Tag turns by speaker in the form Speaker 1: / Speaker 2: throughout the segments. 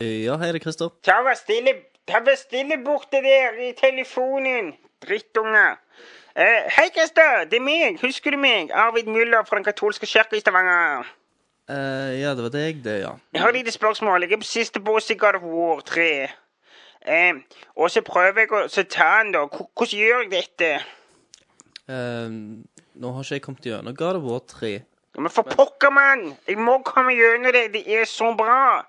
Speaker 1: Ja, hei, det er Christer.
Speaker 2: Ta vær stille, ta vær stille borte der i telefonen, drittunger. Eh, hei, Christer. Det er meg. Husker du meg? Arvid Müller fra Den katolske kirke i Stavanger.
Speaker 1: Eh, ja, det var deg, det, ja.
Speaker 2: Jeg har et lite spørsmål. Jeg er på siste boss i God of War 3. Eh, og så prøver jeg å så ta den, da. Hvor- Hvordan gjør jeg dette?
Speaker 1: Eh, nå har ikke jeg kommet gjennom God of War 3.
Speaker 2: Men for pokker, mann! Jeg må komme gjennom det. Det er så bra.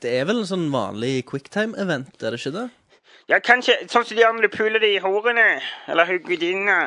Speaker 1: Det er vel en sånn vanlig quicktime-event, er det ikke det?
Speaker 2: Ja, kanskje sånn som de gjør når du puler de horene. Eller hoggudinna.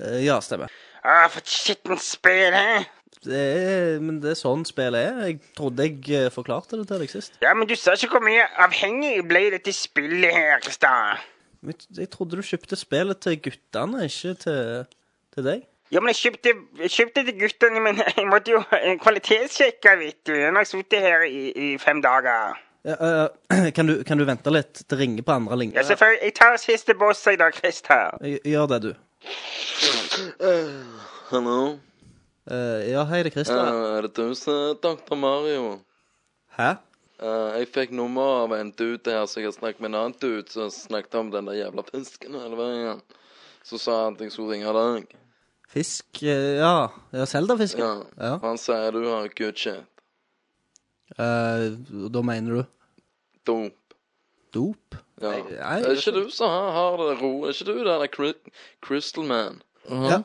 Speaker 1: Eh, ja, stemmer.
Speaker 2: Ah, for et skittent spill, hæ?
Speaker 1: Det er, men det er sånn spillet er. Jeg trodde jeg eh, forklarte det til deg sist.
Speaker 2: Ja, men du sa ikke hvor mye avhengig jeg ble i dette spillet her, Kristian.
Speaker 1: Men Jeg trodde du kjøpte spillet til guttene, ikke til, til deg.
Speaker 2: Ja, men jeg kjøpte, jeg kjøpte til guttene, men jeg måtte jo eh, kvalitetssjekke, vet du. Nå har jeg sittet her i, i fem dager.
Speaker 1: Ja, eh, kan, du, kan du vente litt? Det ringer på andre linje.
Speaker 2: Ja, selvfølgelig. Jeg tar siste boss i dag, Kristian.
Speaker 1: Gj- Gjør det, du.
Speaker 3: Hallo?
Speaker 1: Eh, ja, hei, det er Christer.
Speaker 3: Eh, er det du som er Dr. Mario?
Speaker 1: Hæ?
Speaker 3: Eh, jeg fikk nummer av en dude her som jeg har snakket med en annen dude som snakket om den der jævla fisken hele veien. Så sa han at jeg skulle ringe deg.
Speaker 1: Fisk eh, Ja, ja Zelda-fisken.
Speaker 3: Ja.
Speaker 1: Ja.
Speaker 3: Han sier du har good shit.
Speaker 1: Eh, da mener du
Speaker 3: Dop.
Speaker 1: dop?
Speaker 3: Ja.
Speaker 1: Nei, nei,
Speaker 3: er ikke du som har, har det ro? Er ikke du den der Cry- Crystal Man? Uh-huh.
Speaker 1: Ja,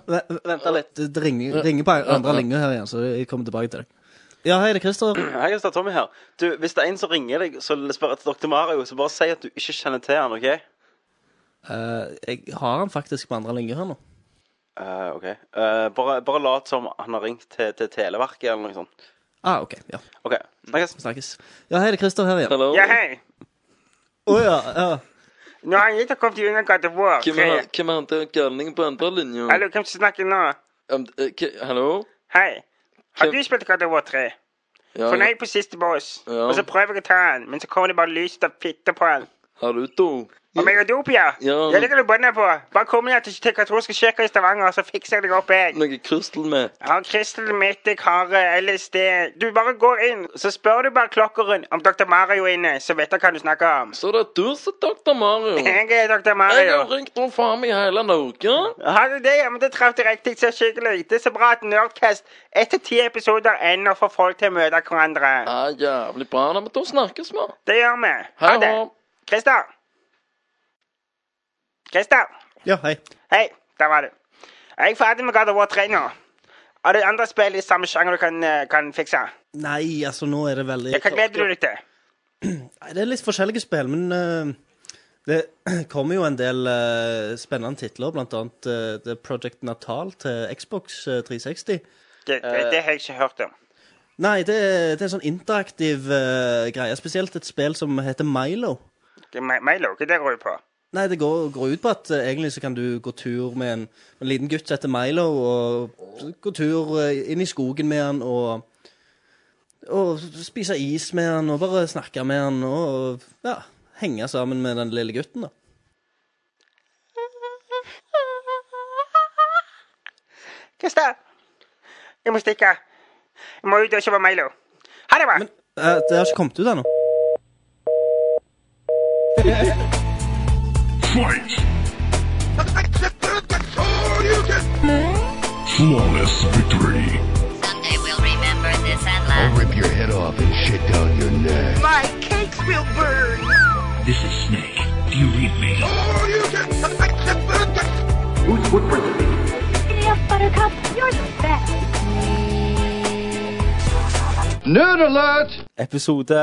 Speaker 1: vent litt. Det ringer, ringer på andre linja her igjen, så jeg kommer tilbake til deg. Ja, hei, det er Christer.
Speaker 4: Hei, jeg heter Tommy her. Du, Hvis det er en som ringer deg og spør etter Dr. Mario, så bare si at du ikke kjenner til han, OK?
Speaker 1: Eh, jeg har han faktisk på andre linja her nå.
Speaker 4: Eh, ok. Eh, bare, bare lat som han har ringt til, til Televerket eller noe sånt.
Speaker 1: Ah, OK. Ja,
Speaker 4: OK. Snakkes.
Speaker 1: vi snakkes. Ja, hei, det er Christer her igjen.
Speaker 3: Hallo?
Speaker 2: Ja, hei.
Speaker 1: Å ja, ja.
Speaker 2: Nå har jeg ikke kommet gjennom God of War
Speaker 3: Hvem er
Speaker 2: 3.
Speaker 3: hvem er han der galningen på andre linja?
Speaker 2: Hallo, hvem som snakker nå?
Speaker 3: Um, eh, hva- Hallo?
Speaker 2: Hei. Har
Speaker 3: Hvem-
Speaker 2: du spilt God of War 3?
Speaker 3: Ja,
Speaker 2: For nå er jeg på siste boss,
Speaker 3: Ja.
Speaker 2: og så prøver jeg å ta den, men så kommer det bare lyset av fitte på den.
Speaker 3: har du dop?
Speaker 2: Om jeg har dop, ja?
Speaker 3: Ja.
Speaker 2: Jeg ligger du båndet på. Bare kom ned til til katolske kirke i Stavanger, så fikser jeg deg opp, jeg.
Speaker 3: Noe Crystal Man?
Speaker 2: Jeg har Kristel mitt, jeg har eh, LSD. Du bare går inn, så spør du bare klokkeren om Dr. Mario er inne, så vet jeg hva du snakker om.
Speaker 3: Så det er du som er Dr. Mario?
Speaker 2: Jeg er Dr.
Speaker 3: Jeg har
Speaker 2: Mario.
Speaker 3: ringt rundt faen meg i hele Norge.
Speaker 2: Har du det? Ja, men det traff du riktig så skikkelig. Det er så bra at Nerdcast etter ti episoder ender for folk til å møte hverandre.
Speaker 3: Ja, jævlig bra. Nei, men da snakkes vi.
Speaker 2: Det gjør vi. Ha
Speaker 3: Hei,
Speaker 2: det.
Speaker 3: hå.
Speaker 2: Christer. Christer.
Speaker 1: ja, hei.
Speaker 2: Hei, der var du. Jeg er ferdig med God of War 3 nå. Har du andre spill i samme sjanger du kan, eh, kan fikse?
Speaker 1: Nei, altså, nå er det veldig
Speaker 2: Ja, Hva gleder du deg til?
Speaker 1: Nei, Det er litt forskjellige spill, men eh, det kommer jo en del eh, spennende titler, blant annet eh, The Project Natal til Xbox eh, 360.
Speaker 2: Det, det, det har jeg ikke hørt om.
Speaker 1: Nei, det er, det er en sånn interaktiv eh, greie, spesielt et spill som heter Milo.
Speaker 2: Det er meg- Milo, hva det går ut på?
Speaker 1: Nei, det går, går ut på at eh, egentlig så kan du gå tur med en, en liten gutt som heter Milo, og gå tur eh, inn i skogen med han, og, og spise is med han, og bare snakke med han, og ja, henge sammen med den lille gutten, da.
Speaker 2: Kristian, jeg må stikke. Jeg må ut og kjøpe Milo. Ha det bra.
Speaker 1: Eh, Det har ikke kommet ut ennå.
Speaker 5: Flawless victory.
Speaker 6: Someday we'll remember this and laugh.
Speaker 5: Rip your head off and shit down your neck.
Speaker 7: My cakes will burn.
Speaker 5: This is Snake. Do you read me?
Speaker 7: Oh, you can.
Speaker 8: Giddy up, Buttercup. You're the best.
Speaker 5: Nerd alert!
Speaker 4: Episode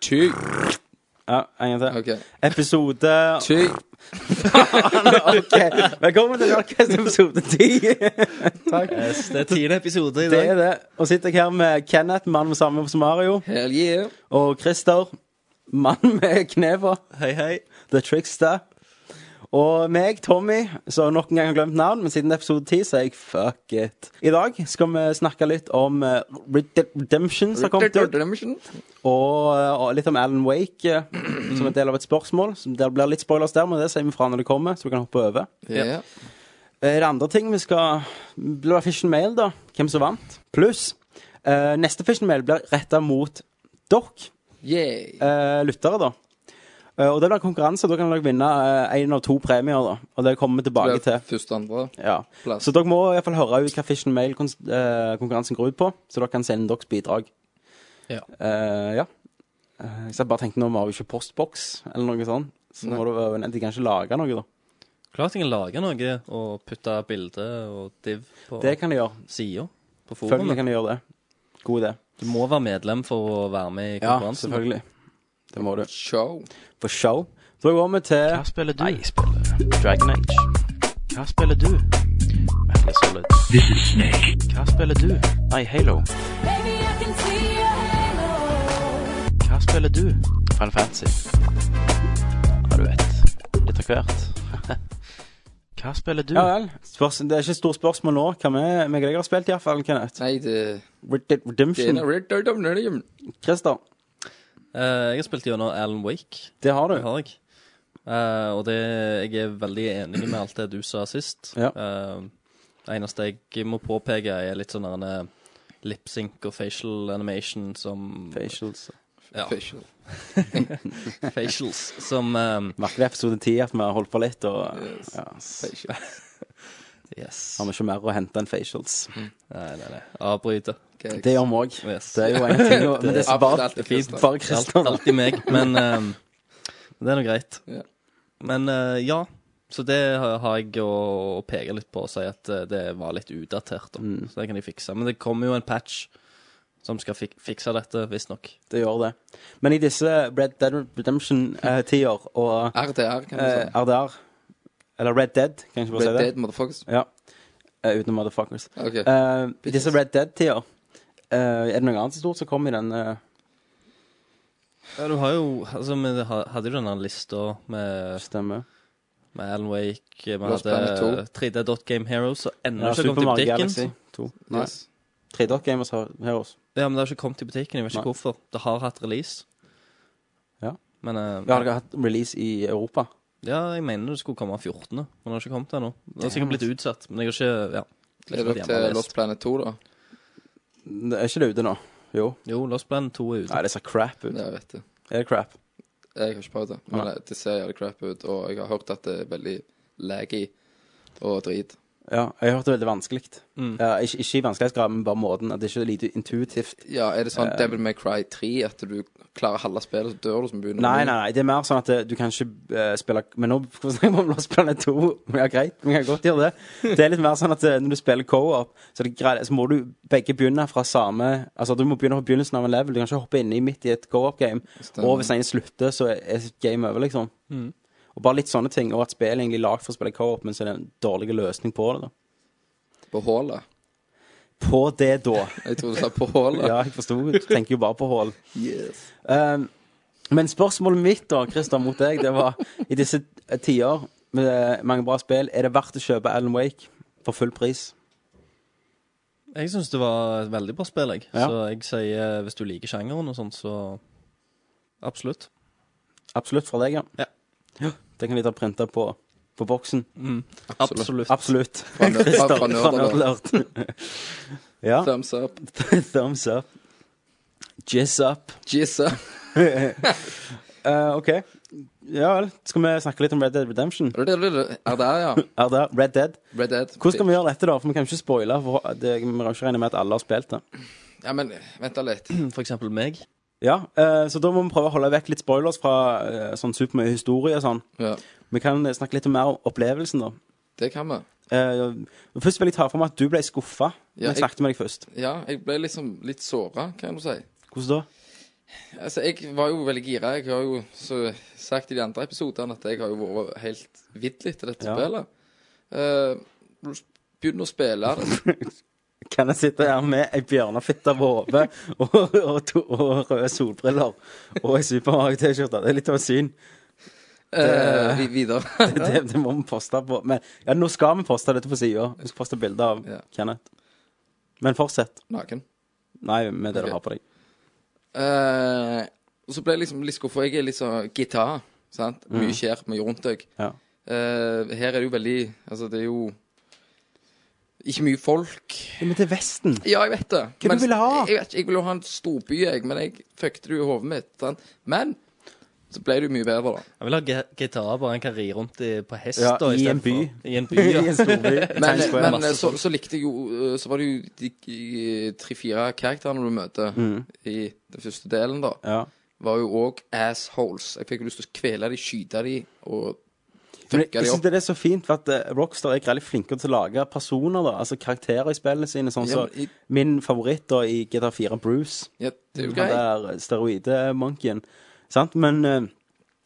Speaker 3: Tyg.
Speaker 4: Ja, en gang til.
Speaker 3: OK.
Speaker 4: Episode
Speaker 3: Tyg.
Speaker 4: OK. Velkommen til Nordkast episode 10.
Speaker 1: Det er tiende episode i
Speaker 4: Det
Speaker 1: dag.
Speaker 4: er det. Og sitter jeg her med Kenneth, mann med samme som Mario,
Speaker 3: Hell yeah.
Speaker 4: og Christer, mann med kneva,
Speaker 1: Hei, hei.
Speaker 4: The Trickster, og meg, Tommy, som nok en gang har glemt navn, men siden episode 10 så er jeg fuck it. I dag skal vi snakke litt om eh, Red Dead Redemption som har kommet ut. Og, eh, og litt om Alan Wake, eh, som en del av et spørsmål. som- Det blir litt spoilers der, men det sier vi fra når det kommer, så vi kan hoppe over.
Speaker 3: Ja.
Speaker 4: Er det andre ting vi skal Blir det Fish and Mail, da? Hvem som vant? Pluss eh, neste Fish and Mail blir retta mot dere.
Speaker 9: Yeah.
Speaker 4: eh, lyttere, da. Eh, og det blir konkurranse. Da kan dere vinne én av to premier. da Og det kommer vi tilbake til.
Speaker 10: Første, andre.
Speaker 4: Ja.
Speaker 10: Plass.
Speaker 4: Så dere må i hvert fall høre ut hva Fish and Mail-konkurransen eh, går ut på, så dere kan sende deres bidrag.
Speaker 10: Ja.
Speaker 4: Eh, ja. Eh, så jeg bare tenkte nå, vi har jo ikke postboks eller noe sånt. Så må du, eh, de kan ikke lage noe, da.
Speaker 1: Klart jeg kan lage noe og putte bilde og div på
Speaker 4: Det kan de gjøre.
Speaker 1: sida. På
Speaker 4: Selvfølgelig
Speaker 1: forumet.
Speaker 4: kan de gjøre det. God idé.
Speaker 1: Du må være medlem for å være med i
Speaker 4: Ja,
Speaker 1: konkurransen.
Speaker 4: selvfølgelig. Det må du.
Speaker 10: Show.
Speaker 4: For show. Så går vi til
Speaker 8: Hva spiller du? Nei, jeg spiller Dragon Age. Hva spiller du? Metal Gear Solid.
Speaker 5: This is Snake.
Speaker 8: Hva spiller du? Nei, Halo. Hva spiller du? Final Fantasy. Ja, du vet. Litt av hvert. Hva spiller du?
Speaker 4: Ja vel. Spørs, det er ikke et stort spørsmål nå. Hva vi, meg og deg har spilt, iallfall, Kenneth.
Speaker 9: Nei, det,
Speaker 4: Red Dead
Speaker 9: det er
Speaker 4: Redemption.
Speaker 9: Red Dead Redemption.
Speaker 4: Christer,
Speaker 1: Eh, jeg har spilt gjennom Alan Wake.
Speaker 4: det har
Speaker 1: Det
Speaker 4: du.
Speaker 1: har jeg. Eh, og det, jeg er veldig enig med alt det du sa sist.
Speaker 4: Ja.
Speaker 1: Eh, det eneste jeg må påpeke, er litt sånn derne lip-sync og facial animation som
Speaker 4: Facials.
Speaker 1: Ja,
Speaker 9: Facial.
Speaker 1: facials. Som eh,
Speaker 4: Merkelig episode 10 at vi har holdt på litt, og
Speaker 9: Yes.
Speaker 4: ja, så
Speaker 9: Facial.
Speaker 1: Yes.
Speaker 4: har vi ikke mer å hente enn facials.
Speaker 1: Nei, nei, nei. Avbryte.
Speaker 9: Okay.
Speaker 4: Det gjør vi òg.
Speaker 1: Yes.
Speaker 4: Det er jo en ting, å- men det er bare,
Speaker 9: Absolutt alltid Christer.
Speaker 4: bare
Speaker 1: Det er alt-
Speaker 4: Christer.
Speaker 1: alltid meg, men ehm, det er nå greit.
Speaker 9: Ja.
Speaker 1: Men eh, ja, så det har har jeg å, å peke litt på og si at eh, det var litt utdatert. Da. Så det kan de fikse. Men det kommer jo en patch som skal fik fikse dette, visstnok.
Speaker 4: Det gjør det. Men i disse Red Dead Redemption-tider og
Speaker 9: RDR, kan du
Speaker 4: eh,
Speaker 9: si.
Speaker 4: RDR Eller Red Dead, kan jeg ikke bare
Speaker 9: sånn. Red
Speaker 4: si det?
Speaker 9: Dead Motherfuckers.
Speaker 4: Ja. Eh, Uten motherfuckers.
Speaker 9: Ok.
Speaker 4: Eh, I disse Red Dead-tider, eh, er det noe annet så stort som kom i den eh,
Speaker 1: Ja, du har jo Altså, vi ha- hadde jo denne lista med,
Speaker 4: stemme?
Speaker 1: med Alan Wake, vi
Speaker 9: Lost
Speaker 1: hadde
Speaker 9: Planet
Speaker 1: 3D Dot Game Heroes, som ennå
Speaker 4: Ja,
Speaker 1: ikke har
Speaker 4: Super
Speaker 1: kommet
Speaker 4: Mario
Speaker 1: i butikken.
Speaker 4: Galaxy 2. Nei.
Speaker 9: Yes.
Speaker 4: 3Dock Gamers har Heroes.
Speaker 1: Ja, men det har ikke kommet i butikken. Jeg vet ikke
Speaker 4: Nei.
Speaker 1: hvorfor. Det har hatt release.
Speaker 4: Ja.
Speaker 1: Men eh,
Speaker 4: Vi har dere hatt release i Europa.
Speaker 1: Ja, jeg mener det skulle komme 14., men det har ikke kommet ennå. Det har sikkert blitt utsatt, men jeg har ikke ja. Liksom
Speaker 9: Er det
Speaker 1: vært hjemme og
Speaker 9: til
Speaker 1: lest.
Speaker 9: Lost Planet 2, da?
Speaker 4: Det er ikke det ute nå? Jo.
Speaker 1: Jo, Lost Planet 2 er ute.
Speaker 4: Nei, det ser crap ut.
Speaker 9: Ja, jeg vet det.
Speaker 4: Er det crap?
Speaker 9: Jeg har ikke prøvd det, men
Speaker 4: Nei.
Speaker 9: det ser jævlig crap ut, og jeg har hørt at det er veldig laggy og drit.
Speaker 4: Ja, jeg har hørt det er veldig vanskelig. Ja, ikke, ikke i vanskelighetsgrad, men bare måten. At det ikke er lite intuitivt.
Speaker 9: Ja, er det sånn
Speaker 4: Eh.
Speaker 9: Devil May Cry 3 at du klarer halve spillet, så dør du som begynner?
Speaker 4: Nei, nei, nei, det er mer sånn at eh, du kan ikke eh, spille Men nå skal vi snakke om Lost Planet 2. Men E Ja, greit, vi kan godt gjøre det. Det er litt mer sånn at eh, når du spiller co-op, så, er det greit- så må du begge begynne fra samme Altså, du må begynne på begynnelsen av en level. Du kan ikke hoppe inni midt i et co-op-game.
Speaker 9: Stemmer.
Speaker 4: Og hvis en slutter, så er- er game over, liksom. Og bare litt sånne ting. Og at spillet er egentlig er lagd for å spille co-op, men så er det en dårlig løsning på det. da
Speaker 9: På hullet.
Speaker 4: På det, da.
Speaker 9: Jeg tror du sa på hullet.
Speaker 4: Ja, jeg forsto. Du tenker jo bare på hull.
Speaker 9: Yes.
Speaker 4: Um, men spørsmålet mitt da, Christer, mot deg, det var i disse tider med eh, mange bra spill, er det verdt å kjøpe Alan Wake for full pris?
Speaker 1: Jeg syns det var et veldig bra spill, jeg.
Speaker 4: Ja.
Speaker 1: Så jeg sier eh, hvis du liker sjangeren og sånt, så absolutt.
Speaker 4: Absolutt fra deg, ja.
Speaker 1: Ja.
Speaker 4: Ja, Det kan vi ta printa på, på boksen.
Speaker 1: Absolutt.
Speaker 4: Absolutt.
Speaker 9: Fra nø-
Speaker 4: Christer,
Speaker 9: fra- fra Nerdalert.
Speaker 4: Nerdalert. ja.
Speaker 9: Thumbs up.
Speaker 4: Thumbs up. Jizz up.
Speaker 9: Jizz up.
Speaker 4: Eh, OK. Ja vel. Skal vi snakke litt om Red Dead Redemption?
Speaker 9: Er det- er det- er det, ja.
Speaker 4: Er det Red Dead?
Speaker 9: Red Dead.
Speaker 4: Hvordan skal vi gjøre dette, da? For vi kan jo ikke spoile. For det, vi har jo ikke regnet med at alle har spilt det.
Speaker 9: Ja, men vent da litt.
Speaker 1: For eksempel meg.
Speaker 4: Ja, eh, så da må vi prøve å holde vekk litt spoilers fra eh, sånn supermye historie og sånn.
Speaker 9: Ja,
Speaker 4: Vi kan eh, snakke litt mer om opplevelsen, da.
Speaker 9: det kan vi.
Speaker 4: Eh, først vil jeg ta fram at du ble skuffa.
Speaker 9: Ja,
Speaker 4: jeg
Speaker 9: jeg-
Speaker 4: snakket med deg først.
Speaker 9: Ja, jeg ble liksom litt såret, kan du si.
Speaker 4: Hvordan da?
Speaker 9: Altså, jeg var jo veldig gira. Jeg har jo så sagt i de andre episodene at jeg har jo vært helt vidlig til dette
Speaker 4: Ja.
Speaker 9: spillet. Eh, Når du begynner å spille det.
Speaker 4: Kan jeg sitte her med ei bjørnefitte på hodet og, og, to- og røde solbriller og ei Super Mario-T-skjorte? Det er litt av et syn.
Speaker 9: eh, vi- videre.
Speaker 4: Det, det må vi poste på. Men ja, nå skal vi poste dette på sida. Vi skal poste bilder av
Speaker 9: Ja.
Speaker 4: Kenneth. Men fortsett.
Speaker 9: Naken.
Speaker 4: Nei, med det
Speaker 9: Ok.
Speaker 4: du har på deg.
Speaker 9: Eh, og så ble jeg liksom litt skuffa. Jeg er litt sånn gitar. Sant? Mye skjer, mye rundt deg.
Speaker 4: Mm. Ja.
Speaker 9: Eh, her er det jo veldig Altså, det er jo Ikke mye folk.
Speaker 4: Men til Vesten.
Speaker 9: Ja, jeg vet det.
Speaker 4: Hva du ville ha?
Speaker 9: Jeg, vet ikke, jeg ville ha en storby, jeg, men jeg fucket det jo i hodet mitt. Sant? Men så ble det jo mye bedre, da.
Speaker 1: Jeg vil ha G- GTA, bare en kan ri rundt i, på hest.
Speaker 4: Ja,
Speaker 1: da,
Speaker 4: i en
Speaker 1: stedet
Speaker 4: by.
Speaker 1: For. I en by,
Speaker 4: I
Speaker 1: ja. eh,
Speaker 4: en storby.
Speaker 9: Men,
Speaker 4: Times Square.
Speaker 9: men eh, så, så likte jeg jo eh, Så var det jo de eh, tre-fire karakterene du møter i den første delen, da.
Speaker 4: Mm. ja.
Speaker 9: Var jo òg assholes. Jeg fikk jo lyst til å kvele de, skyte de og
Speaker 4: Men
Speaker 9: fucke
Speaker 4: jeg
Speaker 9: de
Speaker 4: synes
Speaker 9: opp.
Speaker 4: det er så fint, for at eh, Rockstar er ikke veldig flinke til å lage personer, da. Altså karakterer i spillene sine. Sånn
Speaker 9: Ja,
Speaker 4: som
Speaker 9: men i-
Speaker 4: min favoritt da i GTA4, Bruce.
Speaker 9: Ja, det er jo
Speaker 4: Han
Speaker 9: greit.
Speaker 4: der steroidemonkien. Sant? Men eh,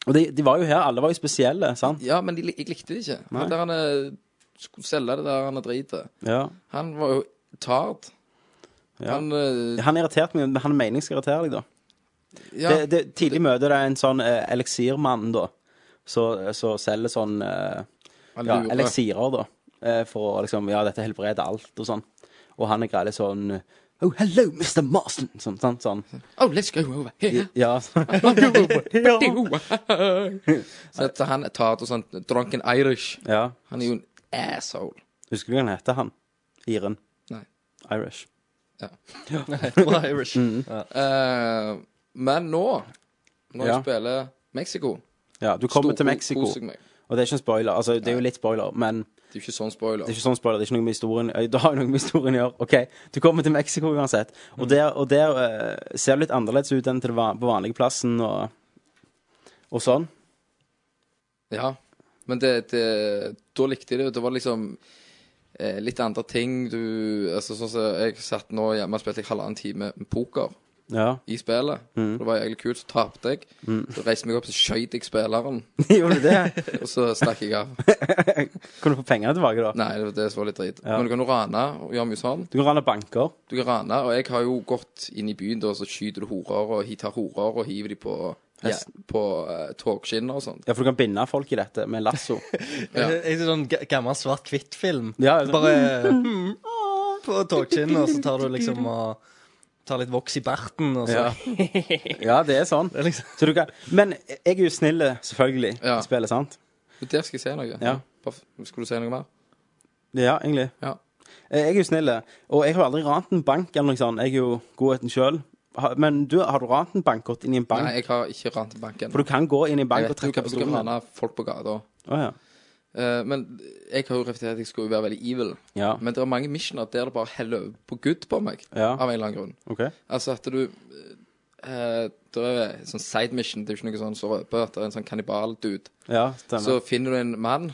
Speaker 4: Og de, de var jo her, alle var jo spesielle, sant?
Speaker 9: Ja, men de, lik- jeg likte det ikke.
Speaker 4: Nei.
Speaker 9: Han der han eh, skulle selge det der han er dritet.
Speaker 4: Ja.
Speaker 9: Han var jo tard.
Speaker 4: Ja.
Speaker 9: Han eh,
Speaker 4: Han irriterte meg, men han mener jeg skal irritere deg, da.
Speaker 9: Ja.
Speaker 4: Det, det, tidlig møter det en sånn eh, eliksirmann, da. Så, så selger sånn eh,
Speaker 9: han
Speaker 4: ja,
Speaker 9: lurer.
Speaker 4: eliksirer, da. Eh, for å liksom Ja, dette helbreder alt og sånn. Og han er greit sånn Oh, hello, Mr. Marston! Sånn, sånn, sånn.
Speaker 9: Oh, let's go over here.
Speaker 4: Ja. sånn.
Speaker 9: Så at han er tard og sånn drunken Irish.
Speaker 4: ja.
Speaker 9: Han er jo en asshole.
Speaker 4: Husker du hva han heter, han? Iren.
Speaker 9: Nei.
Speaker 4: Irish.
Speaker 1: Nei, Irish.
Speaker 4: Mm.
Speaker 1: Ja.
Speaker 9: Eh, men nå, når
Speaker 4: Ja.
Speaker 9: jeg spiller Mexico
Speaker 4: Ja, du kommer
Speaker 9: stor-
Speaker 4: til Mexico.
Speaker 9: koser jeg meg.
Speaker 4: Og det er ikke en spoiler. Altså, det er jo litt spoiler, men
Speaker 9: Det er jo ikke sånn spoiler.
Speaker 4: det er ikke sånn spoiler. Det er ikke noe med historien Øy, Det har jo noe med historien å gjøre. OK, du kommer til Mexico uansett.
Speaker 9: Mm.
Speaker 4: Og der, og der eh, ser det litt annerledes ut enn til det van på vanlige plassen og, og sånn.
Speaker 9: Ja, men det, det, da likte jeg det. jo. Det var liksom eh, litt andre ting du altså, sånn som Jeg satt nå hjemme og spilte i halvannen time med poker
Speaker 4: Ja.
Speaker 9: i spillet.
Speaker 4: Mm.
Speaker 9: Det var jævlig kult. Så tapte jeg. Så reiste jeg meg opp, så skjøt jeg spilleren,
Speaker 4: Gjorde du det?
Speaker 9: og så stakk jeg av.
Speaker 4: Kan du få pengene tilbake, da?
Speaker 9: Nei, det var det som var litt dritt. Men du kan jo rane og gjøre mye sånn.
Speaker 4: Du kan rane banker.
Speaker 9: Du kan rane, og jeg har jo gått inn i byen, da, så skyter du horer, og hi- tar horer og hiver de på, ja, på eh, togskinner og sånt.
Speaker 4: Ja, for du kan binde folk i dette med lasso.
Speaker 9: Ja.
Speaker 1: Jeg jeg ser sånn ga- gammel svart-hvitt-film.
Speaker 4: Ja, sånn-
Speaker 1: Du Bare mm, ah, på togskinnen, og så tar du liksom og tar litt voks i barten, og så
Speaker 4: Ja. ja, det er sånn.
Speaker 1: er liksom-
Speaker 4: Så du kan... Men jeg er jo snill, selvfølgelig,
Speaker 9: Ja.
Speaker 4: i spillet, sant?
Speaker 9: Men Der skal jeg si noe.
Speaker 4: Ja.
Speaker 9: Bare- Skulle du si noe mer?
Speaker 4: Ja, egentlig.
Speaker 9: Ja.
Speaker 4: Eh, Jeg er jo snill, og jeg har aldri rant en bank eller noe sånt. Jeg er jo god etter sjøl. Men du, har du rant en bank, gått inn i en bank?
Speaker 9: Nei, jeg har ikke rant til banken.
Speaker 4: For du kan gå inn i en
Speaker 9: Jeg
Speaker 4: bank og
Speaker 9: vet, du
Speaker 4: trekke
Speaker 9: kan,
Speaker 4: på
Speaker 9: du kan
Speaker 4: stolen.
Speaker 9: rane folk på gata.
Speaker 4: Å, ja.
Speaker 9: Eh, men jeg har jo reflektert at jeg skulle jo være veldig evil.
Speaker 4: Ja.
Speaker 9: Men det er mange missioner der det bare heller over på good på meg.
Speaker 4: Ja.
Speaker 9: Av en eller annen grunn.
Speaker 4: OK.
Speaker 9: Altså at du eh, Det er en sånn side mission, det er jo ikke noe sånn så røper, at det er en sånn kannibaldude.
Speaker 4: Ja,
Speaker 9: Så
Speaker 4: stemmer.
Speaker 9: finner du en mann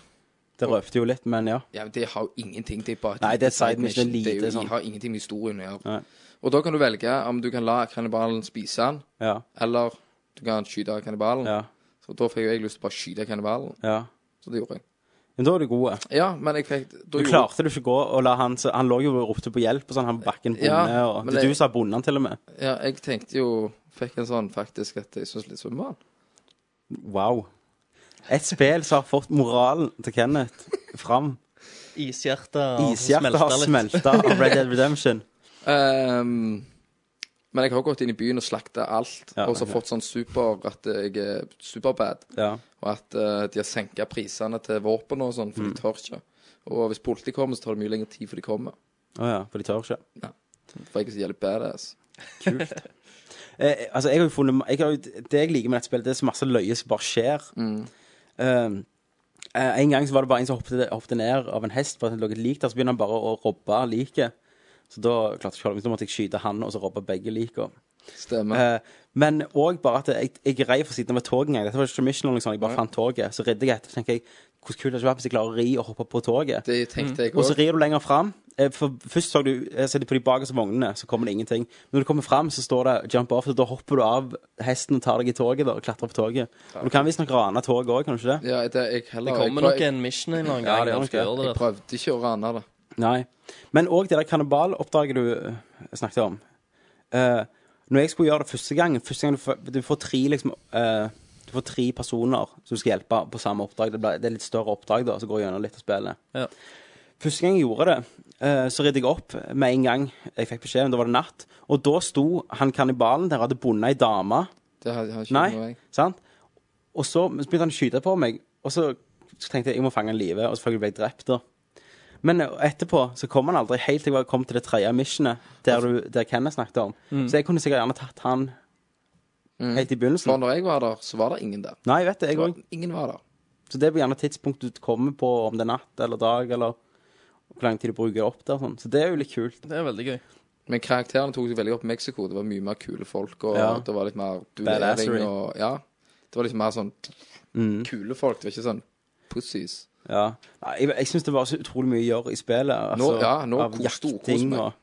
Speaker 4: Det røpte jo litt, men ja.
Speaker 9: Ja, men Det har jo ingenting til bare et
Speaker 4: Nei, det er
Speaker 9: lite
Speaker 4: side mission, det er
Speaker 9: Det er jo,
Speaker 4: lite sånn.
Speaker 9: har ingenting med historien å gjøre.
Speaker 4: Nei.
Speaker 9: Og da kan du velge om du kan la kannibalen spise han,
Speaker 4: Ja.
Speaker 9: eller du kan skyte kannibalen.
Speaker 4: Ja.
Speaker 9: Så da fikk jo jeg lyst til å bare skyte kannibalen.
Speaker 4: ja.
Speaker 9: Så det gjorde jeg.
Speaker 4: Men da er du god.
Speaker 9: Ja, men jeg fikk da
Speaker 4: Du
Speaker 9: gjorde-
Speaker 4: klarte du ikke gå og la han så Han lå jo og ropte på hjelp, og sånn. Han var bakken bonde,
Speaker 9: Ja,
Speaker 4: og
Speaker 9: men
Speaker 4: det er
Speaker 9: det-
Speaker 4: du som har bondet han, til og med.
Speaker 9: Ja, jeg tenkte jo Fikk en sånn faktisk at jeg syns litt synd på han.
Speaker 4: Wow. Et spill som har fått moralen til Kenneth fram.
Speaker 1: ishjertet og
Speaker 4: Ishjertet har smelta av Red Dead Redemption.
Speaker 9: Ehm, men jeg har gått inn i byen og slakta alt,
Speaker 4: Ja,
Speaker 9: og så
Speaker 4: ok.
Speaker 9: fått sånn super at jeg er superbad,
Speaker 4: Ja.
Speaker 9: og at eh, de har senka prisene til våpen og sånn, for
Speaker 4: Mm.
Speaker 9: de tør ikke. Og hvis politiet kommer, så tar det mye lengre tid før de kommer.
Speaker 4: Å ja, for de tør ikke.
Speaker 9: For jeg er så jævlig badass.
Speaker 4: Eh, altså, jeg har jo funnet jeg har, jo- Det jeg liker med dette spillet, det er så masse løye som bare skjer. Eh, eh, en gang så var det bare en som hoppet, hoppet ned av en hest for at det lå et lik der. Så begynner han bare å robbe liket. Så da klarte jeg ikke å holde meg, så da måtte jeg skyte han og så robbe begge likene.
Speaker 9: Stemmer.
Speaker 4: Eh, men òg bare at jeg, jeg rei for siden av et tog en gang. Dette var ikke mission eller noe sånt, jeg bare fant toget. Så redde jeg etter, så tenker jeg hvor kult hadde det ikke vært hvis jeg klarer å ri og hoppe på toget.
Speaker 9: det tenkte jeg
Speaker 4: mm. Og så
Speaker 9: òg.
Speaker 4: rir du lenger fram. Eh, For først så du, eh, ser du på de bakerste vognene, så kommer det ingenting. Men når du kommer fram, så står det 'jump off', så da hopper du av hesten og tar deg i toget da, og klatrer på toget. Og du kan visstnok rane toget òg, kan du ikke det?
Speaker 9: Ja, det, jeg heller,
Speaker 1: Det kommer
Speaker 9: jeg,
Speaker 1: nok
Speaker 9: prøv,
Speaker 1: en mission en eller annen
Speaker 4: Ja,
Speaker 1: gang.
Speaker 4: det gjør
Speaker 1: når du skal
Speaker 4: nok det.
Speaker 1: gjøre
Speaker 9: jeg
Speaker 1: det.
Speaker 9: prøvde ikke å rane det.
Speaker 4: Nei. Men òg det der kannibaloppdraget du eh, snakket om. Eh, når jeg skulle gjøre det første gang Første gang du får, du får tre liksom eh, Du får tre personer som du skal hjelpe på samme oppdrag. Det, ble, det er litt større oppdrag da, som går gjennom litt av spillet.
Speaker 1: Ja.
Speaker 4: Første gang jeg gjorde det, eh, så ridde jeg opp med en gang jeg fikk beskjed. Men da var det natt. Og da sto han kannibalen der hadde bundet ei dame.
Speaker 9: Det har, har ikke noe
Speaker 4: Nei,
Speaker 9: jeg.
Speaker 4: sant? Og så begynte han å skyte på meg, og så tenkte jeg jeg må fange han i live, og selvfølgelig ble jeg drept. da. Men etterpå så kom han aldri helt til jeg var- kom til det tredje missionet, der, du, der Kenneth snakket om.
Speaker 9: Mm.
Speaker 4: Så jeg kunne sikkert gjerne tatt han helt i begynnelsen.
Speaker 9: For når jeg var der, så var det ingen der.
Speaker 4: Nei, jeg vet det. Jeg
Speaker 9: Det var-
Speaker 4: òg.
Speaker 9: Ingen var der.
Speaker 4: Så det blir gjerne tidspunktet du kommer på, om det er natt eller dag, eller hvor lang tid du bruker opp der. og Sånn. Så det er jo litt kult.
Speaker 9: Det er veldig gøy. Men karakterene tok seg veldig opp i Mexico. Det var mye mer kule folk, og
Speaker 4: Ja.
Speaker 9: det var litt mer
Speaker 4: Badassery.
Speaker 9: duellering og Ja. Det var liksom mer sånn
Speaker 4: Mm.
Speaker 9: kule folk. Det var ikke sånn pussies.
Speaker 4: Ja. Nei, jeg jeg syns det var så utrolig mye å gjøre i spillet. Altså,
Speaker 9: Nå- ja, nå
Speaker 4: av
Speaker 9: kos- storkos
Speaker 4: jakting
Speaker 9: meg.
Speaker 4: og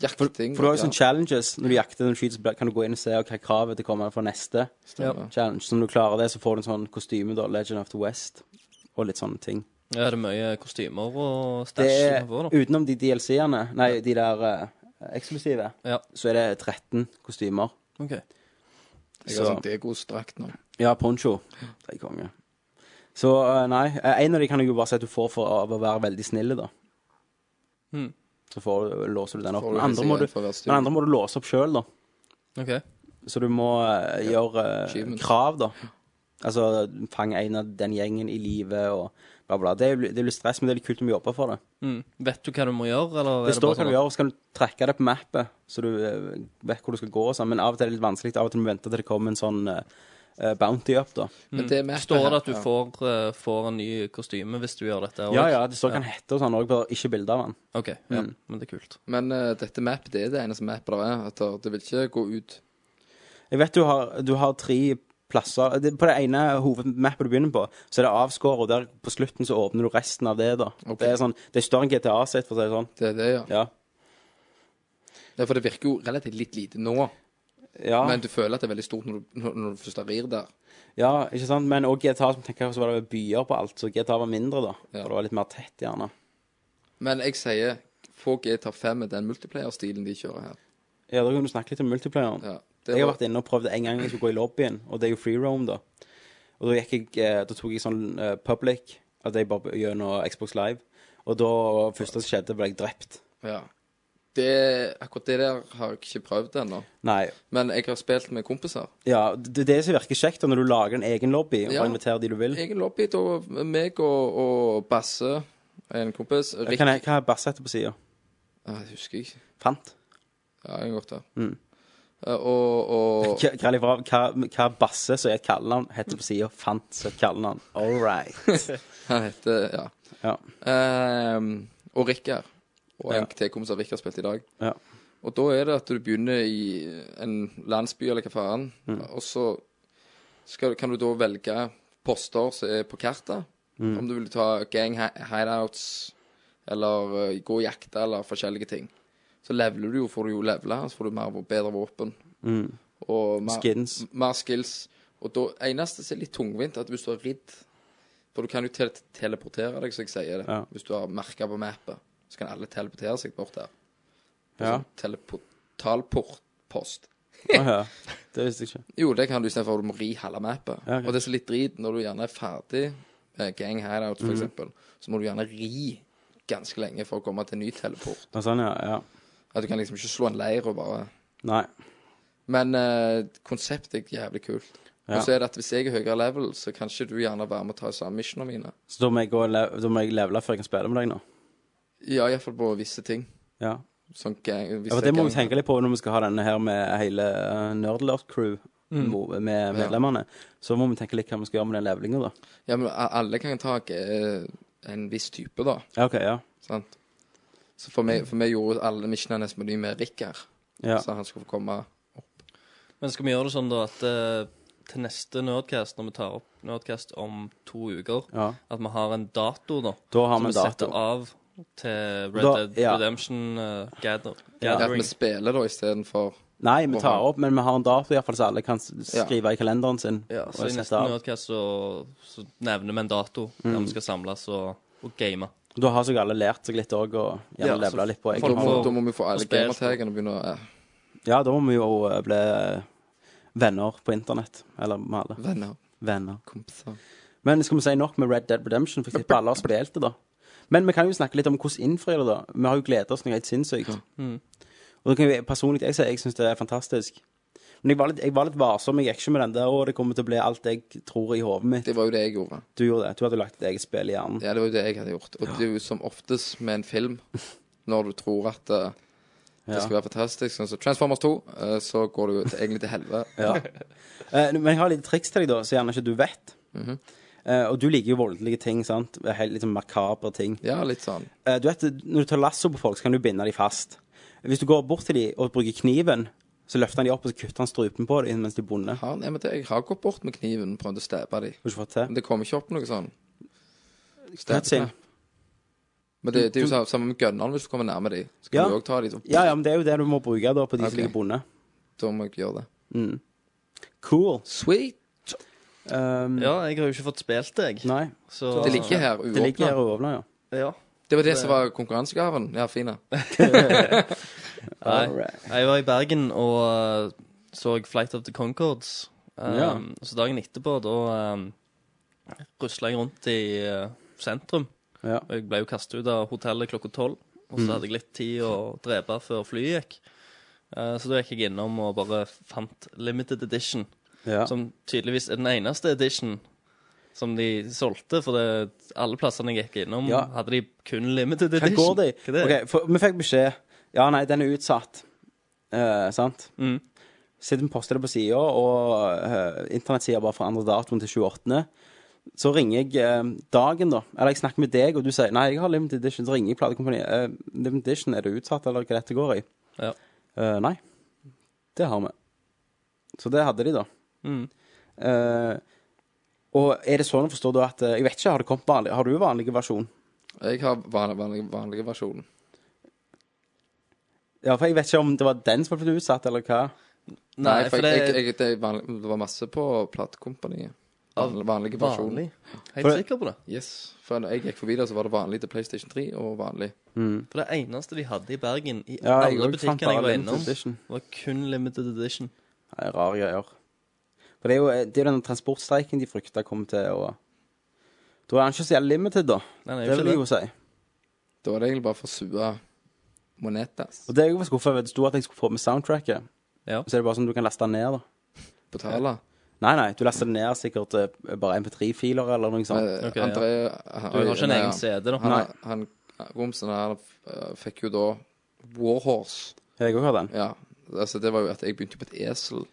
Speaker 9: Jakting.
Speaker 4: For du har jo sånn
Speaker 9: ja.
Speaker 4: sånne challenges. Når du jakter og skyter, så blir- kan du gå inn og se hva kravet det kommer for neste
Speaker 9: Stemmer.
Speaker 4: challenge. Så når du klarer det, så får du en sånn kostyme, da. Legend of the West. Og litt sånne ting.
Speaker 1: Ja, det er mye kostymer og
Speaker 4: Det
Speaker 1: stæsj
Speaker 4: er,
Speaker 1: innenfor, da.
Speaker 4: utenom de DLC-ene, nei, de der eh, eksklusive,
Speaker 1: Ja.
Speaker 4: så er det 13 kostymer.
Speaker 1: OK.
Speaker 9: Jeg har
Speaker 4: så-
Speaker 9: sånn Degos-drakt nå.
Speaker 4: Ja, poncho. Det er konge. Så eh, nei, eh, en av de kan jeg jo bare si at du får for, av å være veldig snill, da.
Speaker 1: Mhm.
Speaker 4: Så får, du- låser du den opp.
Speaker 9: Hmm. Får du
Speaker 4: Den andre,
Speaker 9: ikke
Speaker 4: må du,
Speaker 9: igjen for å være styr.
Speaker 4: den andre må du låse opp sjøl, da.
Speaker 1: ok
Speaker 4: Så du må eh, gjøre eh,
Speaker 9: achievements.
Speaker 4: krav, da. Altså fange en av den gjengen i livet og bla, bla. Det er, jo li- det er litt stress, men det er litt kult om du jobber for det.
Speaker 1: Mm. Vet du hva du må gjøre, eller er
Speaker 4: Det står
Speaker 1: bare sånn
Speaker 4: hva du
Speaker 1: at-
Speaker 4: gjør, og så kan du trekke det på mappet, så du eh, vet hvor du skal gå og sånn. Men av og til er det litt vanskelig. Av og til må du vente til det kommer en sånn eh, eh, bounty up, da.
Speaker 9: Men det med
Speaker 1: Står det at du får, eh, får en ny kostyme hvis du gjør dette? også?
Speaker 4: Ja, Mm. ja, det står hva han heter og sånn òg, bare ikke bilde av han.
Speaker 1: OK, ja, men det er kult.
Speaker 9: Men eh, dette map, det er det eneste map der er. At det- det vil ikke gå ut.
Speaker 4: Jeg vet du har, du har tre plasser det, På det ene hovedmappet du begynner på, så er det avskåret, og der på slutten så åpner du resten av det, da.
Speaker 9: Ok.
Speaker 4: Det er sånn, det er større enn GTA sitt, for å si det sånn.
Speaker 9: Det er det, ja.
Speaker 4: Ja.
Speaker 9: ja. For det virker jo relativt litt lite nå.
Speaker 4: Ja,
Speaker 9: Men du føler at det er veldig stort når du, når, når du først rir der.
Speaker 4: ja ikke sant? Men òg GTA, som tenker jeg, så var det byer på alt, så GTA var mindre, da.
Speaker 9: Ja.
Speaker 4: For det var litt mer tett, gjerne.
Speaker 9: Men jeg sier få GTA 5 med den multiplayer-stilen de kjører her.
Speaker 4: Ja, da kan du snakke litt om multiplayeren.
Speaker 9: Ja, det
Speaker 4: Jeg har
Speaker 9: var-
Speaker 4: vært inne og prøvd det en gang jeg skulle gå i lobbyen, og det er jo free roam, da. Og da, gikk jeg, eh, da tok jeg sånn eh, public, at jeg bare gjennom Xbox Live. Og da første som skjedde, ble jeg drept.
Speaker 9: Ja. Det, akkurat det der har jeg ikke prøvd ennå.
Speaker 4: Nei,
Speaker 9: Men jeg har spilt med kompiser.
Speaker 4: Ja, det, det som virker kjekt da, når du lager en egen lobby og
Speaker 9: Ja.
Speaker 4: inviterer de du vil.
Speaker 9: Egen lobby, da meg og, og Basse, en kompis Rick,
Speaker 4: Kan jeg, hva er basset på sida?
Speaker 9: Ah, jeg husker ikke.
Speaker 4: Fant?
Speaker 9: Ja, jeg har gått der.
Speaker 4: Mm.
Speaker 9: Eh, Og, og
Speaker 4: Hva, hva, hva, hva er basse som er et kallenavn, heter på sida Fant som er et kallenavn. All right.
Speaker 9: han heter Ja.
Speaker 4: Ja.
Speaker 9: Ehm, og Rikard. Og
Speaker 4: Ja.
Speaker 9: en til kompis av Rikard spilte i dag.
Speaker 4: Ja.
Speaker 9: Og da er det at du begynner i en landsby eller hva faen,
Speaker 4: Mm.
Speaker 9: og så skal, kan du da velge poster som er på kartet.
Speaker 4: Mm.
Speaker 9: Om du vil ta gang hi- hideouts, eller eh, gå og jakte, eller forskjellige ting. Så leveler du jo, får du jo levele, så får du mer, bedre våpen.
Speaker 4: Mm.
Speaker 9: Og mer,
Speaker 4: Skins.
Speaker 9: mer skills. Og da eneste som er litt tungvint, at hvis du har ridd For du kan jo te teleportere deg, som jeg sier det.
Speaker 4: Ja.
Speaker 9: Hvis du har merka på mappet, så kan alle teleportere seg bort der. På
Speaker 4: Ja.
Speaker 9: sånn teleportalportpost.
Speaker 4: Åja, Det visste jeg ikke.
Speaker 9: Jo, det kan du istedenfor at du må ri halve mappet.
Speaker 4: Ja, ok.
Speaker 9: Og det er så litt drit når du gjerne er ferdig med gang hideout,
Speaker 4: Mhm.
Speaker 9: for eksempel, så må du gjerne ri ganske lenge for å komme til en ny teleport.
Speaker 4: Ja, sånn, ja. ja.
Speaker 9: At du kan liksom ikke slå en leir og bare
Speaker 4: Nei.
Speaker 9: Men eh, konseptet er jævlig kult.
Speaker 4: Ja.
Speaker 9: Og så er det at hvis jeg er høyere level, så kan ikke du gjerne være med å ta samme missionene mine.
Speaker 4: Så da må jeg, gå og le- da må jeg levele før jeg kan spille med deg nå.
Speaker 9: Ja, iallfall på visse ting.
Speaker 4: Ja.
Speaker 9: Sånn gang, hvis
Speaker 4: ja for
Speaker 9: jeg
Speaker 4: det må
Speaker 9: gang-
Speaker 4: vi tenke litt på når vi skal ha denne her med hele eh, Nerdlert-crew. mo- Med medlemmene. Så må vi tenke litt hva vi skal gjøre med den levelinga, da.
Speaker 9: Ja, men a- alle kan ta eh, en viss type, da.
Speaker 4: Ja, OK. Ja.
Speaker 9: Sant? Så for meg, for meg gjorde alle missionene nesten med ny med Rikard.
Speaker 4: ja.
Speaker 9: Så han skulle få komme
Speaker 1: Men skal vi gjøre det sånn da at eh, til neste Nerdcast, når vi tar opp Nerdcast om to uker,
Speaker 4: ja.
Speaker 1: at vi har en dato, da?
Speaker 4: Da har vi
Speaker 1: som
Speaker 4: en
Speaker 1: vi setter
Speaker 4: dato.
Speaker 1: av til Red
Speaker 4: Da-
Speaker 1: Dead
Speaker 4: ja.
Speaker 1: Redemption eh, gather,
Speaker 9: Ja, at
Speaker 1: Gathering.
Speaker 9: vi spiller da istedenfor
Speaker 4: Nei, vi
Speaker 9: Og
Speaker 4: tar
Speaker 9: har-
Speaker 4: opp, men vi har en dato i hvert fall så alle kan s- skrive i kalenderen sin.
Speaker 1: Ja, så
Speaker 4: og
Speaker 1: i
Speaker 4: sette
Speaker 1: neste
Speaker 4: av.
Speaker 1: Nerdcast så, så nevner vi en dato der vi skal samles og, og game.
Speaker 4: Da har seg alle lært seg litt òg, og gjerne
Speaker 1: Ja, så
Speaker 4: levela litt på
Speaker 1: folk
Speaker 4: egen
Speaker 9: Da må,
Speaker 1: får-
Speaker 4: hånd.
Speaker 9: da må vi få alle
Speaker 1: og spill.
Speaker 9: gamertagene og begynne å eh,
Speaker 4: Ja, da må vi jo eh, bli eh, venner på internett. Eller med alle.
Speaker 9: Venner,
Speaker 4: Venner.
Speaker 9: kompiser
Speaker 4: Men skal vi si nok med Red Dead Redemption? For jeg tipper alle har spilt det, da. Men vi kan jo snakke litt om hvordan innfrir det, da. Vi har jo gledet oss noe helt sinnssykt. Og da kan jeg personlig jeg si jeg syns det er fantastisk. Men jeg var litt, jeg var litt varsom. Jeg gikk ikke med den der, og det kommer til å bli alt jeg tror i hodet mitt.
Speaker 9: Det var jo det jeg gjorde.
Speaker 4: Du gjorde det. Du hadde lagt et eget spill i hjernen.
Speaker 9: Ja, det var jo det jeg hadde gjort. Og det er jo som oftest med en film, når du tror at eh, det skal være fantastisk, sånn som Transformers 2, eh, så går det jo til, egentlig til helvete.
Speaker 4: Eh, men jeg har litt triks til deg, da, så gjerne ikke du vet. Eh, og du liker jo voldelige ting, sant? Helt liksom makabre ting.
Speaker 9: Ja, litt sånn.
Speaker 4: Eh, du vet, når du tar lasso på folk, så kan du binde dem fast. Hvis du går bort til dem og bruker kniven, så løfter han dem opp og så kutter han strupen på dem mens de er bundet.
Speaker 9: Har, nei, men det, jeg har gått bort med kniven, prøvd å stabbe dem.
Speaker 4: Har du ikke fått til?
Speaker 9: Men det kommer ikke opp noe sånn.
Speaker 4: Cutscene.
Speaker 9: Men det, det er jo sånn- samme med gunneren, hvis du kommer nærme dem. Så kan
Speaker 4: Ja.
Speaker 9: du òg ta dem.
Speaker 4: Ja, ja, men det er jo det du må bruke da på de som
Speaker 9: Ok.
Speaker 4: ligger bundet.
Speaker 9: Da må jeg gjøre det.
Speaker 4: Cool.
Speaker 9: Sweet!
Speaker 4: Um,
Speaker 1: Ja, jeg har jo ikke fått spilt det, jeg.
Speaker 4: Nei.
Speaker 1: Så
Speaker 9: Det ligger her
Speaker 4: Det ligger her
Speaker 9: uåpna.
Speaker 4: og åpner, ja.
Speaker 1: Ja.
Speaker 9: Det var det som var konkurransegaven. Ja, fin. ja.
Speaker 1: Nei.
Speaker 4: Alright.
Speaker 1: Jeg var i Bergen og eh, så Flight of the Concords. Um,
Speaker 4: Ja.
Speaker 1: Så dagen etterpå, da um, rusla jeg rundt i eh, sentrum.
Speaker 4: Ja.
Speaker 1: Og jeg ble jo kastet ut av hotellet klokka tolv. Og
Speaker 4: Mm.
Speaker 1: så hadde jeg litt tid å drepe før flyet gikk. Eh, så da gikk jeg innom og bare fant limited edition.
Speaker 4: Ja.
Speaker 1: Som tydeligvis er den eneste edition som de solgte. For det, alle plassene jeg gikk innom,
Speaker 4: Ja.
Speaker 1: hadde de kun limited
Speaker 4: Hva
Speaker 1: edition.
Speaker 4: går det i?
Speaker 1: Hva er det?
Speaker 4: Ok, for, vi fikk beskjed. Ja, nei, den er utsatt. Eh, sant?
Speaker 1: Mm.
Speaker 4: Sitter vi og poster det på sida, og uh, internettsida bare forandrer datoen til 28. Så ringer jeg eh, dagen, da. Eller jeg snakker med deg, og du sier nei, jeg har limited edition. Så ringer jeg platekompaniet. Eh, limited edition, er det utsatt, eller hva dette går i?
Speaker 1: Ja.
Speaker 4: Eh, nei. Det har vi. Så det hadde de, da.
Speaker 1: Mm.
Speaker 4: Eh, og er det sånn å forstå da at eh, Jeg vet ikke, har det kommet vanlig, har du vanlig versjon?
Speaker 9: Jeg har vanlig, vanlig, vanlige versjonen.
Speaker 4: Ja, for jeg vet ikke om det var den som ble utsatt, eller hva.
Speaker 1: Nei, for det
Speaker 9: jeg,
Speaker 1: er
Speaker 9: jeg, det, er vanlig, det var masse på platekompaniet.
Speaker 1: Av
Speaker 9: Vanlig, vanlige versjonen.
Speaker 1: vanlig. Helt
Speaker 4: For-
Speaker 1: sikker på det.
Speaker 9: Yes. For når jeg gikk forbi der, så var det vanlig til PlayStation 3 og vanlig.
Speaker 1: For det eneste de hadde i Bergen, i
Speaker 4: Ja, jeg
Speaker 1: alle
Speaker 4: også
Speaker 1: butikkene
Speaker 4: fant bare
Speaker 1: jeg var
Speaker 4: limited
Speaker 1: innom,
Speaker 4: edition.
Speaker 1: var kun limited edition.
Speaker 4: Det er rare greier. For det er jo eh, det er jo den transportstreiken de frykter kommer til å Da er han ikke så jævlig limited, da.
Speaker 1: Nei, nei,
Speaker 4: Det vil jeg jo si.
Speaker 9: Da var det egentlig bare for å sue monetas.
Speaker 4: Og det jeg var skuffa over, det sto at jeg skulle få med soundtracket.
Speaker 1: Ja.
Speaker 4: Så er det bare sånn du kan laste den ned, da.
Speaker 9: Betale.
Speaker 4: Nei, nei, du laster den ned sikkert eh, bare MP3-filer eller noe sånt.
Speaker 9: Eh,
Speaker 1: Ok, ja.
Speaker 9: André han,
Speaker 1: Du har ikke en
Speaker 9: nei,
Speaker 1: egen
Speaker 9: han-
Speaker 1: CD, da?
Speaker 9: Han, han, Romsen han eh, fikk jo da Warhorse.
Speaker 4: Jeg òg har den.
Speaker 9: Ja. Altså, det var jo at jeg begynte på et esel.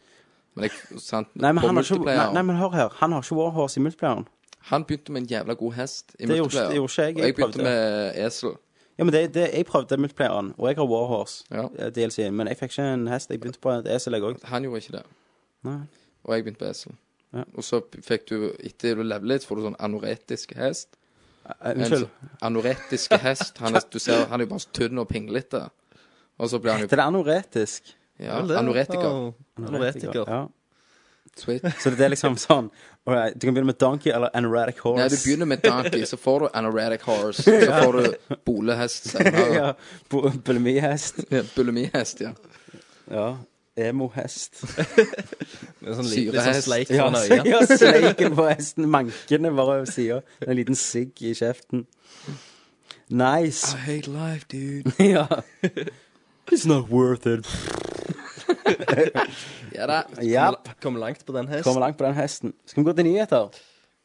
Speaker 9: Men jeg, sant,
Speaker 4: Nei men,
Speaker 9: på
Speaker 4: han har ikke, nei,
Speaker 9: multiplayer-
Speaker 4: nei, men hør her. Han har ikke Warhorse i multiplayeren.
Speaker 9: Han begynte med en jævla god hest i
Speaker 4: Det gjorde-
Speaker 9: multiplayer.
Speaker 4: det gjorde ikke jeg.
Speaker 9: Og
Speaker 4: Jeg
Speaker 9: jeg begynte
Speaker 4: prøvde.
Speaker 9: med esel.
Speaker 4: Ja, men det, det, Jeg prøvde multiplayeren, og jeg har Warhorse
Speaker 9: Ja.
Speaker 4: eh, DLC, men jeg fikk ikke en E hest. Jeg begynte på et esel, jeg òg.
Speaker 9: Han gjorde ikke det.
Speaker 4: Nei.
Speaker 9: Og jeg begynte på esel.
Speaker 4: Ja.
Speaker 9: Og så fikk du, etter du levelet litt, får du sånn anoretisk hest.
Speaker 4: Eh,
Speaker 9: En
Speaker 4: Unnskyld.
Speaker 9: sånn Anoretisk hest. Han er, du ser, han er jo bare så tynn og pinglete. Og så blir han
Speaker 4: Det
Speaker 9: jo
Speaker 4: er anoretisk.
Speaker 9: ja, anoretiker.
Speaker 1: Anoretiker.
Speaker 4: Ja.
Speaker 9: Sweet.
Speaker 4: Så det er liksom sånn all right, Du kan begynne med donkey eller anoretic horse.
Speaker 9: Nei, du begynner med donkey, så får du anoretic horse. Så får du bolehest senere.
Speaker 4: ja, bu- Bulimihest.
Speaker 9: Ja, Bulimihest, ja.
Speaker 4: Ja. Emohest.
Speaker 9: Sånn
Speaker 1: Med sånn litt, litt sånn
Speaker 9: Syrehest.
Speaker 1: sleik
Speaker 4: Ja,
Speaker 1: foran øyet.
Speaker 4: ja, sleiken på hesten. Mankene bare over sida. En liten sigg i kjeften. Nice.
Speaker 9: hate life, dude.
Speaker 4: ja. It's not worth it.
Speaker 9: Ja da.
Speaker 4: Ja.
Speaker 1: Kom langt på den hesten.
Speaker 4: Kommer langt på den hesten. Skal vi gå til nyheter?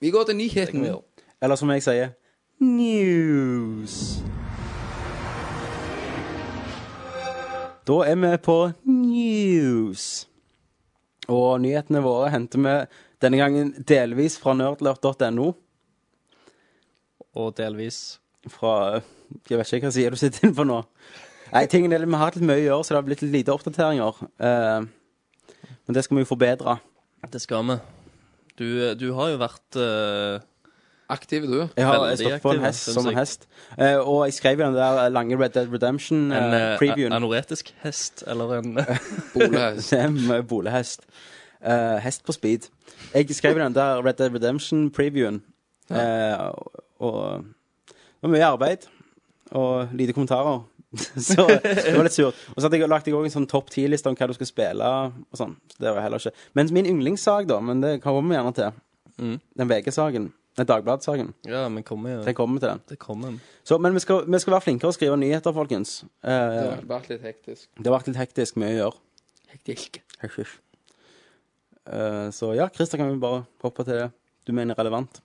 Speaker 9: Vi går til nyheten.
Speaker 4: Eller som jeg sier News. Da er vi på news. Og nyhetene våre henter vi denne gangen delvis fra nerdlurt.no.
Speaker 1: Og delvis
Speaker 4: Fra Jeg vet ikke hva side du sitter inne på nå. Nei, tingen er litt- Vi har hatt litt mye å gjøre, så det har blitt litt lite oppdateringer. Eh, men det skal vi jo forbedre.
Speaker 1: Det skal vi. Du, du har jo vært eh,
Speaker 9: Aktiv, du.
Speaker 4: Jeg har jeg
Speaker 1: Veldig
Speaker 4: stått på en
Speaker 1: aktiv,
Speaker 4: hest
Speaker 1: synes
Speaker 4: som en
Speaker 1: jeg.
Speaker 4: hest. Eh, og jeg skrev jo den der lange Red Dead
Speaker 1: en eh,
Speaker 4: Redemption-previewen.
Speaker 1: a- anoretisk hest, eller en
Speaker 9: Bolehest.
Speaker 4: Det er mye bolehest. Eh, hest på speed. Jeg skrev den der Red Dead Redemption-previewen. Eh, og det var mye arbeid og lite kommentarer. så det var litt surt. Og så hadde jeg lagt jeg også en sånn topp ti-liste om hva du skal spille. og sånn. Så det var heller ikke. Men min yndlingssak, da, men det kommer vi gjerne til. Den VG-saken. Den Dagbladet-saken.
Speaker 1: Ja, men kommer jo
Speaker 4: Den kommer til den.
Speaker 1: Det kommer.
Speaker 4: Så, men vi skal, vi skal være flinkere å skrive nyheter, folkens. Eh,
Speaker 9: Det har vært litt hektisk.
Speaker 4: Det har vært litt hektisk mye å gjøre.
Speaker 9: Hektisk.
Speaker 4: Hysj, hysj. Eh, så ja, Christer, kan vi bare hoppe til det du mener er relevant?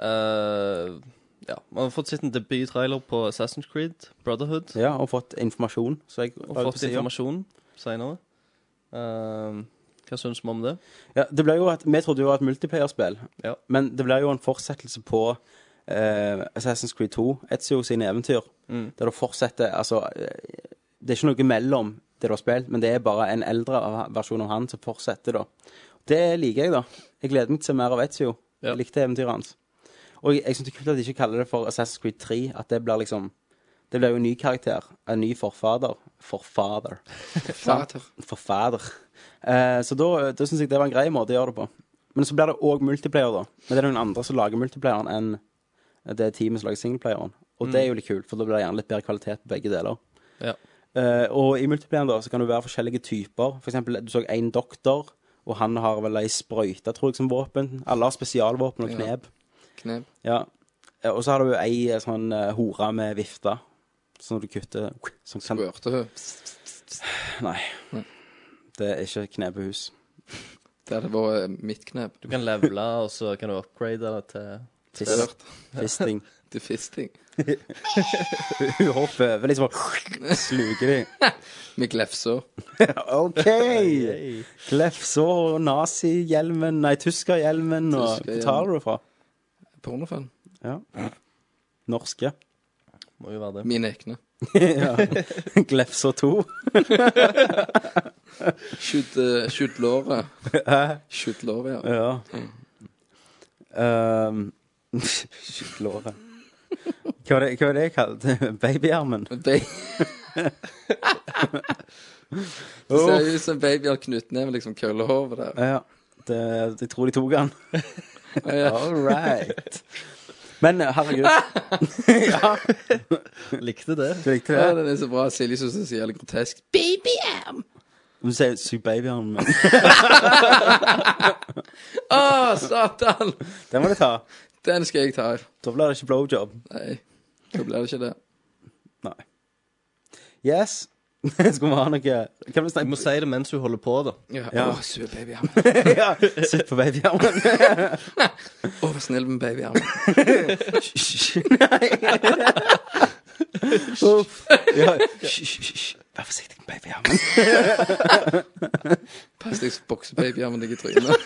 Speaker 1: Eh, ja. Man har fått sett en debut-trailer på Assassin's Creed Brotherhood.
Speaker 4: Ja, og fått informasjon. Så jeg,
Speaker 1: Og fått informasjon seinere. hva syns vi om det?
Speaker 4: Ja, det ble jo et, vi trodde jo at multiplayerspill,
Speaker 1: Ja.
Speaker 4: men det ble jo en fortsettelse på eh, Assassin's Creed 2, Ezio sine eventyr,
Speaker 1: Mm.
Speaker 4: der du fortsetter Altså, eh, det er ikke noe mellom det du har spilt, men det er bare en eldre av- versjon av han som fortsetter, da. Det liker jeg, da. Jeg gleder meg til å se mer av Ezio.
Speaker 1: Ja.
Speaker 4: Jeg likte eventyret hans. Og jeg, jeg syns det er kult at de ikke kaller det for Assassin's Creed 3, at det blir liksom Det blir jo en ny karakter. En ny forfader. Forfader.
Speaker 9: Fater.
Speaker 4: Forfader. Eh, så da, da syns jeg det var en grei måte å gjøre det på. Men så blir det òg multiplayer, da. Men det er noen andre som lager multiplayeren enn det teamet som lager singleplayeren. Og det er jo litt kult, for da blir det gjerne litt bedre kvalitet på begge deler.
Speaker 1: Ja.
Speaker 4: Eh, og i multiplayeren da, så kan du være forskjellige typer. For eksempel, du så en doktor, og han har vel ei sprøyte, tror jeg, som våpen. Alle har spesialvåpen og
Speaker 9: Ja.
Speaker 4: knep.
Speaker 9: Knep.
Speaker 4: Ja. Eh, Og så har du ei eh, sånn eh, hore med vifte, som du kutter Som kan
Speaker 9: Rørte hun.
Speaker 4: Nei. Det er ikke knepehus.
Speaker 9: Det hadde vært eh, mitt knep.
Speaker 1: Du kan levele, og så kan du upgrade det til
Speaker 4: Fist, fisting.
Speaker 9: Til fisting.
Speaker 4: Hun hopper over liksom og sluker de.
Speaker 9: Med glefser.
Speaker 4: OK! Klefsår og nazihjelmen, nei, tyskerhjelmen og Hvor
Speaker 9: Tyskerhjelmen.
Speaker 4: tar du det fra?
Speaker 9: Pornofan.
Speaker 4: Norske.
Speaker 1: Må jo være det.
Speaker 9: Mine egne.
Speaker 4: Glefser 2.
Speaker 9: Skyt, eh, skyt låret. Skyt låret, ja.
Speaker 4: Ja. Um, Shit, låret. Hva var det, hva var det jeg kalte det? Babyarmen?
Speaker 9: Ba- Det ser ut som en baby har knyttneve, liksom køllehove der.
Speaker 4: Ja, det, jeg tror de tok den.
Speaker 9: Ja.
Speaker 4: All right. Men herregud. ja,
Speaker 1: Likte det.
Speaker 4: du likte
Speaker 9: Ja,
Speaker 4: det?
Speaker 9: den er så bra. Silje syns den er så jævlig grotesk. Babyam!
Speaker 4: Du sier 'sug babyarmen min'.
Speaker 9: Å, satan!
Speaker 4: Den må du ta.
Speaker 9: Den skal jeg ta.
Speaker 4: Da blir det ikke blowjob.
Speaker 9: Nei, da blir det ikke det.
Speaker 4: Nei. Yes. Skal vi ha noe Kan vi
Speaker 1: Du må
Speaker 4: snakke
Speaker 1: si det mens du holder på, da.
Speaker 9: Ja.
Speaker 4: Ja.
Speaker 9: Å, sur babyam.
Speaker 4: ja. Sitt på babyarmen.
Speaker 9: Å, vær snill med babyam.
Speaker 4: Uff. Ja. Hysj, hysj, hysj. Vær forsiktig med babyarmen.
Speaker 9: Pass deg så bokser babyarmen deg i trynet.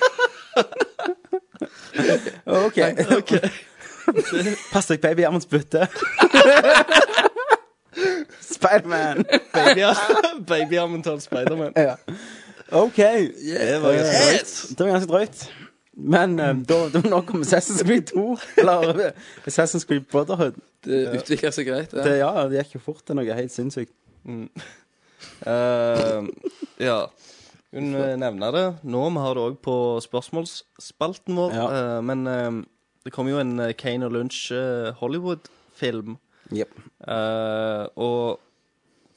Speaker 4: OK. Pass deg babyarmens bytte. Spiderman.
Speaker 1: Baby- Babyarmen til Spiderman.
Speaker 4: Ja. OK. Eh.
Speaker 1: Det var ganske drøyt.
Speaker 4: Det var ganske drøyt. Men eh, da, da må nok om Assassin's Creed 2. Eller eh, Assassin's Creed Brotherhood.
Speaker 9: Det utvikler seg greit,
Speaker 4: Det,
Speaker 9: det.
Speaker 4: ja, det gikk jo fort til noe helt sinnssykt.
Speaker 1: Eh, ja. Hun eh, nevner det. Nå vi har det òg på spørsmålsspalten vår.
Speaker 4: Ja.
Speaker 1: Eh, men eh, det kom jo en eh, Kane og Lunch eh, Hollywood-film.
Speaker 4: Jep.
Speaker 1: Eh, og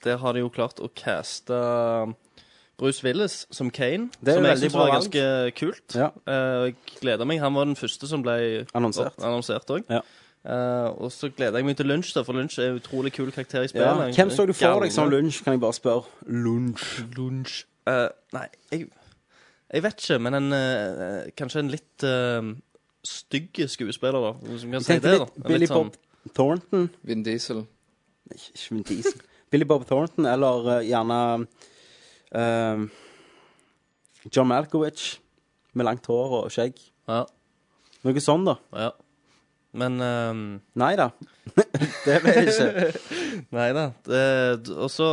Speaker 1: der har de jo klart å caste eh, Bruce Willis som Kane,
Speaker 4: Det er
Speaker 1: som
Speaker 4: jo
Speaker 1: jeg
Speaker 4: veldig
Speaker 1: synes
Speaker 4: bra
Speaker 1: var
Speaker 4: valg.
Speaker 1: ganske kult.
Speaker 4: Ja.
Speaker 1: Eh, og jeg gleder meg. Han var den første som ble
Speaker 4: Annonsert.
Speaker 1: opp- annonsert òg.
Speaker 4: Ja.
Speaker 1: Eh, og så gleder jeg meg til Lunch, da, for Lunch er en utrolig kul karakter i
Speaker 4: Ja.
Speaker 1: spillet. En
Speaker 4: Hvem så du for deg som
Speaker 1: gammel-
Speaker 4: lunsj, kan jeg bare spørre? Lunsj.
Speaker 1: Lunsj. Eh, nei, jeg, jeg vet ikke, men en, eh, kanskje en litt uh, stygg skuespiller, da. hvis man kan si
Speaker 4: Tenkte
Speaker 1: det,
Speaker 4: litt
Speaker 1: da. En
Speaker 4: Billy
Speaker 1: litt sånn-
Speaker 4: Bob Thornton.
Speaker 9: Vin Diesel.
Speaker 4: Nei, Ikke Vin Diesel. Billy Bob Thornton, eller eh, gjerne eh, John Malkovich med langt hår og skjegg.
Speaker 1: Ja,
Speaker 4: Noe sånn, da.
Speaker 1: ja. Men ehm,
Speaker 4: Nei da. det ble det ikke.
Speaker 1: Nei da. Det- Og så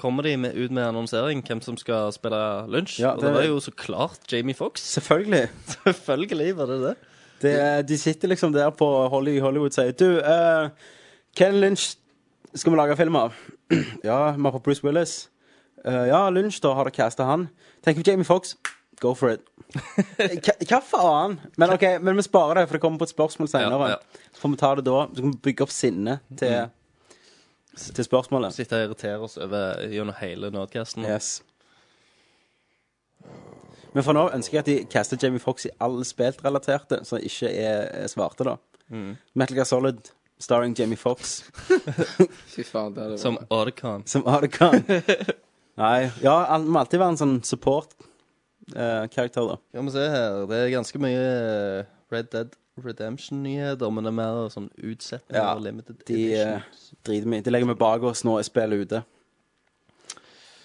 Speaker 1: kommer de med, ut med annonsering hvem som skal spille lunsj.
Speaker 4: Ja,
Speaker 1: Og
Speaker 4: det-
Speaker 1: det var jo så klart Jamie Fox.
Speaker 4: Selvfølgelig.
Speaker 1: Selvfølgelig var det det.
Speaker 4: Det, er- de sitter liksom der på Holly Hollywood og sier Du, eh, Ken Lynch skal vi lage film av. ja, vi har på Bruce Willis. Eh, ja, Lynch, da har dere casta han. Tenk på Jamie Fox. Go for it. Hva hva faen? Men ok, men vi sparer det, for det kommer på et spørsmål senere.
Speaker 1: Ja, ja.
Speaker 4: Så får vi ta det da. Så kan vi bygge opp sinnet til,
Speaker 1: Mm.
Speaker 4: til spørsmålet.
Speaker 1: Sitter og irriterer oss over gjennom hele Nerdcasten.
Speaker 4: Yes. Men for nå ønsker jeg at de caster Jamie Foxx i alle speltrelaterte som ikke er, er svarte, da. Metal Gear Solid starring Jamie Foxx
Speaker 9: Fy faen, det hadde vært
Speaker 1: Som Oddcon.
Speaker 4: som Arkan. Nei, ja, han må alltid være en sånn support eh, karakter, da.
Speaker 1: Skal vi se her. Det er ganske mye eh, Red Dead Redemption-nyheter, men det er mer sånn utsetting
Speaker 4: Ja,
Speaker 1: og limited
Speaker 4: De
Speaker 1: edition.
Speaker 4: eh, driter vi i. De legger vi bak oss når spillet er ute.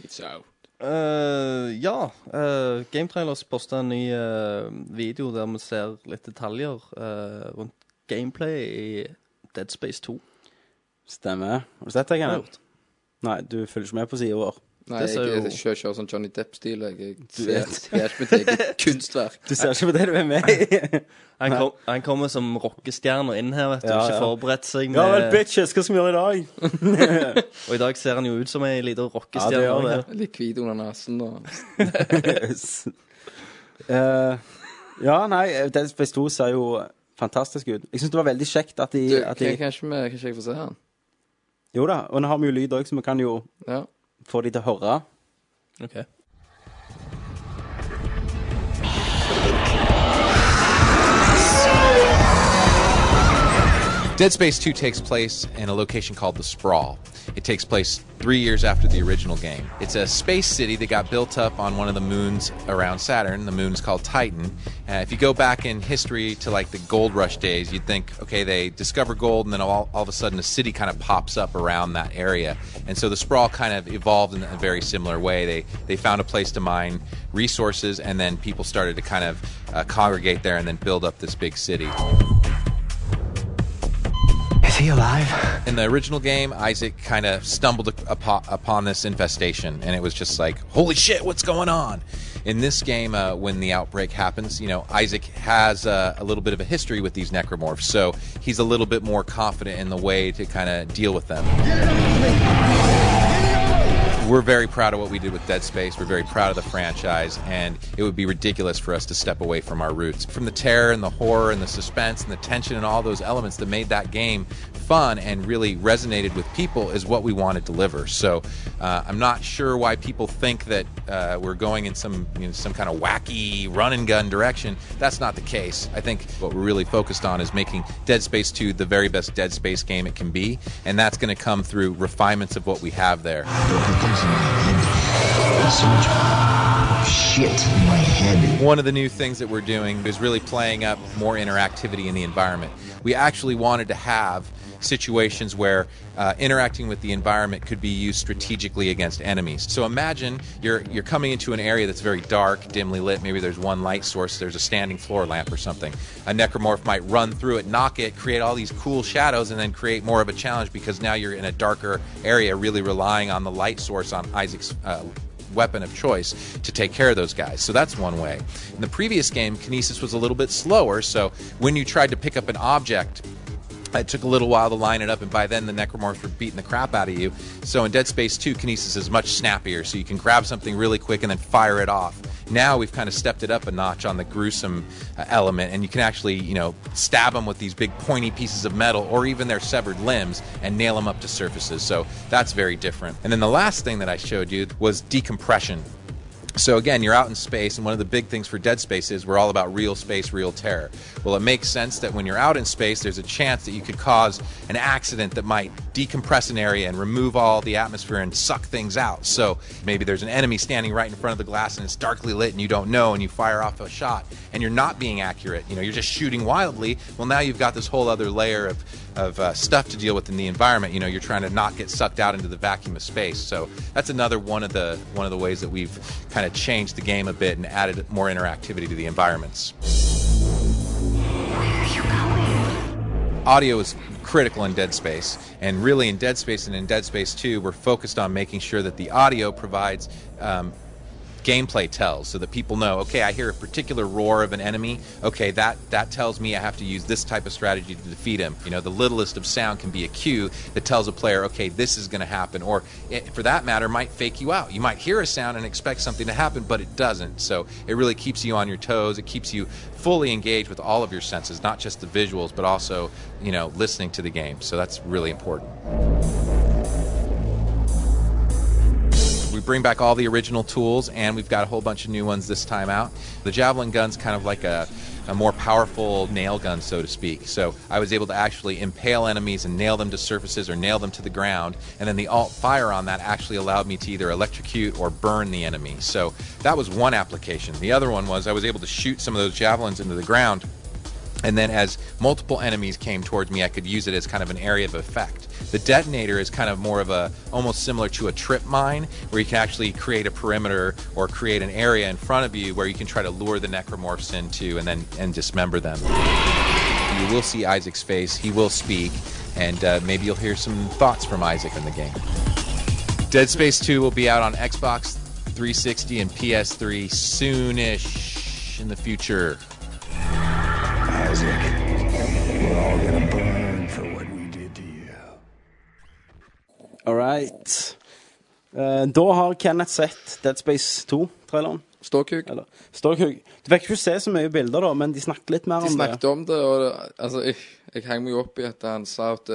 Speaker 9: It's out.
Speaker 1: Eh, ja. eh, Gametrailers posta en ny eh, video der vi ser litt detaljer eh, rundt gameplay i Dead Space 2.
Speaker 4: Stemmer. Har du sett
Speaker 1: Har
Speaker 4: det,
Speaker 1: jeg
Speaker 4: Kenneth?
Speaker 1: gjort.
Speaker 4: Nei, du følger ikke med på sida vår.
Speaker 9: Nei,
Speaker 1: Det
Speaker 9: jeg,
Speaker 1: ser
Speaker 9: jeg,
Speaker 1: jo-
Speaker 9: kjører, kjører sånn Johnny Depp-stil. Jeg, jeg
Speaker 4: Du
Speaker 9: ser
Speaker 4: vet.
Speaker 9: ser ikke mitt eget kunstverk.
Speaker 4: Du ser ikke på det du er med i.
Speaker 1: Han, kom, han kommer som rockestjerne inn her, vet du.
Speaker 4: Ja,
Speaker 1: ikke
Speaker 4: ja.
Speaker 1: forberedt seg.
Speaker 4: ja vel,
Speaker 1: Med,
Speaker 4: bitches, hva skal vi gjøre i dag?
Speaker 1: og i dag ser han jo ut som ei lita
Speaker 4: Ja, det
Speaker 1: rockestjerne.
Speaker 4: gjør
Speaker 1: også,
Speaker 4: det.
Speaker 1: ja.
Speaker 9: Litt hvit under nesen og
Speaker 4: Yes. Eh, ja, nei, Dead Space 2 ser jo fantastisk ut. Jeg syns det var veldig kjekt at de,
Speaker 9: Du,
Speaker 4: at
Speaker 9: kan,
Speaker 4: de
Speaker 9: kanskje, vi, kanskje jeg får se han?
Speaker 4: Jo da, og nå har vi jo lyd òg, så vi kan jo
Speaker 9: Ja.
Speaker 4: få de til å høre.
Speaker 1: Ok.
Speaker 11: Dead Space 2 takes place in a location called The Sprawl. It takes place three years after the original game. It's a space city that got built up on one of the moons around Saturn. The moon's called Titan. Uh, if you go back in history to like the gold rush days, you'd think, okay, they discover gold and then all, all of a sudden a city kind of pops up around that area. And so the sprawl kind of evolved in a very similar way. They, they found a place to mine resources and then people started to kind of uh, congregate there and then build up this big city. In the original game, Isaac kind of stumbled upon, upon this infestation, and it was just like, "Holy shit, what's going on?" In this game, uh, when the outbreak happens, you know Isaac has uh, a little bit of a history with these necromorphs, so he's a little bit more confident in the way to kind of deal with them. We're very proud of what we did with Dead Space. We're very proud of the franchise, and it would be ridiculous for us to step away from our roots. From the terror and the horror and the suspense and the tension and all those elements that made that game fun and really resonated with people is what we want to deliver. So uh, I'm not sure why people think that uh, we're going in some you know, some kind of wacky run and gun direction. That's not the case. I think what we're really focused on is making Dead Space 2 the very best Dead Space game it can be, and that's going to come through refinements of what we have there.
Speaker 5: Shit in my head.
Speaker 11: One of the new things that we're doing is really playing up more interactivity in the environment. We actually wanted to have situations where uh, interacting with the environment could be used strategically against enemies. So imagine you're you're coming into an area that's very dark, dimly lit. Maybe there's one light source. There's a standing floor lamp or something. A necromorph might run through it, knock it, create all these cool shadows, and then create more of a challenge because now you're in a darker area, really relying on the light source on Isaac's. Uh, weapon of choice to take care of those guys. So that's one way. In the previous game, Kinesis was a little bit slower, so when you tried to pick up an object, it took a little while to line it up, and by then the necromorphs were beating the crap out of you. So in Dead Space 2, Kinesis is much snappier, so you can grab something really quick and then fire it off. Now we've kind of stepped it up a notch on the gruesome uh, element, and you can actually, you know, stab them with these big pointy pieces of metal or even their severed limbs and nail them up to surfaces. So that's very different. And then the last thing that I showed you was decompression. So again, you're out in space, and one of the big things for Dead Space is we're all about real space, real terror. Well, it makes sense that when you're out in space, there's a chance that you could cause an accident that might decompress an area and remove all the atmosphere and suck things out. So maybe there's an enemy standing right in front of the glass, and it's darkly lit, and you don't know, and you fire off a shot, and you're not being accurate. You know, you're just shooting wildly. Well, now you've got this whole other layer of of uh, stuff to deal with in the environment. You know, you're trying to not get sucked out into the vacuum of space. So that's another one of the one of the ways that we've kind of changed the game a bit and added more interactivity to the environments. audio is critical in Dead Space, and really in Dead Space and in Dead Space 2, we're focused on making sure that the audio provides um, gameplay tells, so that people know, okay, I hear a particular roar of an enemy. Okay, that that tells me I have to use this type of strategy to defeat him. You know, the littlest of sound can be a cue that tells a player, okay, this is going to happen, or it, for that matter, might fake you out. You might hear a sound and expect something to happen, but it doesn't. So it really keeps you on your toes. It keeps you fully engaged with all of your senses, not just the visuals, but also, you know, listening to the game. So that's really important. We bring back all the original tools, and we've got a whole bunch of new ones this time out. The javelin gun's kind of like a, a more powerful nail gun, so to speak. So I was able to actually impale enemies and nail them to surfaces or nail them to the ground, and then the alt fire on that actually allowed me to either electrocute or burn the enemy. So that was one application. The other one was I was able to shoot some of those javelins into the ground. And then, as multiple enemies came towards me, I could use it as kind of an area of effect. The detonator is kind of more of a, almost similar to a trip mine, where you can actually create a perimeter or create an area in front of you where you can try to lure the necromorphs into and then and dismember them. You will see Isaac's face. He will speak, and uh, maybe you'll hear some thoughts from Isaac in the game. Dead Space 2 will be out on Xbox 360 and PS3 soonish in the future.
Speaker 4: All right. Eh, da har Kenneth sett Dead Space 2-traileren.
Speaker 9: Ståkuk.
Speaker 4: Ståkuk. Du fikk ikke se så mye bilder, da, men de snakket litt mer
Speaker 9: De
Speaker 4: om
Speaker 9: snakket
Speaker 4: det.
Speaker 9: om det, og det- altså, jeg, jeg hang meg jo opp i at han sa at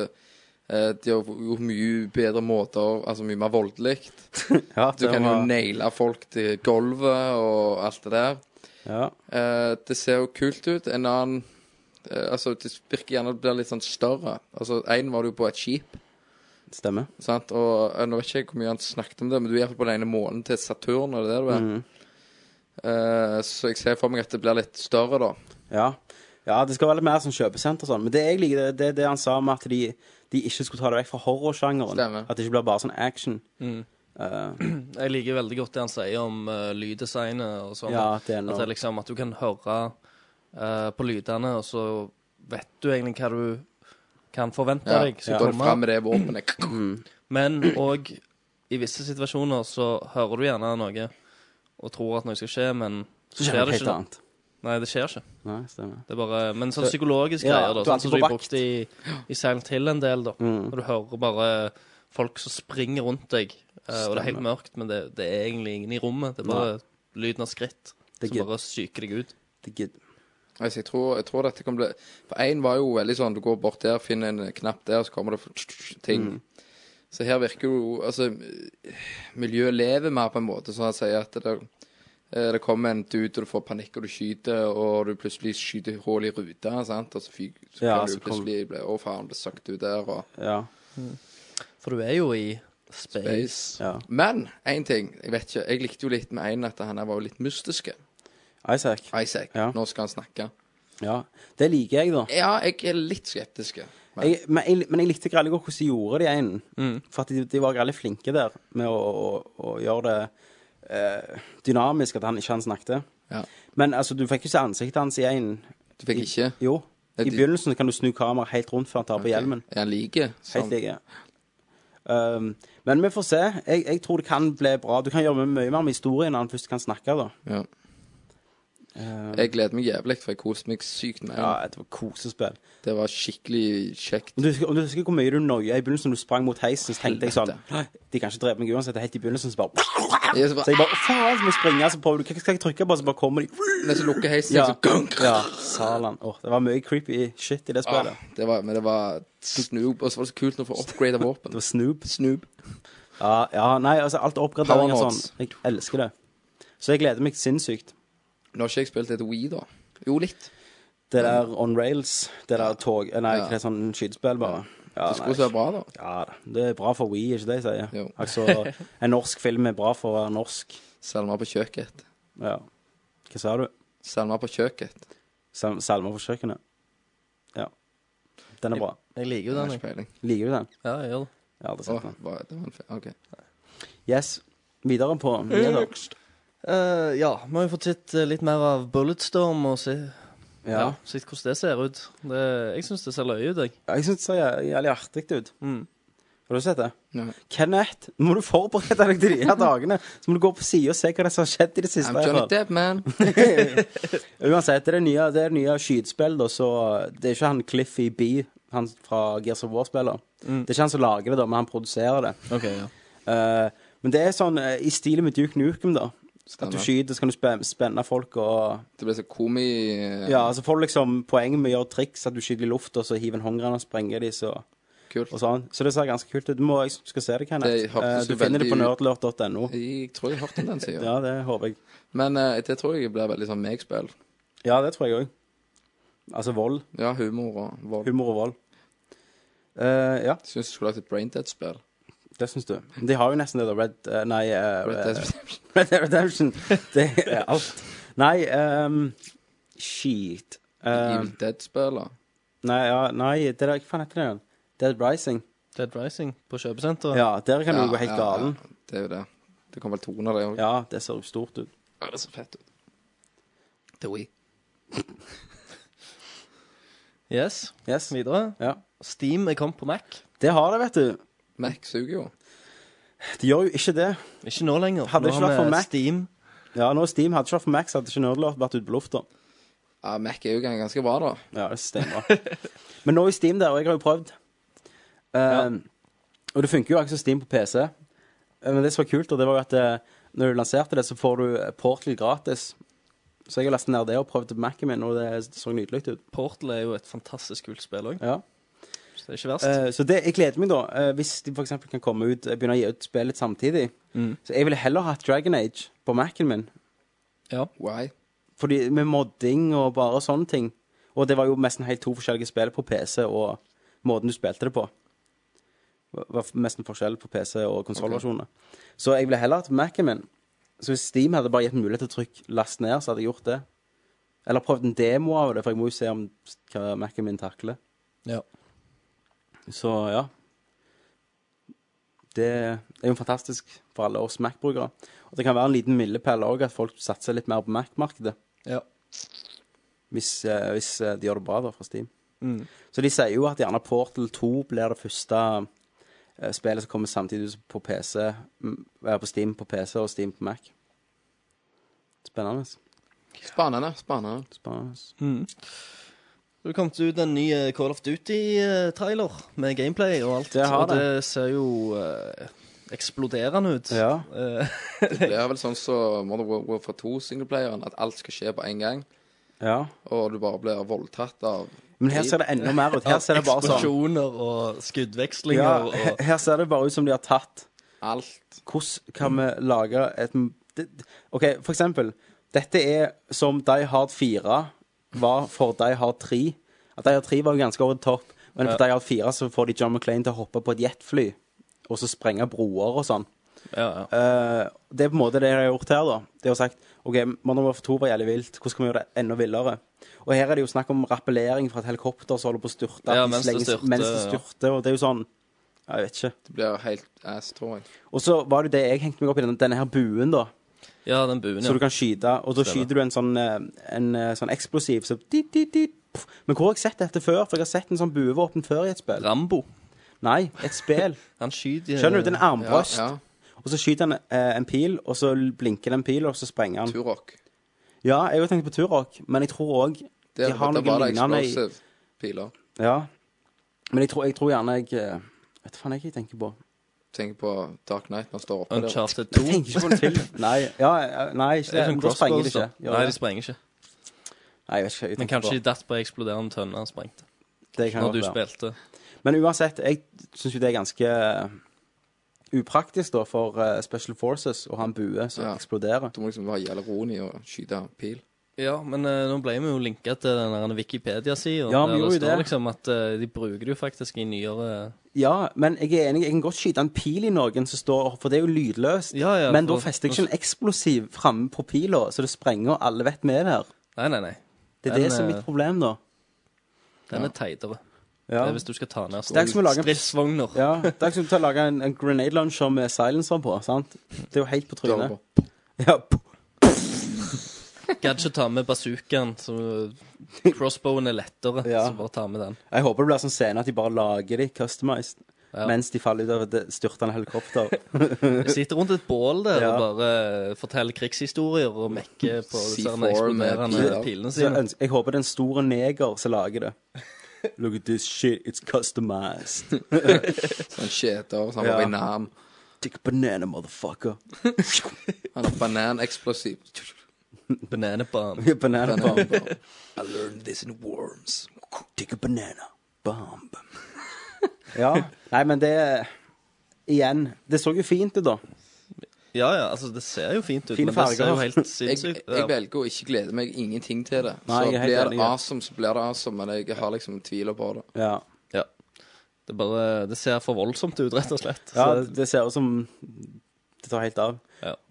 Speaker 9: eh, de har gjort mye bedre måter, altså mye mer voldelig.
Speaker 4: Ja,
Speaker 9: du
Speaker 4: det
Speaker 9: kan
Speaker 4: var-
Speaker 9: jo naile folk til gulvet og alt det der. Eh, det ser jo kult ut. En annen eh, Altså, det virker gjerne at det blir litt sånn større. Altså, én var det jo på et skip.
Speaker 4: Stemmer.
Speaker 9: Sant? Og eh, nå vet ikke jeg hvor mye han snakket om det, men du er iallfall på den ene månen til Saturn, er det der du er?
Speaker 4: Mhm.
Speaker 9: Eh, så jeg ser for meg at det blir litt større, da.
Speaker 4: Ja. ja, det skal være litt mer som kjøpesenter og sånn. Men det jeg liker, det- det er det han sa om at de, de ikke skulle ta det vekk fra horrorsjangeren.
Speaker 1: Stemmer.
Speaker 4: At det ikke blir bare sånn action.
Speaker 1: Mm.
Speaker 4: Eh,
Speaker 1: Jeg liker veldig godt det han sier om eh, lyddesignet og sånn.
Speaker 4: Ja, det er noe.
Speaker 1: at, det er liksom, at du kan høre eh, på lydene, og så vet du egentlig hva du kan forvente
Speaker 9: Ja,
Speaker 1: deg.
Speaker 9: så går det fram med det våpenet.
Speaker 1: Men òg i visse situasjoner så hører du gjerne noe og tror at noe skal skje, men
Speaker 4: Så skjer det helt
Speaker 1: da.
Speaker 4: annet.
Speaker 1: Nei, det skjer ikke.
Speaker 4: Nei, stemmer.
Speaker 1: Det er bare, men sånn
Speaker 4: Så-
Speaker 1: psykologisk
Speaker 4: Ja,
Speaker 1: greier, da.
Speaker 4: du
Speaker 1: Sånn
Speaker 4: er
Speaker 1: som
Speaker 4: alltid
Speaker 1: de
Speaker 4: på
Speaker 1: brukte i, i Silent Hill en del, da.
Speaker 4: Mm.
Speaker 1: Når du hører bare folk som springer rundt deg, eh, og det er helt
Speaker 4: Stemmer.
Speaker 1: mørkt, men det, det er egentlig ingen i rommet. Det er bare lyden av skritt
Speaker 9: Det
Speaker 1: som
Speaker 9: gid-
Speaker 1: bare psyker deg ut.
Speaker 9: Altså, jeg, tror, jeg tror dette kan bli For én var jo veldig sånn Du går bort der, finner en knapp der, så kommer det f- ting.
Speaker 4: Mm.
Speaker 9: Så her virker jo Altså, miljøet lever mer på en måte, sånn at jeg sier at det, eh, det kommer en dude, og du får panikk, og du skyter, og du plutselig skyter hull i ruta, sant, og så, fyk, så
Speaker 4: Ja,
Speaker 9: kan
Speaker 4: så
Speaker 9: du plutselig bli Å, faen, ble søkt ut der, og
Speaker 4: Ja.
Speaker 1: For du er jo i space.
Speaker 9: Space. Men én ting, jeg vet ikke Jeg likte jo litt med en at han her var jo litt mystiske.
Speaker 4: Isaac.
Speaker 9: Isaac. Nå skal han snakke.
Speaker 4: Ja. Det liker jeg, da.
Speaker 9: Ja, jeg er litt skeptisk. Men,
Speaker 4: Jeg, men, jeg, men jeg likte veldig godt hvordan de gjorde det i enden. For at de, de var veldig flinke der med å, å, å gjøre det eh, dynamisk, at han ikke han snakket.
Speaker 9: Ja.
Speaker 4: Men altså, du fikk jo se ansiktet hans i enden.
Speaker 9: Du fikk ikke?
Speaker 4: jo. I begynnelsen kan du snu kameraet helt rundt før han tar på
Speaker 9: Ok.
Speaker 4: hjelmen.
Speaker 9: Er han like? Sånn.
Speaker 4: Helt like. Um, men vi får se. Jeg, jeg tror det kan bli bra. Du kan gjøre mye mer med historien når han først kan snakke, da.
Speaker 9: Ja. Jeg gleder meg jævlig, for jeg koste meg sykt med den.
Speaker 4: Eh, Ja, det var kosespill.
Speaker 9: Det var skikkelig kjekt.
Speaker 4: Om du, husker, om du husker hvor mye du noia i begynnelsen når du sprang mot heisen, så tenkte jeg sånn De kan ikke drepe meg uansett. Helt i begynnelsen så bare
Speaker 9: Jeg så
Speaker 4: Så
Speaker 9: bare-
Speaker 4: jeg bare Faen, så må jeg springe, så prøver du Hva skal jeg trykke på, så bare kommer de
Speaker 9: Mens ah, jeg lukker heisen,
Speaker 4: Ja.
Speaker 9: så sånn, gunk!
Speaker 4: Ja, salan. Åh, det var mye creepy shit i det spillet.
Speaker 9: Ah, det var, men det var Snoop, og så var det så kult når du får upgrade av våpen.
Speaker 4: Det var Snoop.
Speaker 9: Snoop.
Speaker 4: Ja, ja, nei, altså alt oppgradering og
Speaker 9: Power
Speaker 4: sånn.
Speaker 9: Nords.
Speaker 4: Jeg elsker det. Så jeg gleder meg sinnssykt.
Speaker 9: Nå har ikke jeg spilt et Wii, da. Jo, litt.
Speaker 4: Det der on rails, det der tog Nei,
Speaker 9: Ja.
Speaker 4: det er sånn skytespill, bare. Ja,
Speaker 9: Det skulle
Speaker 4: nei.
Speaker 9: også være bra, da.
Speaker 4: Ja da. Det er bra for We, ikke det jeg sier?
Speaker 9: Jo.
Speaker 4: Altså, en norsk film er bra for å være norsk.
Speaker 9: Salmer på kjøkkenet.
Speaker 4: Ja. Hva sa du?
Speaker 9: Salmer på kjøkkenet.
Speaker 4: Sal Salmer på kjøkkenet. Ja. Den er bra.
Speaker 1: Jeg liker jo den, jeg.
Speaker 9: Peiling.
Speaker 4: Liker du den?
Speaker 1: Ja, jeg gjør det.
Speaker 4: Ja, det setter
Speaker 9: Åh,
Speaker 4: den.
Speaker 9: hva- det var en fe- OK.
Speaker 4: Yes. Videre på nyheter.
Speaker 1: Eh, ja, vi har jo fått sett eh, litt mer av Bulletstorm og se, ja. sett hvordan det ser ut. Det, jeg syns det ser løye ut, jeg.
Speaker 4: Ja, jeg syns det ser jæ- jævlig artig ut.
Speaker 1: Mm.
Speaker 4: Har du sett det?
Speaker 9: Nei.
Speaker 4: Kenneth, nå må du forberede deg til de her dagene. Så må du gå på sida og se hva det er som har skjedd i det siste.
Speaker 9: I'm
Speaker 4: i hvert
Speaker 9: Johnny
Speaker 4: fall.
Speaker 9: Depp, man.
Speaker 4: Uansett, det er det nye, det er det nye skytespill, da, så eh, det er ikke han Cliffy B, han fra Gears of War-spiller.
Speaker 1: Mm.
Speaker 4: Det er ikke han som lager det, da, men han produserer det.
Speaker 1: Ok, ja.
Speaker 4: Eh, men det er sånn eh, i stil med Duke Nukem, da. At
Speaker 9: Stemmer.
Speaker 4: du skyter, så kan du spen- spenne folk og altså,
Speaker 9: Det ble så komi... eh,
Speaker 4: Ja, så får du liksom poeng med å gjøre triks, at du skyter i lufta, og så hiver en håndgranat og sprenger de, så
Speaker 9: Kult.
Speaker 4: og sånn. Så det ser ganske kult ut. Du må, jeg skal se det, Kenneth.
Speaker 9: Det hørtes
Speaker 4: Eh, du
Speaker 9: jo
Speaker 4: finner det på
Speaker 9: veldig
Speaker 4: nerdlurt.no.
Speaker 9: Jeg tror jeg har hørt om den siden.
Speaker 4: Ja, det håper jeg.
Speaker 9: Men eh, det tror jeg blir veldig sånn meg-spill.
Speaker 4: Ja, det tror jeg òg. Altså vold.
Speaker 9: Ja, humor og vold.
Speaker 4: Humor og vold. Eh, ja,
Speaker 9: Syns du skulle lagt et Braindead-spill.
Speaker 4: det syns du. De har jo nesten det, da. Red eh, Nei. eh,
Speaker 9: Red Dead
Speaker 4: eh,
Speaker 9: Redemption.
Speaker 4: Red Dead Redemption. Det er alt. Nei, ehm, shit. Eh,
Speaker 9: Evil Dead-spiller.
Speaker 4: nei, ja, nei, det der, hva faen heter det igjen? Dead Rising.
Speaker 1: Dead Rising på kjøpesenteret.
Speaker 4: Ja, der kan du
Speaker 9: Ja,
Speaker 4: gå helt
Speaker 9: ja,
Speaker 4: galen.
Speaker 9: ja. Det er jo det. Det kommer vel toner, det òg.
Speaker 4: Ja, det ser jo stort ut.
Speaker 9: Det ser fett ut. Det er Wii.
Speaker 1: Yes.
Speaker 4: Yes.
Speaker 1: Videre.
Speaker 4: Ja.
Speaker 1: Steam er kommet på Mac.
Speaker 4: Det har det, vet du.
Speaker 9: Mac suger jo.
Speaker 4: De gjør jo ikke det.
Speaker 1: Ikke nå lenger.
Speaker 4: Hadde
Speaker 1: nå
Speaker 4: ikke vært for
Speaker 1: vi
Speaker 4: Mac.
Speaker 1: Steam.
Speaker 4: Ja, nå Steam hadde ikke vært for Max, hadde ikke Nerdlord vært ute på lufta.
Speaker 9: Ja, Mac er jo ganske bra, da.
Speaker 4: Ja, det er steinbra. Men nå i Steam der, og jeg har jo prøvd. Eh, Og det funker jo akkurat som Steam på PC. Eh, Men det som var kult, og det var jo at eh, når du lanserte det, så får du eh, Portal gratis. Så jeg har lastet ned det og prøvd det på Mac-en min, og det så nydelig ut.
Speaker 1: Portal er jo et fantastisk kult spill òg.
Speaker 4: Ja.
Speaker 1: Så det er ikke verst.
Speaker 4: Eh, så det, jeg gleder meg, da. eh, hvis de f.eks. kan komme ut eh, begynne å gi ut spillet samtidig. Så jeg ville heller hatt Dragon Age på Mac-en min.
Speaker 9: Why?
Speaker 4: Fordi med modding og bare sånne ting. Og det var jo nesten helt to forskjellige spill på PC og måten du spilte det på. Det var nesten forskjell på PC og konsollversjonene. Så jeg ville heller hatt Mac-en min. Så hvis Steam hadde bare gitt meg mulighet til å trykke last ned, så hadde jeg gjort det. Eller prøvd en demo av det, for jeg må jo se om hva Mac-en min takler.
Speaker 1: Ja.
Speaker 4: Så ja. Det er jo fantastisk for alle oss Mac-brukere. Og det kan være en liten milepæl òg, at folk satser litt mer på Mac-markedet.
Speaker 1: Ja.
Speaker 4: Hvis, eh, hvis eh, de gjør det bra da fra Steam.
Speaker 1: Mm.
Speaker 4: Så de sier jo at gjerne Portal 2 blir det første eh, spillet som kommer samtidig som på PC mm, eh, på Steam på PC og Steam på Mac. Spennende.
Speaker 9: Spennende. Spennende.
Speaker 4: Spennende.
Speaker 1: Det har kommet ut en ny eh, Call of Duty-trailer med gameplay og alt.
Speaker 4: Det har
Speaker 1: og det ser jo eh, eksploderende ut.
Speaker 4: Ja.
Speaker 1: Eh,
Speaker 9: Det er vel sånn som Modern War- Warfare 2-singleplayeren, at alt skal skje på én gang,
Speaker 4: ja.
Speaker 9: og du bare blir voldtatt av
Speaker 4: Men her ser det enda mer ut. Her ser det bare sånn
Speaker 1: Eksplosjoner og skuddvekslinger
Speaker 4: ja, he-
Speaker 1: og
Speaker 4: Her ser det bare ut som de har tatt
Speaker 9: alt.
Speaker 4: Hvordan kan vi lage et det- OK, for eksempel. Dette er som Die Hard 4 var for Die Hard 3. At Die Hard 3 var jo ganske over the top, men på Die Hard 4 så får de John McClain til å hoppe på et jetfly og så sprenge broer og sånn.
Speaker 1: ja, ja.
Speaker 4: Eh, det er på en måte det de har gjort her, da. De har sagt OK, Modern Warfare 2 var jævlig vilt, hvordan skal vi gjøre det enda villere? Og her er det jo snakk om rappellering fra et helikopter som holder på å styrte.
Speaker 1: Ja,
Speaker 4: at de
Speaker 1: mens det
Speaker 4: slenger-
Speaker 1: styrter,
Speaker 4: mens det
Speaker 1: ja.
Speaker 4: styrter, og det er jo sånn ja, Jeg vet ikke.
Speaker 9: Det blir helt ass, tror jeg.
Speaker 4: Og så var det jo det jeg hengte meg opp i, denne, denne her buen, da.
Speaker 1: ja, den buen,
Speaker 4: Så du
Speaker 1: ja.
Speaker 4: kan skyte, og da skyter du en sånn, eh, en eh, sånn eksplosiv så dit, dit, dit, puff. Men hvor har jeg sett dette før? For jeg har sett en sånn buevåpen før i et spill.
Speaker 1: Rambo.
Speaker 4: Nei, et spill.
Speaker 1: Han skyter
Speaker 4: Skjønner du? Det er en
Speaker 9: Ja,
Speaker 4: armbrøst.
Speaker 9: ja.
Speaker 4: Og så skyter han eh, en pil, og så blinker den pil, og så sprenger han.
Speaker 9: Turok.
Speaker 4: Ja, jeg har jo tenkt på Turok, men jeg tror òg de
Speaker 9: Der,
Speaker 4: har
Speaker 9: der
Speaker 4: noe
Speaker 9: var det
Speaker 4: lignende i
Speaker 9: explosive piler.
Speaker 4: Ja. Men jeg tror, jeg tror gjerne jeg eh, Vet du faen jeg ikke tenker på.
Speaker 9: Tenk på Dark Knight når han står oppe der.
Speaker 1: Uncharted 2.
Speaker 4: Jeg tenker ikke på det til. Nei, ja, ja, nei ikke det.
Speaker 1: sånn
Speaker 4: Da sprenger det
Speaker 1: crossbows, da.
Speaker 4: ikke. Gjør
Speaker 1: Nei,
Speaker 4: det?
Speaker 1: de sprenger ikke.
Speaker 4: Nei, jeg vet ikke. hva Jeg
Speaker 1: Men
Speaker 4: tenker
Speaker 1: kanskje
Speaker 4: på.
Speaker 1: de datt på ei eksploderende tønne han sprengte
Speaker 4: det kan
Speaker 1: når
Speaker 4: godt
Speaker 1: du
Speaker 4: være.
Speaker 1: spilte.
Speaker 4: Men uansett, jeg syns jo det er ganske eh, upraktisk da for eh, Special Forces å ha en bue som
Speaker 9: Ja.
Speaker 4: eksploderer.
Speaker 9: Du må liksom være jævla rolig og skyte pil.
Speaker 1: Ja, men eh, nå ble vi jo linka til den der Wikipedia-sida.
Speaker 4: Ja, vi
Speaker 1: der
Speaker 4: gjorde
Speaker 1: det står
Speaker 4: det.
Speaker 1: liksom at eh, de bruker det jo faktisk i nyere
Speaker 4: Ja, men jeg er enig, jeg kan godt skyte en pil i noen som står For det er jo lydløst.
Speaker 1: Ja, ja,
Speaker 4: men
Speaker 1: for-
Speaker 4: da fester jeg ikke en eksplosiv framme på pila, så det sprenger, og alle vet vi er der.
Speaker 1: Nei, nei, nei.
Speaker 4: Det er
Speaker 1: Den,
Speaker 4: det som er
Speaker 1: eh,
Speaker 4: mitt problem, da.
Speaker 1: Den er teitere.
Speaker 4: Ja.
Speaker 1: Det er hvis du skal ta ned
Speaker 4: er ikke som å lage en-
Speaker 1: stridsvogner.
Speaker 4: Ja, det er ikke som å ta og lage en, en grenade launcher med silencer på. sant? Det er jo helt på
Speaker 9: Døra
Speaker 4: trynet.
Speaker 9: på.
Speaker 4: Ja,
Speaker 1: Gadd ikke ta med bazookaen. så Crossbowen er lettere,
Speaker 4: Ja.
Speaker 1: så bare ta med den.
Speaker 4: jeg håper det blir sånn scene at de bare lager de customized
Speaker 1: Ja.
Speaker 4: mens de faller ut av et styrtende helikopter.
Speaker 1: Jeg sitter rundt et bål der
Speaker 4: Ja.
Speaker 1: og bare forteller krigshistorier og mekker på disse
Speaker 9: C4
Speaker 1: her eksploderende
Speaker 9: med-
Speaker 1: pilene
Speaker 4: Så jeg,
Speaker 1: sine.
Speaker 4: ønsker, jeg håper det er en stor neger som lager det. Look at this shit, it's customized.
Speaker 9: Sånn skjeter og sånn ja.
Speaker 4: Ja.
Speaker 9: banan.
Speaker 4: Dick banana, motherfucker.
Speaker 9: Han er bananeksplosiv.
Speaker 1: Banana bomb.
Speaker 4: Banana bomb.
Speaker 9: Banan. I learned this in worms.
Speaker 4: Dick a banana. Bomb. Ja. Nei, men det Igjen. Det så jo fint ut, da.
Speaker 1: Ja, ja, altså det ser jo fint ut,
Speaker 4: Fine
Speaker 1: men det ser jo
Speaker 4: farger.
Speaker 1: helt sinnssykt
Speaker 9: Jeg, jeg velger å ikke glede meg ingenting til det.
Speaker 1: Nei,
Speaker 9: så
Speaker 1: jeg er helt
Speaker 9: blir
Speaker 1: enig,
Speaker 9: det
Speaker 1: ja.
Speaker 9: awesome, så blir det awesome, men jeg har liksom tviler på det.
Speaker 4: Ja.
Speaker 1: Ja. Det, bare, det ser for voldsomt ut, rett og slett.
Speaker 4: Ja,
Speaker 1: Så-
Speaker 4: det, det ser ut som det tar helt av.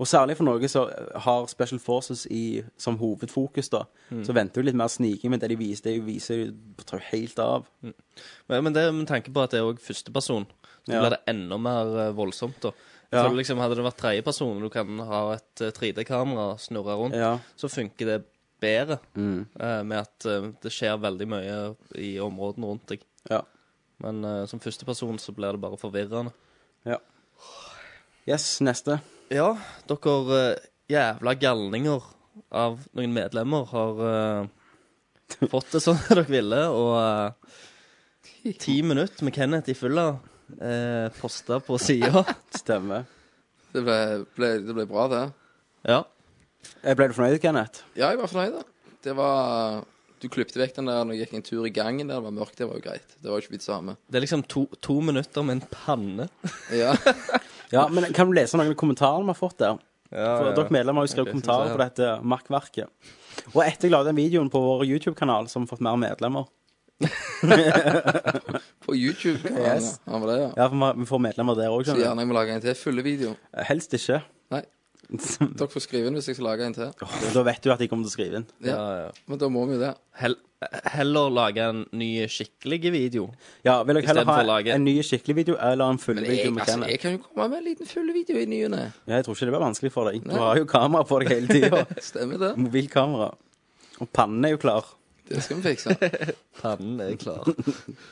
Speaker 4: Og særlig for Norge som har Special Forces i, som hovedfokus, da.
Speaker 1: Mm.
Speaker 4: Så venter du litt mer sniking, men det de viser, det de viser det tar jo helt av.
Speaker 1: Men, men det er med tanke på at det er òg førsteperson, så
Speaker 4: Ja.
Speaker 1: blir det enda mer eh, voldsomt. da. Jeg
Speaker 4: Ja.
Speaker 1: føler liksom Hadde det vært tredjeperson, og du kan ha et eh, 3D-kamera snurre rundt,
Speaker 4: Ja.
Speaker 1: så funker det bedre
Speaker 4: Mm.
Speaker 1: eh, med at eh, det skjer veldig mye i områdene rundt deg.
Speaker 4: Ja.
Speaker 1: Men eh, som førsteperson så blir det bare forvirrende.
Speaker 4: Ja. Yes, neste.
Speaker 1: Ja, dere eh, jævla galninger av noen medlemmer har eh, fått det sånn dere ville, og eh, ti minutter med Kenneth i fylla uh, posta på sida.
Speaker 4: Stemmer.
Speaker 9: Det ble, ble, det ble bra, det.
Speaker 1: Ja.
Speaker 4: Ble du fornøyd, Kenneth?
Speaker 9: Ja, jeg var fornøyd. da. Det var Du klippte vekk den der når jeg gikk en tur i gangen der det var mørkt. Det var jo greit. Det var jo ikke vits å ha med.
Speaker 1: Det er liksom to, to minutter med en panne.
Speaker 9: Ja.
Speaker 4: Ja, men kan du lese noen av kommentarene vi har fått der? For
Speaker 1: ja.
Speaker 4: Dere medlemmer har jo skrevet
Speaker 1: Ok,
Speaker 4: kommentarer
Speaker 1: så-
Speaker 4: på dette makkverket. Og etter jeg la ut den videoen på vår YouTube-kanal, så har vi fått mer medlemmer.
Speaker 9: På YouTube kan
Speaker 4: Yes.
Speaker 9: han ha med det, ja.
Speaker 4: Ja, for vi har- vi får medlemmer der òg,
Speaker 9: Så gjerne jeg må lage en til. Fulle video.
Speaker 4: Helst ikke.
Speaker 9: Nei. Dere får skrive inn hvis jeg skal lage en til.
Speaker 4: Da vet du at jeg kommer til å skrive inn.
Speaker 9: Ja. Men da må vi jo det.
Speaker 1: Hell, heller lage en ny skikkelig video.
Speaker 4: Ja, vil dere heller
Speaker 1: Istedenfor
Speaker 4: ha
Speaker 1: å lage-
Speaker 4: en ny skikkelig video eller en full
Speaker 9: Men
Speaker 4: video
Speaker 9: jeg,
Speaker 4: med
Speaker 9: altså,
Speaker 4: Kenneth?
Speaker 9: jeg kan jo komme med en liten full video i ny og ne.
Speaker 4: Ja, jeg tror ikke det blir vanskelig for deg. Du
Speaker 9: Nei.
Speaker 4: har jo kamera på deg hele tida.
Speaker 9: Stemmer det.
Speaker 4: Mm. Mobilkamera. Og pannen er jo klar.
Speaker 9: Det skal vi fikse.
Speaker 1: Pannen er klar.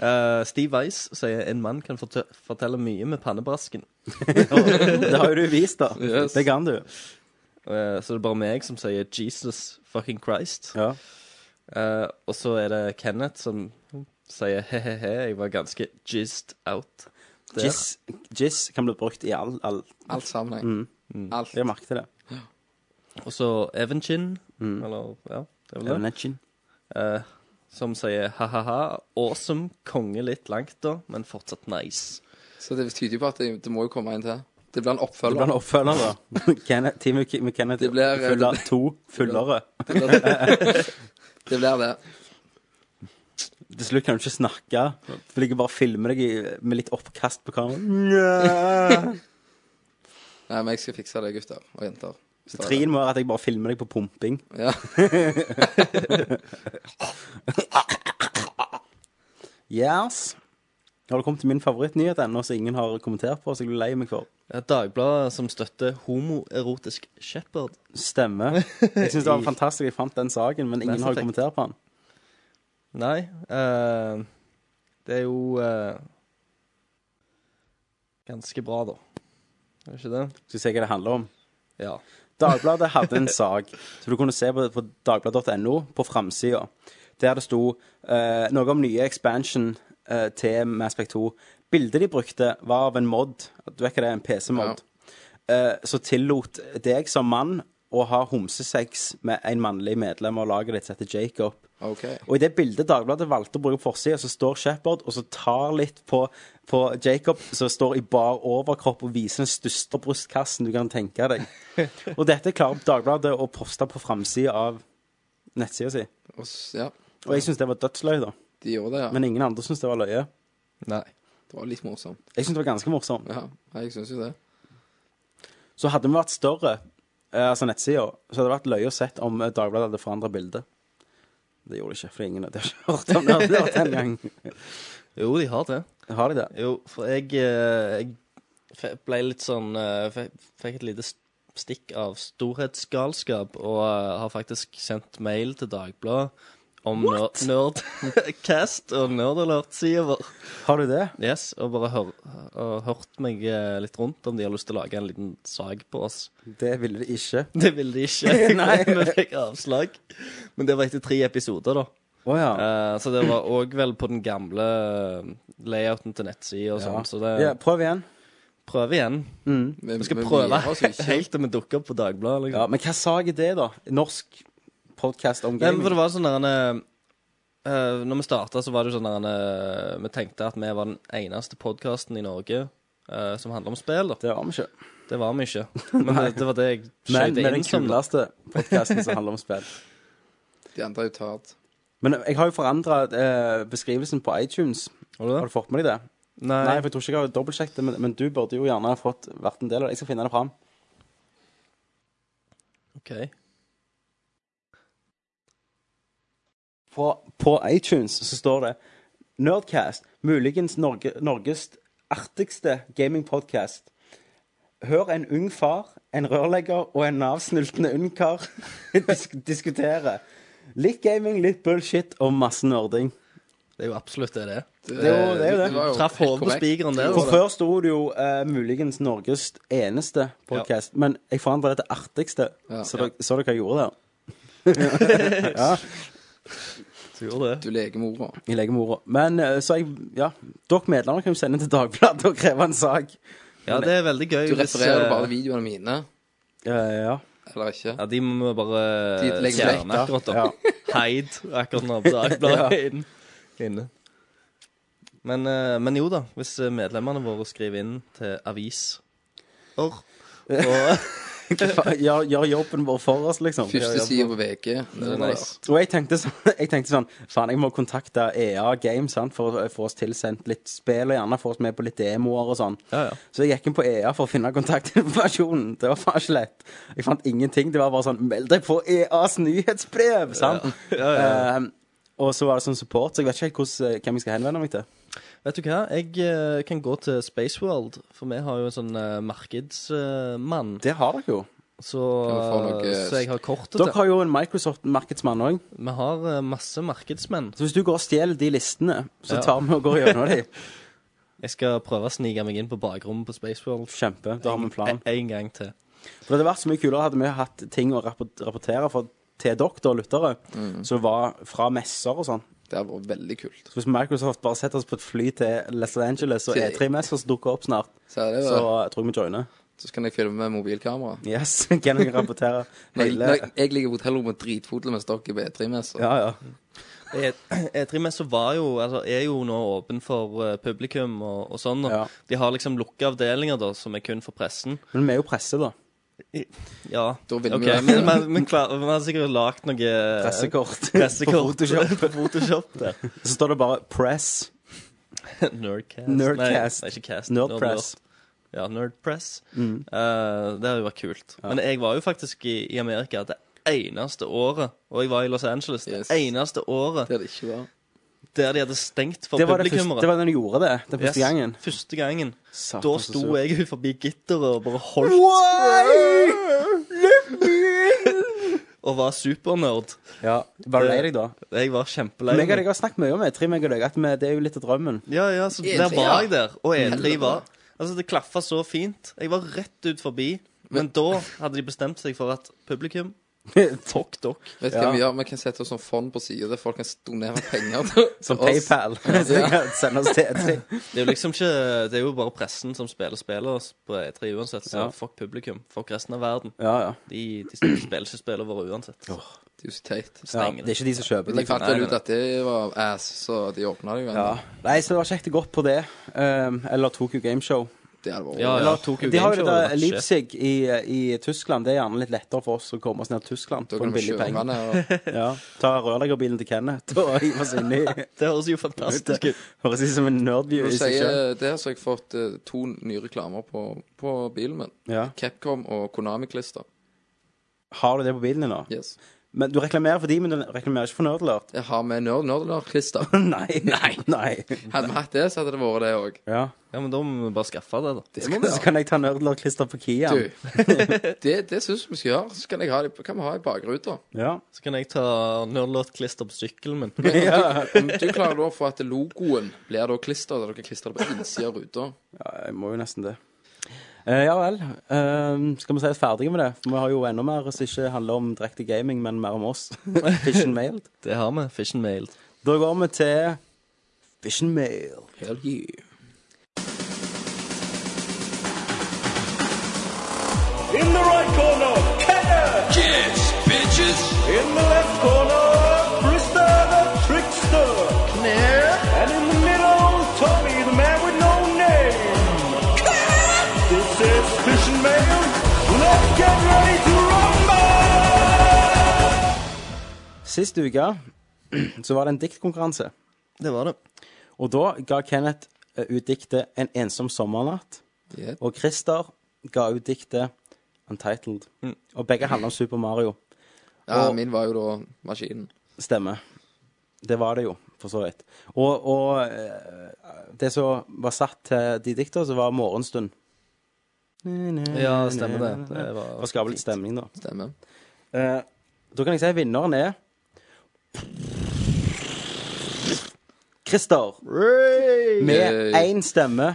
Speaker 1: Eh, Steve Weiss sier en mann kan fortø- fortelle mye med pannebrasken.
Speaker 4: det har jo du vist, da. Det kan du.
Speaker 1: Eh, så det er bare meg som sier 'Jesus fucking Christ'. Eh, og så er det Kenneth som sier 'he-he-he, jeg var ganske jizzed out'. der».
Speaker 4: Jizz jizz kan bli brukt i all, all...
Speaker 9: Alt sammenheng.
Speaker 4: Mm.
Speaker 9: Alt.
Speaker 4: Jeg merket det.
Speaker 1: Og så Evenchin, eller ja, det er vel det.
Speaker 4: Evenchin.
Speaker 1: Eh, som sier ha-ha-ha, awesome, konge litt langt da, men fortsatt nice.
Speaker 9: Så det tyder jo på at det, det må jo komme en til. Det blir en
Speaker 4: Det
Speaker 9: oppfølger.
Speaker 4: blir en oppfølger, da. Kenneth, Team med Kenneth
Speaker 9: Det blir- eh,
Speaker 4: fyller
Speaker 9: det-
Speaker 4: to fullere.
Speaker 9: Det blir- Det blir det.
Speaker 4: Til slutt kan du ikke snakke. Du ligger bare og filmer deg i- med litt oppkast på
Speaker 9: Mm.
Speaker 4: kameraet.
Speaker 9: Nei, men jeg skal fikse det, gutter og jenter. Hvis det er
Speaker 4: Trien må være at jeg bare filmer deg på pumping.
Speaker 9: det. Ja.
Speaker 4: Yes. Har du kommet til min favorittnyhet ennå som ingen har kommentert på, så jeg blir lei meg for?
Speaker 1: Eh, Dagbladet som støtter homoerotisk shepherd.
Speaker 4: Stemmer. Jeg syns det var fantastisk jeg fant den saken, men ingen
Speaker 1: Mass
Speaker 4: har
Speaker 1: Effect.
Speaker 4: kommentert på den.
Speaker 1: Nei, eh, det er jo eh, ganske bra, da. Er det ikke det?
Speaker 4: Skal vi se hva det handler om.
Speaker 1: Ja.
Speaker 4: Dagbladet hadde en sak som du kunne se på, på dagbladet.no på framsida, der det sto eh, noe om nye expansion eh, til Mass Effect 2. Bildet de brukte, var av en mod. Du vet hva det er, en PC-mod. Eh, som tillot deg som mann å ha homsesex med en mannlig medlem av laget ditt som heter Jacob.
Speaker 9: OK.
Speaker 4: Og i det bildet Dagbladet valgte å bruke på forsida, så står Shepherd og så tar litt på, på Jacob, som står i bar overkropp og viser den største brystkassen du kan tenke deg. Og dette klarer Dagbladet å poste på framsida av nettsida si.
Speaker 9: Og s- ja,
Speaker 4: Og jeg syns det var dødsløy, da.
Speaker 9: de gjorde det, ja.
Speaker 4: Men ingen andre syns det var løye.
Speaker 1: Nei.
Speaker 9: Det var litt morsomt.
Speaker 4: Jeg syns det var ganske morsomt.
Speaker 9: Ja, Nei, jeg syns jo det.
Speaker 4: Så hadde vi vært større, eh, altså nettsida, så hadde det vært løye å sett om eh, Dagbladet hadde forandra bildet. Det gjorde det ikke, for ingen hadde ikke hørt om det hadde vært en gang.
Speaker 1: Jo, de har det.
Speaker 4: Har de det?
Speaker 1: Jo, for jeg, eh, jeg fe- ble litt sånn eh, fe- Fikk et lite s- stikk av storhetsgalskap og eh, har faktisk sendt mail til Dagbladet om ner- Nerdcast og Nerdalert-sida vår.
Speaker 4: Har du det?
Speaker 1: Yes, og bare hør, og hørt meg eh, litt rundt om de har lyst til å lage en liten sag på oss.
Speaker 4: Det ville de ikke.
Speaker 1: Det ville de ikke.
Speaker 4: Nei.
Speaker 1: Vi fikk avslag. Men det var etter tre episoder, da.
Speaker 4: Å ja.
Speaker 1: Eh, så det var òg vel på den gamle eh, layouten til nettsida og sånn, så det
Speaker 4: Ja, prøv igjen.
Speaker 1: Prøv igjen.
Speaker 9: Vi,
Speaker 1: Vi skal
Speaker 9: vi- vi
Speaker 1: prøve
Speaker 9: gir oss ikke.
Speaker 1: helt til vi dukker opp på Dagbladet. Liksom.
Speaker 4: Ja, men hva sag er det, da? Norsk podkast om
Speaker 1: Nei, men
Speaker 4: gaming?
Speaker 1: for det var sånn der en, eh, eh, når vi starta, så var det jo sånn der, eh, Vi tenkte at vi var den eneste podkasten i Norge eh, som handler om spill. Da.
Speaker 4: Det var vi ikke.
Speaker 1: Det var vi ikke. Men det, det var det jeg
Speaker 4: Men
Speaker 1: skjøt
Speaker 4: med den
Speaker 1: inn som. da.
Speaker 4: kuleste podkasten som handler om spill.
Speaker 9: De andre er jo tatt.
Speaker 4: Men jeg har jo forandra eh, beskrivelsen på iTunes.
Speaker 1: Har du det?
Speaker 4: Har du fått med deg det?
Speaker 1: Nei.
Speaker 4: Nei, for jeg tror ikke jeg har dobbeltsjekket det, men, men du burde jo gjerne ha fått vært en del av det. Jeg skal finne det fram.
Speaker 1: OK.
Speaker 4: På, på iTunes så står det Nerdcast, muligens Norge, Norges artigste gamingpodcast. Hør en ung far, en rørlegger og en Nav-snultende ungkar disk diskutere. Litt gaming, litt bullshit og masse nerding.
Speaker 1: Det er jo absolutt det det er.
Speaker 4: Det er jo det. Er jo det.
Speaker 9: Eh, var jo
Speaker 1: Traff
Speaker 9: helt
Speaker 1: hodet på
Speaker 9: korrekt.
Speaker 1: spikeren der.
Speaker 4: For før sto det jo eh, muligens Norges eneste podkast, men jeg forandra det til artigste. så, Dere, så dere hva jeg gjorde der?
Speaker 1: Du gjorde det.
Speaker 9: Du leker med orda.
Speaker 4: I legemora. Men eh, så jeg Ja, dere medlemmer kan jo sende til Dagbladet og kreve en sak.
Speaker 1: Ja, det er veldig gøy.
Speaker 9: Du
Speaker 1: hvis,
Speaker 9: refererer
Speaker 1: eh,
Speaker 9: bare til videoene mine,
Speaker 4: Eh, ja.
Speaker 9: eller ikke?
Speaker 1: Ja, de må vi bare
Speaker 9: De legger
Speaker 1: fjerne
Speaker 9: vekk,
Speaker 1: akkurat da.
Speaker 4: Ja.
Speaker 1: Heid akkurat når Dagbladet er inn- inne. Men, eh, men jo da, hvis medlemmene våre skriver inn til avis Or. Og,
Speaker 4: Fa- Gjør, gjør jobben vår for oss, liksom. Gjør
Speaker 9: Første
Speaker 4: jobben.
Speaker 9: side på VG. Det er nice.
Speaker 4: Og jeg tenkte, så, jeg tenkte sånn Faen, jeg må kontakte EA Games sant, for å få oss tilsendt litt spill, og gjerne få oss med på litt demoer og sånn.
Speaker 1: Ja, ja.
Speaker 4: Så jeg gikk inn på EA for å finne kontaktinformasjonen. Det var faen ikke lett. Jeg fant ingenting. Det var bare sånn Meld deg på EAs nyhetsbrev! Sant? Eh, og så var det sånn support, så jeg vet ikke helt hvordan, eh, hvem jeg skal henvende meg til.
Speaker 1: vet du hva, jeg eh, kan gå til Spaceworld, for vi har jo en sånn eh, markedsmann.
Speaker 4: Det har dere jo.
Speaker 1: så,
Speaker 9: Kan vi få noe-
Speaker 1: så jeg har kortet
Speaker 4: Dere
Speaker 1: til.
Speaker 4: har jo en Microsoft-markedsmann òg.
Speaker 1: Vi har eh, masse markedsmenn.
Speaker 4: Så hvis du går og stjeler de listene, så
Speaker 1: Ja.
Speaker 4: tar vi og går gjennom de.
Speaker 1: Jeg skal prøve å snike meg inn på bakrommet på Spaceworld
Speaker 4: Kjempe. Da har vi en plan.
Speaker 1: en, en gang til.
Speaker 4: For det hadde vært så mye kulere hadde vi hatt ting å rapport- rapportere for til dere og lyttere, som var fra messer og sånn.
Speaker 9: Det hadde vært veldig kult.
Speaker 4: Så hvis Microsoft bare setter oss på et fly til Los Angeles og
Speaker 9: Til-
Speaker 4: E3-messer som dukker opp snart,
Speaker 9: Så, er det,
Speaker 4: så eh,
Speaker 9: så...
Speaker 4: tror jeg vi joiner.
Speaker 9: så kan jeg filme med mobilkamera.
Speaker 4: Yes, kan jeg rapportere
Speaker 9: Når, jeg-
Speaker 4: hele
Speaker 9: når jeg- jeg ligger på hotellrommet med dritfotel mens dere er på E3-messer.
Speaker 4: Ja, ja.
Speaker 1: E- E3-messa var jo, altså, er jo nå åpen for eh, publikum og, og sånn. Og
Speaker 4: Ja.
Speaker 1: De har liksom lukka avdelinger da, som er kun for pressen.
Speaker 4: Men vi er jo presse, da.
Speaker 1: Ja,
Speaker 9: Da vil vi
Speaker 1: ok,
Speaker 9: være-
Speaker 1: men, men, men klar, vi har sikkert lagd noe eh,
Speaker 4: Pressekort.
Speaker 1: pressekort
Speaker 4: På Photoshop.
Speaker 1: på Photoshop der.
Speaker 4: Så står det bare 'press'.
Speaker 1: Nerdcast.
Speaker 4: Nerdcast.
Speaker 1: Nei, nei, ikke cast.
Speaker 4: Nerdpress. Mm.
Speaker 1: Nerd- Ja, Nerdpress. Eh, det hadde jo vært kult. Men jeg var jo faktisk i, i Amerika det eneste året, og jeg var i Los Angeles det
Speaker 9: Yes.
Speaker 1: eneste året
Speaker 9: Det er det ikke var.
Speaker 1: der de hadde stengt for
Speaker 4: Det var, det, første,
Speaker 1: publikummere.
Speaker 4: det var den du gjorde det, den første
Speaker 1: Yes,
Speaker 4: gangen.
Speaker 1: Første gangen.
Speaker 4: Satan,
Speaker 1: Da
Speaker 4: så
Speaker 1: sto
Speaker 4: sur.
Speaker 1: jeg ut forbi gitteret og bare holdt Og var supernerd.
Speaker 4: Ja, Var du lei deg, da?
Speaker 1: Jeg var kjempelei
Speaker 4: Meg og
Speaker 1: meg.
Speaker 4: deg har snakket mye om E3, meg og deg, at vi, det er jo litt av drømmen.
Speaker 1: Ja, ja, så
Speaker 9: E3,
Speaker 1: der
Speaker 9: ja.
Speaker 1: var jeg der. Og E3
Speaker 9: Helvete.
Speaker 1: var Altså, det klaffa så fint. Jeg var rett ut forbi. Men da hadde de bestemt seg for at publikum Fuck dere.
Speaker 9: Vet du
Speaker 4: Ja.
Speaker 9: hva vi gjør? Vi kan sette oss som fond på sida der folk kan donere penger til
Speaker 4: Som
Speaker 9: til oss.
Speaker 4: PayPal. Så jeg kan sende oss til E3.
Speaker 1: Det er jo liksom ikke Det er jo bare pressen som spiller spillet på E3 uansett, så fuck publikum. Fuck resten av verden.
Speaker 4: Ja, ja.
Speaker 1: De, de spiller ikke spillet vårt uansett.
Speaker 9: Det er jo så teit.
Speaker 4: ja.
Speaker 1: Stenger
Speaker 4: Det er ikke de som kjøper
Speaker 9: Men
Speaker 4: det.
Speaker 9: de fant
Speaker 1: Nei,
Speaker 9: vel
Speaker 1: nei,
Speaker 9: ut at det var ass, så de åpna det jo.
Speaker 4: Ja.
Speaker 9: Ja.
Speaker 4: Nei, så det var kjekt å gå på det. Um, eller Tokyo Gameshow.
Speaker 9: Det hadde vært
Speaker 1: Ja, ja. Tokyo
Speaker 4: De har
Speaker 1: Game Show
Speaker 4: jo dette
Speaker 1: hadde vært sjef.
Speaker 4: Leipzig i, i Tyskland. Det er gjerne litt lettere for oss å komme oss ned til Tyskland
Speaker 9: Da
Speaker 4: for
Speaker 9: kan
Speaker 4: en
Speaker 9: vi
Speaker 4: billig
Speaker 9: kjøre
Speaker 4: penge.
Speaker 9: den her, og-
Speaker 4: Ja. Ta rørleggerbilen til Kenneth og hive oss inni.
Speaker 1: Det høres jo fantastisk ut.
Speaker 4: Høres ut som en nerdview
Speaker 9: Når
Speaker 4: i
Speaker 9: du
Speaker 4: seg sjøl.
Speaker 9: sier det, så har jeg fått eh, to nye reklamer på, på bilen min.
Speaker 4: Ja.
Speaker 9: Capcom og Konami-klister.
Speaker 4: Har du det på bilen din nå?
Speaker 9: Yes.
Speaker 4: Men Du reklamerer for de, men du reklamerer ikke for nerdlert.
Speaker 9: Jeg har med Nerd Nerdler-klister.
Speaker 4: Nei. Nei. Nei.
Speaker 9: Hadde vi hatt det, så hadde det vært det òg.
Speaker 4: Ja.
Speaker 1: Ja, men da må vi bare skaffe det, da.
Speaker 4: Så kan jeg ta nerdlerklister på Kia.
Speaker 9: Du, det, det syns vi skal gjøre. Så kan, jeg ha det, kan vi ha i bakruta.
Speaker 4: Ja.
Speaker 1: Så kan jeg ta nerdlåtklister på sykkelen min.
Speaker 9: Om du klarer da å få at logoen blir da klister, der dere klistrer det på innsida av ruta.
Speaker 4: Ja, jeg må jo nesten det. Eh, ja vel. Eh, skal vi si oss ferdige med det? For vi har jo enda mer som ikke handler om direkte gaming, men mer om oss. Fish and mailed.
Speaker 1: Det har vi. Fish and mailed.
Speaker 4: Da går vi til Fish and mailed.
Speaker 9: Hell yeah.
Speaker 5: Yes, bitches! In the left corner, Krista the Trickster!
Speaker 4: Sist uke så var det en diktkonkurranse.
Speaker 1: Det var det.
Speaker 4: Og da ga Kenneth eh, ut diktet 'En ensom sommernatt'.
Speaker 9: Yep.
Speaker 4: Og Christer ga ut diktet 'Untitled'.
Speaker 1: Mm.
Speaker 4: Og begge handler om Super Mario.
Speaker 9: Ja,
Speaker 4: Og-
Speaker 9: min var jo da maskinen.
Speaker 4: Stemmer. Det var det jo, for så vidt. Og, og eh, det som var satt til de dikta, så var 'Morgenstund'.
Speaker 1: Ja, stemmer det. Det var
Speaker 4: For å skape litt stemning, da.
Speaker 9: Stemmer.
Speaker 4: Eh, da kan jeg si vinneren er Christer. Med
Speaker 9: Yay.
Speaker 4: én stemme.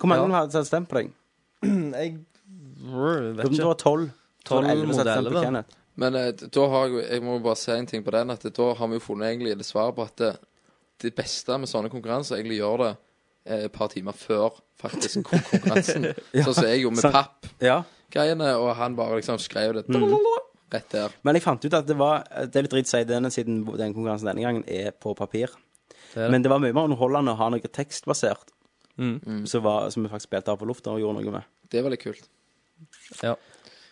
Speaker 4: Hvor mange
Speaker 1: Ja.
Speaker 4: hadde satt stemme på deg?
Speaker 1: Mm, Jeg vet
Speaker 4: Om det var tolv. så var det
Speaker 1: 12
Speaker 4: 11
Speaker 1: mot
Speaker 4: som satte stemme på
Speaker 1: 11.
Speaker 4: Kenneth.
Speaker 9: Men eh, da har jeg, jo- jeg må jo bare si en ting på den, at eh, da har vi jo funnet egentlig det svaret på at det, det beste med sånne konkurranser egentlig gjør det eh, et par timer før faktisk kon- konkurransen. Sånn som jeg gjorde med
Speaker 4: sant.
Speaker 9: papp-greiene,
Speaker 4: Ja.
Speaker 9: og han bare liksom skrev det rett der.
Speaker 4: Men jeg fant ut at det var Det er litt dritt å si denne, siden den konkurransen denne gangen er på papir. Men det Mm. var mye mer underholdende å ha noe tekstbasert som, var, som vi faktisk spilte av på lufta og gjorde noe med.
Speaker 9: Det var litt kult.
Speaker 1: Ja.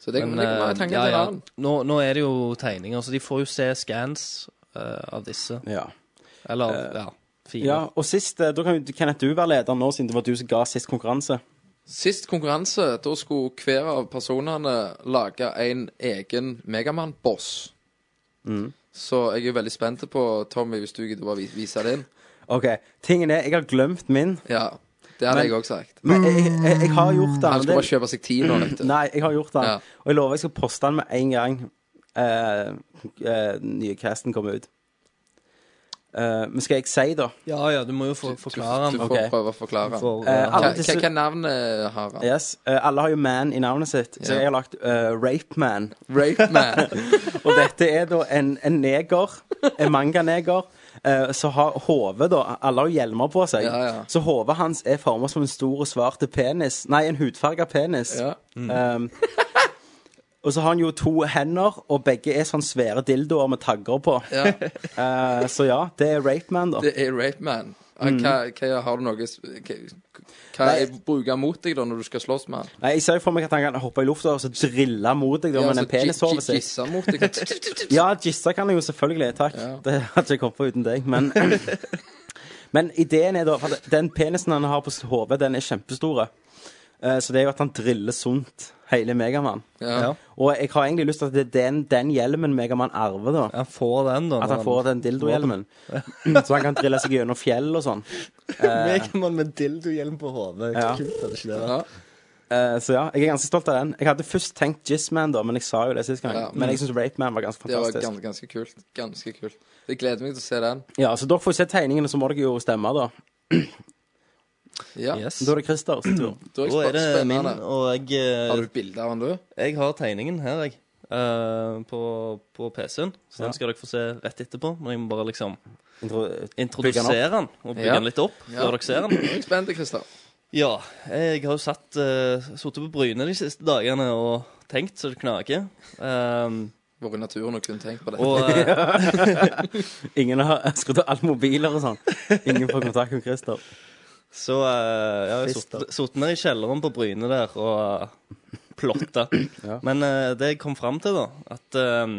Speaker 9: Så det, men, det
Speaker 1: eh,
Speaker 9: kommer jeg tanken
Speaker 1: ja,
Speaker 9: til en
Speaker 1: ja.
Speaker 9: annen.
Speaker 1: Nå, nå er det jo tegninger, så de får jo se scans eh, av disse.
Speaker 4: Ja.
Speaker 1: Eller ja, fine.
Speaker 4: Eh, ja og sist, eh, da kan jo Kenneth du være leder nå, siden det var du som ga sist konkurranse.
Speaker 9: Sist konkurranse, da skulle hver av personene lage en egen Megamann-boss.
Speaker 4: Mm.
Speaker 9: Så jeg er veldig spent på, Tommy, hvis du gidder å bare vi- vise din.
Speaker 4: OK. Tingen er, jeg har glemt min.
Speaker 9: Ja, det hadde
Speaker 4: Men-
Speaker 9: jeg òg sagt.
Speaker 4: Men jeg, jeg, jeg, jeg har gjort den.
Speaker 9: Han
Speaker 4: og
Speaker 9: skulle
Speaker 4: det-
Speaker 9: bare kjøpe seg tid nå, vet du.
Speaker 4: Nei, jeg har gjort den.
Speaker 9: Ja.
Speaker 4: Og jeg lover jeg skal poste den med en gang eh, eh, den nye casten kommer ut. Eh, men skal jeg si, da?
Speaker 1: ja, ja, du må jo få, forklare den.
Speaker 9: Du får
Speaker 4: Ok.
Speaker 9: prøve å forklare.
Speaker 1: For,
Speaker 4: Eh,
Speaker 1: eh,
Speaker 4: alle
Speaker 9: Hva,
Speaker 4: disse-
Speaker 9: hva, hva navnet har han?
Speaker 4: Yes. eh, alle har jo Man i navnet sitt, så
Speaker 9: Ja.
Speaker 4: jeg har lagt eh, Rape Man.
Speaker 9: Rape Man.
Speaker 4: Og dette er da en, en neger, en manganeger, eh, som har hodet da Alle har jo hjelmer på seg.
Speaker 9: Ja, ja.
Speaker 4: Så hodet hans er forma som en stor og svart penis. Nei, en hudfarga penis.
Speaker 9: Ja.
Speaker 4: Um, og så har han jo to hender, og begge er sånn svære dildoer med tagger på.
Speaker 9: Ja,
Speaker 4: Eh, så ja, det er Rape Man, da.
Speaker 9: det er Rape Man. Ah, Hva, hva har du noe s- Hva, hva
Speaker 4: Mm. Nei.
Speaker 9: er bruker mot deg da når du skal slåss med han?
Speaker 4: Nei, Jeg ser jo for meg at han kan hoppe i lufta og så drille mot deg da,
Speaker 9: Ja,
Speaker 4: med
Speaker 9: altså,
Speaker 4: den penishovet
Speaker 9: gi- gi-
Speaker 4: sitt.
Speaker 9: Gissa mot deg.
Speaker 4: Ja, gissa kan jeg jo selvfølgelig. Takk.
Speaker 9: Ja.
Speaker 4: Det hadde jeg kommet på uten deg. Men, men ideen er da for at Den penisen han har på hodet, den er kjempestore. Eh, Så det er jo at han driller sunt hele Megamann.
Speaker 9: Ja.
Speaker 4: Og jeg har egentlig lyst til at det er den, den hjelmen Megamann arver, da.
Speaker 1: han får den, da.
Speaker 4: At
Speaker 1: når
Speaker 4: han får den dildohjelmen. Så han kan drille seg gjennom fjell og sånn.
Speaker 1: Megamann med dildohjelm på hodet.
Speaker 4: Ja.
Speaker 1: Kult, er det ikke det?
Speaker 9: Ja.
Speaker 4: Eh, Så ja, jeg er ganske stolt av den. Jeg hadde først tenkt Jizzman, da, men jeg sa jo det sist gang.
Speaker 9: Ja.
Speaker 4: Men jeg syns Rape Man var ganske
Speaker 9: Det var
Speaker 4: fantastisk.
Speaker 9: ganske, ganske kult. Ganske kult. Jeg gleder meg til å se den.
Speaker 4: Ja, Så dere får se tegningene, så må dere jo stemme, da.
Speaker 9: Ja.
Speaker 1: Yes.
Speaker 4: Da er det Christers tur.
Speaker 9: Da
Speaker 1: Da er
Speaker 9: er
Speaker 1: det
Speaker 9: det
Speaker 1: min,
Speaker 9: spennende.
Speaker 1: og jeg eh,
Speaker 9: Har du bilde av den, du?
Speaker 1: Jeg har tegningen her, jeg. eh, på på PC-en. Så den skal dere få se rett etterpå. Men jeg må bare liksom
Speaker 4: Intro-
Speaker 1: introdusere den og bygge
Speaker 9: Ja.
Speaker 1: den litt opp.
Speaker 9: Ja.
Speaker 1: Før dere ser
Speaker 9: Nå
Speaker 1: den.
Speaker 9: er jeg spent, Christer.
Speaker 1: Ja. Jeg har jo satt uh, sittet på brynet de siste dagene og tenkt så det knaker. Eh,
Speaker 9: Vært i naturen og kun tenkt på det.
Speaker 1: og eh,
Speaker 4: Ingen har skrudd av alle mobiler og sånn. Ingen får kontakt med Christer.
Speaker 1: så uh, Jeg har
Speaker 4: Trist, da.
Speaker 1: sittet- sittet ned i kjelleren på brynet der og plotta. Men eh, det jeg kom fram til, da at, eh,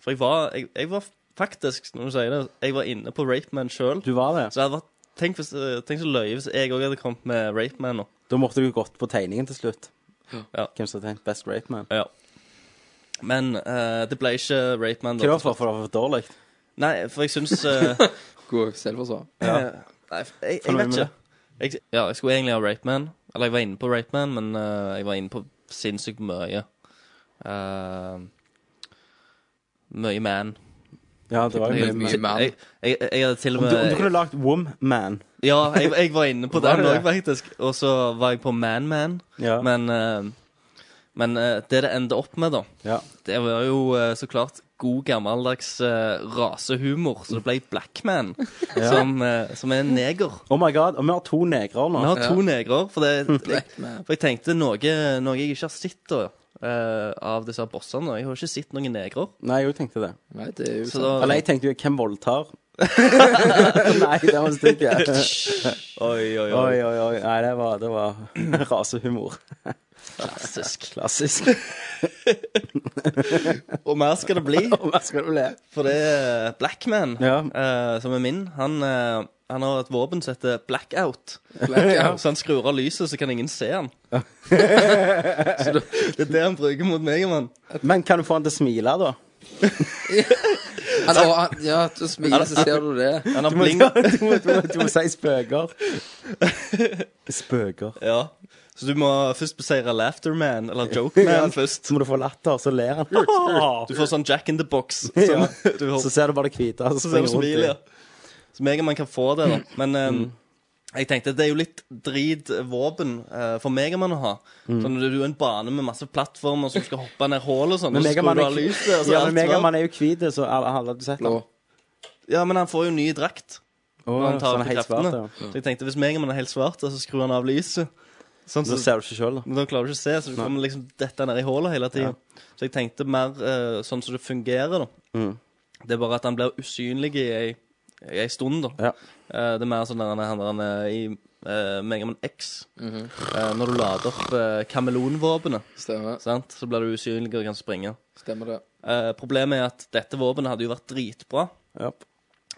Speaker 1: For jeg var, jeg, jeg var faktisk, når du sier det, jeg var inne på Rapeman sjøl.
Speaker 4: Du var det.
Speaker 1: Så det hadde vært Tenk, hvis, eh, tenk så løye hvis jeg òg hadde kommet med Rape Man nå.
Speaker 4: Da måtte du jo gått på tegningen til slutt.
Speaker 1: Ja.
Speaker 4: Hvem som har tegnet Best Rape Man?
Speaker 1: Ja. Men eh, det ble ikke Rape Man.
Speaker 4: Hva
Speaker 1: Da.
Speaker 4: var det for, for det var for dårlig?
Speaker 1: Nei, for jeg syns eh,
Speaker 9: God selvforsvar.
Speaker 1: eh, Nei, jeg, jeg
Speaker 4: Fornøyd
Speaker 1: vet
Speaker 4: med
Speaker 1: ikke. Jeg, ja, jeg skulle egentlig ha Rape Man. Eller jeg var inne på Rape Man, men eh, jeg var inne på sinnssykt mye. Eh, mye man.
Speaker 4: Ja, det var jo
Speaker 9: Mye-
Speaker 4: mye
Speaker 9: mye man.
Speaker 1: Jeg, jeg, jeg hadde til og
Speaker 4: Om du, om du
Speaker 1: med
Speaker 4: kunne lagd Wom-Man
Speaker 1: Ja, jeg, jeg var inne på
Speaker 4: Var
Speaker 1: den
Speaker 4: det
Speaker 1: òg, faktisk. Og så var jeg på Man Man.
Speaker 4: Ja.
Speaker 1: Men, eh, men eh, det det endte opp med, da
Speaker 4: ja.
Speaker 1: Det var jo eh, så klart god gammeldags eh, rasehumor, så det ble Blackman, som, eh, som er en neger.
Speaker 4: Oh my god, og vi har to negrer nå.
Speaker 1: Vi har to
Speaker 9: Ja.
Speaker 1: negrer, for, det, jeg,
Speaker 9: Blackman.
Speaker 1: for jeg tenkte noe, noe jeg ikke har sett da, eh, av disse bossene. Jeg har ikke sett noen negrer.
Speaker 4: Nei, jeg tenkte det.
Speaker 9: Nei, det er jo
Speaker 1: Så
Speaker 9: sant.
Speaker 1: da,
Speaker 4: Eller jeg tenkte jo hvem voldtar? Nei, det var en stygg ja.
Speaker 1: oi, oi,
Speaker 4: Oi,
Speaker 1: oi.
Speaker 4: oi, oi. Nei, det var, det var rasehumor.
Speaker 1: Klassisk.
Speaker 4: Klassisk.
Speaker 1: Og mer skal det bli.
Speaker 4: Og mer skal det bli.
Speaker 1: For det er Blackman, eh, som er min, han, eh, han har et våpen som heter blackout.
Speaker 4: Blackout.
Speaker 1: Så han skrur av lyset, så kan ingen se han. så det, det er det han bruker mot meg, mann.
Speaker 4: Men kan du få han til å smile, da?
Speaker 9: Han, og han, ja, du smiler, så ser du det.
Speaker 1: Han har
Speaker 4: Du må,
Speaker 1: bling.
Speaker 4: du må, du må, du må si spøker. Spøker.
Speaker 1: Ja. Så du må først beseire Laughterman, eller Jokeman,
Speaker 4: Ja.
Speaker 1: først.
Speaker 4: Så må du få latter, så ler han.
Speaker 1: Du får sånn Jack in the Box. Som,
Speaker 4: Ja.
Speaker 1: du holder-
Speaker 4: Så ser du bare det hvite. og Så
Speaker 1: Så ser
Speaker 4: springer
Speaker 1: du
Speaker 4: rundt i. Mm.
Speaker 1: smilet, ja. Så meg og man kan få det, da. Men eh, jeg tenkte det er jo litt drit våpen eh, for Megaman å ha.
Speaker 4: Mm.
Speaker 1: Sånn, du er en bane med masse plattformer som skal hoppe ned hull og sånn.
Speaker 4: Men
Speaker 1: og så skrur
Speaker 4: Megaman
Speaker 1: du
Speaker 4: er,
Speaker 1: av lyset, og så
Speaker 4: ja,
Speaker 1: alt
Speaker 4: men
Speaker 1: svart.
Speaker 4: Megaman er jo hvit, så alle, alle har du sett
Speaker 9: Blå.
Speaker 4: ham.
Speaker 1: ja, men han får jo ny drakt når han tar
Speaker 4: sånn
Speaker 1: opp
Speaker 4: helt
Speaker 1: kreftene.
Speaker 4: svart,
Speaker 1: Så jeg tenkte hvis Megaman er helt svart, så skrur han av lyset. Sånn,
Speaker 4: Så
Speaker 1: så,
Speaker 4: ser du ikke sjøl, da.
Speaker 1: men da klarer du ikke å se, så du kommer liksom dette ned i hullet hele tida. Så jeg tenkte mer eh, sånn som det fungerer, da.
Speaker 4: Mm.
Speaker 1: Det er bare at han blir usynlig i ei, i ei stund, da.
Speaker 4: Ja.
Speaker 1: Eh, det er mer sånn der han- han han er i uh, Megaman X.
Speaker 9: Mhm,
Speaker 1: Eh, når du lader opp uh, kameleonvåpenet,
Speaker 9: Stemmer.
Speaker 1: sant, så blir du usynlig og kan springe.
Speaker 9: Stemmer det.
Speaker 1: Eh, problemet er at dette våpenet hadde jo vært dritbra,
Speaker 4: Ja.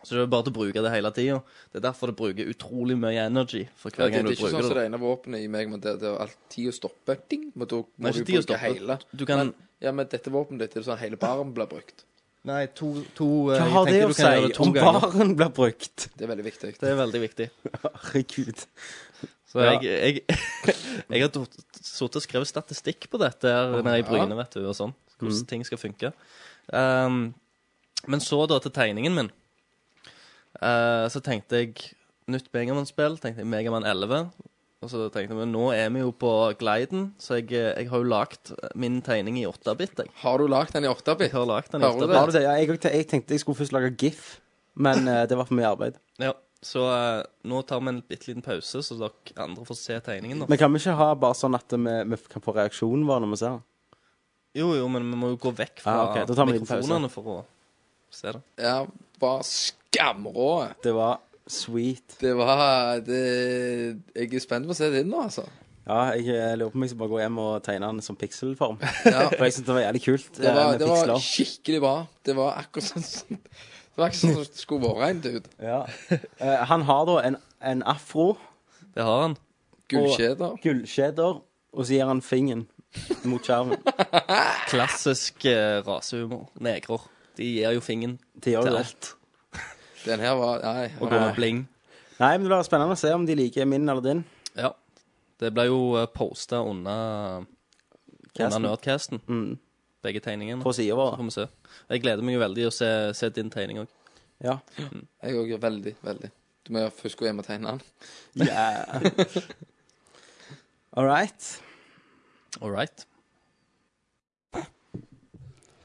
Speaker 1: så det er bare til å bruke det hele tida. Det er derfor det bruker utrolig mye energy for hver
Speaker 9: Ja,
Speaker 1: gang
Speaker 9: det, det er
Speaker 1: du
Speaker 9: ikke
Speaker 1: bruker
Speaker 9: sånn som
Speaker 1: det.
Speaker 9: det ene våpenet i meg, men det, det er alltid tid å stoppe. Ding! Men da
Speaker 1: Nei,
Speaker 9: må
Speaker 1: ikke
Speaker 9: du
Speaker 1: tid å
Speaker 9: bruke
Speaker 1: stoppe.
Speaker 9: hele.
Speaker 1: Du kan-
Speaker 9: men, ja, men dette våpenet ditt er sånn hele baren blir brukt.
Speaker 1: Nei, to, to eh,
Speaker 4: Hva
Speaker 1: jeg
Speaker 4: har det
Speaker 1: tenker
Speaker 4: å
Speaker 1: du kan gjøre
Speaker 4: si
Speaker 1: to
Speaker 4: om
Speaker 1: ganger.
Speaker 4: baren blir brukt?
Speaker 9: Det er veldig viktig.
Speaker 1: Det er veldig viktig.
Speaker 4: Herregud.
Speaker 1: Så jeg, jeg, jeg har sittet og skrevet statistikk på dette her nede i Bryne, vet du, og sånn. Hvordan ting skal funke. Ehm, men så da til tegningen min. Eh, så tenkte jeg nytt Megaman-spill. Tenkte jeg Megaman 11. Og så tenkte jeg, men nå er vi jo på gliden, så jeg, eh, jeg har jo lagt min tegning i 8-bit. Jeg.
Speaker 9: Har du lagd den i 8-bit?
Speaker 1: jeg har lagt den i
Speaker 9: Har du
Speaker 1: 8-bit.
Speaker 4: Har du det? Ja, jeg, jeg tenkte jeg skulle først lage gif, men eh, det var for mye arbeid.
Speaker 1: Ja, så eh, nå tar vi en bitte liten pause, så dere andre får se tegningen. da.
Speaker 4: Men kan vi ikke ha bare sånn at vi, vi kan få reaksjonen vår når vi ser den?
Speaker 1: Jo, jo, men vi må jo gå vekk fra
Speaker 4: Ah, ok, da tar vi en liten pause.
Speaker 1: mikrofonene for å se det.
Speaker 9: Ja, var skamrå.
Speaker 4: Det var sweet.
Speaker 9: Det var det, Jeg er spent på å se det nå, altså.
Speaker 4: Ja, jeg eh, lurer på om jeg skal bare gå hjem og tegne den som pikselform.
Speaker 9: Ja.
Speaker 4: For jeg syns det var jævlig kult
Speaker 9: Det
Speaker 4: eh,
Speaker 9: var,
Speaker 4: med
Speaker 9: det var
Speaker 4: piksler.
Speaker 9: skikkelig bra. Det var akkurat sånn som Det var akkurat sånn som det skulle vært en dude.
Speaker 4: Ja. Eh, han har da en, en afro,
Speaker 1: Det har han.
Speaker 9: Gullkjeder.
Speaker 4: gullkjeder, og så gir han fingeren mot skjermen.
Speaker 1: Klassisk eh, rasehumor. Negrer. De gir jo fingeren
Speaker 4: De gjør
Speaker 1: til
Speaker 4: jo det.
Speaker 1: alt.
Speaker 9: Den her var Nei.
Speaker 1: Og går
Speaker 4: Ah.
Speaker 1: med bling.
Speaker 4: Nei, men det blir spennende å se om de liker min eller din.
Speaker 1: Ja. Det ble jo posta under, under
Speaker 4: Casten. Mm.
Speaker 1: Nerdcasten. Begge tegningene.
Speaker 4: På siden vår.
Speaker 1: Så får vi se. Jeg gleder meg jo veldig å se, se din tegning òg.
Speaker 4: Ja.
Speaker 9: Jeg òg er veldig, veldig Du må først gå hjem og tegne den.
Speaker 4: Yeah. All right.
Speaker 1: All right.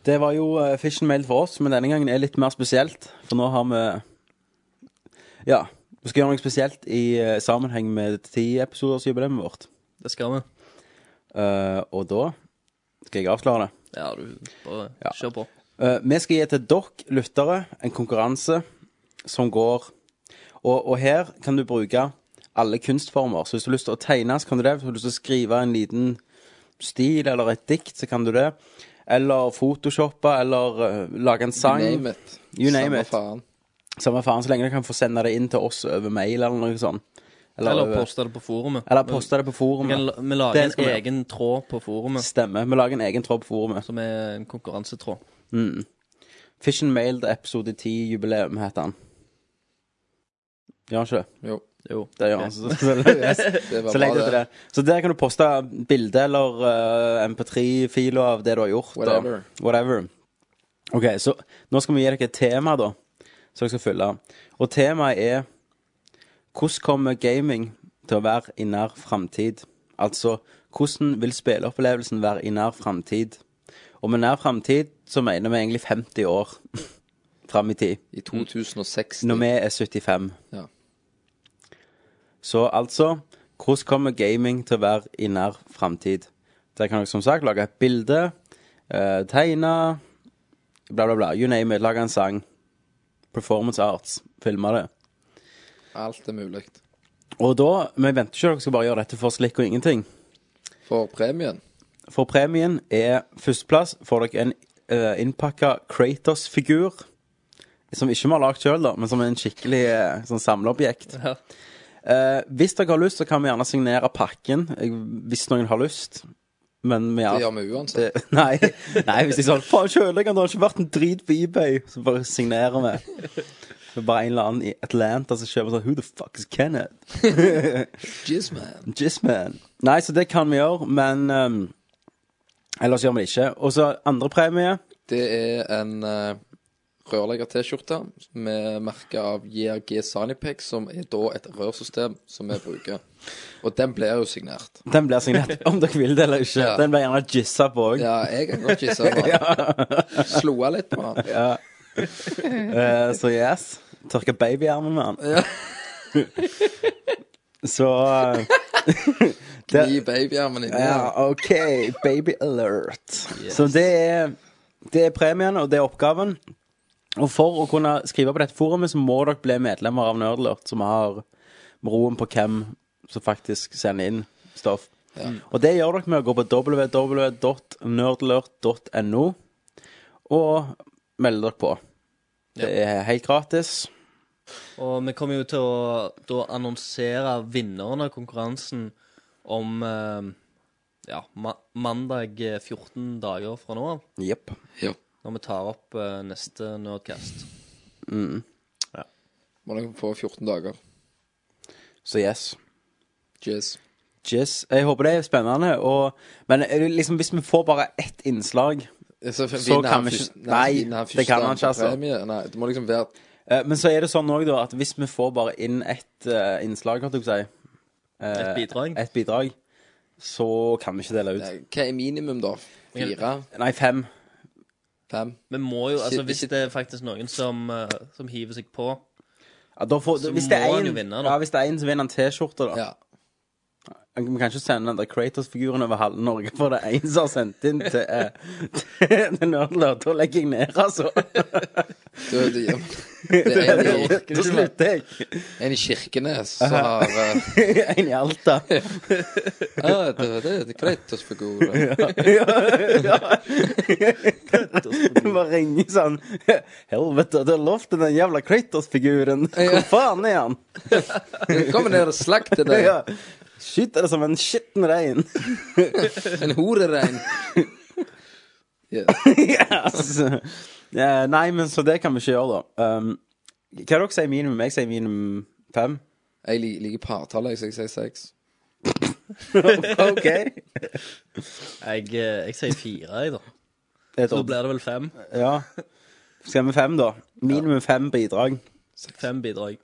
Speaker 4: Det var jo eh, fish and mail for oss, men denne gangen er litt mer spesielt. For nå har vi Ja, vi skal gjøre noe spesielt i eh, sammenheng med tiepisodersjubileet vårt.
Speaker 1: Det skal vi.
Speaker 4: Eh, og da skal jeg avsløre det.
Speaker 1: Ja, du bare
Speaker 4: Ja.
Speaker 1: kjør på.
Speaker 4: Eh, vi skal gi til dere lyttere en konkurranse som går og, og her kan du bruke alle kunstformer. Så hvis du har lyst til å tegne, så kan du det. Hvis du har lyst til å skrive en liten stil eller et dikt, så kan du det. Eller photoshoppe, eller eh, lage en sang.
Speaker 9: Name it.
Speaker 4: You name
Speaker 9: Samme
Speaker 4: it.
Speaker 9: faen.
Speaker 4: Samme faen, så lenge du kan få sende det inn til oss over mail eller noe sånt.
Speaker 1: Eller
Speaker 4: over-
Speaker 1: poste det på forumet.
Speaker 4: eller poste det på
Speaker 1: Vi kan la-
Speaker 4: forumet.
Speaker 1: vi
Speaker 4: Det
Speaker 1: lager en
Speaker 4: skal vi gjøre.
Speaker 1: egen tråd på forumet,
Speaker 4: Stemmer. Vi lager en egen tråd på forumet.
Speaker 1: som er en konkurransetråd.
Speaker 4: Fish and Mail episode 10 jubileum heter han. Gjør han ikke det?
Speaker 9: Jo.
Speaker 1: Jo.
Speaker 4: Det gjør
Speaker 1: Ok.
Speaker 4: han. Så, så,
Speaker 9: Det var
Speaker 4: så legg det
Speaker 9: bra,
Speaker 4: til det. Så der kan du poste bilde eller eh, MP3-filer av det du har gjort. og-
Speaker 9: Whatever.
Speaker 4: whatever. OK, så nå skal vi gi dere et tema, da, som dere skal følge. Og temaet er hvordan kommer gaming til å være i nær framtid? Altså, hvordan vil spilleopplevelsen være i nær framtid? Og med nær framtid så mener vi egentlig 50 år fram i tid.
Speaker 9: I 2060.
Speaker 4: Når vi er 75.
Speaker 9: Ja.
Speaker 4: Så altså, hvordan kommer gaming til å være i nær framtid? Der kan dere som sagt lage et bilde, eh, tegne, bla, bla, bla. You name it. Lage en sang. Performance arts. Filme det.
Speaker 9: Alt er mulig.
Speaker 4: Og da Vi venter ikke at dere skal bare gjøre dette for slikk og ingenting.
Speaker 9: For premien.
Speaker 4: For premien er førsteplass. Får dere en uh, innpakka Kratos-figur. Som ikke vi har lagd sjøl, men som er en skikkelig eh, sånn samleobjekt. Eh, hvis dere har lyst, så kan vi gjerne signere pakken. Jeg, hvis noen har lyst. Men vi
Speaker 9: Det gjør vi uansett.
Speaker 4: Det- Nei, nei, hvis de sånn Faen, kjølelegger, det har ikke vært en drit på eBay. Så bare signerer vi. Det er bare en eller annen i Atlanta som kjøper sånn Who the fuck is Kenneth?
Speaker 9: Jizzman.
Speaker 4: Jizzman. Nei, så det kan vi gjøre, men ehm, Ellers gjør vi det ikke. Og så andre premie.
Speaker 9: Det er en eh, rørlegger-T-skjorte med merke av JRG Sanipec, som er da et rørsystem som vi bruker. Og den blir jo signert.
Speaker 4: Den blir signert om dere vil det eller ikke.
Speaker 9: Ja.
Speaker 4: Den blir gjerne jizza på òg.
Speaker 9: Ja, jeg kan godt kysse på den. Slo jeg litt på den.
Speaker 4: Ja. Eh, så yes. Tørke babyarmen med den. så eh, det-
Speaker 9: Gi babyarmen inni. den.
Speaker 4: Ja, OK. Baby alert. Så det er, det er premien, og det er oppgaven. Og for å kunne skrive på dette forumet, så må dere bli medlemmer av Nerdlert, som har roen på hvem som faktisk sender inn stoff. Mm. Og det gjør dere med å gå på www.nerdlert.no og melde dere på. Det er helt gratis.
Speaker 1: Og vi kommer jo til å da annonsere vinneren av konkurransen om eh, ja, ma mandag eh, 14 dager fra nå av.
Speaker 4: Jepp.
Speaker 9: Ja.
Speaker 1: Når vi tar opp eh, neste Nerdcast.
Speaker 4: Mm.
Speaker 9: Må dere få 14 dager.
Speaker 4: Så yes.
Speaker 9: Jizz.
Speaker 4: Jizz. Jeg håper det er spennende. Og, men er det liksom, hvis vi får bare ett innslag
Speaker 9: Så,
Speaker 4: Så kan vi ikke- Nei, det kan han ikke, altså.
Speaker 9: Nei, det må liksom være
Speaker 4: Eh, Men så er det sånn også da, at hvis vi får bare inn ett eh, innslag, holdt jeg på å si. eh,
Speaker 1: Et bidrag.
Speaker 4: Et bidrag. Så kan vi ikke dele ut.
Speaker 9: Hva er minimum, da? Fire?
Speaker 4: Nei, fem.
Speaker 9: Fem?
Speaker 1: Vi må jo, altså
Speaker 9: Shit,
Speaker 1: Hvis det er faktisk noen som, eh, som hiver seg på
Speaker 4: Ja, da får,
Speaker 1: Så
Speaker 4: hvis, det
Speaker 1: må
Speaker 4: er
Speaker 1: han jo
Speaker 4: en,
Speaker 1: vinne, da.
Speaker 4: ja, hvis det er en, så vinner han T-skjorte, da.
Speaker 9: Ja.
Speaker 4: Vi kan ikke sende den der Kratos-figuren over halve Norge, for det er en som har sendt inn til, eh, til, til Nerdlert. Da legger jeg ned, altså.
Speaker 9: Det, det, det er en i,
Speaker 4: Da slutter jeg.
Speaker 9: en i Kirkenes som har eh,
Speaker 4: En i Alta.
Speaker 9: Ja, det, det, det er Kratos-figur.
Speaker 4: Bare ringer sånn Helvete, du har lovt den jævla Kratos-figuren. Hvor faen er han?
Speaker 9: Kom ned og slakt til deg.
Speaker 4: Ja. Skyter det som en skitten rein.
Speaker 9: En horerein. Yeah.
Speaker 4: yes. Eh, Nei, men så det kan vi ikke gjøre, da. Um, hva er det dere sier minimum? Jeg sier minimum fem.
Speaker 9: Jeg lik- liker partallet, jeg, så jeg sier seks.
Speaker 4: OK. Det
Speaker 1: Jeg, eh, jeg sier fire, jeg, da.
Speaker 4: er et
Speaker 1: Så da
Speaker 4: odd.
Speaker 1: blir det vel fem.
Speaker 4: Ja. Skal vi fem, da? Minimum fem bidrag.
Speaker 1: Fem bidrag.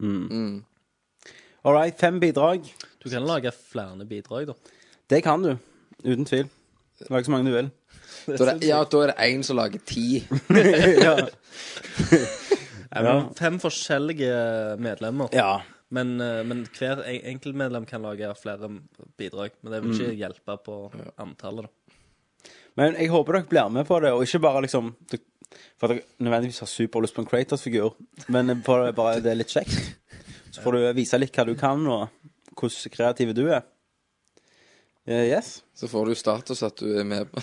Speaker 4: All right, fem bidrag.
Speaker 1: Du kan lage flere bidrag, da.
Speaker 4: Det kan du. Uten tvil. Lag så mange du vil.
Speaker 9: Da er det, ja, da er det én som lager ti.
Speaker 4: ja.
Speaker 1: Ja. Fem forskjellige medlemmer.
Speaker 4: ja.
Speaker 1: Men, eh, men hver en- enkeltmedlem kan lage flere bidrag. Men det vil ikke
Speaker 4: Mm.
Speaker 1: hjelpe på antallet, da.
Speaker 4: Men jeg håper dere blir med på det, og ikke bare liksom For at dere nødvendigvis har superlyst på en Kratos-figur, men på det, bare det er litt kjekt. Så får du vise litt hva du kan, og hvordan kreativ du er. Eh, yes.
Speaker 9: Så får du status at du er med på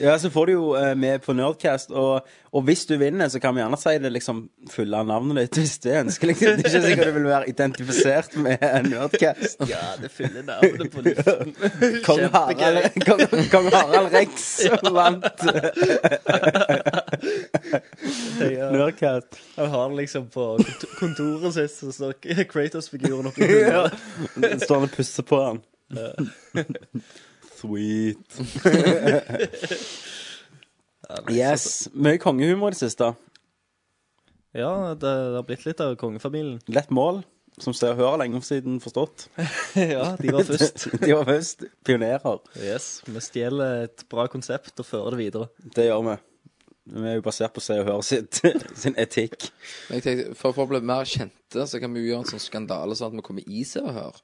Speaker 4: Ja, så får du jo eh, med på Nerdcast, og, og hvis du vinner, så kan vi gjerne si det liksom fulle av navnet ditt, hvis det er ønskelig. Det er ikke sikkert du vil være identifisert med en Nerdcast.
Speaker 1: Ja, det fyller navnet på luften.
Speaker 4: Kong Harald, Kong, Kong Harald Rex vant Nerdcast.
Speaker 1: Han har det liksom på kont- kontoret sitt, så står Kratos-figuren oppi
Speaker 4: Ja.
Speaker 1: hodet.
Speaker 4: Står han og pusser på han. Sweet. yes. Mye kongehumor i det siste.
Speaker 1: Ja, det, det har blitt litt av kongefamilien.
Speaker 4: Lett mål, som Se og Hør lenge siden forstått.
Speaker 1: Ja, de var først.
Speaker 4: De var først. Pionerer.
Speaker 1: Yes, Vi stjeler et bra konsept og fører det videre.
Speaker 4: Det gjør vi. Vi er jo basert på Se og Hør sitt, sin etikk.
Speaker 9: Men jeg tenkte, For for å bli mer kjente, så kan vi jo gjøre en sånn skandale, sånn at vi kommer i seg og hør.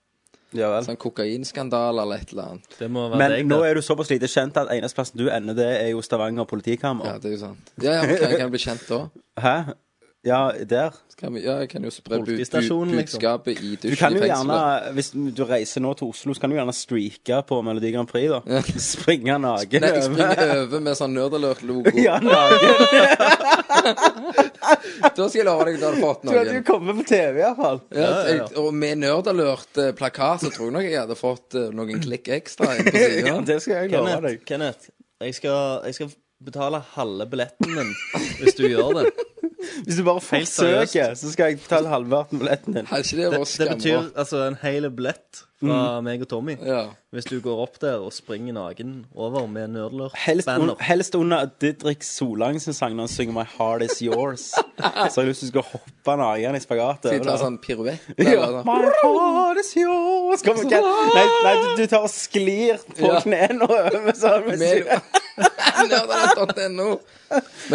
Speaker 4: Ja vel.
Speaker 9: Sånn kokainskandale eller et eller annet.
Speaker 1: Det må være
Speaker 4: Men
Speaker 1: deg,
Speaker 4: nå
Speaker 1: det.
Speaker 4: er du såpass lite kjent at eneste plassen du ender, det er jo Stavanger
Speaker 9: Ja, sånn.
Speaker 4: politikammer.
Speaker 9: det er jo sant. Ja, ja, men kan, kan jeg bli kjent da?
Speaker 4: Hæ? Ja, der.
Speaker 9: Kan vi, ja, jeg kan jo spre bu- bu-
Speaker 4: Politistasjonen, liksom.
Speaker 9: budskapet i
Speaker 4: Du
Speaker 9: dusjen
Speaker 4: kan jo
Speaker 9: i
Speaker 4: gjerne,
Speaker 9: fengselet.
Speaker 4: Hvis du reiser nå til Oslo, så kan du gjerne streake på Melodi Grand Prix. da Springe naken.
Speaker 9: Nei, jeg springer
Speaker 4: over.
Speaker 9: over med sånn nerdalert-logo.
Speaker 4: Ja,
Speaker 9: da skal jeg love deg at du hadde fått
Speaker 4: Du hadde jo
Speaker 9: noen.
Speaker 4: kommet på TV, i hvert fall.
Speaker 9: Ja, jeg, og med nerdalert-plakat så tror jeg nok jeg hadde fått eh, noen klikk ekstra. inn på siden.
Speaker 1: Kenneth, Kenneth, jeg skal, jeg skal betale halve billetten din hvis du gjør det.
Speaker 4: Hvis du bare
Speaker 1: Helt seriøst.
Speaker 4: forsøker, så skal jeg betale halvparten av billetten din.
Speaker 1: det, det betyr altså en hel billett fra
Speaker 4: Mm.
Speaker 1: meg og Tommy hvis du går opp der og springer naken over med
Speaker 4: Helst, un,
Speaker 1: nerdler-banner.
Speaker 4: helst under Didrik Solang sin sang når han synger 'My heart is yours'. Så har jeg lyst til å skulle hoppe naken i spagat.
Speaker 9: Skal jeg ta
Speaker 4: over det.
Speaker 9: sånn piruett?
Speaker 4: Ja.
Speaker 9: eller?
Speaker 4: My heart is yours. Kom igjen. Nei, nei, du, du tar og sklir på
Speaker 9: Ja.
Speaker 4: knærne og over sånn.
Speaker 9: Med-
Speaker 4: mens-
Speaker 9: Nerdalert.no. Men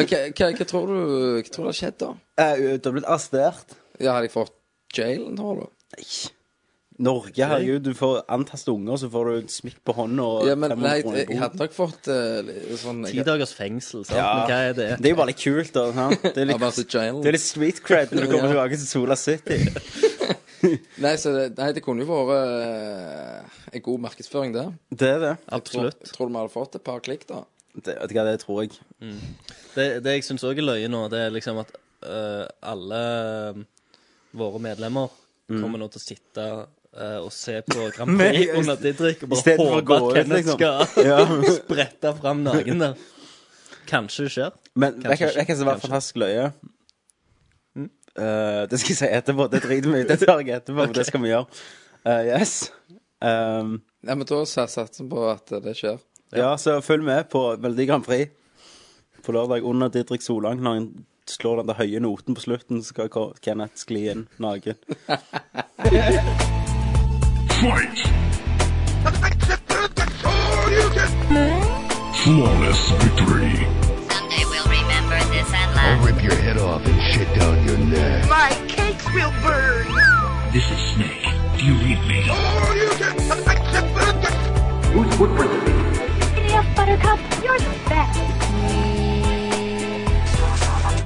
Speaker 9: hva, hva, hva tror du hva tror du har skjedd, da?
Speaker 4: Eh, Du har blitt arrestert.
Speaker 9: Ja, Hadde jeg fått jailen, tror du?
Speaker 4: Norge, herregud. Du får antaste unger, så får du et smikk på hånda og
Speaker 9: Ja, men
Speaker 4: 500
Speaker 9: nei,
Speaker 4: kroner i
Speaker 9: jeg, jeg
Speaker 4: bot.
Speaker 9: hadde nok fått eh, li- sånn
Speaker 1: Ti dagers fengsel, sant?
Speaker 4: Ja.
Speaker 1: Men hva er det?
Speaker 4: Det er jo bare litt kult, da. sant? Det er litt,
Speaker 9: About the jail.
Speaker 4: det er litt street cred når du kommer
Speaker 9: Ja.
Speaker 4: tilbake til Sola City.
Speaker 9: Nei, så det, nei, det kunne jo vært eh, en god markedsføring, det.
Speaker 4: Det er det.
Speaker 9: Absolutt. Tror, tror du vi hadde fått et par klikk, da?
Speaker 4: Det, vet du hva, det tror jeg.
Speaker 1: Det, det jeg syns òg er løye nå, det er liksom at øh, alle øh, våre medlemmer
Speaker 4: Mm.
Speaker 1: kommer nå til å sitte øh, og se på Grand
Speaker 4: Men-
Speaker 1: Prix under Didrik og
Speaker 4: I
Speaker 1: bare
Speaker 4: stedet for å
Speaker 1: håpe
Speaker 4: gå
Speaker 1: at
Speaker 4: ut,
Speaker 1: Kenneth
Speaker 4: liksom.
Speaker 1: skal
Speaker 4: Ja.
Speaker 1: sprette fram naken der. Kanskje det skjer.
Speaker 4: Men
Speaker 1: Kanskje
Speaker 4: vet du hva-
Speaker 1: ikke.
Speaker 4: vet du hva som var
Speaker 1: Kanskje.
Speaker 4: fantastisk løye? Eh, det skal jeg si etterpå. Det driter vi i. Det tar jeg etterpå. men Det skal vi gjøre. Eh, yes. Um,
Speaker 9: Nei, men da sa- satser vi på at det skjer.
Speaker 4: Ja, så følg med på Melodi Grand Prix på lørdag under Didrik Solang. Når han slår den der høye noten på slutten, så skal Ko- Kenneth skli inn naken.
Speaker 5: Flawless victory.
Speaker 6: Someday we'll remember this and laugh.
Speaker 5: I'll rip your head off and shit down your neck.
Speaker 7: My cakes will burn.
Speaker 5: This is Snake. Do you read me?
Speaker 7: Oh, you can.
Speaker 5: Who's Woodward the
Speaker 8: Enough, Buttercup, you're the best.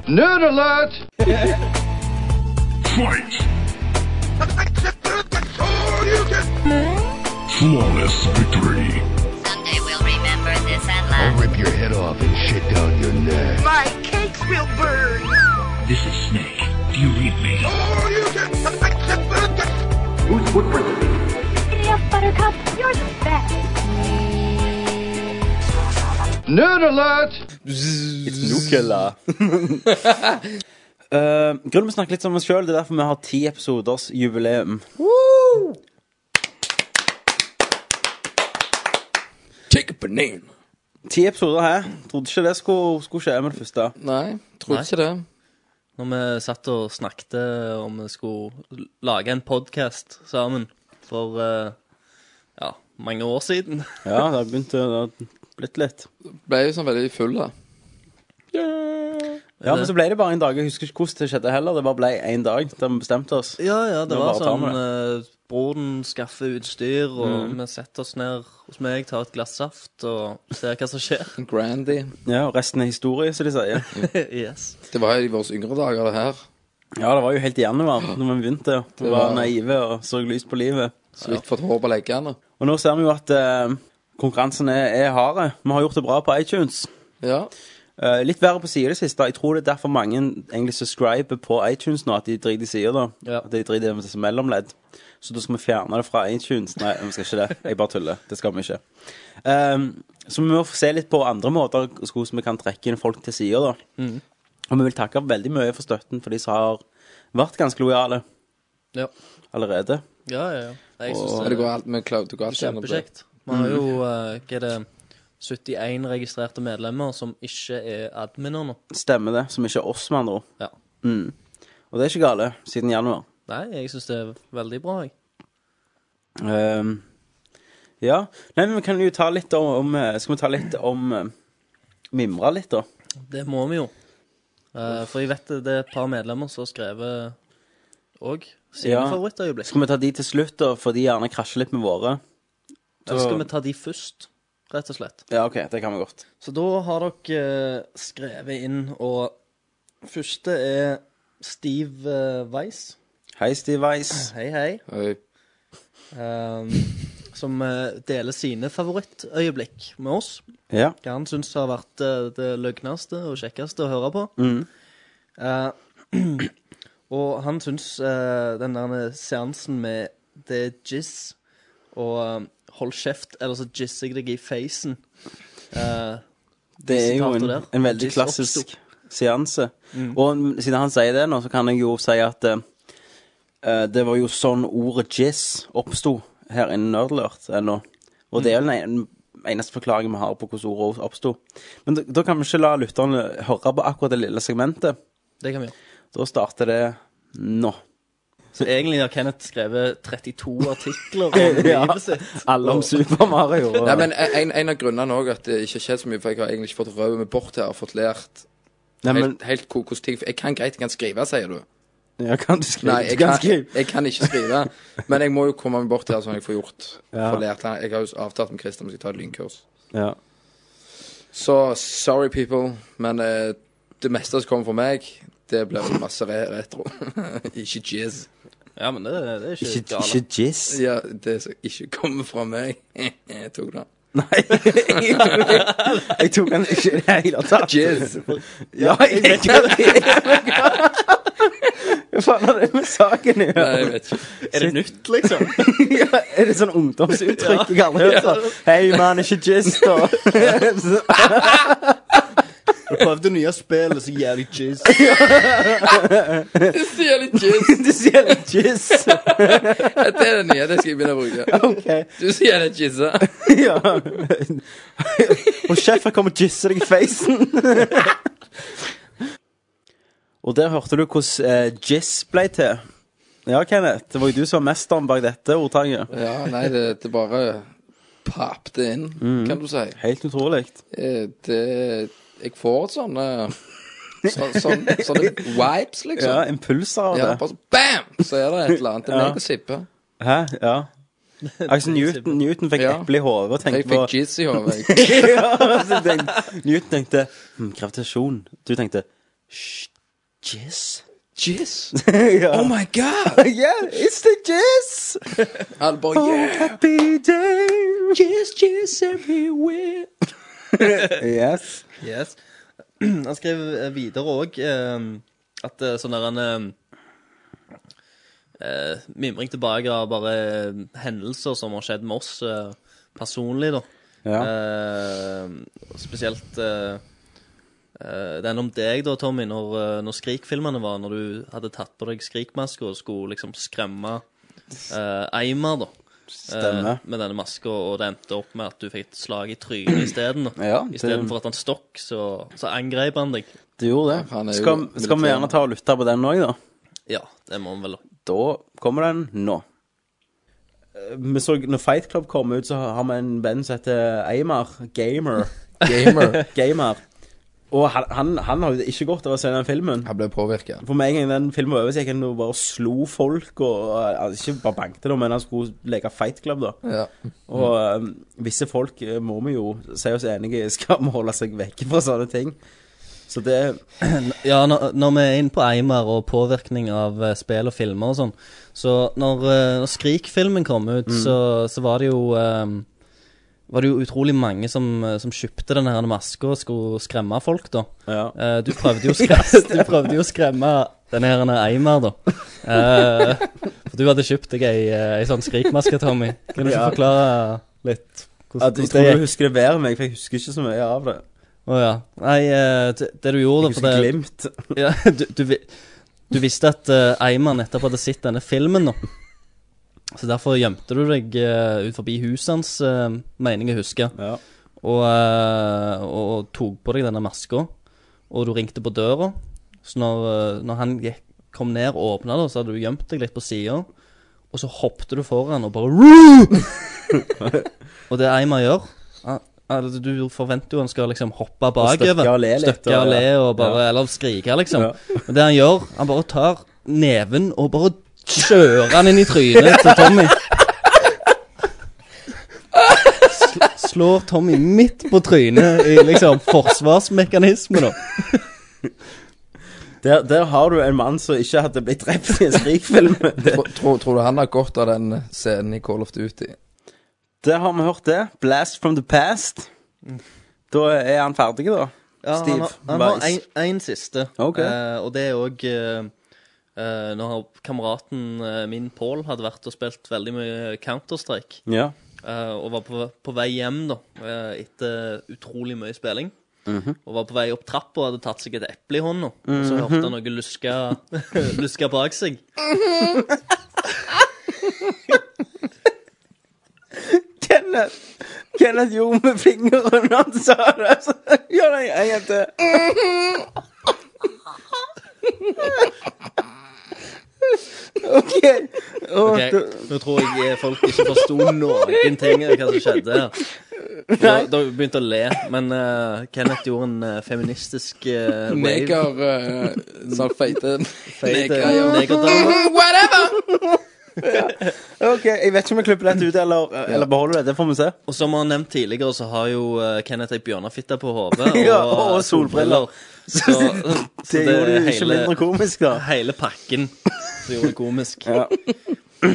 Speaker 5: Nerd alert! Fight! Flawless victory.
Speaker 6: Someday we'll remember this and laugh.
Speaker 5: I'll rip your head off and shit down your neck.
Speaker 7: My cakes will burn.
Speaker 5: This is Snake. Do you read me?
Speaker 7: Oh, you can.
Speaker 5: Who's Woodward the
Speaker 8: Enough, Buttercup, you're the best.
Speaker 5: Nerd alert!
Speaker 4: It's Nukela. Eh, grunnen vi snakker litt om oss sjøl, det er derfor vi har ti episoders jubileum.
Speaker 9: Take a banana.
Speaker 4: Ti episoder her. Trodde ikke det skulle, skulle skje med det første.
Speaker 9: Nei, trodde
Speaker 1: Nei.
Speaker 9: ikke det.
Speaker 1: Når vi satt og snakket om vi skulle lage en podkast sammen for øh, ja, mange år siden
Speaker 4: Ja, det har begynt å det har blitt litt.
Speaker 9: Ble jo sånn veldig full, da.
Speaker 4: Ja, men så ble det bare en dag. Jeg husker ikke hvordan det skjedde heller. Det bare ble én dag der vi bestemte oss.
Speaker 1: Ja, ja, det
Speaker 4: Nå
Speaker 1: var
Speaker 4: bare tar
Speaker 1: sånn eh, Broren skaffer utstyr, og
Speaker 4: Mhm.
Speaker 1: vi setter oss ned hos meg, tar et glass saft og ser hva som skjer.
Speaker 9: Sånn Grandy.
Speaker 4: Ja, og resten er historie, som de sier.
Speaker 1: yes.
Speaker 9: Det var jo i våre yngre dager, det her.
Speaker 4: Ja, det var jo helt i januar når vi begynte. Vi
Speaker 9: Det
Speaker 4: var
Speaker 9: var-
Speaker 4: naive og så lyst på livet.
Speaker 9: Så vidt fått hår på leggene.
Speaker 4: Og nå ser vi jo at eh, konkurransen er, er harde. Vi har gjort det bra på iTunes.
Speaker 9: Ja.
Speaker 4: Eh, litt verre på sida i det siste. Jeg tror det er derfor mange egentlig subscriber på iTunes nå, at de driter i sida, da.
Speaker 1: Ja.
Speaker 4: At de driter i det som mellomledd. Så da skal vi fjerne det fra iTunes. Nei, vi skal ikke det. Jeg bare tuller. Det skal vi ikke. Ehm, så vi må få se litt på andre måter hvordan vi kan trekke inn folk til sida, da.
Speaker 1: Mhm.
Speaker 4: Og vi vil takke veldig mye for støtten for de som har vært ganske lojale
Speaker 1: Ja.
Speaker 4: allerede.
Speaker 1: Ja, ja, ja. Jeg synes
Speaker 9: Og, det går alt med Cloud. Det går alt gjennom det.
Speaker 1: kjempekjekt. Vi har jo eh, hva er det, 71 registrerte medlemmer som ikke er adminer nå.
Speaker 4: Stemmer det. Som ikke er oss, med andre ord.
Speaker 1: Ja.
Speaker 4: Mm. Og det er ikke gale, siden januar.
Speaker 1: Nei, jeg syns det er veldig bra, jeg.
Speaker 4: Ehm, ja. Nei, men vi kan jo ta litt om, om eh, Skal vi ta litt om eh, Mimre litt, da?
Speaker 1: Det må vi jo. Eh, for jeg vet det- det er et par medlemmer som har skrevet òg sine
Speaker 4: Ja.
Speaker 1: favorittøyeblikk.
Speaker 4: Skal vi ta de til slutt, da? For de gjerne krasjer litt med våre.
Speaker 1: Da skal vi ta de først, rett og slett.
Speaker 4: Ja, OK. Det kan vi godt.
Speaker 1: Så da har dere eh, skrevet inn, og første er Steve eh, Weiss.
Speaker 4: Hei, Steve Weiss.
Speaker 1: Hei, hei. Ehm, som eh, deler sine favorittøyeblikk med oss.
Speaker 4: Ja.
Speaker 1: Hva han syns har vært eh, det løgneste og kjekkeste å høre på.
Speaker 4: Mhm.
Speaker 1: Eh, og han syns eh, den der seansen med det er jizz og eh, hold kjeft, eller så jizzer jeg deg i facen eh,
Speaker 4: Det
Speaker 1: de
Speaker 4: er jo
Speaker 1: sitater
Speaker 4: en,
Speaker 1: der.
Speaker 4: en veldig
Speaker 1: Jizz oppsto.
Speaker 4: klassisk seanse.
Speaker 1: Mm.
Speaker 4: Og n- siden han sier det nå, så kan jeg jo si at eh, eh, det var jo sånn ordet jizz oppsto her innen Nerdlert ennå. Og det er
Speaker 9: Mm.
Speaker 4: vel den en- eneste forklaringen vi har på hvordan ordet oppsto. Men da, da kan vi ikke la lytterne høre på akkurat det lille segmentet.
Speaker 1: Det kan vi gjøre.
Speaker 4: Da starter det nå.
Speaker 1: Så egentlig har Kenneth skrevet 32 artikler om
Speaker 4: Ja,
Speaker 1: livet sitt.
Speaker 4: alle om Super Mario.
Speaker 9: Nei, men en, en av grunnene òg at det ikke har skjedd så mye, for jeg har egentlig ikke fått røvet meg bort her og fått lært
Speaker 4: Nei, men-
Speaker 9: helt, helt ko- hvordan ting for Jeg kan greit, jeg kan skrive, sier du.
Speaker 4: Ja, kan du skrive?
Speaker 9: Nei,
Speaker 4: Du
Speaker 9: jeg
Speaker 4: kan
Speaker 9: kan,
Speaker 4: skrive.
Speaker 9: jeg kan ikke skrive. Men jeg må jo komme meg bort her, sånn at jeg får gjort.
Speaker 4: Ja.
Speaker 9: Får lært Jeg har jo avtalt med Christian om jeg skal ta et lynkurs.
Speaker 4: Ja.
Speaker 9: Så sorry, people, men eh, det meste som kommer fra meg, det blir vel masse re retro. ikke jizz.
Speaker 1: Ja, men det, er
Speaker 9: ikke
Speaker 4: Ikke- gale. ikke jizz?
Speaker 9: Ja, det som ikke kommer fra meg. jeg tok den.
Speaker 4: Nei, jeg, jeg tok den ikke i det hele tatt.
Speaker 9: Jizz.
Speaker 4: Ja, jeg vet ikke hva det er. Hva faen har det med saken å gjøre?
Speaker 9: Nei, jeg vet ikke.
Speaker 1: Er det nytt, liksom?
Speaker 4: ja, er det sånn ungdomsuttrykk jeg aldri har hørt?
Speaker 1: Ja.
Speaker 4: sånn, Hei, man, ikke jizz, da.
Speaker 1: Du prøvde nye spill, og så jævlig jizz.
Speaker 9: Det sier litt jizz.
Speaker 4: du sier litt jizz.
Speaker 9: Det er det nye, det skal jeg begynne å bruke.
Speaker 4: Ok.
Speaker 9: Du sier litt jizza.
Speaker 4: ja. Og sjefen kommer og jizzer deg i facen. og der hørte du hvordan eh, jizz ble til. Ja, Kenneth, det var jo du som var mesteren bak dette ordtaket.
Speaker 9: Ja, nei, det, det bare papte inn,
Speaker 4: Mm.
Speaker 9: kan du si.
Speaker 4: Helt utrolig.
Speaker 9: Eh, Det Jeg får sånne så, sånn, Sånne vibes, liksom.
Speaker 4: Ja, impulser av
Speaker 9: Ja,
Speaker 4: det.
Speaker 9: bare så bam! Så er det et eller annet. Det er
Speaker 4: Ja.
Speaker 9: meg og Sippe.
Speaker 4: Hæ? Ja. Altså, Newton, Newton fikk
Speaker 9: Ja.
Speaker 4: eple i hodet og
Speaker 9: Jeg
Speaker 4: tenkte på
Speaker 9: fikk jizz i hodet. jeg.
Speaker 4: Ja, så tenkte- Newton tenkte hm, gravitasjon. Du tenkte «Shh, jizz.
Speaker 9: Jizz?
Speaker 4: ja.
Speaker 9: Oh my god!
Speaker 4: yeah, it's the jizz!
Speaker 9: Alle bare yeah!
Speaker 4: Oh, happy day! Jizz, jizz everywhere. yes.
Speaker 1: Yes. Han skrev eh, videre òg at eh, sånn der en eh, eh, Mimring tilbake av bare eh, hendelser som har skjedd med oss eh, personlig, da.
Speaker 4: Ja.
Speaker 1: Eh, spesielt eh, eh, den om deg, da, Tommy, når, eh, når Skrik-filmene var, når du hadde tatt på deg Skrik-maska og skulle liksom skremme eh, Eimer, da. eh,
Speaker 4: Stemmer.
Speaker 1: med denne maska, og det endte opp med at du fikk et slag i trynet isteden. da.
Speaker 4: Ja, det-
Speaker 1: Istedenfor at han stokk, så, så angrep han deg.
Speaker 4: Du gjorde det.
Speaker 9: Han er jo
Speaker 4: Skal, skal vi
Speaker 9: militær.
Speaker 4: gjerne ta og lytte på den òg, da?
Speaker 1: Ja, det må han vel.
Speaker 4: Da kommer den nå. Eh, Vi så, når Fight Club kom ut, så har vi en venn som heter Eimer. Gamer.
Speaker 9: Gamer.
Speaker 4: Gamer. Og han, han, han har jo ikke godt av å se den filmen.
Speaker 9: Han ble påvirka.
Speaker 4: For med en gang den filmen var over, så gikk han og bare slo folk. Og, altså, ikke bare bankte, da, men han skulle leke Fight Club, da.
Speaker 9: Ja.
Speaker 4: Og øhm, visse folk øh, må vi jo si oss enige skal må holde seg vekk fra sånne ting. Så det
Speaker 1: Ja, når, når vi er inne på Eimer og påvirkning av eh, spill og filmer og sånn Så når, eh, når Skrik-filmen kom ut,
Speaker 4: Mm.
Speaker 1: så, så var det jo eh, var det jo utrolig mange som, eh, som kjøpte denne her maska og skulle skremme folk, da.
Speaker 4: Ja.
Speaker 1: Eh, du, prøvde jo å skremme, du prøvde jo å skremme denne her Eimer, da. Eh, for du hadde kjøpt deg ei, eh, ei sånn skrikmaske, Tommy. Kan du ikke
Speaker 4: Ja.
Speaker 1: forklare litt
Speaker 4: at Jeg tror du husker det bedre enn meg, for jeg husker ikke så mye av det.
Speaker 1: Å ja. Nei, eh, det, det du gjorde
Speaker 4: Jeg
Speaker 1: for det,
Speaker 4: husker Glimt.
Speaker 1: ja, du, du, vi- du visste at uh, Eimer nettopp hadde sett denne filmen nå. Så derfor gjemte du deg eh, ut forbi huset hans, eh, mener jeg å huske,
Speaker 4: Ja.
Speaker 1: og, eh, og, og tok på deg denne maska. Og du ringte på døra. Så når, eh, når han gikk, kom ned og åpna, da, så hadde du gjemt deg litt på sida. Og så hoppte du foran og bare «Roo!» Og det Eimer gjør han- altså, Du forventer jo han skal liksom hoppe bakover.
Speaker 4: støkke og le litt,
Speaker 1: Støkke og
Speaker 4: og-
Speaker 1: le og bare
Speaker 4: ja.
Speaker 1: Eller skrike, liksom.
Speaker 4: Ja.
Speaker 1: Men det han gjør, han bare tar neven og bare kjører han inn i trynet til Tommy. Sl slår Tommy midt på trynet i liksom forsvarsmekanisme, da.
Speaker 4: Der, der har du en mann som ikke hadde blitt drept i en skrikfilm.
Speaker 9: Tror, tror- tror du han har godt av den scenen i Call of Duty?
Speaker 4: Der har vi hørt det. Blast from the past. Da er han ferdig, da.
Speaker 1: Ja,
Speaker 4: Steve
Speaker 1: han har, han har
Speaker 4: Weiss.
Speaker 1: en, en siste,
Speaker 4: Ok.
Speaker 1: Eh, og det er òg uh, Når kameraten eh, min, Paul, hadde vært og spilt veldig mye Counter-Strike,
Speaker 4: Ja.
Speaker 1: eh, og var på, på vei hjem da, eh, etter utrolig mye spilling,
Speaker 4: Mhm.
Speaker 1: og var på vei opp trappa og hadde tatt seg et eple i hånda, og så
Speaker 4: Mhm.
Speaker 1: hørte han noe luske, luske bak seg.
Speaker 4: Kenneth Kenneth gjorde med fingeren når han sa det. Så altså- gjør det en gang til. OK. Og
Speaker 1: Ok,
Speaker 4: da-
Speaker 1: Nå tror jeg eh, folk ikke forsto noen ting av hva som skjedde her. Da,
Speaker 4: Nei.
Speaker 1: da begynte jeg å le, men eh, Kenneth gjorde en eh, feministisk uh,
Speaker 9: Neger eh, Sånn feite negergreier.
Speaker 7: Whatever!
Speaker 4: OK, jeg vet ikke om jeg klipper dette ut, eller, eller beholder det. Det får vi se.
Speaker 1: Og som vi har nevnt tidligere, så har jo eh, Kenneth ei bjørnefitte på hodet.
Speaker 4: Ja, og solbriller.
Speaker 1: Så, så
Speaker 4: Det gjorde det jo ikke mindre komisk, da.
Speaker 1: Hele pakken som gjorde det komisk.
Speaker 4: Ja.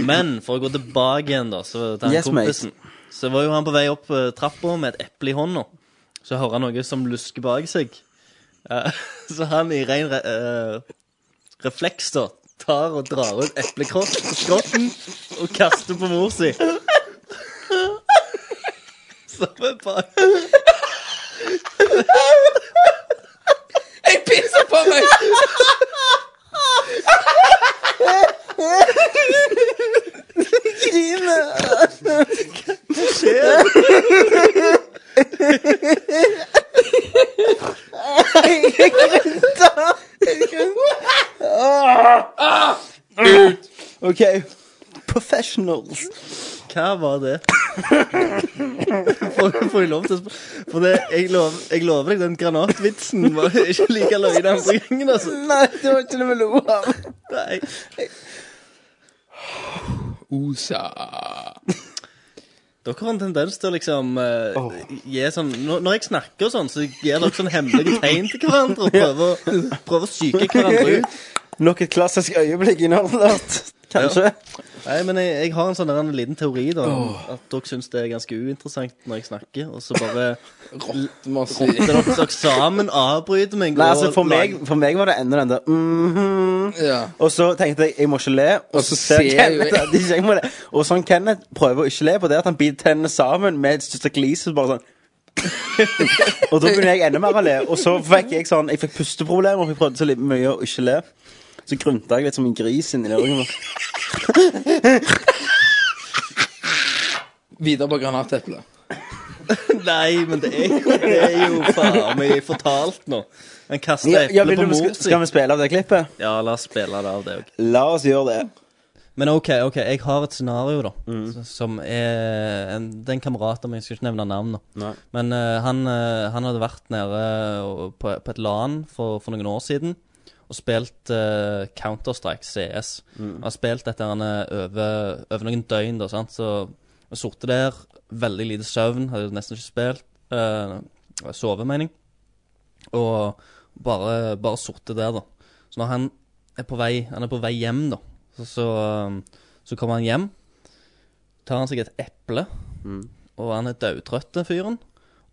Speaker 1: Men for å gå tilbake igjen, da, så til han
Speaker 4: Yes, mate.
Speaker 1: kompisen Så var jo han på vei opp eh, trappa med et eple i hånda. Så hører han noe som lusker bak seg. Eh, så han i ren re eh, refleks, da, tar og drar ut eplekrotten og kaster på mor si. Som en bak.
Speaker 7: Jeg pisser på meg! Griner. Hva skjer? Jeg grunter. Jeg grunter.
Speaker 4: Ut. OK. Professionals.
Speaker 1: Hva var det? Får, får jeg lov til å spørre? For det, jeg, lov, jeg lover deg, den granatvitsen var ikke like løgn den andre gangen, altså.
Speaker 4: Nei, det var ikke det vi lo av.
Speaker 1: Nei.
Speaker 9: Osa. Ah,
Speaker 1: Dere har en tendens til å liksom eh, gi sånn når, når jeg snakker og sånn, så gir dere sånn hemmelige tegn til hverandre og prøver, å- prøver å psyke hverandre ut.
Speaker 4: Nok et klassisk øyeblikk innholdet. Kanskje.
Speaker 1: Nei, men jeg, jeg har en sånn der en liten teori, da. om At dere syns det er ganske uinteressant når jeg snakker, og så bare
Speaker 9: Rotter
Speaker 1: dere dere sammen, avbryter meg.
Speaker 4: Nei,
Speaker 1: og
Speaker 4: altså for meg,
Speaker 1: lager-
Speaker 4: for meg var det enda den der mhm.
Speaker 9: Ja.
Speaker 4: Og så tenkte jeg jeg må ikke le, og så ser
Speaker 9: ser
Speaker 4: Kenneth
Speaker 9: jeg-
Speaker 4: at ikke jeg må le. Og sånn Kenneth prøver å ikke le på det at han biter tennene sammen med et største glis og bare sånn Og da begynner jeg enda mer å le. Og så fikk jeg sånn Jeg fikk pusteproblemer, for jeg prøvde så litt mye å ikke le. Så grunta jeg litt som en gris inni lørdagen.
Speaker 9: Videre på granateplet.
Speaker 1: Nei, men det er, det er jo faen meg fortalt nå. Han kaster
Speaker 4: Ja, ja,
Speaker 1: eple
Speaker 4: vil
Speaker 1: på
Speaker 4: du-
Speaker 1: mor
Speaker 4: skal-
Speaker 1: si.
Speaker 4: skal vi spille av det klippet?
Speaker 1: Ja, la oss spille det av det òg.
Speaker 4: La oss gjøre det.
Speaker 1: Men OK, ok, jeg har et scenario, da. s- Som er en, Det er en kamerat av meg, jeg skal ikke nevne navn, da.
Speaker 4: Nei.
Speaker 1: Men eh, han, eh, han hadde vært nede og- på, på et LAN for, for noen år siden og spilt eh, Counter-Strike CS.
Speaker 12: Mm.
Speaker 1: Han har spilt dette han eh, over, over noen døgn, da, sant? så han sorte der, veldig lite søvn, hadde nesten ikke spilt, uh, sove, mening, og bare, bare sorte der, da. Så når han er på vei, han er på vei hjem, da, så, så, eh, så kommer han hjem, tar han seg et eple,
Speaker 4: Mm.
Speaker 1: og han er dødtrøtt, den fyren,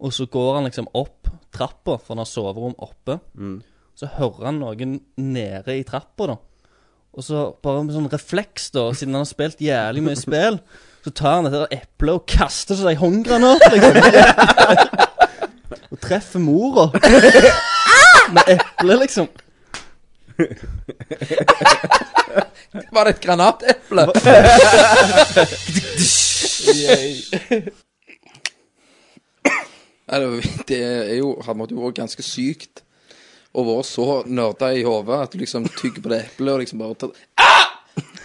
Speaker 1: og så går han liksom opp trappa, for han har soverom oppe,
Speaker 4: Mm.
Speaker 1: så hører han noen nede i trappa, da. Og så bare med sånn refleks, da, siden han har spilt jævlig mye spill, så tar han dette der eplet og kaster seg ei håndgranat, liksom. og treffer mora med eplet, liksom.
Speaker 9: Var det et granateple? Nei, det var- Det er jo Han måtte jo vært ganske sykt å være så nerda i hodet at du liksom tygger på det eplet og liksom bare tar ah!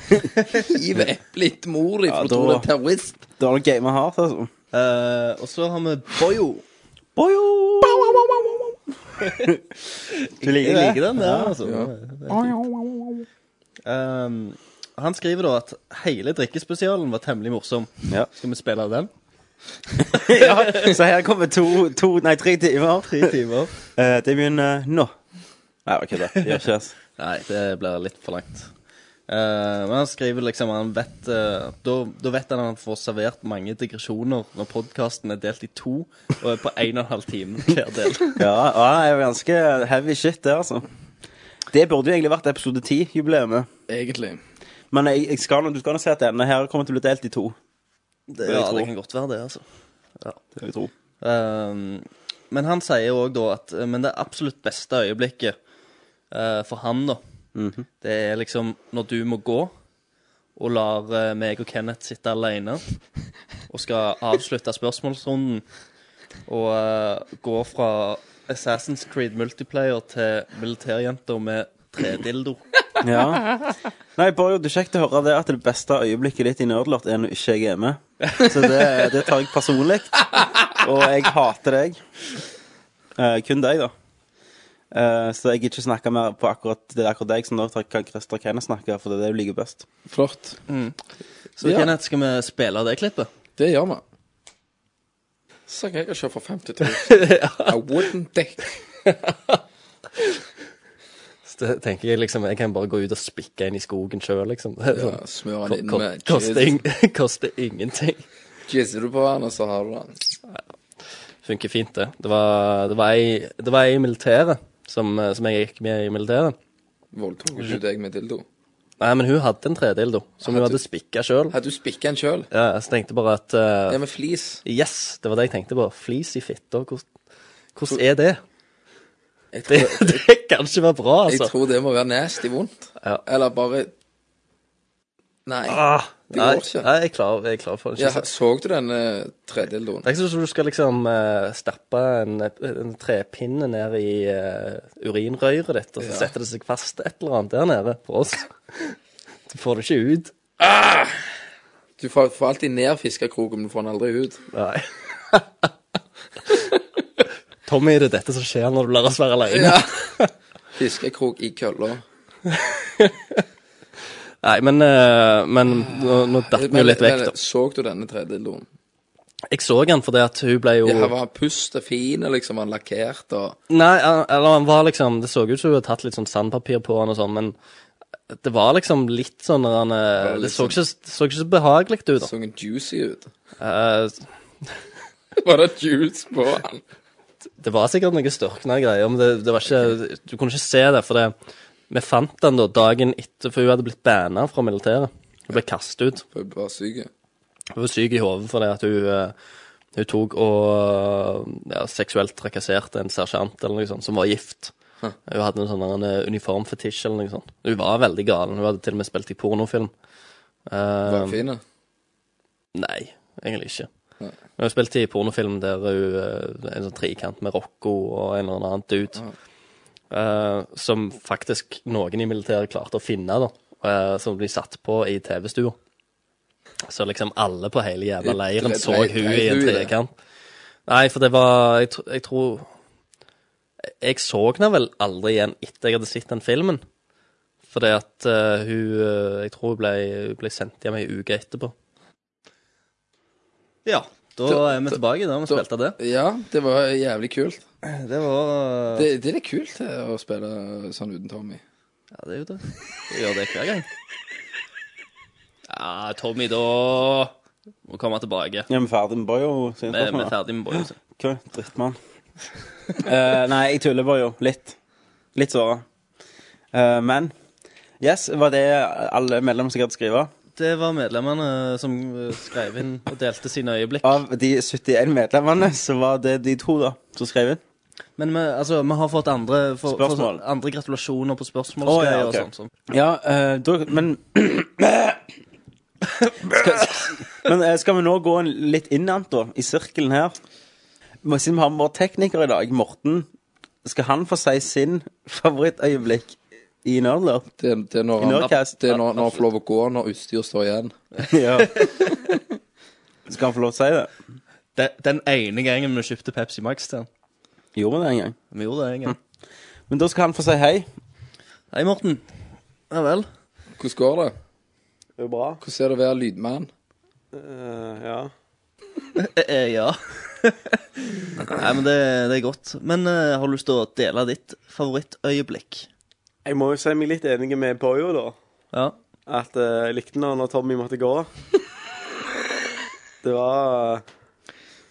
Speaker 9: Hiver eplet etter mor di, for du tror det er en terrorist.
Speaker 4: Da har du gamet hardt, altså.
Speaker 1: Eh, og så har vi Boyo.
Speaker 4: Boyo!
Speaker 1: Du liker,
Speaker 4: det?
Speaker 1: jeg liker den der,
Speaker 4: Ja,
Speaker 1: altså.
Speaker 4: ja.
Speaker 1: Det er fint. Ehm, han skriver da at hele drikkespesialen var temmelig morsom. Skal vi spille av den?
Speaker 4: ja, så her kommer to, to nei, tre timer.
Speaker 1: Tre timer.
Speaker 4: Eh, det begynner nå. Nei, ok, da. Gjør ikke det.
Speaker 1: Nei, det blir litt for langt. Eh, men han skriver liksom han vet, eh, Da da vet han han får servert mange digresjoner når podkasten er delt i to og er på en og en halv time hver del.
Speaker 4: Ja, ja, det er jo ganske heavy shit, det, altså. Det burde jo egentlig vært episode 10-jubileet.
Speaker 9: Egentlig.
Speaker 4: Men jeg, jeg skal, nå- du skal nå se at denne her kommer til å bli delt i to.
Speaker 1: Det, ja, det kan godt være det, altså. Ja.
Speaker 4: Det vil jeg tro.
Speaker 1: Ehm, men han sier òg da at eh, Men det absolutt beste øyeblikket eh, for han, da, det er liksom når du må gå og lar eh, meg og Kenneth sitte alene og skal avslutte spørsmålsrunden og eh, gå fra Assassin's Creed multiplayer til militærjenter med tredildo.
Speaker 4: Ja. Nei, Borjo, det er kjekt å høre det at det beste øyeblikket ditt i Nerdlort er når ikke jeg er med. Så det, det tar jeg personlig. Og jeg hater deg. Eh, kun deg, da. Eh, så jeg gidder ikke snakke mer på akkurat det er akkurat deg, som da kan Christer Kenneth snakke, for det er det jeg liker best.
Speaker 9: Flott.
Speaker 1: Så
Speaker 4: Ja.
Speaker 1: Kenneth, skal vi spille det klippet?
Speaker 9: Det gjør vi. Så kan jeg kjøre for 50 000. A wooden dick.
Speaker 1: Så det tenker jeg liksom, jeg kan bare gå ut og spikke inn i skogen sjøl, liksom. Det er
Speaker 9: Ja,
Speaker 1: sånn,
Speaker 9: smøre
Speaker 1: ko-
Speaker 9: den inn
Speaker 1: ko-
Speaker 9: med
Speaker 1: koster,
Speaker 9: cheese.
Speaker 1: ing- koster ingenting.
Speaker 9: Jizzer du på han, og så har du han.
Speaker 1: Funker fint, det. Det var, det var, ei, det var ei i militæret som, eh, som jeg gikk med i militæret.
Speaker 9: Voldtok ikke deg med dildo?
Speaker 1: Nei, men hun hadde en tredildo som hun
Speaker 9: Hadde-
Speaker 1: hadde spikka sjøl.
Speaker 9: Hadde du spikka en sjøl?
Speaker 1: Ja, jeg tenkte bare at eh,
Speaker 9: Ja, med flis.
Speaker 1: Yes, det var det jeg tenkte på. Flis i fitta. Hvordan hvordan er det?
Speaker 9: Jeg
Speaker 1: Det,
Speaker 9: tror-
Speaker 1: det kan ikke være bra, altså.
Speaker 9: Jeg tror det må være nasty vondt.
Speaker 1: Ja.
Speaker 9: Eller bare Nei.
Speaker 1: Ah,
Speaker 9: det
Speaker 1: nei,
Speaker 9: går ikke.
Speaker 1: Nei, jeg er klar, jeg er klar for det.
Speaker 9: Ja, så du den eh, tredildoen?
Speaker 1: Det er ikke sånn at du skal liksom eh, stappe en, en trepinne ned i eh, urinrøret ditt, og så
Speaker 9: Ja.
Speaker 1: setter det seg fast et eller annet der nede på oss. Du får det ikke ut.
Speaker 9: Du får, får alltid ned fiskekroken, men du får den aldri ut.
Speaker 1: Nei. Tommy, det er dette som skjer når du lar oss være alene.
Speaker 9: Ja. Fiskekrok i kølla.
Speaker 1: Nei, men, eh, men nå, nå datt vi jo litt vekk, da.
Speaker 9: Så du denne tredildoen?
Speaker 1: Jeg så han fordi at hun ble jo
Speaker 9: Ja, han var pustefin, liksom. Han lakkert og
Speaker 1: Nei, han- eller han var liksom Det så ut som hun hadde tatt litt sånn sandpapir på han og sånn, men det var liksom litt sånn når han eh,
Speaker 9: var
Speaker 1: Det
Speaker 9: litt
Speaker 1: så
Speaker 9: sånn-
Speaker 1: ikke, det så ikke så behagelig ut, da.
Speaker 9: så juicy ut.
Speaker 1: Eh,
Speaker 9: Var det juice på han?
Speaker 1: det var sikkert noe størkna greier, men det, det var ikke Du kunne ikke se det, for det Vi fant den da dagen etter, for hun hadde blitt banna fra militæret. Hun ble kastet ut.
Speaker 9: For jeg var syk.
Speaker 1: Hun var syk i hodet fordi at hun eh, hun tok og ja, seksuelt trakasserte en sersjant eller noe sånt, som var gift.
Speaker 9: Huh.
Speaker 1: Hun hadde en sånn der, en eh, uniformfetisj eller noe sånt. Hun var veldig gal. Hun hadde til og med spilt i pornofilm. Eh,
Speaker 9: Var han fin? da?
Speaker 1: Nei, egentlig ikke.
Speaker 9: Nei.
Speaker 1: Men Hun spilte i pornofilm der hun eh, en sånn trikant med Rocco og en eller annen dude. eh, som faktisk noen i militæret klarte å finne, da. eh, som de satt på i TV-stua. Så liksom alle på hele jævla leiren
Speaker 9: Dreit-
Speaker 1: så
Speaker 9: dreit-
Speaker 1: hun
Speaker 9: dreit
Speaker 1: i en
Speaker 9: hun i det?
Speaker 1: trekant. Nei, for det var Jeg, tr jeg tror Jeg så henne vel aldri igjen etter jeg hadde sett den filmen. Fordi at eh, hun eh, Jeg tror hun ble, hun ble sendt hjem ei uke etterpå. Ja, da er vi tilbake der vi spilte det.
Speaker 9: Ja, det var jævlig kult.
Speaker 1: Det var
Speaker 9: Det, det er litt kult det, å spille sånn uten Tommy.
Speaker 1: Ja, det er jo det. Vi gjør det hver gang. Ja, Tommy, da må komme tilbake.
Speaker 4: Ja, vi er ferdig med Borjo.
Speaker 1: Vi vi er ferdig med Boys.
Speaker 4: Hva? Drittmann. Eh, nei, jeg tuller bare jo. Litt. Litt såra. Eh, men Yes, var det alle medlemmer som gadd skrive?
Speaker 1: Det var medlemmene som eh, skrev inn og delte sine øyeblikk.
Speaker 4: Av de 71 medlemmene, så var det de to da som skrev inn.
Speaker 1: Men vi, altså, vi har fått andre, for, for,
Speaker 4: Spørsmål.
Speaker 1: andre gratulasjoner på spørsmål
Speaker 4: Å, ja,
Speaker 1: og
Speaker 4: ok.
Speaker 1: sånt. sånn.
Speaker 4: Ja, eh, da, men skal, Men eh, skal vi nå gå en litt innant, da, i sirkelen her? Men Siden vi har med vår tekniker i dag, Morten, skal han få si sin favorittøyeblikk i Nerdlert?
Speaker 9: Det, det er når,
Speaker 4: I
Speaker 9: han,
Speaker 4: Nordcast.
Speaker 9: det er når, når han får lov å gå når utstyr står igjen.
Speaker 4: ja. Skal han få lov til å si det?
Speaker 1: Den, den ene gangen vi kjøpte Pepsi Max til han.
Speaker 4: Gjorde vi det en gang?
Speaker 1: Vi gjorde det en gang.
Speaker 4: Men da skal han få si hei.
Speaker 1: Hei, Morten. Ja vel.
Speaker 9: Hvordan går det?
Speaker 4: Det er bra.
Speaker 13: Eh,
Speaker 9: Hvordan er det å være lydmann?
Speaker 4: ja.
Speaker 1: Eh, eh, ja. Nei, men det, det er godt. Men eh, har du lyst til å dele ditt favorittøyeblikk?
Speaker 13: Jeg må jo si meg litt enig med Boyo, da.
Speaker 1: Ja.
Speaker 13: At eh, jeg likte når, når Tommy måtte gå. Det var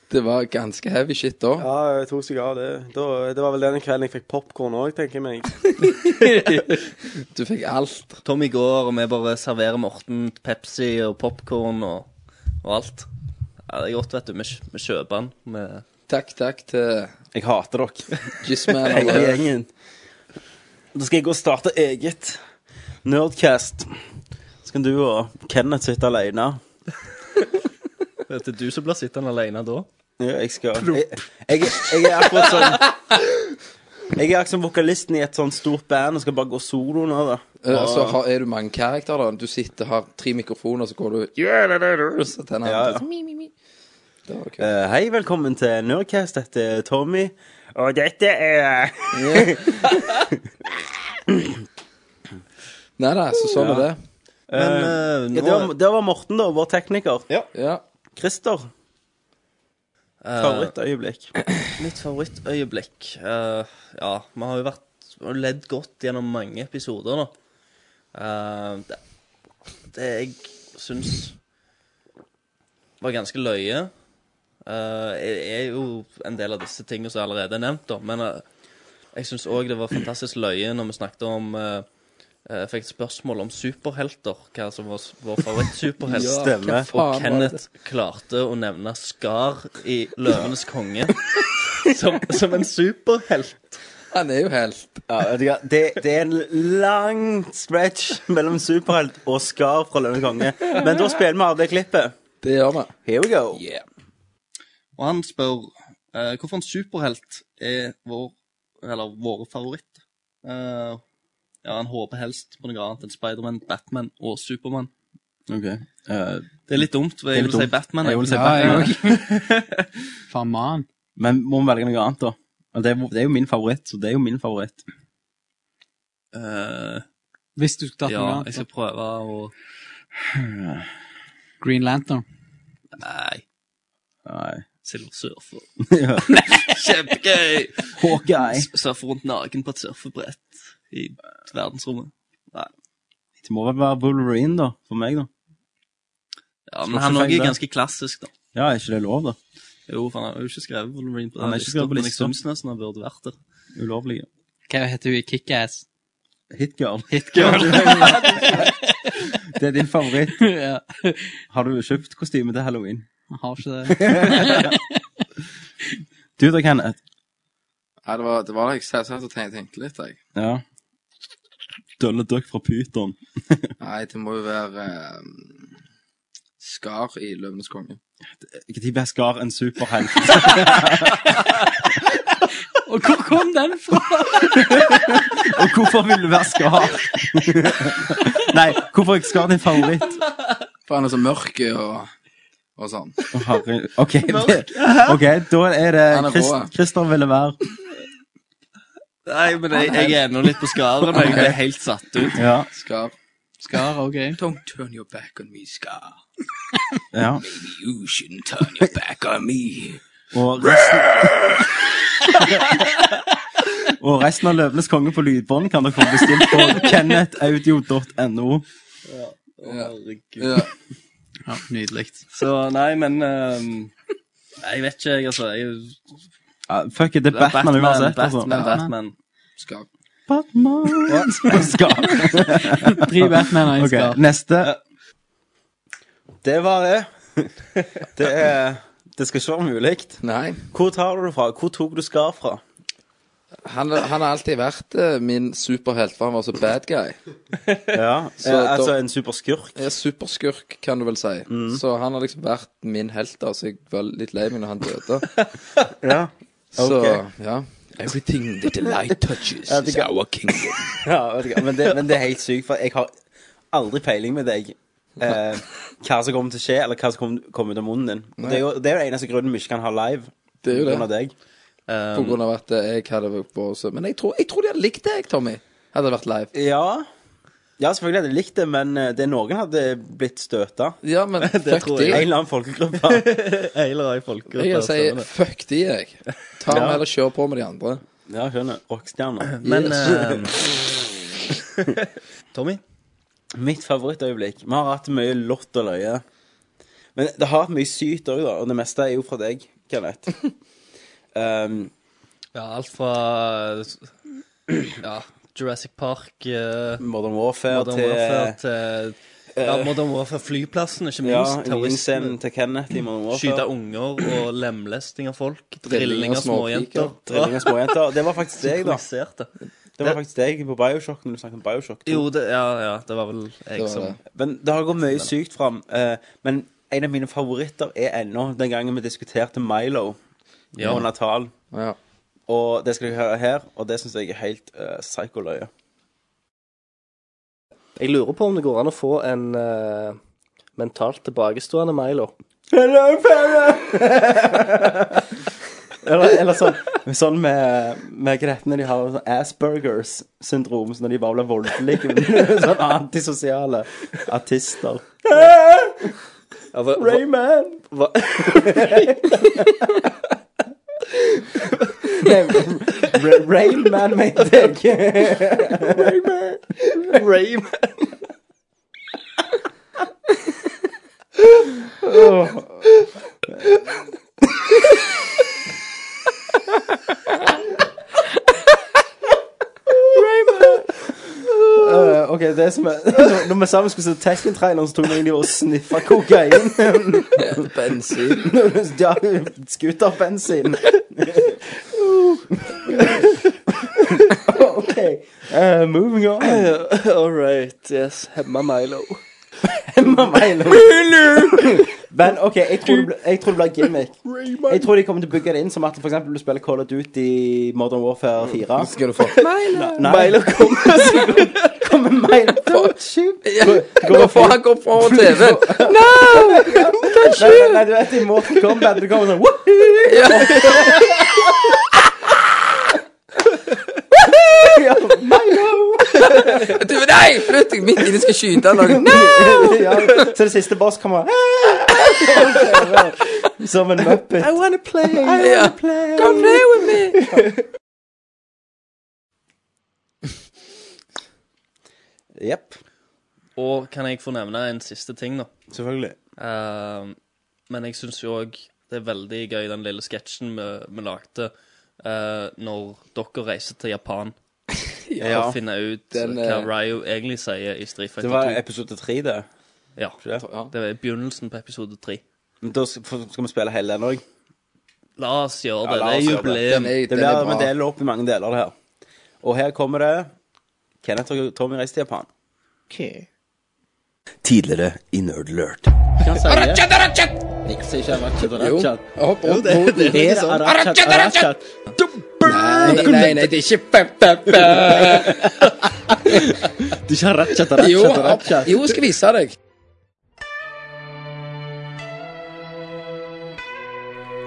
Speaker 9: Det var ganske heavy shit da.
Speaker 13: Ja, jeg tok seg av det. Da, det var vel den kvelden jeg fikk popkorn òg, tenker jeg meg.
Speaker 1: Du fikk alt. Tommy går, og vi bare serverer Morten Pepsi og popkorn og, og alt. Ja, det er godt, vet du. Vi, kj- vi kjøper den. Vi...
Speaker 9: Takk, takk til
Speaker 4: Jeg hater dere.
Speaker 9: Jizzman og-
Speaker 4: Hele gjengen. Da skal jeg gå og starte eget Nerdcast. Så kan du og Kenneth sitte alene.
Speaker 1: Vet du, du som blir sittende alene da?
Speaker 4: Ja, jeg skal jeg, jeg, jeg er akkurat sånn Jeg er akkurat som vokalisten i et sånn stort band og skal bare gå solo nå, da.
Speaker 9: Eh, Så har, er du mange karakterer, da. Du sitter, har tre mikrofoner, så går du yeah, da, da, da, så tenner
Speaker 4: Ja,
Speaker 9: han.
Speaker 4: ja.
Speaker 9: Mi, mi, mi. Det var kult.
Speaker 4: Eh, hei, velkommen til Nerdcast. Dette er Tommy. Og dette er
Speaker 9: Nei da, så sånn er det.
Speaker 4: Men,
Speaker 9: Men, eh,
Speaker 4: ja, det, var, det var Morten, da, vår tekniker.
Speaker 9: Ja.
Speaker 4: Christer. Eh, Favorittøyeblikk.
Speaker 1: Mitt favorittøyeblikk eh, Ja, vi har jo vært vi har ledd godt gjennom mange episoder nå. Eh, det, det jeg syns var ganske løye eh, Jeg er jo en del av disse tingene som allerede er nevnt, da, men eh, jeg syns òg det var fantastisk løye når vi snakket om eh, jeg fikk et spørsmål om superhelter, hva som var s- vår favorittsuperhelt.
Speaker 4: Ja, Stemmer. hva faen var
Speaker 1: Og
Speaker 4: det?
Speaker 1: Kenneth klarte å nevne Skar i Løvenes konge som, som en superhelt.
Speaker 9: Han er jo helt.
Speaker 4: Ja, vet du hva, det, det er en lang stretch mellom superhelt og Skar fra Løvende konge. Men da spiller vi av det klippet.
Speaker 9: Det gjør vi.
Speaker 4: Here we go.
Speaker 1: Og han spør eh, hvorfor en superhelt er vår, eller våre favoritt. Eh, ja, han håper helst på noe annet enn Spiderman, Batman og Supermann. Det er litt dumt,
Speaker 14: Det
Speaker 1: for
Speaker 14: er
Speaker 1: jeg
Speaker 14: litt
Speaker 1: vil si
Speaker 14: dumt.
Speaker 1: Batman.
Speaker 14: Jeg vil si Batman. Faen, mann. Men må vi velge noe annet, da? Og Det er, det er jo min favoritt, så det er jo min favoritt. Hvis du skulle tatt
Speaker 1: ja,
Speaker 14: noe annet,
Speaker 1: jeg skal prøve å
Speaker 14: Green Lantern.
Speaker 1: Nei.
Speaker 14: Nei.
Speaker 1: Silversurfer.
Speaker 14: Ja.
Speaker 1: Kjempegøy!
Speaker 14: Hawkeye.
Speaker 1: S- Surfer rundt naken på et surfebrett i verdensrommet. Nei.
Speaker 14: Det må vel være Wolverine, da, for meg, da.
Speaker 1: Ja,
Speaker 14: Skal
Speaker 1: men
Speaker 14: ikke
Speaker 1: han også
Speaker 14: feile.
Speaker 1: er ganske klassisk, da.
Speaker 14: Ja, er ikke det lov, da?
Speaker 1: Jo, for han har jo ikke skrevet Wolverine på
Speaker 14: Han
Speaker 1: den
Speaker 14: har ikke skrevet
Speaker 1: lista,
Speaker 14: på
Speaker 1: men jeg
Speaker 14: lista.
Speaker 1: syns nesten han burde vært der.
Speaker 14: Ulovlig. Hva heter hun i Kickass? Hitgirl.
Speaker 1: Det
Speaker 14: det er din favoritt. Har du kjøpt kostyme til halloween?
Speaker 7: Jeg har ikke det.
Speaker 14: Du da, Kenneth?
Speaker 9: Nei, det var det var da jeg satt satt og tenkte, tenkte litt, jeg.
Speaker 14: Ja. Dølle døkk fra Pyton.
Speaker 9: Nei, det må jo være eh, Skar i Løvenes konge.
Speaker 14: Når ble Skar en superhelt?
Speaker 7: Og hvor kom den fra?
Speaker 14: Og hvorfor vil du være Skar? Nei, hvorfor er Skar din favoritt?
Speaker 9: For han er så mørk og, og sånn.
Speaker 14: Å, herregud. OK, det,
Speaker 9: Mørk. Hæ?
Speaker 14: ok, da er det
Speaker 9: Han er rå,
Speaker 14: Chris,
Speaker 9: ja.
Speaker 14: Christer ville være
Speaker 1: Nei, men jeg, jeg er ennå litt på skaren. Jeg ble helt satt ut.
Speaker 14: Ja.
Speaker 9: Skar.
Speaker 14: Skar, ok.
Speaker 9: Don't turn your back on me, Skar.
Speaker 14: Ja.
Speaker 9: Maybe you shouldn't turn your back on me.
Speaker 14: Og resten Og resten av Løvenes konge på lydbånd kan dere få bestilt på kennethaudio.no.
Speaker 1: Herregud.
Speaker 14: Ja, Nydelig.
Speaker 1: Så nei, men ehm, Jeg vet ikke, jeg, altså. Jeg,
Speaker 14: fuck it, det er Batman uansett, altså.
Speaker 1: Batman, Batman.
Speaker 9: Skar.
Speaker 14: Batman Skar.
Speaker 13: Tre Batman og en
Speaker 14: Ok,
Speaker 13: Skar.
Speaker 14: Neste.
Speaker 4: Det var det. Det, er, det skal ikke være mulig.
Speaker 9: Nei.
Speaker 4: Hvor tar du det fra? Hvor tok du Skar fra?
Speaker 9: Han, han har alltid vært eh, min superhelt, for han var så bad guy.
Speaker 4: Ja, eh, altså en superskurk?
Speaker 9: Ja, superskurk, kan du vel si.
Speaker 1: Mm.
Speaker 9: Så han har liksom vært min helt, da, så jeg var litt lei meg når han døde.
Speaker 4: Ja,
Speaker 9: Så,
Speaker 4: ok.
Speaker 9: ja. Everything that the light touches
Speaker 4: Ja, det
Speaker 9: is
Speaker 4: kan-
Speaker 9: our kingdom.
Speaker 4: Ja, vet du hva, men det, men det er helt sykt, for jeg har aldri peiling med deg. Eh, hva som kommer til å skje, eller hva som kommer, kommer ut av munnen din. Og det er jo det er jo den eneste grunnen vi ikke kan ha live.
Speaker 9: Det er jo det.
Speaker 4: Grunn av deg.
Speaker 9: På grunn av at eh, jeg hadde vært på også. Men jeg tror, jeg tror de hadde likt det, jeg, Tommy. Hadde det vært live.
Speaker 4: Ja. Ja, selvfølgelig hadde de likt det, men eh, det noen hadde blitt støta.
Speaker 9: Ja, men fuck de.
Speaker 4: En eller annen folkegruppe. en
Speaker 1: eller annen folkegruppe.
Speaker 9: Jeg sier fuck de, jeg. Ta
Speaker 4: Ja.
Speaker 9: med eller kjør på med de andre.
Speaker 4: Ja, skjønner. Rockstjerner.
Speaker 1: Men
Speaker 4: eh,
Speaker 1: Tommy?
Speaker 4: Mitt favorittøyeblikk. Vi har hatt mye lott og løye. Men det har vært mye sykt òg, da. Og det meste er jo fra deg, Kenneth. Um,
Speaker 1: Ja, alt fra ja, Jurassic Park eh,
Speaker 4: Modern Warfare
Speaker 1: Modern
Speaker 4: til-
Speaker 1: Warfare til ja,
Speaker 4: Eh,
Speaker 1: Modern Warfare flyplassen, ikke
Speaker 4: ja,
Speaker 1: minst. terroristene.
Speaker 4: innscenen til Kenneth i Modern Warfare.
Speaker 1: Skyte unger og lemlesting av folk. Drilling av småjenter.
Speaker 4: Drilling av småjenter. Det var faktisk deg, da.
Speaker 1: Synkroniserte.
Speaker 4: Det var faktisk deg på Bioshock når du snakket om Bioshock. to.
Speaker 1: Jo, det, ja, ja, det var vel jeg som
Speaker 4: Men det har gått mye sykt fram. eh, men en av mine favoritter er ennå den gangen vi diskuterte Milo
Speaker 1: Ja.
Speaker 4: og Natal. Og det skal dere høre her, og det syns jeg er helt uh, psyko-løye.
Speaker 15: Jeg lurer på om det går an å få en eh, mentalt tilbakestående Milo.
Speaker 4: Hello, Eller, eller sånn, sånn med, med grettene de har sånn Aspergers syndrom, så når de bare blir voldelige. men sånn antisosiale artister.
Speaker 15: Ja, hva- hva-
Speaker 4: Rayman!
Speaker 15: Hva?
Speaker 4: Nei, Rayman, mente jeg.
Speaker 15: Rayman. Rayman.
Speaker 4: Øh, ok, det som er Når- Når vi sammen skulle se Tekken-traileren, så tok noen de og sniffa kokain.
Speaker 9: Bensin.
Speaker 4: ja, scooterbensin. OK, eh, moving on.
Speaker 15: All right, yes. Hemma Milo.
Speaker 4: Men OK, jeg tror det ble- jeg tror det blir gimmick. Jeg tror de kommer til å bygge det inn som at for eksempel du spiller Call of Duty Modern Warfare 4.
Speaker 9: Skal du få
Speaker 4: Milo. Nei. Milo kommer, så kommer Milo Don't shoot.
Speaker 9: Hvorfor han går foran TV-en?
Speaker 4: No! Don't shoot. Nei, nei, du vet i Mortal Kombat, du kommer sånn «Woohoo!» Ja, Milo!
Speaker 9: Du, nei! Flytt deg midt inn, jeg skal skyte noen. No!
Speaker 4: ja, så det siste boss kommer Som en muppet. I wanna play. I wanna
Speaker 9: Ja.
Speaker 4: play.
Speaker 9: Don't play with me.
Speaker 4: Jepp.
Speaker 1: Og kan jeg få nevne en siste ting, da? Ehm,
Speaker 4: Selvfølgelig.
Speaker 1: men jeg syns jo òg det er veldig gøy, den lille sketsjen vi, vi lagde eh, når dere reiser til Japan.
Speaker 4: Ja.
Speaker 1: For å finne ut
Speaker 4: Den,
Speaker 1: hva
Speaker 4: eh,
Speaker 1: Ryu egentlig sier i Street Fighter
Speaker 4: Det var
Speaker 1: 2.
Speaker 4: episode tre, det.
Speaker 1: Ja. Det var begynnelsen på episode tre.
Speaker 4: Men da skal skal vi spille hele den òg.
Speaker 1: La oss gjøre det.
Speaker 4: Ja, la
Speaker 1: det
Speaker 4: oss
Speaker 1: er
Speaker 4: gjøre
Speaker 1: jubileum.
Speaker 4: Det blir vi deler opp i mange deler, det her. Og her kommer det Kenneth og Tommy reiser til Japan. Tidligere i Nerd Alert. Hva sier jeg?
Speaker 9: Arachat, arachat!
Speaker 4: Jeg sier ikke Arachat,
Speaker 9: Jo.
Speaker 4: Arachat.
Speaker 9: Hopp
Speaker 4: Jo,
Speaker 9: opp
Speaker 4: det-
Speaker 9: mot
Speaker 4: det er
Speaker 9: Er
Speaker 4: sånn.
Speaker 9: Arachat,
Speaker 4: Arachat,
Speaker 9: arachat! Nei, nei, nei, det er ikke pa, pa, pa.
Speaker 4: Du ikke Arachat,
Speaker 9: Jo,
Speaker 4: Arachat,
Speaker 9: opp.
Speaker 4: Arachat.
Speaker 9: jo, jeg skal vise deg.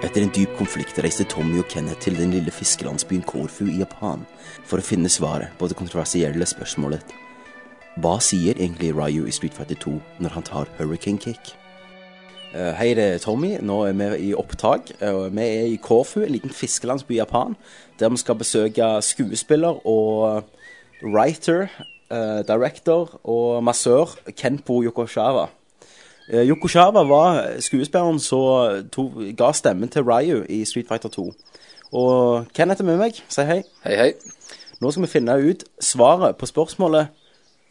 Speaker 16: Etter en dyp konflikt reiste Tommy og Kenneth til den lille fiskelandsbyen Korfu i Japan for å finne svaret på det kontroversielle spørsmålet Hva sier egentlig Ryu i Street Fighter 2 når han tar Hurricane Kick?
Speaker 4: Eh, Hei, det er Tommy. Nå er vi i opptak. eh, og Vi er i Korfu, en liten fiskelandsby i Japan, der vi skal besøke skuespiller og writer, eh, director og massør Kenpo Yokoshawa. Eh, Yokoshawa var skuespilleren som to- ga stemmen til Ryu i Street Fighter 2. Og Kenneth er med meg. Si hei.
Speaker 9: Hei, hei.
Speaker 4: Nå skal vi finne ut svaret på spørsmålet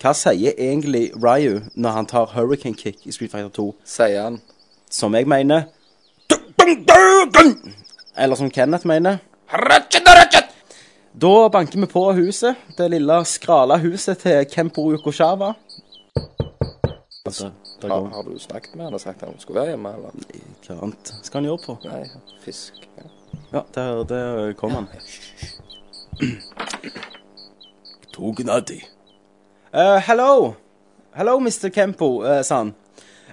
Speaker 4: Hva sier egentlig Ryu når han tar Hurricane Kick i Street Fighter 2?
Speaker 9: Sier han.
Speaker 4: Som jeg mener Eller som Kenneth mener. Da banker vi på huset. Det lille, skrala huset til Kempo Yokoshawa.
Speaker 9: Har, har du snakket med han og sagt at han skulle være hjemme, eller?
Speaker 4: Hva annet skal han gjøre på?
Speaker 9: Nei, fisk. Ja.
Speaker 4: Ja, der, der kom han. Tognadi. Eh, hello. Hello, Mr. Kempo, uh, san.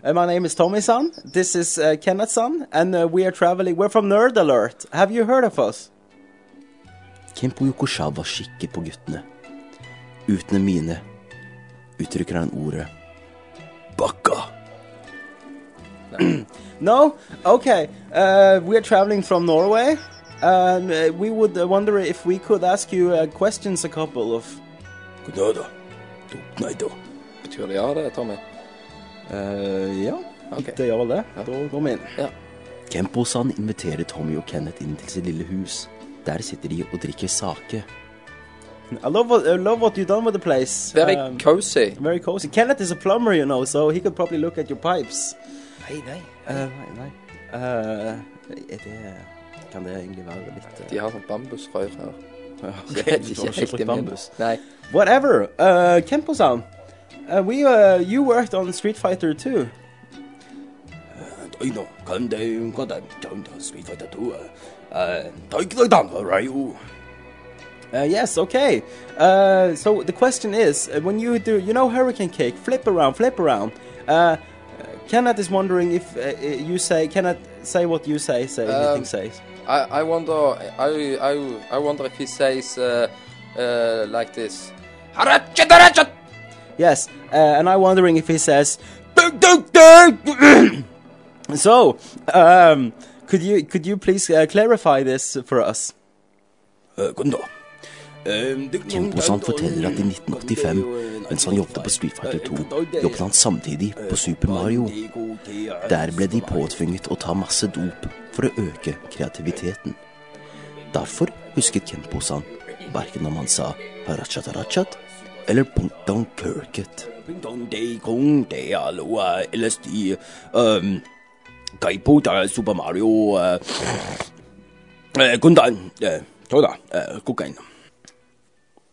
Speaker 4: Uh, my name is Tommy san. This is uh, Kenneth san, and uh, we are traveling. We're from Nerd Alert. Have you heard of us?
Speaker 16: Kempo Yokoshawa kikker på guttene. Uten en mine. uttrykker han ordet Bakka.
Speaker 4: No? Okay. Uh, we are traveling from Norway. And uh, we would uh, wonder if we could ask you uh, questions a couple of.
Speaker 9: Betyr det ja, det, Tommy?
Speaker 4: Eh, ja, det gjør vel det. Da går vi inn.
Speaker 16: Kempo-san inviterer Tommy og Kenneth inn til sitt lille hus. Der sitter de og drikker sake.
Speaker 4: I love what, I love what you've done with the place. Um,
Speaker 16: Very
Speaker 1: Um,
Speaker 4: cozy. Very cozy. Kenneth is a plumber, you know, so he could probably look at your pipes. Uh,
Speaker 16: Nei, nei. nei, nei. er det Kan det egentlig være litt
Speaker 9: De har sånn bambusrør her.
Speaker 4: uh,
Speaker 16: ok,
Speaker 9: Det er
Speaker 16: du
Speaker 9: ikke
Speaker 16: har ikke
Speaker 9: helt
Speaker 16: brukt
Speaker 9: i min-
Speaker 16: bambus.
Speaker 9: Nei.
Speaker 4: Whatever. Uh, Kempo-san, uh, we uh, you worked on Street Fighter 2. Uh, yes, okay. Uh, so the question is, uh, when you do, you know, hurricane cake, flip around, flip around. Uh, uh, Kenneth is wondering if uh, uh, you say, Kenneth, say what you say, say
Speaker 9: Um,
Speaker 4: anything says.
Speaker 9: I, I wonder I, I, I wonder if he says uh, uh, like this. Harachataracha!
Speaker 4: Yes, uh, and I'm wondering if he says, "Dunk, dunk, dunk." so, um, could you could you please uh, clarify this for us?
Speaker 16: Kempo-san forteller at i 1985, mens han jobbet på Street Fighter 2, jobbet han samtidig på Super Mario. Der ble de påtvunget å ta masse dop for å øke kreativiteten. Derfor husket Kempo-san verken om han sa harachat-harachat eller punkton kirket.
Speaker 5: Super Mario eh, eh, Gundam, eh, jo da, eh, kokain.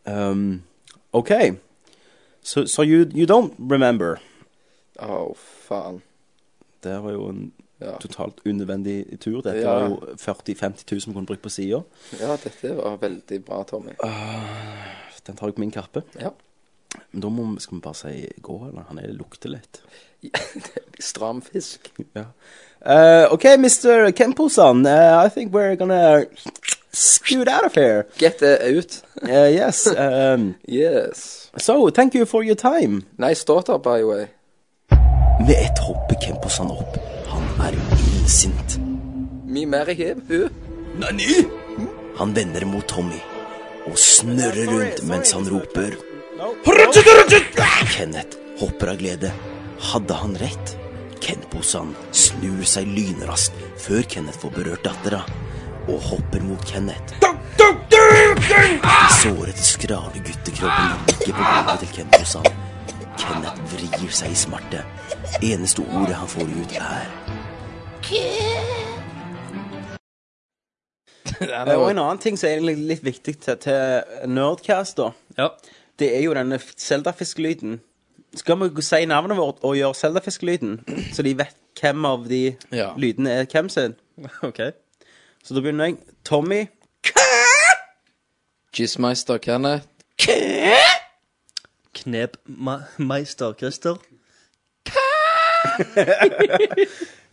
Speaker 4: Um, okay, so so you you don't remember?
Speaker 9: Oh, faen.
Speaker 4: Det var jo en
Speaker 9: Ja.
Speaker 4: totalt unødvendig tur. Dette
Speaker 9: Ja.
Speaker 4: var jo 40 000-50 000 vi kunne brukt på sida.
Speaker 9: Ja, dette var veldig bra, Tommy.
Speaker 4: Den tar jeg på min kappe.
Speaker 9: Ja.
Speaker 4: Men da må, vi- skal vi bare si gå, eller? Han er, lukter litt.
Speaker 9: Stram fisk.
Speaker 4: Yeah. Uh, okay, Mr. Kempo-san, uh, I think we're gonna scoot out of here.
Speaker 9: Get uh, out.
Speaker 4: uh, yes. Um,
Speaker 9: yes.
Speaker 4: So, thank you for your time.
Speaker 9: Nice daughter, by the way.
Speaker 16: Med ett hopper Kempo-san opp. Han er illsint.
Speaker 9: Me marry him, who?
Speaker 16: Nani? Han vender mot Tommy og snurrer rundt mens han roper Kenneth hopper av glede. Hadde han rett? Kenposan snur seg lynraskt før Kenneth får berørt dattera, og hopper mot Kenneth. Den sårete, skrale guttekroppen ligger på gulvet til Kenposan. Kenneth vrir seg i smerte. Eneste ordet han får ut, er
Speaker 4: Eh, og en annen ting som er egentlig litt viktig til, til Nerdcast, da. Det er jo denne Zelda-fiskelyden. Skal vi si navnet vårt og gjøre Zelda-fiskelyden, så de vet hvem av de
Speaker 9: Ja.
Speaker 4: lydene er hvem sin? Ok. Så da begynner jeg. Tommy.
Speaker 9: Jizzmeister Kenneth.
Speaker 1: Knepmeister Christer.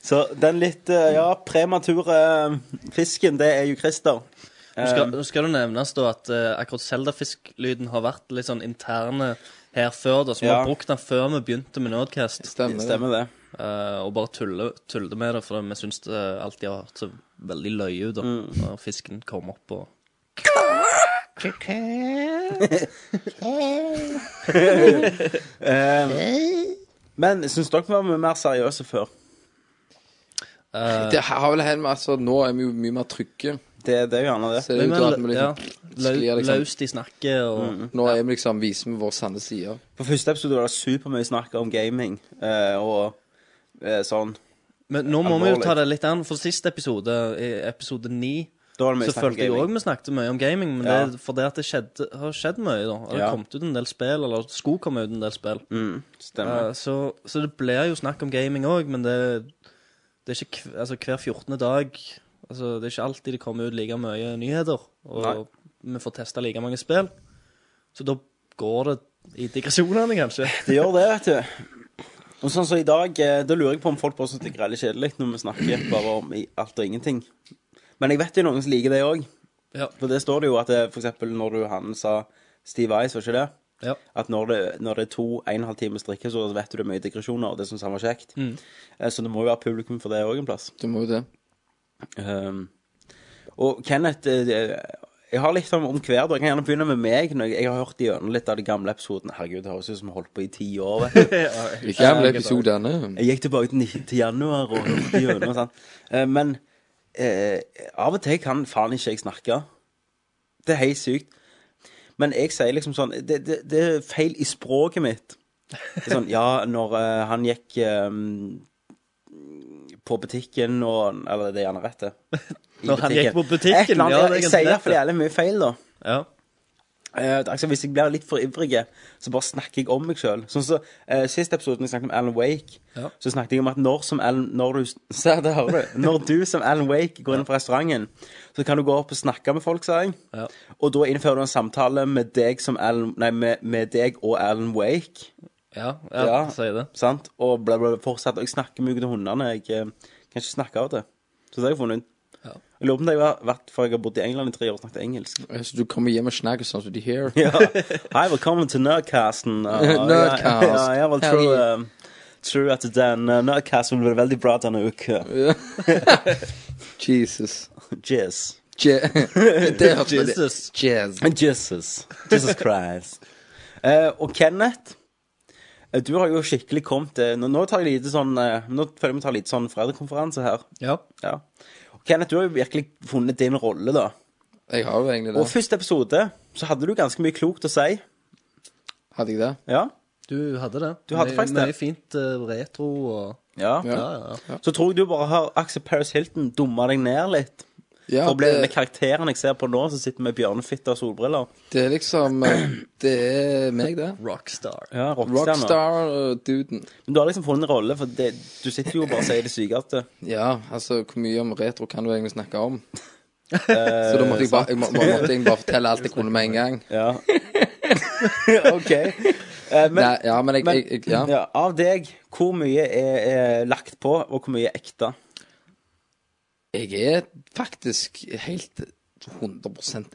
Speaker 4: Så den litt eh, ja, premature eh, fisken, det er jo Christer.
Speaker 1: Nå skal,
Speaker 4: Eh,
Speaker 1: nå skal det nevnes da at eh, akkurat Zelda-fisklyden har vært litt sånn interne her før, da, så vi
Speaker 4: Ja.
Speaker 1: har brukt den før vi begynte med Nerdcast.
Speaker 9: Stemmer, Stemmer
Speaker 4: det.
Speaker 1: Eh, og bare tulle, tulle med det, for vi syns det alltid har hørt så veldig løye ut da,
Speaker 4: Mm.
Speaker 1: når fisken kommer opp og
Speaker 4: eh, men syns dere vi var mer seriøse før?
Speaker 9: Det har vel hen med, altså, nå er vi jo mye mer trygge.
Speaker 4: Det, det er jo gjerne det.
Speaker 9: Så det er jo
Speaker 1: Men-
Speaker 9: klart vi liksom,
Speaker 1: ja,
Speaker 9: sklir
Speaker 1: lø-
Speaker 9: liksom.
Speaker 1: løst i snakket og
Speaker 4: Mm.
Speaker 9: Nå er vi liksom, viser vi vår sanne side.
Speaker 4: På første episode var det supermye snakk om gaming eh, og eh, sånn.
Speaker 1: Men nå må vi jo ta det litt an, for sist episode, i episode ni,
Speaker 4: Da var det mye
Speaker 1: så
Speaker 4: snakk om
Speaker 1: følte jeg
Speaker 4: gaming.
Speaker 1: òg vi snakket mye om gaming, men
Speaker 4: Ja.
Speaker 1: det er fordi at det skjedde, har skjedd mye, da. Og Det
Speaker 4: Ja.
Speaker 1: har kommet ut en del spill, eller skulle komme ut en del spill.
Speaker 4: Mm, stemmer.
Speaker 1: Eh, så, så det blir jo snakk om gaming òg, men det, det er ikke kv- altså, hver 14. dag altså, Det er ikke alltid det kommer ut like mye nyheter, og vi får testa like mange spill. Så da går det i digresjonene, kanskje.
Speaker 4: Det gjør det, vet du. Og sånn som i dag, eh, da lurer jeg på om folk bare syns det er veldig kjedelig når vi snakker bare om i alt og ingenting. Men jeg vet jo noen som liker det eh, òg.
Speaker 1: Ja.
Speaker 4: For det står det jo at det, for eksempel når du han sa Steve Ice, var ikke det? At når det, når det er to en og en halv times drikke, så vet du det er mye digresjoner, og det syns han var kjekt.
Speaker 14: Mm.
Speaker 4: Eh, Så det må jo være publikum for det òg en plass. Ehm,
Speaker 9: Det må jo det.
Speaker 4: og Kenneth eh, Jeg har litt om, om hver dag. Jeg kan gjerne begynne med meg. Når jeg, jeg har hørt gjennom litt av de gamle episodene. Herregud, det høres ut som vi har holdt på i ti år. vet du.
Speaker 9: Ikke gamle
Speaker 4: Eh,
Speaker 1: Ehm,
Speaker 9: episodene.
Speaker 4: Jeg gikk tilbake til 19. januar og hørte gjennom. sant? Eh, Men eh, av og til kan faen ikke jeg snakke. Det er helt sykt. Men jeg sier liksom sånn Det, det, det er feil i språket mitt. Det er Sånn, ja, når eh, han gikk eh, på butikken og Eller det er gjerne rett, det. I
Speaker 1: Når han gikk på butikken,
Speaker 4: Et eller annet,
Speaker 1: ja, det er
Speaker 4: Jeg
Speaker 1: ganske
Speaker 4: sier
Speaker 1: rett,
Speaker 4: iallfall
Speaker 1: det.
Speaker 4: jævlig mye feil, da.
Speaker 1: Ja.
Speaker 4: Eh, altså, hvis jeg blir litt for ivrig, så bare snakker jeg om meg sjøl. Sånn som eh, sist episode, når jeg snakket om Alan Wake,
Speaker 1: Ja.
Speaker 4: så snakket jeg om at når som Alan Når du, se, det hører du. Når du som Alan Wake går inn på restauranten, så kan du gå opp og snakke med folk, sa jeg. Og da innfører du en samtale med deg som Alan Nei, med, med deg og Alan Wake.
Speaker 1: Ja, ja, sier det.
Speaker 4: Sant? Og ble, ble fortsatt. Og jeg snakker mye til hundene. Jeg eh, kan ikke snakke av det. Så det har jeg funnet ut. Jeg lurer på om det har vært før jeg har bodd i England i tre år og snakket engelsk.
Speaker 9: Så Altså, du kommer hjem og snakker sånn som de her?
Speaker 4: Ja. Hei, velkommen til Nerdcasten. Ja, ja,
Speaker 9: Nerdcast.
Speaker 4: Ja, jeg vil tro,
Speaker 9: Herregud.
Speaker 4: um, tro at den uh, Nerdcast vil bli veldig bra denne uka.
Speaker 9: Jesus.
Speaker 4: Jizz.
Speaker 9: det hørte vi det.
Speaker 4: Jesus.
Speaker 9: Jizz.
Speaker 4: Jesus. Jesus Christ. Eh, og Kenneth, eh, du har jo skikkelig kommet eh, nå, nå tar jeg lite sånn eh, Nå føler jeg vi tar litt sånn foreldrekonferanse her.
Speaker 1: Ja.
Speaker 4: Og Kenneth, du har jo virkelig funnet din rolle, da.
Speaker 9: Jeg har jo egentlig det.
Speaker 4: Og første episode så hadde du ganske mye klokt å si.
Speaker 9: Hadde jeg det?
Speaker 4: Ja.
Speaker 1: Du hadde det.
Speaker 4: Du hadde
Speaker 1: Mye-
Speaker 4: faktisk det.
Speaker 1: Mye fint eh, retro og
Speaker 4: Ja.
Speaker 1: Ja, ja, ja.
Speaker 4: Så tror jeg du bare har Axel Paris Hilton dumma deg ned litt.
Speaker 9: Ja,
Speaker 4: For å bli
Speaker 9: det-
Speaker 4: den karakteren jeg ser på nå, som sitter med bjørnefitte og solbriller.
Speaker 9: Det er liksom eh, Det er meg, det. eh,
Speaker 1: Rockstar.
Speaker 4: Ja, rockstar.
Speaker 9: Rockstar-duden.
Speaker 4: Men du har liksom funnet en rolle, for det, du sitter jo og bare og sier det sykeste.
Speaker 9: Ja, altså, hvor mye om retro kan du egentlig snakke om?
Speaker 4: Eh,
Speaker 9: Så da måtte jeg bare, jeg må, må- måtte egentlig bare fortelle alt jeg kunne med en gang.
Speaker 4: Ja. OK. Eh, men,
Speaker 9: Nei, ja, men jeg-
Speaker 4: men-
Speaker 9: jeg- jeg- ja.
Speaker 4: Av deg, hvor mye er, er lagt på, og hvor mye er ekte?
Speaker 9: Jeg er faktisk helt 100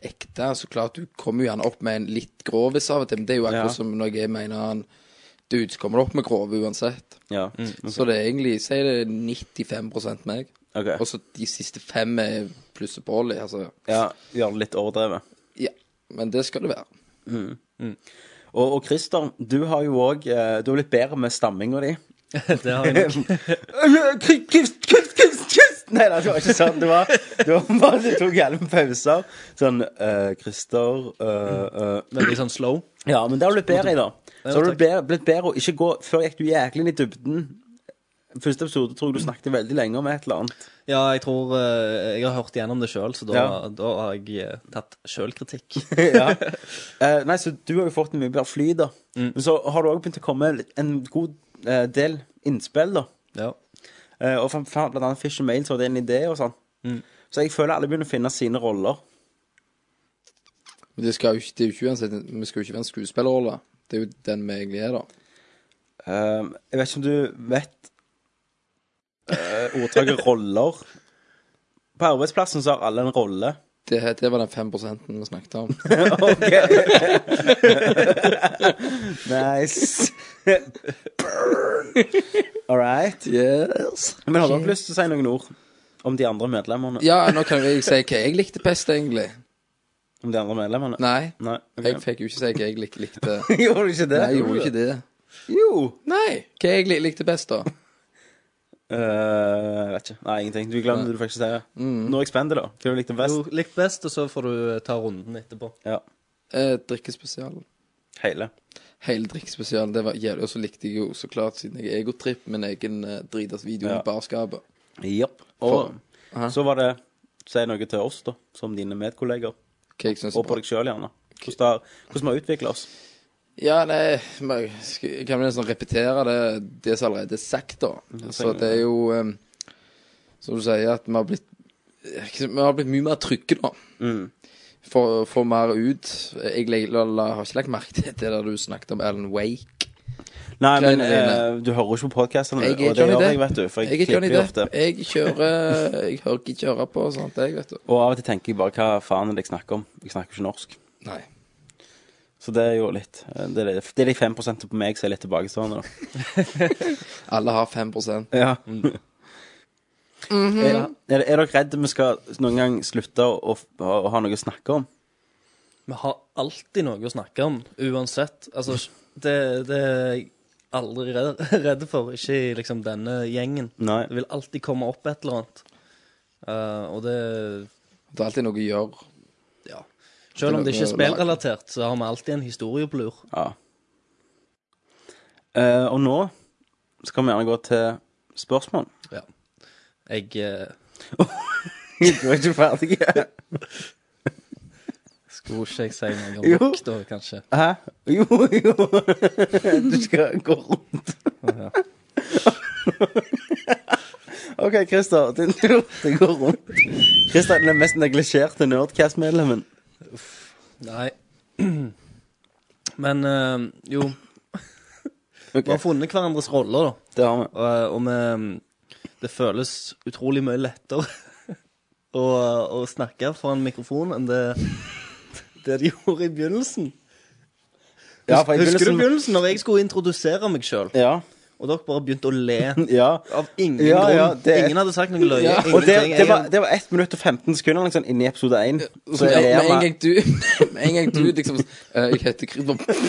Speaker 9: ekte. Så klart, du kommer jo gjerne opp med en litt grovis av og til, men det er jo akkurat
Speaker 4: Ja.
Speaker 9: som når jeg mener han dude, så kommer du opp med grove uansett.
Speaker 4: Ja.
Speaker 9: Så det er egentlig, si det er 95 meg.
Speaker 4: Ok.
Speaker 9: Og så de siste fem er pluss og bolly, altså.
Speaker 4: Ja, gjør det litt overdrevet.
Speaker 9: Ja, men det skal det være.
Speaker 4: Mm. Og, og Christer, du har jo òg Du har blitt bedre med stamminga di.
Speaker 1: det har jeg nok.
Speaker 4: Nei da, det var ikke sånn. Det var, det var bare du tok jævlig med pauser. Sånn eh, Christer eh, eh.
Speaker 1: Veldig sånn slow.
Speaker 4: Ja, men det har du blitt bedre i, da.
Speaker 1: Ja,
Speaker 4: Så har du
Speaker 1: takk.
Speaker 4: bedre- blitt bedre å ikke gå Før gikk du jæklig inn i dybden. Første episode tror jeg du snakket veldig lenge om et eller annet.
Speaker 1: Ja, jeg tror eh, jeg har hørt gjennom det sjøl, så da,
Speaker 4: Ja.
Speaker 1: da har jeg eh, tatt sjølkritikk.
Speaker 4: ja. Eh, nei, så du har jo fått en mye bedre fly, da.
Speaker 1: Mm.
Speaker 4: Men så har det òg begynt å komme en god eh, del innspill, da.
Speaker 1: Ja.
Speaker 4: Eh, og for, for blant annet Fish and Mail, så var det en idé og sånn.
Speaker 1: Mm.
Speaker 4: Så jeg føler alle begynner å finne sine roller.
Speaker 9: Men det, skal jo ikke, det er jo ikke uansett, vi skal jo ikke være en skuespillerrolle. Det er jo den vi egentlig er, da.
Speaker 4: Eh, jeg vet ikke om du vet eh, ordtaket roller. På arbeidsplassen så har alle en rolle.
Speaker 9: Det, her- det var den 5 vi snakket om.
Speaker 4: OK. nice. All right. Men har dere lyst til å si noen ord om de andre medlemmene?
Speaker 9: Ja, nå kan jeg si hva jeg likte best, egentlig.
Speaker 4: Om de andre medlemmene?
Speaker 9: Nei.
Speaker 4: ok.
Speaker 9: Jeg fikk jo ikke si hva jeg lik likte.
Speaker 4: Gjorde du ikke det?
Speaker 9: Nei, jeg gjorde ikke det.
Speaker 4: Jo.
Speaker 9: Nei. Hva jeg lik likte best, da?
Speaker 4: Eh, vet ikke. Nei, ingenting. Du glemte det du fikk ikke si. det.
Speaker 9: Mm.
Speaker 4: Nå er jeg spent, da. Hva du likte best?
Speaker 1: Jo, likt best, og så får du eh, ta runden etterpå.
Speaker 4: Ja.
Speaker 9: Eh, drikkespesialen.
Speaker 4: Hele.
Speaker 9: Hele drikkespesialen. Det var jævlig. Og så likte jeg jo så klart, siden jeg er egotripp, min egen eh, dritas video
Speaker 4: Ja.
Speaker 9: i barskapet.
Speaker 4: Japp.
Speaker 9: For-
Speaker 4: Og så var det Si noe til oss, da, som dine medkolleger.
Speaker 9: jeg synes er
Speaker 4: og
Speaker 9: bra.
Speaker 4: på deg sjøl, gjerne. Hvordan det har- hvordan vi har utvikla oss.
Speaker 9: Ja, nei, men jeg skal- jeg kan vel nesten repetere det, det som allerede er sagt, da.
Speaker 4: det
Speaker 9: Så
Speaker 4: trenger
Speaker 9: det er jo, em, som du sier, at vi har blitt Vi har blitt mye mer trygge, da.
Speaker 4: Mm.
Speaker 9: For, for mer ut. Jeg leg- la, la, har ikke lagt merke til det der du snakket om Alan Wake.
Speaker 4: Nei, men
Speaker 9: Greiene dine.
Speaker 4: eh, du hører jo ikke på podkastene,
Speaker 9: Jeg er
Speaker 4: og det
Speaker 9: Johnny
Speaker 4: gjør
Speaker 9: Depp.
Speaker 4: jeg, vet du. For jeg,
Speaker 9: Jeg er Johnny
Speaker 4: klipper jo
Speaker 9: Depp.
Speaker 4: ofte.
Speaker 9: Jeg kjører Jeg hører ikke kjøre på og sånt, jeg, vet du.
Speaker 4: Og av og til tenker jeg bare hva faen er det jeg snakker om? Jeg snakker jo ikke norsk.
Speaker 9: Nei.
Speaker 4: Så det er jo litt eh, Det er, det er de 5 på meg som er litt tilbakestående, da.
Speaker 9: Alle har 5
Speaker 4: Ja.
Speaker 9: Mhm.
Speaker 4: Er, er, er dere redd vi skal noen gang slutte å, å, å ha noe å snakke om?
Speaker 1: Vi har alltid noe å snakke om, uansett. Altså, det, det er jeg aldri redd, redd for. Ikke i liksom denne gjengen.
Speaker 4: Nei.
Speaker 1: Det vil alltid komme opp et eller annet. Eh, og det
Speaker 9: Det er alltid noe å gjøre.
Speaker 1: Ja. Selv om det ikke er
Speaker 9: noe å lage.
Speaker 1: spillrelatert, så har vi alltid en historie på lur.
Speaker 4: Ja. Eh, og nå skal vi gjerne gå til spørsmål.
Speaker 1: Ja. Jeg eh,
Speaker 4: Du er ikke ferdig?
Speaker 1: Skulle ikke jeg si noe om
Speaker 4: Jo.
Speaker 1: rock, da, kanskje?
Speaker 4: Hæ? Jo, jo. Du skal gå rundt.
Speaker 1: Ja.
Speaker 4: OK, Christer. Din tur til å gå rundt. Christer er den mest neglisjerte Nerdcast-medlemmen.
Speaker 1: Nei. Men eh, jo Vi har funnet hverandres roller, da.
Speaker 4: Det har vi.
Speaker 1: Og, og vi Det føles utrolig mye lettere å, å snakke foran mikrofon enn det det de gjorde i begynnelsen.
Speaker 4: Ja, for i
Speaker 1: Husker
Speaker 4: begynnelsen-
Speaker 1: du begynnelsen, når jeg skulle introdusere meg sjøl?
Speaker 4: Ja.
Speaker 1: Og dere bare begynte å le
Speaker 4: Ja.
Speaker 1: av ingen
Speaker 4: Ja,
Speaker 1: grunn.
Speaker 4: ja, det-
Speaker 1: Ingen hadde sagt noe løye.
Speaker 4: Ja. Og det,
Speaker 1: ingenting.
Speaker 4: det, var,
Speaker 1: Jeg-
Speaker 4: det var 1 minutt og 15 sekunder liksom, inni episode 1.
Speaker 9: Så med, med, en gang du, med en gang du liksom eh, Jeg heter Krydder.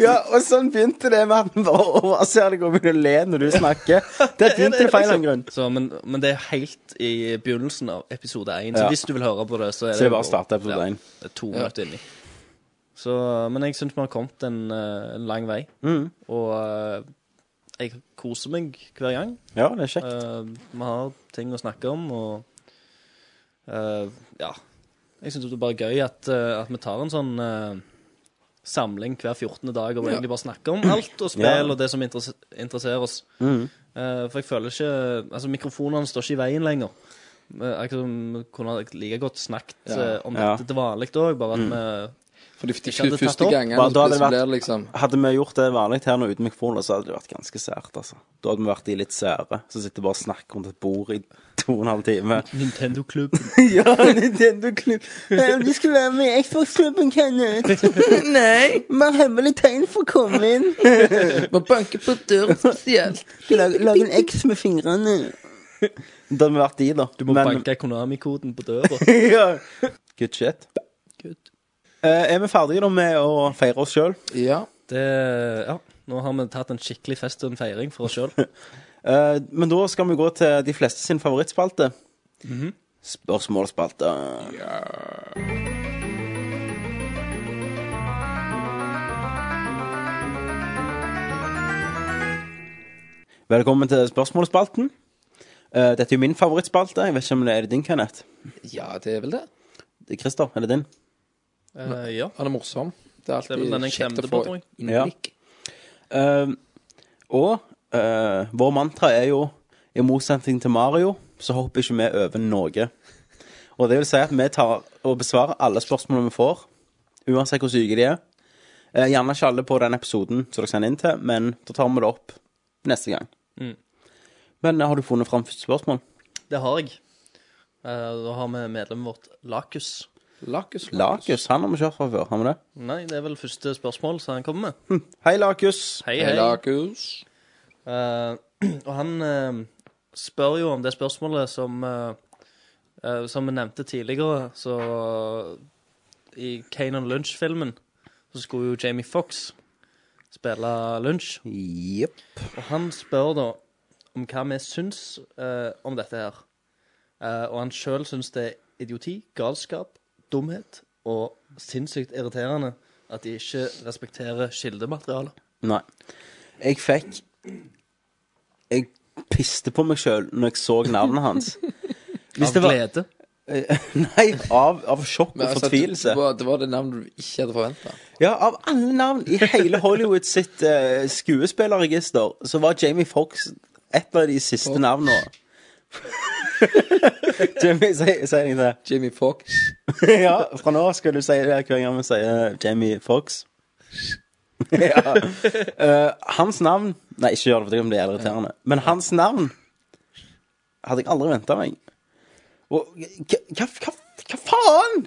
Speaker 4: Ja, og sånn begynte det med at vi bare overser deg og begynner å le når du snakker. Der begynte det feil av en grunn.
Speaker 1: Så, men, men det er helt i begynnelsen av episode 1. Så
Speaker 4: Ja.
Speaker 1: hvis du vil høre på det, så er det
Speaker 4: Så det er bare
Speaker 1: jo-
Speaker 4: å starte episode 1.
Speaker 1: Det er to
Speaker 4: Ja.
Speaker 1: minutter inni. Så, men jeg syns vi har kommet en, eh, en lang vei.
Speaker 4: Mhm.
Speaker 1: Og eh, jeg koser meg hver gang.
Speaker 4: Ja, det er kjekt.
Speaker 1: Eh, vi har ting å snakke om, og eh, ja. Jeg syns det er bare gøy at, eh, at vi tar en sånn eh, samling hver 14. dag og
Speaker 4: Ja.
Speaker 1: egentlig bare snakker om alt og spill
Speaker 4: Ja.
Speaker 1: og det som interesse- interesserer oss.
Speaker 4: Mhm.
Speaker 1: Eh, for jeg føler ikke Altså, mikrofonene står ikke i veien lenger. Eh, Jeg kunne- kunne like godt snakket
Speaker 9: Ja.
Speaker 1: eh, om
Speaker 4: Ja.
Speaker 1: dette til vanlig òg, bare at
Speaker 4: Mm.
Speaker 1: vi
Speaker 9: For det
Speaker 1: ikke
Speaker 9: ikke
Speaker 1: hadde
Speaker 9: første
Speaker 1: tatt opp.
Speaker 9: gangen.
Speaker 4: Bare da hadde,
Speaker 9: plutselig
Speaker 4: det
Speaker 9: blir det liksom-
Speaker 4: vært, hadde vi gjort det vanlig her nå uten mikrofon, så hadde det vært ganske sært. altså. Da hadde vi vært de litt sære som sitter bare og snakker rundt et bord i to og en halv time.
Speaker 1: Nintendo-klubb.
Speaker 4: ja, Nintendo-klubb. Vi skulle være med i Xbox-klubben, Kenneth. Nei. Vi har hemmelig tegn for å komme inn.
Speaker 9: Man banker på døren spesielt.
Speaker 4: Lag, lag en X med fingrene. Da hadde vi vært de, da.
Speaker 1: Du må
Speaker 4: Men-
Speaker 1: banke Konami-koden på døra.
Speaker 4: ja. Good shit. Eh, er vi ferdige da med å feire oss sjøl?
Speaker 9: Ja.
Speaker 1: Det, ja. Nå har vi tatt en skikkelig fest og en feiring for oss sjøl.
Speaker 4: Eh, men da skal vi gå til de fleste sin favorittspalte. Spørsmålsspalte. Velkommen til spørsmålsspalten. Eh, dette er jo min favorittspalte. Jeg vet ikke om det er det din, Kenneth.
Speaker 9: Ja, det er vel det.
Speaker 4: Det er Christer, er det din?
Speaker 1: Eh, ja.
Speaker 9: Han er morsom. Det er alltid
Speaker 1: vel den jeg
Speaker 9: kjekt
Speaker 1: klemte
Speaker 9: å få
Speaker 1: på, tror jeg.
Speaker 9: innblikk.
Speaker 4: Eh, og eh, vår mantra er jo i motsetning til Mario, så hopper ikke vi over noe. Og det vil si at vi tar og besvarer alle spørsmålene vi får, uansett hvor syke de er. Eh, gjerne ikke alle på den episoden som dere sender inn til, men da tar vi det opp neste gang.
Speaker 1: Mm.
Speaker 4: Men eh, har du funnet fram første spørsmål?
Speaker 1: Det har jeg. Eh, da har vi medlemmet vårt Lakus.
Speaker 9: Lakus?
Speaker 4: Lakus, han har vi kjørt fra før, har vi det?
Speaker 1: Nei, det er vel første spørsmål som han kommer med.
Speaker 4: Hei, Lakus.
Speaker 1: Hei, hei. Eh, og han eh, spør jo om det spørsmålet som eh, eh, Som vi nevnte tidligere, så I Kanan Lunch-filmen så skulle jo Jamie Fox spille Lunch. Og han spør da om hva vi syns eh, om dette her. Eh, og han sjøl syns det er idioti, galskap, dumhet og sinnssykt irriterende at de ikke respekterer kildematerialet.
Speaker 4: Nei. Jeg fikk Jeg piste på meg sjøl når jeg så navnet hans.
Speaker 1: Av glede?
Speaker 4: Nei, av, av sjokk og
Speaker 9: Men altså,
Speaker 4: fortvilelse.
Speaker 9: Det var, det var det navnet du ikke hadde forventa.
Speaker 4: Ja, av alle navn i hele Hollywood sitt eh, skuespillerregister, så var Jamie Fox et av de siste navnene. Jamie, si, si det.
Speaker 9: Jamie Fox.
Speaker 4: ja, fra nå skal du si det hver gang vi sier Jamie Fox. ja. Eh, hans navn Nei, ikke gjør det, for det kan bli irriterende. Men hans navn hadde jeg aldri venta meg. Og hva, hva, hva, hva faen?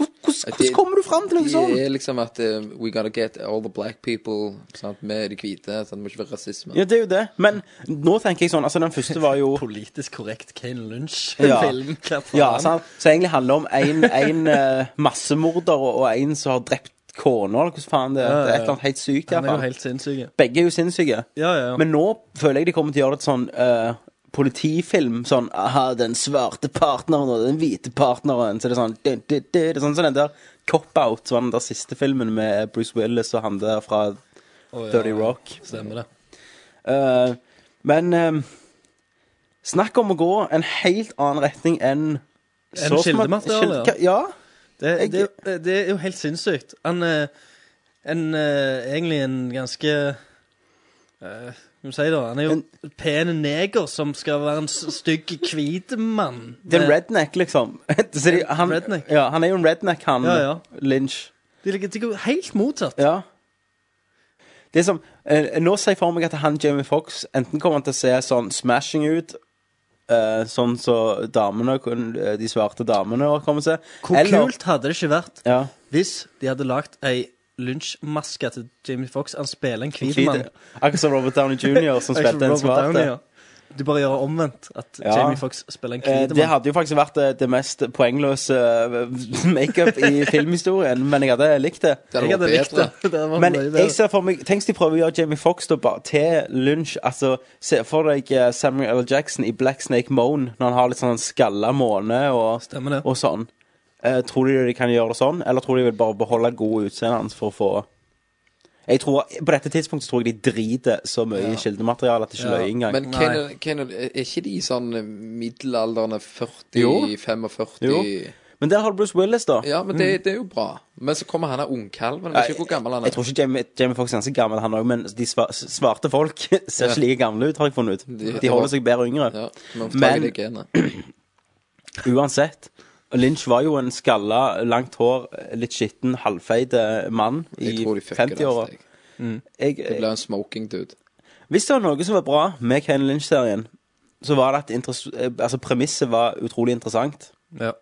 Speaker 9: Hvordan
Speaker 5: kommer du fram til noe sånt?
Speaker 9: Det er liksom at eh, we gotta get all the black people sant, med de hvite. Sant, det må ikke være rasisme.
Speaker 4: Ja, det er jo det. Men nå tenker jeg sånn Altså, den første var jo
Speaker 1: Politisk korrekt Kane Lynch.
Speaker 4: Ja.
Speaker 1: Film, hva faen?
Speaker 4: Ja, sant? Så egentlig handler det om én massemorder og én som har drept kona, eller hvordan faen det er.
Speaker 1: Ja, ja, ja.
Speaker 4: Det er et eller annet helt sykt. i
Speaker 1: Han er
Speaker 4: hvert
Speaker 1: jo
Speaker 4: fall.
Speaker 1: helt sinnssyk.
Speaker 4: Begge er jo sinnssyke.
Speaker 1: Ja, ja.
Speaker 4: Men nå føler jeg de kommer til å gjøre det til sånn eh, politifilm. Sånn aha, den svarte partneren og den hvite partneren. Så det er sånn du, du, du. Det er sånn som den der Cop-Out, som var den der siste filmen med Bruce Willis og han der fra
Speaker 1: Å, ja,
Speaker 4: Dirty
Speaker 1: ja.
Speaker 4: Rock.
Speaker 1: Stemmer det.
Speaker 4: Eh, men eh, snakk om å gå en helt annen retning enn
Speaker 1: En
Speaker 4: så som at-
Speaker 1: kildemateriale,
Speaker 4: kilde- ja.
Speaker 1: Det,
Speaker 4: Jeg-
Speaker 1: det, det er jo helt sinnssykt. Han eh, en, eh, Egentlig en ganske eh, Hva skal vi si da? Han er jo en pen neger som skal være en s- stygg, hvit mann.
Speaker 4: Det er en
Speaker 1: Med-
Speaker 4: redneck, liksom. Så de, han,
Speaker 1: Redneck.
Speaker 4: Ja, han er jo en redneck, han
Speaker 1: Ja, ja.
Speaker 4: Lynch.
Speaker 1: De ligger de går helt motsatt.
Speaker 4: Ja. Det er som, eh, nå ser jeg for meg at han Jamie Fox enten kommer han til å se sånn smashing ut, eh, sånn så damene, kun- eh, de svarte damene kommer til å se.
Speaker 1: Hvor
Speaker 4: eller-
Speaker 1: kult hadde det ikke vært
Speaker 4: Ja.
Speaker 1: hvis de hadde lagd ei lunsjmaske til Jamie Fox? Han spiller en hvit
Speaker 4: Hvit,
Speaker 1: mann.
Speaker 4: Akkurat som Robert Downey Jr. som spilte en
Speaker 1: Robert
Speaker 4: svart.
Speaker 1: Downey, ja. Du bare gjør omvendt. At
Speaker 4: Ja.
Speaker 1: Jamie Fox spiller en
Speaker 4: Eh,
Speaker 1: hvit
Speaker 4: Det
Speaker 1: mann.
Speaker 4: hadde jo faktisk vært eh, det mest poengløse eh, makeup i filmhistorien, men jeg hadde likt det.
Speaker 1: Det hadde Jeg vært hadde likt bedre. det. Det hadde vært
Speaker 4: Men
Speaker 1: mye bedre.
Speaker 4: jeg ser for meg Tenk hvis de prøver å gjøre Jamie Foxx da bare til lunsj. Altså, se for deg eh, Samuel L. Jackson i Black Snake Moan, når han har litt sånn skalla måne og, og sånn. Eh, tror de de kan gjøre det sånn, eller tror de vil bare beholde gode utseendet hans for å få jeg tror, På dette tidspunktet så tror jeg de driter så mye i kildematerialet at det ikke løy engang.
Speaker 9: Men Kennel, Kennel, er ikke de sånn middelaldrende 40,
Speaker 4: Jo.
Speaker 9: 45
Speaker 4: Jo. Men der har du Bruce Willis, da.
Speaker 9: Ja, men det, det er jo bra. Men så kommer han her ungkalven. Jeg vet ikke hvor gammel han
Speaker 4: Mm. Jeg tror
Speaker 9: er.
Speaker 4: ikke Jamie, Jamie Foxx er ganske gammel, han òg, men de sva- svarte folk ser
Speaker 9: Ja.
Speaker 4: ikke like gamle ut, har jeg funnet ut.
Speaker 9: De-
Speaker 4: De holder seg bedre yngre.
Speaker 9: Ja, man får tak i
Speaker 4: men
Speaker 9: det genet.
Speaker 4: uansett Lynch var jo en skalla, langt hår, litt skitten, halvfeit eh, mann i
Speaker 9: Jeg tror de fucker det.
Speaker 4: 50-åra.
Speaker 9: Stig.
Speaker 4: Jeg- eh,
Speaker 9: Det blir en smoking dude.
Speaker 4: Hvis det var noe som var bra med Kane Lynch-serien, så var det at interes- eh, altså, premisset var utrolig interessant.
Speaker 1: Ja.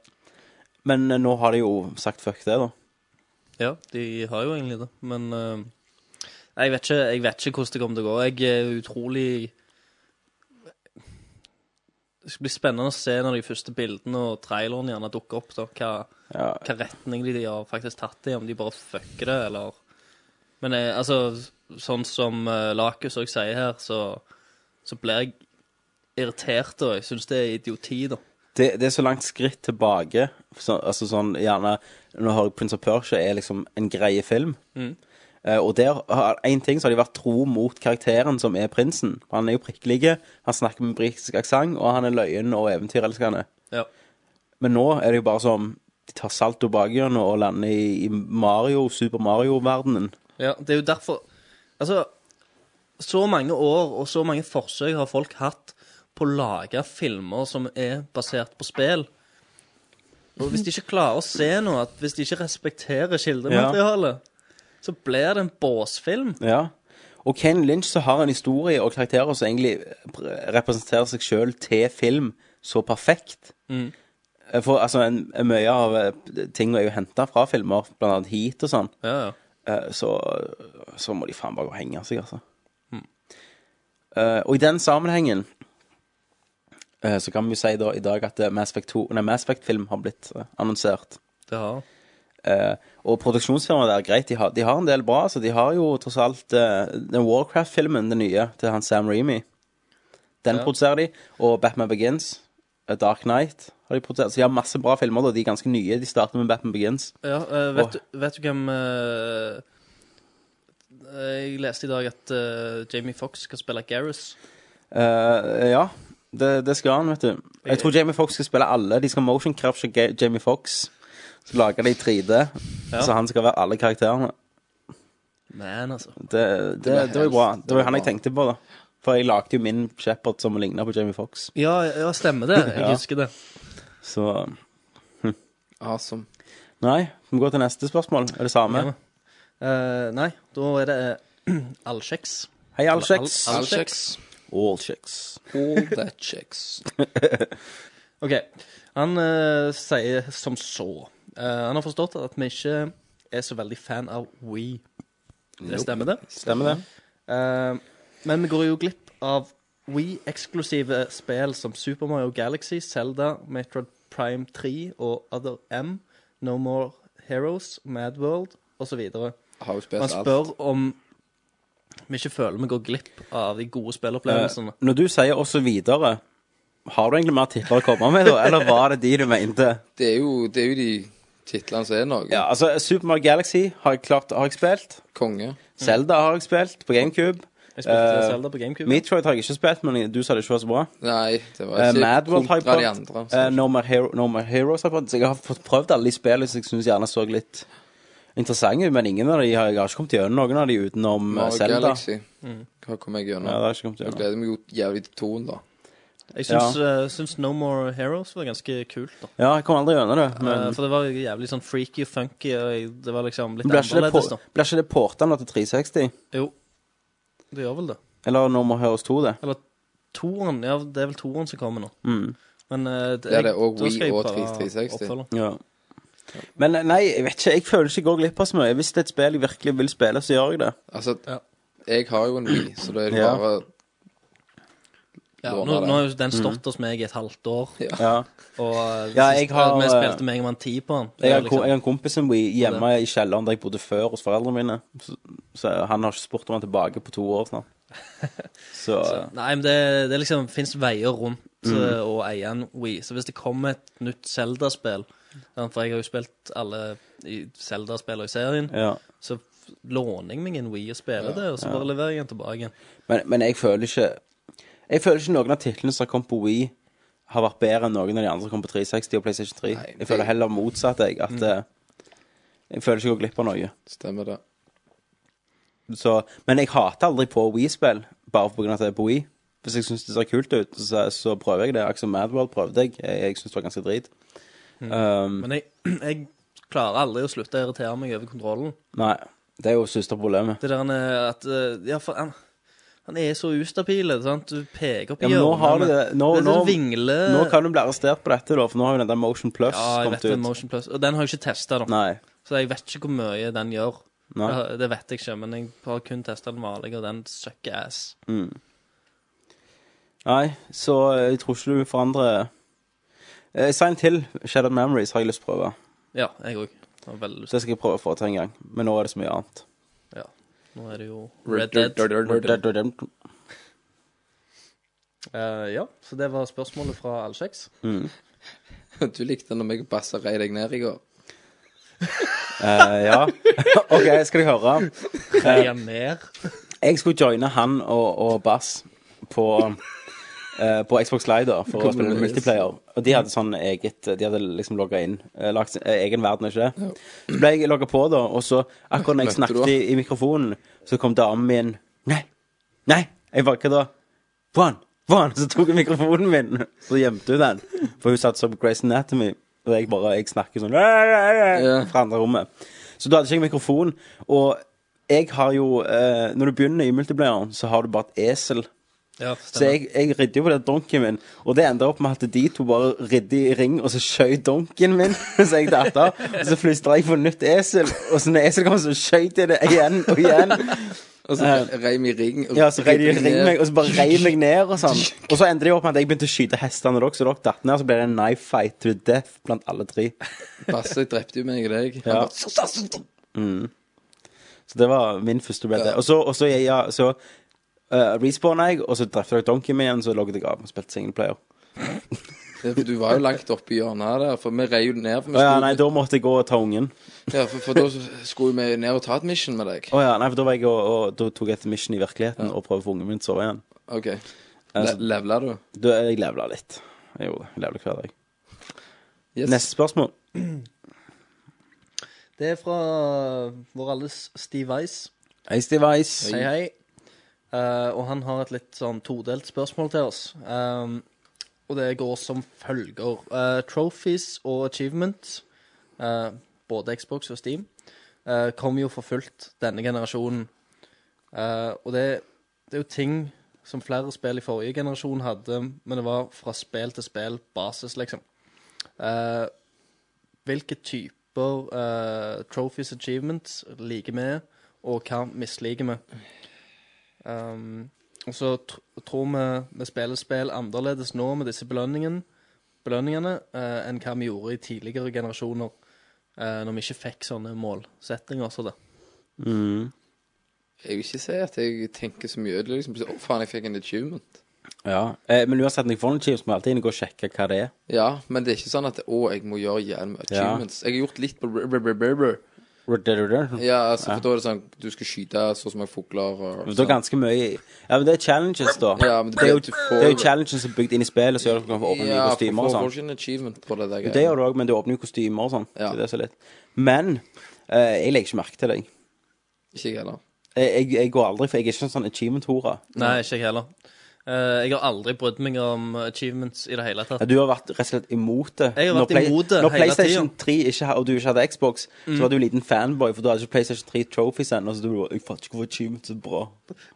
Speaker 4: Men eh, nå har de jo sagt fuck det, da.
Speaker 1: Ja, de har jo egentlig det, men eh, jeg, vet ikke, jeg vet ikke hvordan det kommer til å gå. Jeg er utrolig Det skal bli spennende å se når de første bildene og traileren gjerne dukker opp, da, hva, hva retning de har faktisk tatt det i, om de bare fucker det, eller Men eh, altså, sånn som uh, Lakus òg sier her, så, så blir jeg irritert, og jeg syns det er idioti, da.
Speaker 4: det, det er så langt skritt tilbake. Så, altså sånn, gjerne Nå har jeg Prince of Persia er liksom en greie film.
Speaker 1: Mm.
Speaker 4: Eh, og der har en ting så har de vært tro mot karakteren som er prinsen. For Han er jo prikkelig, han snakker med britisk aksent, og han er løyen og eventyrelskende.
Speaker 1: Ja.
Speaker 4: Men nå er det jo bare som de tar salto bakgrunnen og lander i, i Mario, Super Mario-verdenen.
Speaker 1: Ja, det er jo derfor Altså, så mange år og så mange forsøk har folk hatt på å lage filmer som er basert på spill. Og hvis de ikke klarer å se noe, at hvis de ikke respekterer kildematerialet, så blir det en båsfilm.
Speaker 4: Ja. Og Ken Lynch så har en historie og karakterer som egentlig representerer seg sjøl til film så perfekt.
Speaker 1: Mm.
Speaker 4: Eh, For altså, en, en mye av eh, tingene er jo henta fra filmer, blant annet Heat og sånn. Eh, Så, så må de faen bare gå og henge seg, altså.
Speaker 1: Mm.
Speaker 4: Eh, og i den sammenhengen eh, så kan vi jo si da i dag at eh, Mass Effect 2 Nei, Mass Effect-film har blitt eh, annonsert.
Speaker 1: Det har
Speaker 4: Eh, og produksjonsfirmaet der, greit, de har, de har en del bra. Så de har jo tross alt eh, den Warcraft-filmen, den nye, til han Sam Remy. Den
Speaker 1: Ja.
Speaker 4: produserer de. Og Batman Begins, eh, Dark Knight har de produsert. Så de har masse bra filmer. da, De er ganske nye. De starter med Batman Begins.
Speaker 1: Ja, eh, vet, du- vet du hvem eh, Jeg leste i dag at eh, Jamie Fox skal spille Gareth.
Speaker 4: Eh, ja, det, det skal han, vet du. Jeg tror Jamie Fox skal spille alle. De skal motion crafte Ga- Jamie Fox. Så lager de 3D,
Speaker 1: Ja.
Speaker 4: så han skal være alle karakterene.
Speaker 1: Man, altså.
Speaker 4: Det, det,
Speaker 1: var
Speaker 4: det, var jo bra.
Speaker 1: helt-
Speaker 4: Det var jo han
Speaker 1: det
Speaker 4: jeg tenkte på, da. For jeg lagde jo min Shepherd som ligna på Jamie Fox.
Speaker 1: Ja, ja stemmer det. Jeg
Speaker 4: Ja.
Speaker 1: husker det.
Speaker 4: Så hm.
Speaker 9: Awesome.
Speaker 4: Nei, vi må gå til neste spørsmål. Er det samme?
Speaker 1: Ja. Eh, nei, da er det uh, Allsjeks.
Speaker 4: Hei, Allsjeks.
Speaker 1: All-
Speaker 4: All checks.
Speaker 9: All that checks.
Speaker 1: OK. Han eh, sier som så. Eh, han har forstått at vi ikke er så veldig fan av We. Det
Speaker 4: Nope.
Speaker 1: stemmer, det?
Speaker 4: Stemmer det.
Speaker 1: Eh, men vi går jo glipp av We-eksklusive spill som Super Mario Galaxy, Zelda, Metroid Prime 3 og Other M, No More Heroes, Mad World osv.
Speaker 9: Har jo spilt
Speaker 1: Man spør om vi ikke føler vi går glipp av de gode spillopplevelsene.
Speaker 4: Eh, Når du sier og så videre, har du egentlig mer titler å komme med, da? Eller var det de du mente?
Speaker 9: Det er jo, det er jo de titlene som er noe.
Speaker 4: Ja, altså, Super Mario Galaxy har jeg klart har jeg spilt.
Speaker 9: Konge.
Speaker 4: Zelda har jeg spilt på GameCube.
Speaker 1: Jeg spilte
Speaker 4: Eh,
Speaker 1: Zelda på GameCube.
Speaker 4: Metroid har jeg ikke spilt, men du sa det ikke var så bra.
Speaker 9: Nei, det var
Speaker 4: Eh,
Speaker 9: ikke
Speaker 4: Mad World har jeg
Speaker 9: kontra de
Speaker 4: prøvd.
Speaker 9: andre,
Speaker 4: Eh, no, More Hero, no More Heroes har jeg prøvd. Så jeg har fått prøvd alle de spillene som jeg syns gjerne så litt interessante ut, men ingen av de har jeg har ikke kommet gjennom noen av de utenom eh,
Speaker 9: Mario
Speaker 4: Zelda.
Speaker 9: Galaxy.
Speaker 1: Mm.
Speaker 9: Hva kom jeg gjennom?
Speaker 4: Ja, det har jeg ikke kommet gjennom.
Speaker 9: Jeg gleder meg jo jævlig til toen, da.
Speaker 1: Jeg syns, eh, syns No More Heroes var ganske kult. da
Speaker 4: Ja, jeg kom aldri gjennom det. Men
Speaker 1: Eh, For det var jo jævlig sånn freaky og funky. Og jeg- det var liksom litt
Speaker 4: blir ikke det,
Speaker 1: annerledes, da.
Speaker 4: på- blir ikke det porta nå til 360?
Speaker 1: Jo, det gjør vel det.
Speaker 4: Eller No More Heroes 2, det?
Speaker 1: Eller toeren. Ja, det er vel toeren som kommer nå.
Speaker 4: Mm.
Speaker 1: Men eh, det,
Speaker 9: Ja, det er
Speaker 1: jeg-
Speaker 9: også
Speaker 1: da
Speaker 9: Wii
Speaker 1: skal jeg
Speaker 9: og
Speaker 1: bare
Speaker 9: 360.
Speaker 1: oppfølge.
Speaker 4: Ja. Men eh, nei, jeg vet ikke. Jeg føler ikke jeg går glipp av så mye. Hvis det er et spill jeg virkelig vil spille, så gjør jeg det.
Speaker 9: Altså, jeg har jo en Wii, så det er
Speaker 4: Ja.
Speaker 9: bare
Speaker 1: Ja,
Speaker 9: Låne
Speaker 1: nå,
Speaker 9: det.
Speaker 1: nå har jo den stått
Speaker 9: Mm.
Speaker 1: hos meg i et halvt år.
Speaker 4: Ja.
Speaker 1: Og eh,
Speaker 4: Ja,
Speaker 1: sist-
Speaker 4: jeg har,
Speaker 1: vi
Speaker 4: eh,
Speaker 1: spilte Mega Man 10 på den.
Speaker 4: Jeg
Speaker 1: Det er
Speaker 4: har,
Speaker 1: liksom-
Speaker 4: ko- jeg har en kompis som bor hjemme
Speaker 1: Det.
Speaker 4: i kjelleren der jeg bodde før hos foreldrene mine. Så, så han har ikke spurt om han er tilbake på to år snart. Så,
Speaker 1: Så, nei, men det, det er liksom fins veier rundt
Speaker 4: Mm.
Speaker 1: eh, å eie en Wii. Så hvis det kommer et nytt Zelda-spill sant, For jeg har jo spilt alle i Zelda-spillene i serien.
Speaker 4: Ja.
Speaker 1: Så f- låner jeg meg en Wii og spiller det, og så
Speaker 4: Ja.
Speaker 1: bare leverer jeg den tilbake. igjen.
Speaker 4: men, men jeg føler ikke Jeg føler ikke noen av titlene som har kommet på Wii, har vært bedre enn noen av de andre som kom på 360 og PlayStation 3. jeg føler heller motsatt, jeg.
Speaker 1: Mm.
Speaker 4: At eh, jeg føler ikke jeg går glipp av noe.
Speaker 9: Stemmer det.
Speaker 4: Så, men jeg hater aldri på Wii-spill, bare på grunn av at det er på Wii. Hvis jeg syns det ser kult ut, så, så prøver jeg det. Akkurat som Mad World prøvde jeg. Jeg, jeg syns det var ganske drit.
Speaker 1: Mm.
Speaker 4: Um,
Speaker 1: Men jeg, jeg klarer aldri å slutte å irritere meg over kontrollen.
Speaker 4: Nei, det er jo søsterproblemet.
Speaker 1: Det der han er at eh, Ja, for han, han er så ustabil. Sant? Du peker opp
Speaker 4: Ja, men nå har du det. Nå,
Speaker 1: det, er
Speaker 4: nå,
Speaker 1: sånn vingle...
Speaker 4: nå kan du bli arrestert på dette, da, for nå har jo den der Motion Plus
Speaker 1: ja, jeg
Speaker 4: kommet
Speaker 1: vet det,
Speaker 4: ut.
Speaker 1: Motion Plus. Og den har jeg ikke testa, da.
Speaker 4: Nei.
Speaker 1: Så jeg vet ikke hvor mye den gjør.
Speaker 4: Nei.
Speaker 1: Det- Det vet jeg ikke, men jeg har kun testa den vanlige, og den sucker ass.
Speaker 4: Mm. Nei, så jeg tror ikke du forandrer eh, Silent Hill, Shattered Memories, har jeg lyst til å prøve.
Speaker 1: Ja, jeg òg. Veldig lyst.
Speaker 4: Det skal jeg prøve å få til en gang, men nå er det så mye annet.
Speaker 1: Ja. Nå er det jo
Speaker 4: Red
Speaker 1: Red
Speaker 4: Dead.
Speaker 1: Dead.
Speaker 4: Red Dead Redemption.
Speaker 1: Eh, ja, så det var spørsmålet fra
Speaker 4: Eh.
Speaker 1: Allsjeks.
Speaker 9: Du likte når jeg bassa rei deg ned i går.
Speaker 4: Eh, ja. OK, skal jeg høre. Eh,
Speaker 1: Reia mer.
Speaker 4: Jeg skulle joine han og, og Bass på, eh, på Xbox Live da, for å spille multiplayer. Og de hadde sånn eget De hadde liksom logga inn. eh, Lagt sin eh, egen verden, ikke det? Så ble jeg logga på, da, og så akkurat når jeg
Speaker 14: Møtte du
Speaker 4: snakket i, i mikrofonen, så kom damen min Nei! Nei! Jeg bare Hva da? One! One! Så tok hun mikrofonen min, så gjemte hun den. For hun satt som Grace Anatomy. Og jeg bare jeg snakker sånn fra andre rommet. Så da hadde ikke jeg mikrofon. Og jeg har jo eh, Når du begynner i multiplayeren, så har du bare et esel.
Speaker 1: Ja,
Speaker 4: Så jeg, jeg ridde jo på den donken min, og det endte opp med at de to bare ridde i ring, og så skjøt donken min, så jeg datt av. Og så flystra jeg på nytt esel, og så når eselet kom, så skjøt jeg det igjen og igjen.
Speaker 9: Og så
Speaker 4: Eh,
Speaker 9: rei vi i ring. og
Speaker 4: Ja, så rei de i
Speaker 9: ridde
Speaker 4: ring
Speaker 9: ned.
Speaker 4: meg, og så bare rei meg ned og sånn. Og så endte det opp med at jeg begynte å skyte hestene deres, så dere datt ned, og så ble det en knife fight to death blant alle tre.
Speaker 9: Basse drepte jo meg og deg.
Speaker 4: Ja.
Speaker 9: Han bare,
Speaker 4: Mm. Så det var min første bredde. Og så, og så, jeg- ja, så uh, respawna jeg, og så drepte jeg Donkey min igjen, så logget jeg av og spilte singleplayer.
Speaker 9: Ja, for Du var jo langt oppe i hjørnet her, der, for vi rei jo ned. For, vi
Speaker 4: Å ja,
Speaker 9: skulle,
Speaker 4: nei, da måtte jeg gå og ta ungen.
Speaker 9: ja, for, for da skulle vi ned og ta et mission med deg.
Speaker 4: Å ja, nei, for da, var jeg og, og, da tok jeg et mission i virkeligheten og prøvde å få ungen min til å sove igjen.
Speaker 9: OK. Le
Speaker 4: Altså-
Speaker 9: Levela du?
Speaker 4: Da, jeg levela litt. Jeg gjorde det. Jeg levela hver dag.
Speaker 9: Yes.
Speaker 4: Neste spørsmål.
Speaker 1: Det er fra vår alles Steve Weiss.
Speaker 4: Hei, Steve Ice.
Speaker 1: Hei, hei. Eh, og han har et litt sånn todelt spørsmål til oss. Um, og det går som følger. Eh, trophies og achievements, eh, både Xbox og Steam, eh, kommer jo for fullt denne generasjonen. Eh, og det, det er jo ting som flere spill i forrige generasjon hadde, men det var fra spill til spill, basis, liksom. Eh, hvilke type spør eh, trophies achievements liker vi, og hva misliker vi. Um, og så tr tror vi vi spiller spill annerledes nå med disse belønningene, belønningene eh, enn hva vi gjorde i tidligere generasjoner, eh, når vi ikke fikk sånne målsettinger som det.
Speaker 9: Jeg vil ikke si at jeg tenker så mye. Det er liksom plutselig, Å, faen, jeg fikk en achievement.
Speaker 4: Ja. Eh, men uansett, når jeg får noen chips, må jeg alltid inn og gå og sjekke hva det er.
Speaker 9: Ja, men det er ikke sånn at Å, jeg må gjøre jævlig mye
Speaker 4: Ja.
Speaker 9: achievements. Jeg har gjort litt på Red Red Red Red. Ja, altså, for da er det sånn Da Du skal skyte så og så mange fugler og
Speaker 4: Men det er ganske mye Ja, men det er challenges, da.
Speaker 9: Ja, men det
Speaker 4: det, er jo,
Speaker 9: blir- du får-
Speaker 4: det er jo challenges som er bygd inn i spillet, så gjør det at du kan få åpne nye
Speaker 9: Ja, for du
Speaker 4: kostymer og
Speaker 9: får
Speaker 4: sånn.
Speaker 9: ikke en achievement på det der
Speaker 4: Jo, Det gjør du òg, men du åpner jo kostymer og sånn. Så det er så litt. Men eh, jeg legger ikke merke til deg.
Speaker 9: Ikke jeg heller.
Speaker 4: Jeg, jeg, jeg går aldri, for jeg er ikke en sånn achievement-hore.
Speaker 1: Nei, ikke jeg heller. Eh, jeg har aldri brydd meg om achievements i det hele tatt.
Speaker 4: Ja, Du har vært rett og slett imot det.
Speaker 1: Jeg har vært imot det
Speaker 4: Når
Speaker 1: hele
Speaker 4: PlayStation 3 ikke, ha- og du ikke hadde Xbox,
Speaker 1: Mm.
Speaker 4: så var du en liten fanboy, for du hadde ikke PlayStation 3 Trophies ennå, så du var Jeg fatter ikke hvorfor achievement er bra.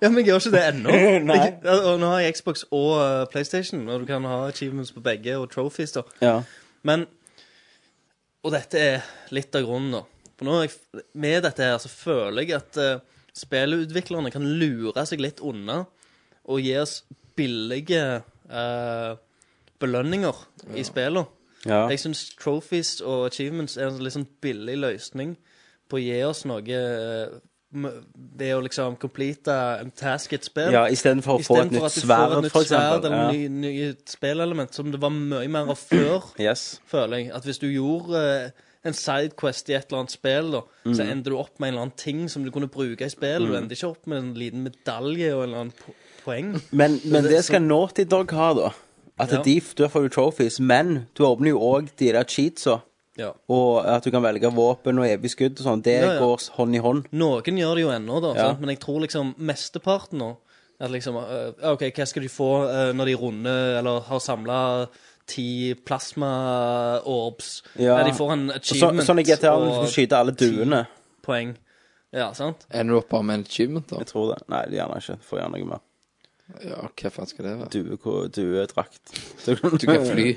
Speaker 1: Ja, men jeg gjør ikke det ennå.
Speaker 4: Nei.
Speaker 1: Jeg- Og nå har jeg Xbox og eh, PlayStation, og du kan ha achievements på begge, og trophies, da.
Speaker 4: Ja.
Speaker 1: Men Og dette er litt av grunnen, da. For nå er jeg, med dette her så føler jeg at eh, spillutviklerne kan lure seg litt unna og gi oss billige eh, belønninger i spillene.
Speaker 4: Ja.
Speaker 1: Jeg syns trophies og achievements er en litt sånn billig løsning på å gi oss noe eh, m- ved å liksom complete en task i et spill.
Speaker 4: Ja, i stedet for å få
Speaker 1: Istedenfor
Speaker 4: et nytt
Speaker 1: at du får
Speaker 4: sverd,
Speaker 1: et nytt
Speaker 4: for eksempel.
Speaker 1: sverd, Eller
Speaker 4: Ja.
Speaker 1: ny, nye spillelement, som det var mye mer av før,
Speaker 4: Yes.
Speaker 1: føler jeg. At hvis du gjorde eh, en sidequest i et eller annet spill, da, så
Speaker 4: Mhm.
Speaker 1: endte du opp med en eller annen ting som du kunne bruke i spillet. Du
Speaker 4: Mhm.
Speaker 1: endte ikke opp med en liten medalje og en eller annen po poeng.
Speaker 4: Men,
Speaker 1: Så
Speaker 4: men det skal
Speaker 1: så-
Speaker 4: Naughty Dog ha, da. At
Speaker 1: Ja.
Speaker 4: de, du får jo trophies, men du åpner jo òg de der cheatsa.
Speaker 1: Ja.
Speaker 4: Og at du kan velge våpen og evig skudd og sånn. Det
Speaker 1: Ja, ja.
Speaker 4: går hånd i hånd.
Speaker 1: Noen gjør det jo ennå, da,
Speaker 4: Ja.
Speaker 1: sant? men jeg tror liksom mesteparten nå at liksom, eh, OK, hva skal de få eh, når de runder eller har samla ti plasma-orbs?
Speaker 4: Ja.
Speaker 1: Nei, de får en
Speaker 4: Og så-
Speaker 1: achievement.
Speaker 4: sånn i GTA når du
Speaker 1: og
Speaker 4: skal skyte alle
Speaker 1: ti
Speaker 4: duene.
Speaker 1: Poeng. Ja, sant?
Speaker 9: Ender du opp bare med en achievement, da?
Speaker 4: Jeg tror det. Nei, gjerne ikke. Får gjerne noe mer.
Speaker 9: Ja, hva faen skal det være?
Speaker 4: Due- Duedrakt.
Speaker 9: Du kan fly.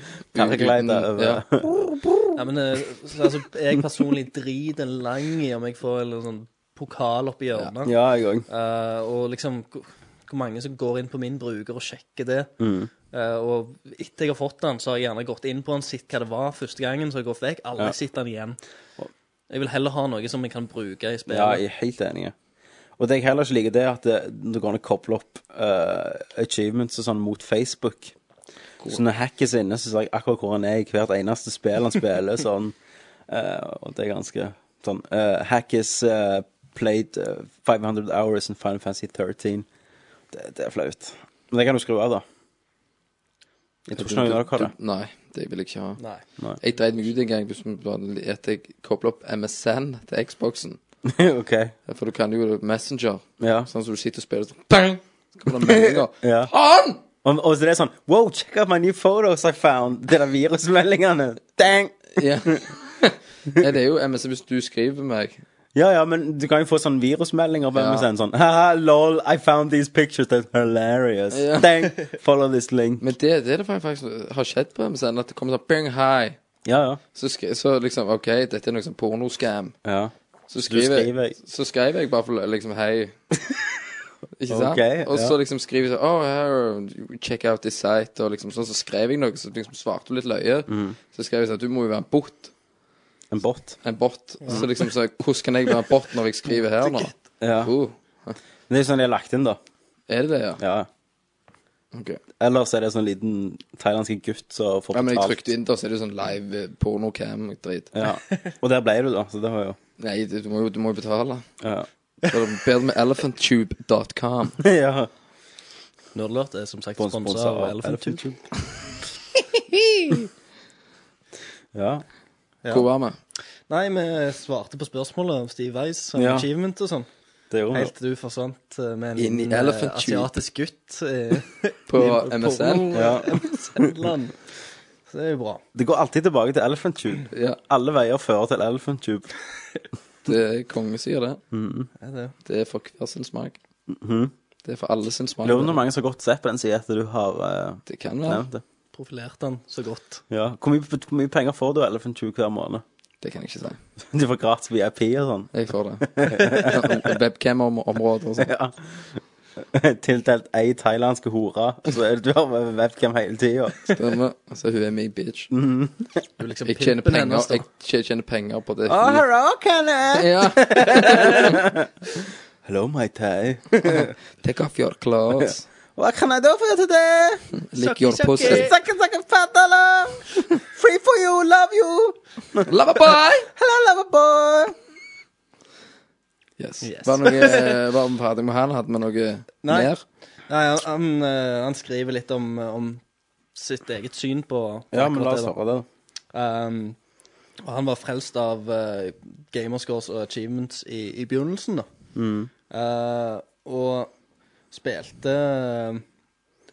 Speaker 9: Uten-
Speaker 4: Paraglider over.
Speaker 9: ja.
Speaker 1: Ja, men eh, så, altså, jeg personlig driter lang i om jeg får en sånn pokal oppi hjørnet.
Speaker 4: Ja, jeg òg.
Speaker 1: Eh, og liksom hvor hvor mange som går inn på min bruker og sjekker det.
Speaker 4: Mm.
Speaker 1: Eh, og etter jeg har fått den, så har jeg gjerne gått inn på den, sett hva det var første gangen, så har jeg gått vekk. Aldri
Speaker 4: Ja.
Speaker 1: sett den igjen. Jeg vil heller ha noe som jeg kan bruke i spillet.
Speaker 4: Ja, jeg er helt enig. Og det jeg heller ikke liker, det er at det, det går an å koble opp eh, achievements og sånn mot Facebook. Så når hacket er inne, så ser jeg akkurat hvor han er i hvert eneste spill han spiller. sånn, eh, Og det er ganske sånn eh, Hack is eh, played eh, 500 hours in Final Fantasy 13. Det, det er flaut. Men det kan du skru av, da. Jeg tror ikke noen av dere har det.
Speaker 9: Nei, det vil jeg ikke ha.
Speaker 1: Nei.
Speaker 4: Nei.
Speaker 9: Jeg dreit meg ut en gang hvis vi bare- at jeg kobla opp MSN til Xboxen.
Speaker 4: ok.
Speaker 9: For du kan jo Messenger.
Speaker 4: Ja.
Speaker 9: Sånn som du sitter og spiller sånn Bang! Så kommer det meldinger.
Speaker 4: ja.
Speaker 9: Faen!
Speaker 4: Og, og så det er sånn Wow, check out my new photos I found. Det der virusmeldingene. Dang!
Speaker 9: Ja. Nei, det er jo MSN hvis du skriver meg.
Speaker 4: Ja, ja, men du kan jo få sånn virusmeldinger på
Speaker 9: Ja.
Speaker 4: MSN. Sånn Haha, lol, I found these pictures that's hilarious.
Speaker 9: Ja.
Speaker 4: Dang, follow this link.
Speaker 9: Men det, det er det faktisk har skjedd på MSN, at det kommer sånn bing, hei.
Speaker 4: Ja, ja.
Speaker 9: Så, skri, så liksom, OK, dette er noe sånn pornoskam.
Speaker 4: Ja.
Speaker 9: Så
Speaker 4: Så du
Speaker 9: skriver,
Speaker 4: skriver
Speaker 9: jeg Så skrev jeg bare for liksom hei. Ikke sant?
Speaker 4: Ok,
Speaker 9: og så
Speaker 4: ja.
Speaker 9: liksom skriver jeg sånn Oh, here, check out this site. Og liksom sånn, så skrev jeg noe, så liksom svarte hun litt løye.
Speaker 4: Mm.
Speaker 9: Så skrev jeg sånn Du må jo være en bot.
Speaker 4: En bot.
Speaker 9: En bot. Så liksom så Hvordan kan jeg være en bot når jeg skriver her nå? Oh,
Speaker 4: Ja. Men det er sånn de har lagt inn, da.
Speaker 9: Er det det, ja?
Speaker 4: Ok. Ellers er det sånn liten thailandske gutt som får
Speaker 9: Ja, men jeg
Speaker 4: betalt.
Speaker 9: trykte inn der, så er det jo sånn live eh, pornocam-drit.
Speaker 4: Ja. Og der ble du, da. Så det var jo
Speaker 9: Nei, du du må jo du må jo betale.
Speaker 4: Ja.
Speaker 9: Så er det bedre med elephanttube.com.
Speaker 4: Ja.
Speaker 1: Nerdlert er som sagt
Speaker 4: Sponset
Speaker 1: sponsa av
Speaker 4: av
Speaker 1: Elephant
Speaker 4: Elephant
Speaker 1: Tube.
Speaker 4: Ja.
Speaker 1: Ja.
Speaker 9: Hvor var vi?
Speaker 1: Nei, vi svarte på spørsmålet om Steve Weiss og
Speaker 9: Ja.
Speaker 1: achievement og sånn.
Speaker 4: Det gjorde vi.
Speaker 1: Helt til du forsvant eh, med en
Speaker 9: Inn i
Speaker 1: liten, eh,
Speaker 9: Elephant Tube.
Speaker 1: asiatisk gutt eh,
Speaker 9: På
Speaker 1: i
Speaker 9: MSN?
Speaker 1: porno-
Speaker 4: Ja.
Speaker 1: MSN-land. Så det er jo bra.
Speaker 4: Det går alltid tilbake til Elephant Tube. Alle veier fører til Elephant Tube.
Speaker 9: Det er konge sier det.
Speaker 4: Mhm.
Speaker 1: Er det?
Speaker 9: Det er for hver sin smak.
Speaker 4: Mhm.
Speaker 9: Det er for alle sin smak.
Speaker 4: Lurer på om mange som har gått sett på den siden etter du har eh,
Speaker 9: Det kan være.
Speaker 4: nevnt det.
Speaker 1: Profilerte han så godt.
Speaker 4: Ja. Hvor, mye, hvor mye penger får du av Elephant Tube hver måned?
Speaker 9: Det kan jeg ikke si.
Speaker 4: Du får gratis VIP og sånn.
Speaker 9: Jeg får det. Webcam-områder og sånn.
Speaker 4: Ja. Tildelt ei thailandske hore, så er det- du har webcam hele tida.
Speaker 9: Stemmer. Altså, hun er min bitch.
Speaker 4: Mhm.
Speaker 1: liksom
Speaker 9: jeg, tjener
Speaker 4: pimpen
Speaker 9: penger,
Speaker 4: hennes, da.
Speaker 9: jeg tj- tjener penger på det.
Speaker 4: Oh, hello, Kenneth!
Speaker 9: Ja.
Speaker 4: hello, my Thai.
Speaker 9: Take off your clothes.
Speaker 4: Hva kan jeg da få gjøre til det?
Speaker 9: Lick your pussy.
Speaker 4: Sucky, sucky, fat dollar. Free for you, love you.
Speaker 9: Lover boy.
Speaker 4: Hello, lover boy.
Speaker 9: Yes. Var, det noe, eh, var vi ferdig med han? Hadde vi noe
Speaker 1: Nei,
Speaker 9: mer?
Speaker 1: Nei han, han, eh, han skriver litt om, eh, om sitt eget syn på på
Speaker 4: Ja, men
Speaker 1: akkurat
Speaker 4: la oss
Speaker 1: da.
Speaker 4: høre det.
Speaker 1: Um, og han var frelst av eh, gamerscores og achievements i, i begynnelsen, da.
Speaker 4: Mm.
Speaker 1: Eh, og spilte eh,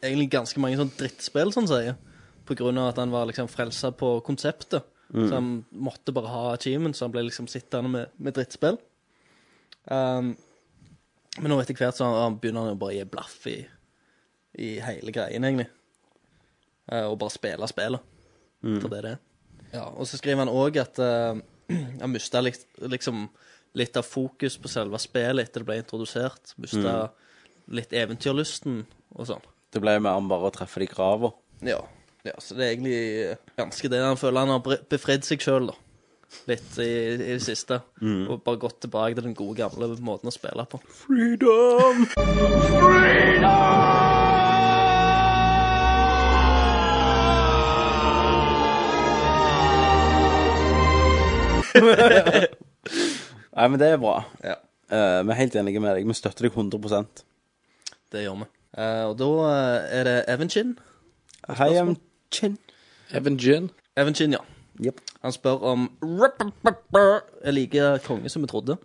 Speaker 1: egentlig ganske mange sånn drittspill, som han sier. På grunn av at han var liksom frelsa på konseptet.
Speaker 4: Mm.
Speaker 1: Så han måtte bare ha achievement, så han ble liksom sittende med, med drittspill. Um, men nå etter hvert så har han- begynner han jo bare å gi blaff i, i hele greien, egentlig. Eh, og bare spille spillet. For det er det. Ja, og så skriver han òg at eh, han mista liksom litt av fokus på selve spillet etter det ble introdusert. Mista litt eventyrlysten og sånn.
Speaker 4: Det ble mer om bare å treffe de grava.
Speaker 1: Ja. ja, så det er egentlig eh, ganske det han føler. Han har bre- befridd seg sjøl, da. Litt i, i det siste.
Speaker 4: Mm.
Speaker 1: Og bare gått tilbake til den gode, gamle måten å spille på.
Speaker 4: Freedom! Nei, men det er bra. Eh, vi er helt enige med deg. Vi støtter deg 100
Speaker 1: Det gjør vi. Eh, og da eh, er det Evenchin.
Speaker 4: Hei, Evenchin.
Speaker 1: Evenchin? Evenchin, ja. Han spør om Jeg liker konge som vi trodde.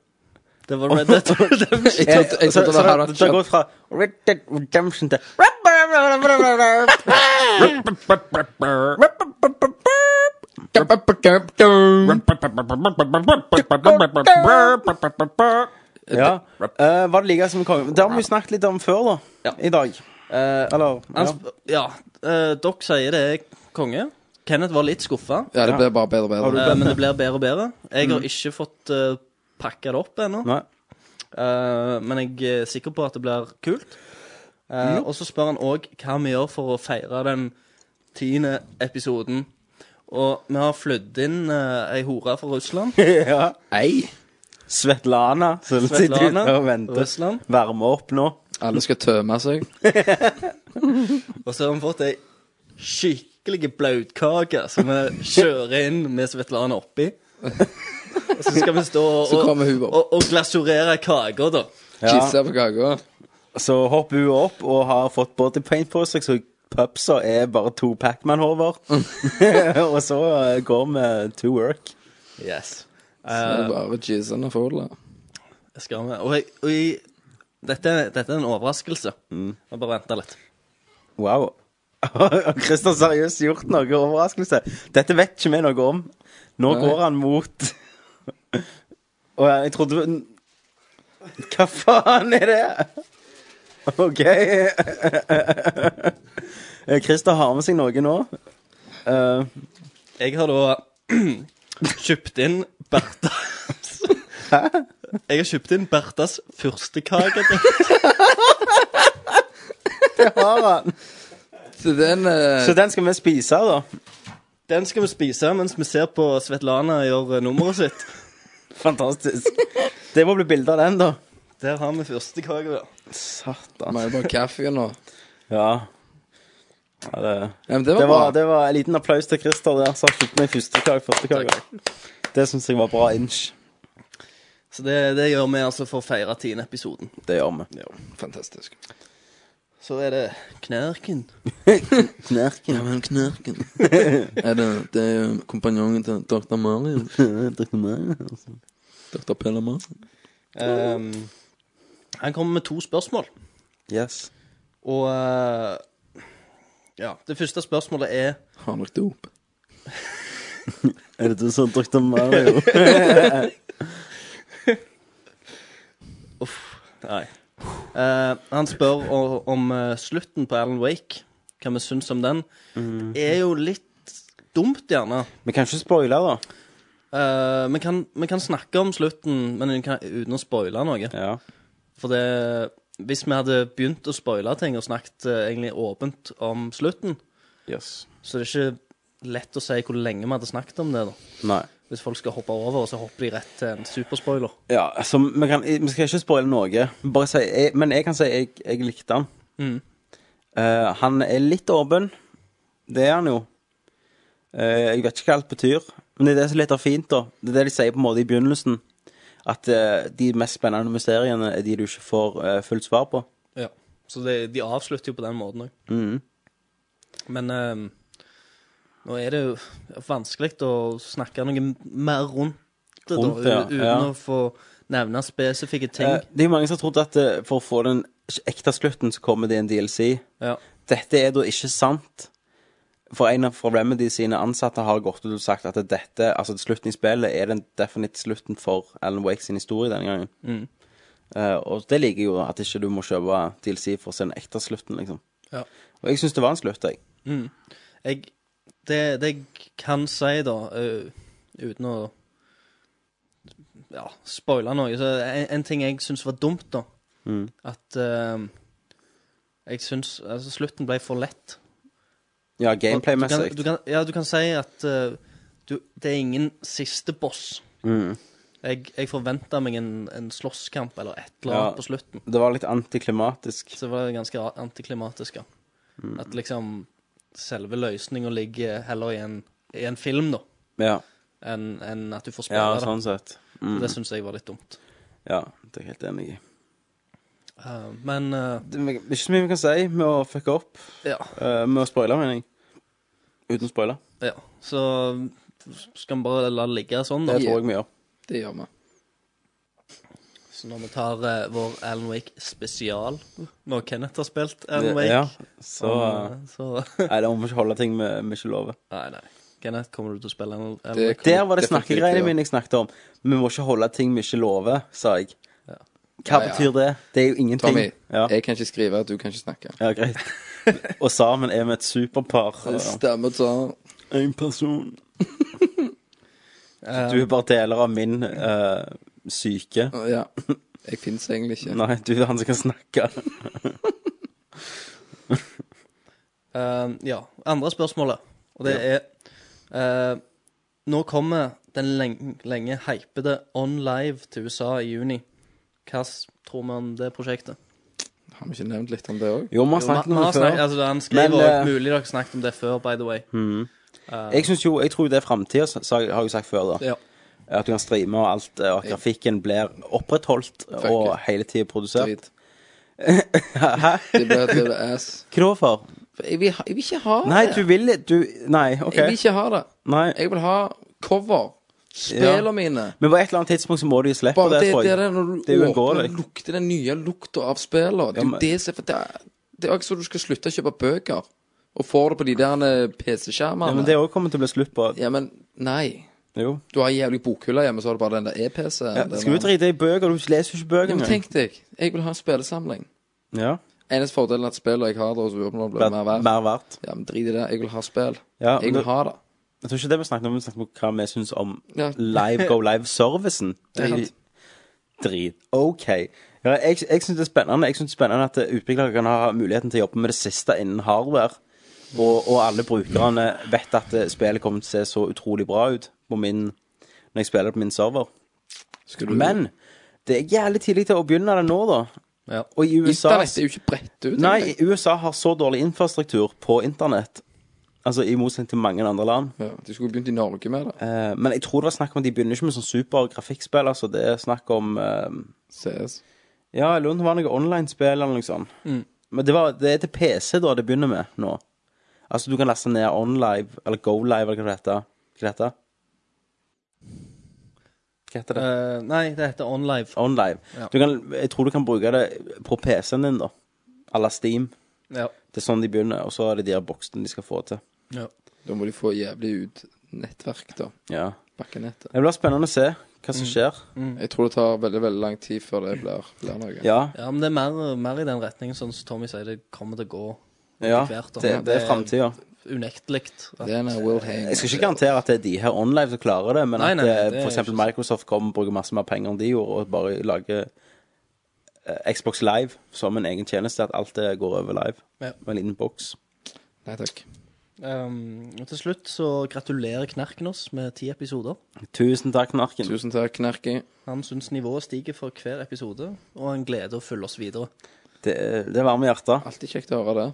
Speaker 1: Det var Red Dead Redemption.
Speaker 4: Eh, så- så det- Det har gått fra Red Dead Redemption til Ja. eh, var det like som kongen? Det har vi jo snakket litt om før, da. I dag. Eller
Speaker 1: Øh, Han
Speaker 4: ja.
Speaker 1: sp ja, eh, dere sier det er konge. Kenneth var litt skuffa.
Speaker 9: Ja, det blir bare bedre og bedre.
Speaker 1: Eh, men det blir bedre og bedre. Jeg
Speaker 9: Mm.
Speaker 1: har ikke fått uh, pakka det opp ennå.
Speaker 4: Nei.
Speaker 1: Eh, men jeg er sikker på at det blir kult. Eh,
Speaker 4: Jo.
Speaker 9: Mm.
Speaker 1: og så spør han òg hva vi gjør for å feire den tiende episoden. Og vi har flydd inn uh, ei hore fra Russland.
Speaker 4: ja. Ei. Svetlana, som sitter
Speaker 1: Svetlana,
Speaker 4: ute og venter.
Speaker 1: Russland.
Speaker 4: Varme opp nå.
Speaker 9: Alle skal tømme seg.
Speaker 1: Og så har vi fått ei skikkelig blautkake som vi kjører inn med Svetlana oppi. Og så skal vi stå
Speaker 9: Så
Speaker 1: og,
Speaker 9: kommer hun opp.
Speaker 1: og, og glasurere kaker, da.
Speaker 9: Kisse på kaka.
Speaker 4: Så hopper hun opp og har fått body paint på seg, så pupsa er bare to Pacman-hover. og så eh, går vi to work.
Speaker 1: Yes.
Speaker 9: Så er det bare cheesen og fodla.
Speaker 1: Skal vi. Og, jeg, og jeg, dette, dette er en overraskelse.
Speaker 9: Mm.
Speaker 1: Må bare vente litt.
Speaker 4: Wow. Har Christer seriøst gjort noe overraskelse? Dette vet ikke vi noe om. Nå
Speaker 1: Nei.
Speaker 4: går han mot Og jeg trodde Hva faen er det? OK. Eh, Christer har med seg noe nå. Eh,
Speaker 1: Jeg har da kjøpt inn Berthas Hæ? Jeg har kjøpt inn Berthas fyrstekake.
Speaker 4: det har han.
Speaker 9: Så den, eh,
Speaker 4: Så den skal vi spise, da?
Speaker 1: Den skal vi spise mens vi ser på Svetlana gjør eh, nummeret sitt.
Speaker 4: Fantastisk. Det må bli bilde av den, da.
Speaker 1: Der har vi fyrstekake, da.
Speaker 4: Satan.
Speaker 9: Vi er bare kaffe nå.
Speaker 4: Ja. ja det,
Speaker 9: men
Speaker 4: det,
Speaker 9: det
Speaker 4: var
Speaker 9: var bra.
Speaker 4: det var en liten applaus til Christer der, som har fulgt med i første kake, første kake. Det syns jeg var bra inch.
Speaker 1: Så det, det gjør vi altså for å feire tiende episoden.
Speaker 4: Det gjør vi.
Speaker 9: Fantastisk.
Speaker 1: Så er det Knerken.
Speaker 4: Knerken.
Speaker 9: Ja, men knerken. er det, det er jo kompanjongen til Dr. Mario.
Speaker 4: Dr. Mario, altså.
Speaker 9: Dr. Pelle Mario.
Speaker 1: Ehm, han kommer med to spørsmål.
Speaker 4: Yes.
Speaker 1: Og eh, Ja. Det første spørsmålet er
Speaker 9: Har nok dop.
Speaker 4: Er det du som er Dr. Mario?
Speaker 1: Uff. Nei. Eh, han spør o- om eh, slutten på Alan Wake. Hva vi syns om den. Det er jo litt dumt, gjerne.
Speaker 4: Vi kan ikke spoile, da.
Speaker 1: Eh, vi, kan, vi kan snakke om slutten, men vi kan, uten å spoile noe. For det Hvis vi hadde begynt å spoile ting og snakket eh, egentlig åpent om slutten, så det er ikke lett å si hvor lenge vi hadde snakket om det. da
Speaker 4: Nei.
Speaker 1: Hvis folk skal hoppe over, så hopper de rett til en superspoiler.
Speaker 4: Ja, altså, vi, kan, vi skal ikke spoile noe, bare si, jeg, men jeg kan si jeg, jeg likte han.
Speaker 1: Mm.
Speaker 4: Eh, han er litt åpen. Det er han jo. Eh, jeg vet ikke hva alt betyr, men det er det som er litt av fint, da. Det er det de sier på en måte i begynnelsen. At eh, de mest spennende mysteriene er de du ikke får eh, fullt svar på.
Speaker 1: Ja. Så det, de avslutter jo på den måten òg.
Speaker 4: Mhm.
Speaker 1: Men ehm, nå er det jo vanskelig å snakke noe mer rundt det, da,
Speaker 4: Rundt det, ja.
Speaker 1: u- uten
Speaker 4: Ja.
Speaker 1: å få nevne spesifikke ting.
Speaker 4: Eh, det er jo mange som har trodd at eh, for å få den ekte slutten, så kommer det en DLC. Dette er da ikke sant. For en av fra Remedy sine ansatte har gått ut og sagt at dette, altså slutten i spillet, er den definitivt slutten for Alan Wake sin historie denne gangen.
Speaker 1: Mm.
Speaker 4: Eh, og det liker jeg jo, at ikke du må kjøpe DLC for å se den ekte slutten, liksom.
Speaker 1: Ja.
Speaker 4: Og jeg syns det var en slutt, jeg.
Speaker 1: Mm. Jeg, det, det jeg kan si, da, ø, uten å ja, spoile noe så en, en ting jeg syns var dumt, da,
Speaker 4: Mm.
Speaker 1: at ø, jeg syns altså, slutten ble for lett.
Speaker 4: Ja,
Speaker 1: Du kan-
Speaker 4: gameplay-messig.
Speaker 1: du kan- Ja, du kan si at ø, du, det er ingen siste boss.
Speaker 4: Mm.
Speaker 1: Jeg, jeg forventa meg en, en slåsskamp eller et eller
Speaker 4: Ja,
Speaker 1: annet på slutten.
Speaker 4: Det var litt antiklimatisk.
Speaker 1: Så var det ganske ra- antiklimatisk, ja.
Speaker 4: Mm.
Speaker 1: At liksom selve løsninga ligger heller i en, i en film, da,
Speaker 4: Ja.
Speaker 1: enn enn at du får spille
Speaker 4: ja,
Speaker 1: det.
Speaker 4: sånn sett.
Speaker 1: Så Det syns jeg var litt dumt.
Speaker 4: Ja, det er jeg helt enig i.
Speaker 1: Eh, men eh,
Speaker 4: Det er ikke så mye vi kan si med å fucke opp.
Speaker 1: Ja.
Speaker 4: Eh, med å spoile, mener jeg. Uten å spoile.
Speaker 1: ja, så skal vi bare la det ligge sånn, da.
Speaker 4: Det tror jeg vi gjør.
Speaker 9: Det gjør vi.
Speaker 1: Så når vi tar eh, vår Alan Wake spesial, når Kenneth har spilt Alan Wake
Speaker 4: Ja, så,
Speaker 1: om, eh, så
Speaker 4: Nei, da må vi ikke holde ting vi vi ikke lover.
Speaker 1: Nei, nei. Kenneth, kommer du til å spille Alan Alan
Speaker 4: Det,
Speaker 1: Wake?
Speaker 4: der var det
Speaker 1: Definitivt,
Speaker 4: snakkegreiene
Speaker 1: ja.
Speaker 4: mine jeg snakket om. Vi må ikke holde ting vi ikke lover, sa jeg. Hva
Speaker 9: Ja, ja.
Speaker 4: betyr det? Det er jo ingenting.
Speaker 9: Tommy, jeg kan ikke skrive, du kan ikke snakke.
Speaker 4: Ja, greit. Og sammen er vi et superpar.
Speaker 9: Det stemmer, sa
Speaker 4: En person. Du er bare deler av min eh, syke.
Speaker 9: Ja. Jeg finnes egentlig ikke.
Speaker 4: Nei, du er han som kan snakke.
Speaker 1: Eh, ja. Andre spørsmålet, og det er eh, Nå kommer den lenge, lenge hypede On Live til USA i juni. Hva s- tror vi om det prosjektet?
Speaker 9: Har vi ikke nevnt litt om det òg?
Speaker 4: Jo, vi har snakket
Speaker 1: vi
Speaker 4: om det
Speaker 1: har
Speaker 4: før.
Speaker 1: snakket- altså, han skriver
Speaker 4: Men,
Speaker 1: også,
Speaker 4: eh,
Speaker 1: mulig dere snakket om det før, by the way.
Speaker 4: Mhm.
Speaker 1: Eh,
Speaker 4: Jeg synes jo, jeg tror jo det er fremtiden, sa- sa- har jeg jo sagt før da.
Speaker 1: Ja.
Speaker 4: At du kan streame og alt, og at grafikken blir opprettholdt og hele tiden produsert. Hæ?
Speaker 9: Det ble, det ble ass.
Speaker 4: Hva da for?
Speaker 9: Jeg vil, ha- jeg vil ikke ha det.
Speaker 4: Nei, du vil, du, nei, ok.
Speaker 9: Jeg vil ikke ha det.
Speaker 4: Nei.
Speaker 9: Jeg vil ha cover. Spillene mine.
Speaker 4: Men på et eller annet tidspunkt så må du jo slippe
Speaker 9: Bare
Speaker 4: det,
Speaker 9: det, det,
Speaker 4: tror jeg.
Speaker 9: er det når du
Speaker 4: Det er jo
Speaker 9: åpner
Speaker 4: uunngåelig.
Speaker 9: og lukter den nye lukta av spillene. Det
Speaker 4: Ja,
Speaker 9: er
Speaker 4: men-
Speaker 9: jo det som for det, er- det er jo ikke så du skal slutte å kjøpe bøker. Og får det på de der eh,
Speaker 4: Ja,
Speaker 9: PC-skjermene.
Speaker 4: men det også kommer til å bli slutt på.
Speaker 9: Ja, men nei.
Speaker 4: Jo.
Speaker 9: Du har jævlig bokhylla hjemme, så har du bare den der e-PC.
Speaker 4: Ja, skal du drite i bøker, du leser jo ikke
Speaker 9: Ja,
Speaker 4: bøker
Speaker 9: men
Speaker 4: engang.
Speaker 9: tenk deg, jeg vil ha en spillesamling.
Speaker 4: Ja.
Speaker 9: Eneste fordelen er at spillene jeg har der, så blir
Speaker 4: Blir
Speaker 9: det mer verdt.
Speaker 4: mer verdt.
Speaker 9: Ja, men drit i det. Jeg vil ha spill.
Speaker 4: Ja, men
Speaker 9: jeg vil
Speaker 4: det-
Speaker 9: ha det.
Speaker 4: Jeg tror ikke det vi snakket om, vi snakket om hva vi synes om
Speaker 9: Ja.
Speaker 4: live, go live-servicen.
Speaker 9: Det er sant.
Speaker 4: Drit. Ok. Ja, jeg, jeg synes det er spennende. Jeg synes det er spennende at eh, utviklere kan ha muligheten til å jobbe med det siste innen hardware. Og, og alle brukerne vet at eh, spillet kommer til å se så utrolig bra ut på min, når jeg spiller på min server.
Speaker 9: du-
Speaker 4: Men det er jævlig tidlig til å begynne det nå, da. Og i USA
Speaker 9: Internett er jo ikke bredt ut.
Speaker 4: Nei,
Speaker 9: egentlig.
Speaker 4: USA har så dårlig infrastruktur på internett. Altså i motsetning til mange andre land.
Speaker 9: Ja, de skulle begynt i Norge med det.
Speaker 4: Eh, men jeg tror det var snakk om at de begynner ikke med sånn super grafikkspill. Altså det er snakk om eh,
Speaker 9: CS.
Speaker 4: Ja, jeg lurer på om det var noe online-spill eller noe sånt.
Speaker 1: Mm.
Speaker 4: Men det, var, det er til PC da det begynner med nå. Altså du kan laste ned OnLive eller GoLive eller hva det heter. Hva det heter Hva heter det?
Speaker 1: eh, nei, det heter On Live.
Speaker 4: OnLive.
Speaker 1: Ja.
Speaker 4: Du kan, jeg tror du kan bruke det på PC-en din, da. À la Steam.
Speaker 1: Ja.
Speaker 4: Det er sånn de begynner, og så er det de her boksene de skal få til.
Speaker 1: Ja.
Speaker 9: Da må de få jævlig ut nettverk, da.
Speaker 4: Ja.
Speaker 9: Bakkenettet.
Speaker 4: Det blir spennende å se hva
Speaker 1: Mm.
Speaker 4: som skjer.
Speaker 9: Jeg tror det tar veldig veldig lang tid før det blir, blir noe.
Speaker 4: Mm. Ja.
Speaker 1: Ja, men det er mer, mer i den retningen, sånn som Tommy sier, det kommer til å gå
Speaker 4: Ja,
Speaker 1: etter hvert, da.
Speaker 4: det, eh, det er framtida.
Speaker 1: unektelig. at-
Speaker 4: Jeg skal ikke garantere at det er de her online som klarer det, men
Speaker 1: Nei,
Speaker 4: at
Speaker 1: nei,
Speaker 4: eh,
Speaker 1: det er
Speaker 4: for eksempel Microsoft kommer og bruker masse mer penger enn de gjorde, og bare lager eh, Xbox Live som en egen tjeneste, at alt det går over live
Speaker 1: Ja.
Speaker 4: med en liten boks.
Speaker 9: Nei takk.
Speaker 1: Um, og til slutt så gratulerer Knerken oss med ti episoder.
Speaker 4: Tusen takk, Knarken.
Speaker 9: Tusen takk, Knerki.
Speaker 1: Han syns nivået stiger for hver episode, og han gleder å følge oss videre.
Speaker 4: Det, det varmer hjertet.
Speaker 9: Alltid kjekt å høre det.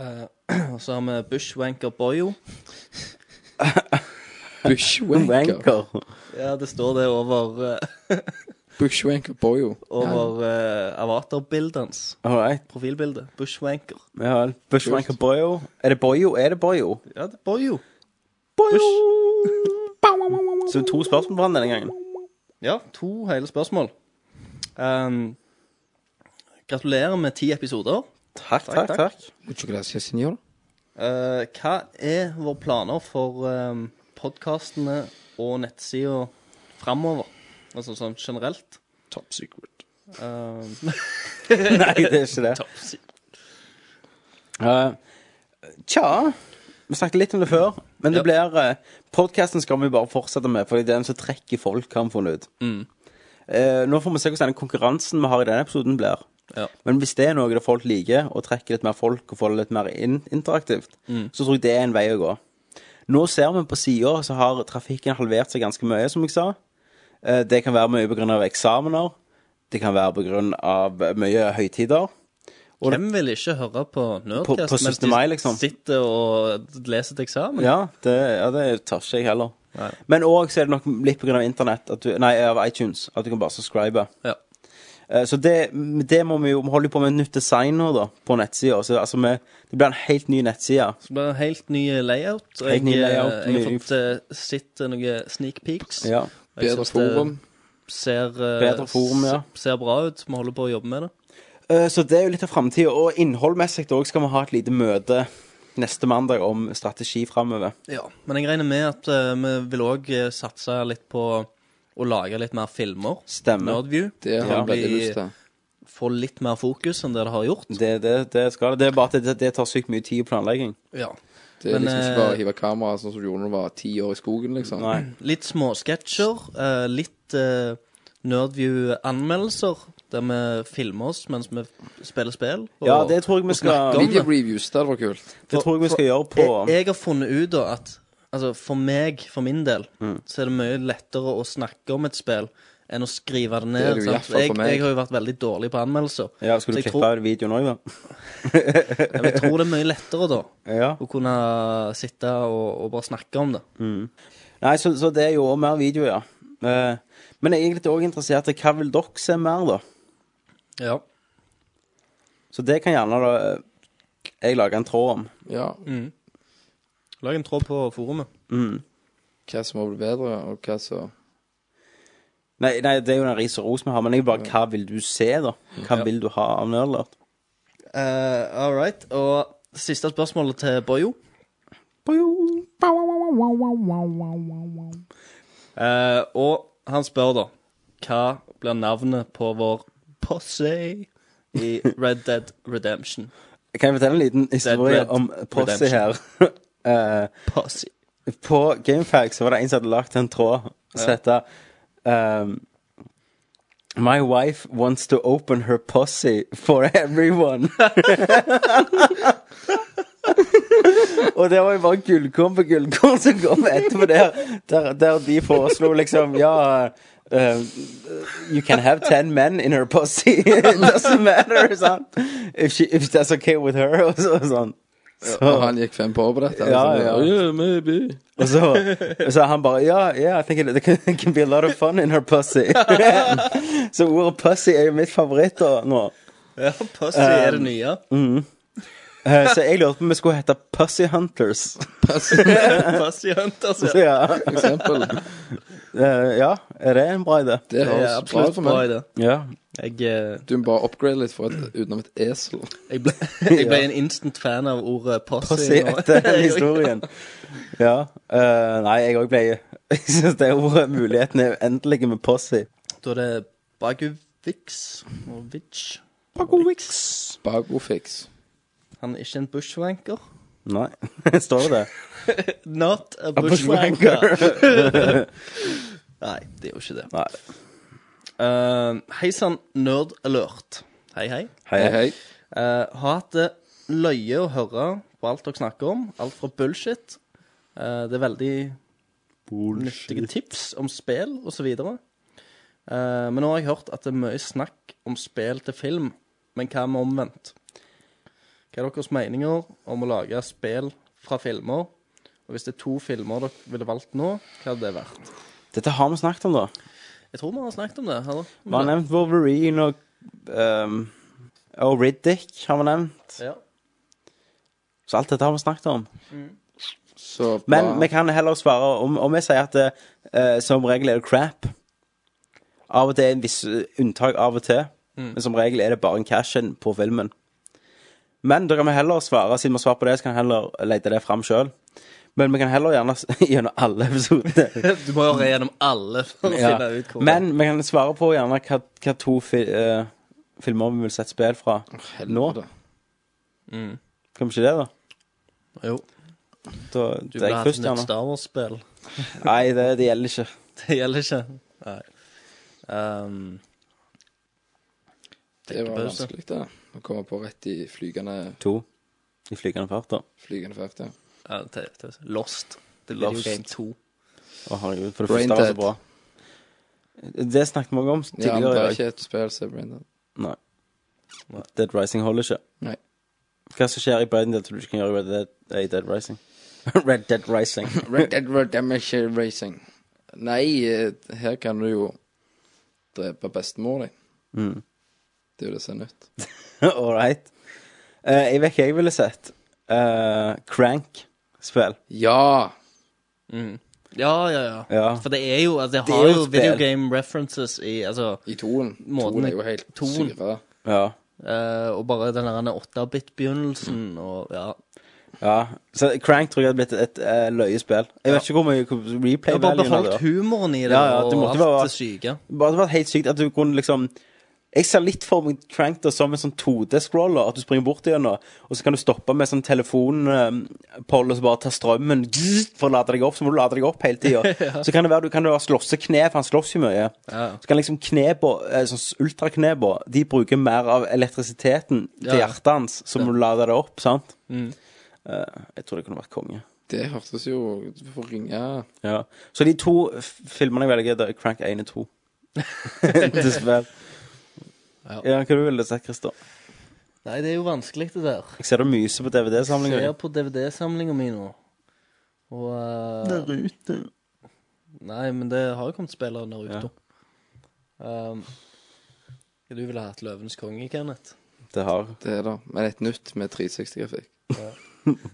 Speaker 1: Eh, og så har vi Bushwanker Boyo.
Speaker 9: Bushwanker? Wanker.
Speaker 1: Ja, det står det over eh,
Speaker 9: Bushwanker Boyo.
Speaker 1: Over eh, avatarbildet hans.
Speaker 4: All right.
Speaker 1: Profilbildet. Bushwanker.
Speaker 4: Vi har Bushwanker Boyo. Er det Boyo? Er det Boyo?
Speaker 1: Ja, det er Boyo.
Speaker 4: Så to spørsmål på han denne gangen.
Speaker 1: Ja, to hele spørsmål. Ehm, gratulerer med ti episoder.
Speaker 4: Takk,
Speaker 1: takk, takk.
Speaker 9: Mucho gracias, senor.
Speaker 1: Eh, hva er våre planer for um, podkastene og nettsida framover? Altså sånn generelt?
Speaker 4: Top secret.
Speaker 1: Nei,
Speaker 4: det er ikke det.
Speaker 1: Top secret.
Speaker 4: Eh, tja Vi snakket litt om det før, men det blir eh, Podcasten skal vi bare fortsette med, Fordi det er den som trekker folk, har vi funnet ut. Eh, nå får vi se hvordan denne konkurransen vi har i denne episoden, blir.
Speaker 1: Ja.
Speaker 4: Men hvis det er noe det folk liker, og trekker litt mer folk og får det litt mer in interaktivt,
Speaker 1: Mm.
Speaker 4: så tror jeg det er en vei å gå. Nå ser vi på sida så har trafikken halvert seg ganske mye, som jeg sa. Eh, Det kan være mye pga. eksamener. Det kan være pga. mye høytider. Og det-
Speaker 1: Hvem vil ikke høre på
Speaker 4: På- på
Speaker 1: Nerdcast
Speaker 4: 17.
Speaker 1: mens de
Speaker 4: mai, liksom?
Speaker 1: sitter og leser til eksamen?
Speaker 4: Ja, det, ja, det tør ikke jeg heller. Men òg så er det nok litt pga. internett, at du, nei, av iTunes, at du kan bare subscribe. Eh, Så det, det må vi jo Vi holder jo på med et nytt design nå, da, på nettsida. Så altså, vi, det blir en helt ny nettside.
Speaker 1: Så det blir en helt ny layout. og
Speaker 4: Helt ny
Speaker 1: jeg,
Speaker 4: layout,
Speaker 1: jeg har
Speaker 4: ny-
Speaker 1: fått eh, sett noen sneak peeks.
Speaker 4: Ja.
Speaker 1: Og jeg
Speaker 4: Bedre
Speaker 1: synes det
Speaker 4: forum.
Speaker 1: Ser, eh,
Speaker 4: Bedre forum, ja.
Speaker 1: se- ser bra ut. Vi holder på å jobbe med det.
Speaker 4: Eh, Så det er jo litt av framtida. Og innholdmessig òg skal vi ha et lite møte neste mandag om strategi framover.
Speaker 1: Ja, Men jeg regner med at eh, vi vil òg satse litt på å lage litt mer filmer.
Speaker 4: Stemmer.
Speaker 1: Nerdview.
Speaker 4: Det har jeg
Speaker 1: Bli-
Speaker 4: veldig lyst til.
Speaker 1: Få litt mer fokus enn det det har gjort.
Speaker 4: Det, det, det skal det. Det er bare at det, det tar sykt mye tid og planlegging.
Speaker 1: Ja.
Speaker 9: Det er
Speaker 1: Men,
Speaker 9: liksom ikke
Speaker 1: eh,
Speaker 9: bare å hive kamera sånn som du gjorde når du var ti år i skogen, liksom.
Speaker 1: Litt småsketsjer. eh, litt eh, Nerdview-anmeldelser, der vi filmer oss mens vi spiller spill.
Speaker 4: Ja, det tror jeg vi
Speaker 1: og
Speaker 4: skal-
Speaker 1: snakker om
Speaker 4: Video
Speaker 1: det.
Speaker 9: Reviews, det hadde vært kult.
Speaker 4: Det tror jeg vi skal gjøre på
Speaker 1: Jeg, jeg har funnet ut da at altså, for meg, for min del,
Speaker 4: Mm.
Speaker 1: så er det mye lettere å snakke om et spill enn å skrive det ned.
Speaker 4: Det er det jo i
Speaker 1: sant?
Speaker 4: hvert fall for
Speaker 1: jeg,
Speaker 4: meg.
Speaker 1: jeg har jo vært veldig dårlig på anmeldelser.
Speaker 4: Ja, Skal
Speaker 1: Så
Speaker 4: du
Speaker 1: jeg
Speaker 4: klippe
Speaker 1: tror-
Speaker 4: ut videoen òg, da?
Speaker 1: Ja, men Jeg tror det er mye lettere da
Speaker 4: Ja.
Speaker 1: å kunne sitte og, og bare snakke om det.
Speaker 4: Mm. Nei, så, så det er jo også mer video, ja. Eh, men jeg er egentlig òg interessert i hva vil dere se mer, da?
Speaker 1: Ja.
Speaker 4: Så det kan gjerne da eh, jeg lage en tråd om.
Speaker 9: Ja.
Speaker 1: Mm. Lag en tråd på forumet.
Speaker 4: Mm.
Speaker 9: Hva som må bli bedre, og hva som
Speaker 4: Nei, nei, det er jo den ris og ros vi har, men jeg bare hva vil du se, da? Hva
Speaker 1: Ja.
Speaker 4: vil du ha av nerdlert?
Speaker 1: Uh, All right. Og siste spørsmålet til Bojo. Eh, og han spør da Hva blir navnet på vår posse i Red Dead Redemption?
Speaker 4: Kan jeg fortelle en liten historie
Speaker 1: Red
Speaker 4: om Posse her?
Speaker 1: Redemption.
Speaker 4: Eh, På Gamefax så var det en som hadde lagt en tråd som
Speaker 1: Ja.
Speaker 4: heter ehm, My wife wants to open her posse for everyone. Og det var jo bare gullkorn på gullkorn som kom etterpå der, der, der de foreslo liksom Ja, eh, you can have ten men in her pussy. It doesn't matter, sant? If, she, if that's okay with her, og så, sånn. Så-
Speaker 9: Og han gikk fem på over dette.
Speaker 4: Ja,
Speaker 9: liksom.
Speaker 4: ja.
Speaker 9: Oh, yeah, maybe.
Speaker 4: og så, og så han bare Ja, yeah, I think it, it can be a lot of fun in her pussy. så ordet pussy er jo mitt favoritt da, nå.
Speaker 1: Ja, posse er det
Speaker 4: Um,
Speaker 1: nye.
Speaker 4: Mm. Eh, så jeg lurte på om vi skulle hete Pussy Hunters.
Speaker 1: Pussy Hunters, ja. For eksempel.
Speaker 4: Eh, ja, er det en bra idé?
Speaker 9: Det høres bra ut for meg.
Speaker 4: Ja.
Speaker 9: Du må bare upgrade litt for et, utenom et esel.
Speaker 1: eh, Jeg ble, jeg ble en instant fan av ordet posse.
Speaker 4: Pussy
Speaker 1: nå.
Speaker 4: etter den historien. Ja. eh, nei, jeg òg ble Jeg syns det ordet muligheten er uendelig med Pussy.
Speaker 1: Da er det Bagovic og Vic.
Speaker 4: Bagovix.
Speaker 9: Bagofix.
Speaker 1: Han er ikke en bushwanker.
Speaker 4: Nei. Står det det?
Speaker 1: Not a
Speaker 4: A
Speaker 1: bushwanker.
Speaker 4: bushwanker.
Speaker 1: Nei, det er jo ikke det. Eh, hei sann, nerd alert. Hei, hei.
Speaker 4: Hei, hei.
Speaker 1: Eh, har hatt det løye å høre på alt dere snakker om. Alt fra bullshit. eh, det er veldig nyttige tips om spill osv. Uh, men nå har jeg hørt at det er mye snakk om spill til film. Men hva med omvendt? Hva er deres meninger om å lage spill fra filmer? Og hvis det er to filmer dere ville valgt nå, hva hadde det vært?
Speaker 4: Dette har vi snakket om, da.
Speaker 1: Jeg tror vi har snakket om det. Eller?
Speaker 4: Vi har nevnt Wolverine og ehm, Og Riddick har vi nevnt.
Speaker 1: Ja.
Speaker 4: Så alt dette har vi snakket om.
Speaker 9: Så
Speaker 4: Men vi kan heller svare om, om vi sier at det, eh, som regel er det crap. Av og til er det en viss eh, unntak av og til,
Speaker 1: Mm.
Speaker 4: men som regel er det bare en cash-in på filmen. Men da kan vi heller svare, siden vi har svart på det, så kan vi heller lete det fram sjøl. Men vi kan heller gjerne s- gjennom alle episoder.
Speaker 1: Du må høre gjennom alle for å
Speaker 4: Ja.
Speaker 1: finne ut hvor
Speaker 4: Men vi kan svare på gjerne hva, hva to fi, eh, filmer vi vil sette spill fra nå.
Speaker 1: Mm.
Speaker 4: Kan vi ikke det, da?
Speaker 1: Jo.
Speaker 4: Da,
Speaker 1: Du
Speaker 4: det er
Speaker 1: ville
Speaker 4: jeg
Speaker 1: hatt
Speaker 4: først,
Speaker 1: et
Speaker 4: gjerne.
Speaker 1: Star Wars-spill.
Speaker 4: Nei, det, det gjelder ikke.
Speaker 1: Det gjelder ikke. Nei. Ehm,
Speaker 9: Det var
Speaker 1: Tenkepause.
Speaker 9: vanskelig, det. Å komme på rett i flygende
Speaker 4: To. I flygende fart, da.
Speaker 9: Flygende fart, ja.
Speaker 1: ja, te- te- Lost. The Video
Speaker 9: Lost.
Speaker 1: Game 2.
Speaker 4: Å, herregud. For det
Speaker 9: Brain
Speaker 4: første var det
Speaker 9: dead.
Speaker 4: så bra. Det snakket vi også om
Speaker 9: Ja, men det
Speaker 4: tidligere. i
Speaker 9: er
Speaker 4: dag.
Speaker 9: ikke et spill som er braindead.
Speaker 4: Nei. Dead Rising holder ikke.
Speaker 9: Nei.
Speaker 4: Hva som skjer i Brain Dead, tror du ikke kan gjøre i Red Dead, eh, i Dead Rising? Red Dead Rising.
Speaker 9: Red Dead Redemption Racing. Nei, eh, her kan du jo drepe bestemor di.
Speaker 4: Mm.
Speaker 9: Det er jo det som er nytt.
Speaker 4: All right. Eh, jeg vet ikke jeg ville sett. Eh, Crank-spill.
Speaker 9: Ja!
Speaker 1: Ja, ja, ja,
Speaker 4: Ja.
Speaker 1: For det er jo altså, Det
Speaker 4: Det
Speaker 1: har
Speaker 4: er jo
Speaker 1: jo
Speaker 4: et
Speaker 1: video
Speaker 4: spill.
Speaker 1: game references i altså,
Speaker 9: I toen.
Speaker 1: Måten,
Speaker 9: Toen er jo helt
Speaker 1: toen.
Speaker 9: syre.
Speaker 4: Ja.
Speaker 1: Eh, og bare den der 8-bit-begynnelsen og ja.
Speaker 4: ja. Så Crank tror jeg hadde blitt et, eh, løyespill. Jeg vet ikke hvor mye hvor
Speaker 1: Jeg
Speaker 4: replay
Speaker 1: har bare
Speaker 4: value hadde.
Speaker 1: beholdt humoren i det
Speaker 4: Ja, ja, det
Speaker 1: og
Speaker 4: måtte
Speaker 1: alt
Speaker 4: være-
Speaker 1: det syke.
Speaker 4: Bare det var helt sykt at du kunne liksom Jeg ser litt for meg Crank da som en sånn 2D-scroller, at du springer bort til henne, og så kan du stoppe med sånn telefonpoll og så bare ta strømmen zzz, for å lade deg opp, så må du lade deg opp hele tida.
Speaker 1: Ja.
Speaker 4: Så kan det være du kan du ha slåssekne, for han slåss jo mye.
Speaker 1: Ja.
Speaker 4: Så kan liksom knebå, eh, sånn ultraknebå, de bruker mer av elektrisiteten til
Speaker 9: Ja.
Speaker 4: hjertet hans, så må du lade det opp, sant?
Speaker 9: Mm.
Speaker 4: Eh, jeg tror det kunne vært konge.
Speaker 9: Det hørtes jo Du får ringe
Speaker 4: Ja. Så de to f- filmene jeg velger, det er Crank 1 og 2. Dessverre.
Speaker 1: Ja.
Speaker 4: Ja, hva du ville sett, Christer?
Speaker 1: Nei, det er jo vanskelig, det der.
Speaker 4: Jeg ser du myser på DVD-samlinga.
Speaker 1: Ser på DVD-samlinga mi nå. Og eh, Nei, men det har jo kommet spillere Naruto. Um, hva du ville hatt Løvenes konge, Kenneth?
Speaker 4: Det har
Speaker 9: Det er det. Men et nytt med 360-grafikk.
Speaker 1: Ja.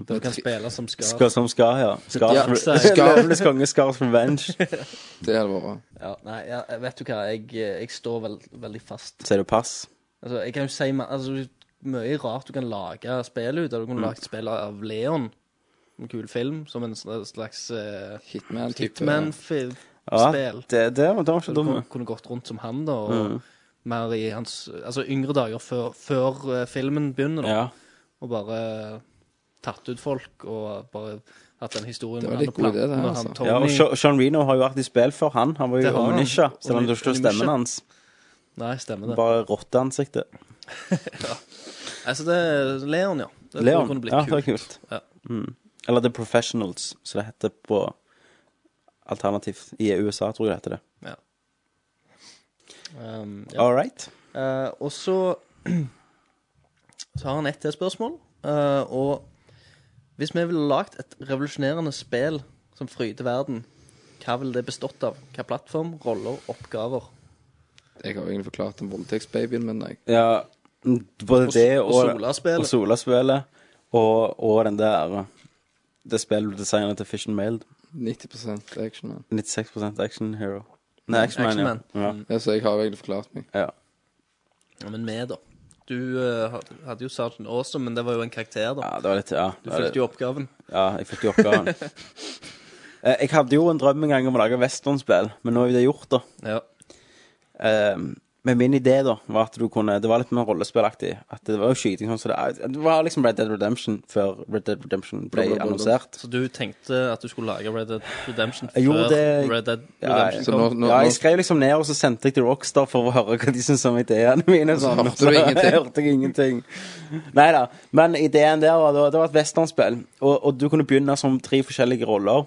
Speaker 1: Du kan spille som skal.
Speaker 4: Skal som skal, ja. Skal
Speaker 9: Ja, Scar.
Speaker 4: Løvenes konge, Scars Revenge.
Speaker 9: Det hadde vært
Speaker 1: Ja, nei, ja, vet du hva, jeg, jeg står vel, veldig fast.
Speaker 4: Sier du pass?
Speaker 1: Altså, jeg kan jo si ma- altså, mye rart du kan lage spill ut. av. Du kunne
Speaker 4: Mm.
Speaker 1: lagd spill av Leon, en kul film, som en sl- slags eh,
Speaker 9: Hitman-type.
Speaker 1: Hitman-spill.
Speaker 4: Ja, det, det var det var ikke
Speaker 1: Du kunne,
Speaker 4: dumt.
Speaker 1: kunne gått rundt som han, da. Og
Speaker 4: Mm.
Speaker 1: mer i hans Altså yngre dager før, før eh, filmen begynner, da.
Speaker 4: Ja.
Speaker 1: Og bare eh, tatt ut folk, og bare hatt den historien
Speaker 9: Det var
Speaker 1: med
Speaker 9: litt
Speaker 1: han og
Speaker 9: god idé, det her,
Speaker 1: planten og
Speaker 9: altså.
Speaker 1: han
Speaker 4: Ja, og
Speaker 1: Tommy.
Speaker 4: Sha- Sean Reno har jo vært i spill før, han. Han var
Speaker 1: Det
Speaker 4: jo
Speaker 1: har han.
Speaker 4: Omnisha, selv om du ikke
Speaker 1: Omnisha.
Speaker 4: ser stemmen hans.
Speaker 1: Nei, stemmer det.
Speaker 4: Bare rotteansiktet.
Speaker 1: Altså, det er Leon, ja. Det tror jeg
Speaker 4: Leon.
Speaker 1: kunne blitt
Speaker 4: Ja, det var
Speaker 1: kult.
Speaker 4: kult.
Speaker 1: Ja.
Speaker 4: Mm. Eller The Professionals, som det heter på alternativt i USA, tror jeg det heter det.
Speaker 1: Um,
Speaker 4: All right.
Speaker 1: Eh, og så Så har han ett til spørsmål. Eh, og hvis vi ville lagd et revolusjonerende spill som fryder verden, hva ville det bestått av? Hva plattform, roller, oppgaver?
Speaker 9: Jeg har jo egentlig forklart om voldtektsbabyen, men jeg
Speaker 4: Ja, både
Speaker 9: Og-
Speaker 4: det
Speaker 9: og
Speaker 4: og,
Speaker 9: Sola-spillet.
Speaker 4: Og, Sola-spillet, og, og den der Det spillet du designet til Fish and Mailed.
Speaker 9: 90 action man.
Speaker 4: 96 Action Hero. Nei, Action Man. Ja. Ja.
Speaker 1: Mm.
Speaker 9: Ja, så jeg har egentlig forklart meg.
Speaker 4: Ja.
Speaker 1: Ja, men vi, da. Du eh, had- hadde jo Sergeant Awesome, men det var jo en karakter, da.
Speaker 4: Ja, det var litt, ja.
Speaker 1: Du
Speaker 4: det var
Speaker 1: fulgte
Speaker 4: litt-
Speaker 1: jo oppgaven.
Speaker 4: Ja, jeg fulgte jo oppgaven. Eh, jeg hadde jo en drøm en gang om å lage westernspill, men nå er jo det gjort, da.
Speaker 1: Ja.
Speaker 4: Ehm, Men min idé da, var at du kunne Det var litt mer rollespillaktig. At det var jo skyting sånn som det er. Det var liksom Red Dead Redemption før Red Dead Redemption ble annonsert.
Speaker 1: Så du tenkte at du skulle lage Red Dead Redemption før
Speaker 4: Jeg gjorde det
Speaker 1: Red Dead
Speaker 4: ja,
Speaker 1: Redemption
Speaker 4: jeg-
Speaker 1: kom?
Speaker 4: ja, jeg skrev liksom ned, og så sendte jeg til Rockstar for å høre hva de syntes om ideene mine. og Sånn.
Speaker 14: hørte du ingenting.
Speaker 4: hørte jeg ingenting. Nei da. Men ideen der var det var et westernspill, og, og du kunne begynne som tre forskjellige roller.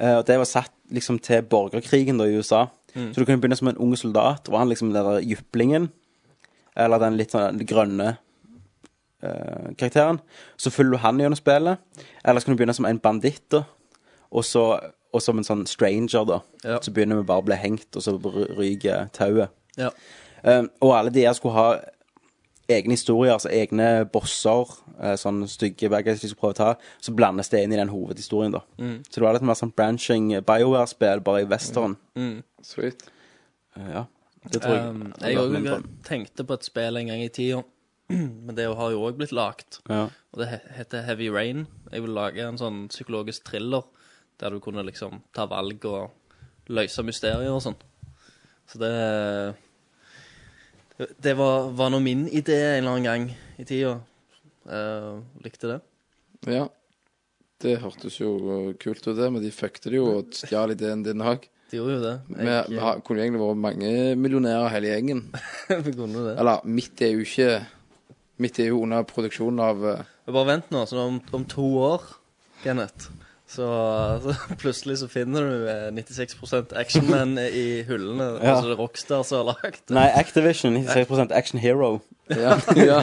Speaker 4: Eh, Og det var satt liksom til borgerkrigen da i USA.
Speaker 14: Mm.
Speaker 4: Så du kunne begynne som en ung soldat, og han liksom den der jyplingen. Eller den litt sånn grønne eh, karakteren. Så følger du han gjennom spillet. Eller så kan du begynne som en banditt, da. Og så og som en sånn stranger, da. Så begynner vi bare å bli hengt, og så ry- ryker tauet.
Speaker 1: Ja.
Speaker 4: Eh, og alle de her skulle ha egne historier, altså egne bosser, eh, sånn stygge bad guys de skulle prøve å ta. Så blandes det inn i den hovedhistorien, da.
Speaker 1: Mm.
Speaker 4: Så det var litt mer sånn branching eh, BioWare-spill, bare i western. Eh,
Speaker 1: Mm.
Speaker 9: Sweet.
Speaker 4: ja. Det tror jeg.
Speaker 1: Um, jeg
Speaker 4: hadde vært med
Speaker 1: også
Speaker 4: på.
Speaker 1: tenkte på et spill en gang i tida, men det har jo òg blitt lagt.
Speaker 4: Ja.
Speaker 1: Og det he- heter Heavy Rain. Jeg vil lage en sånn psykologisk thriller der du kunne liksom ta valg og løse mysterier og sånn. Så det Det var, var nå min idé en eller annen gang i tida. Eh, likte det.
Speaker 9: Ja. Det hørtes jo eh, kult ut, det, men de fuckte det jo og stjal ideen din òg.
Speaker 1: De gjorde jo det.
Speaker 9: Vi vi har- kunne egentlig vært mange millionærer hele gjengen.
Speaker 1: Vi kunne det.
Speaker 9: Eller mitt er jo ikke Mitt er jo under produksjon av eh,
Speaker 1: Men Bare vent nå, så om, om to år, Kenneth, så, så plutselig så finner du eh, 96 actionman i hullene,
Speaker 4: Ja.
Speaker 1: altså det er Rockstar som har lagd.
Speaker 4: Nei, Activision. 96 Action Hero.
Speaker 1: Ja, ja.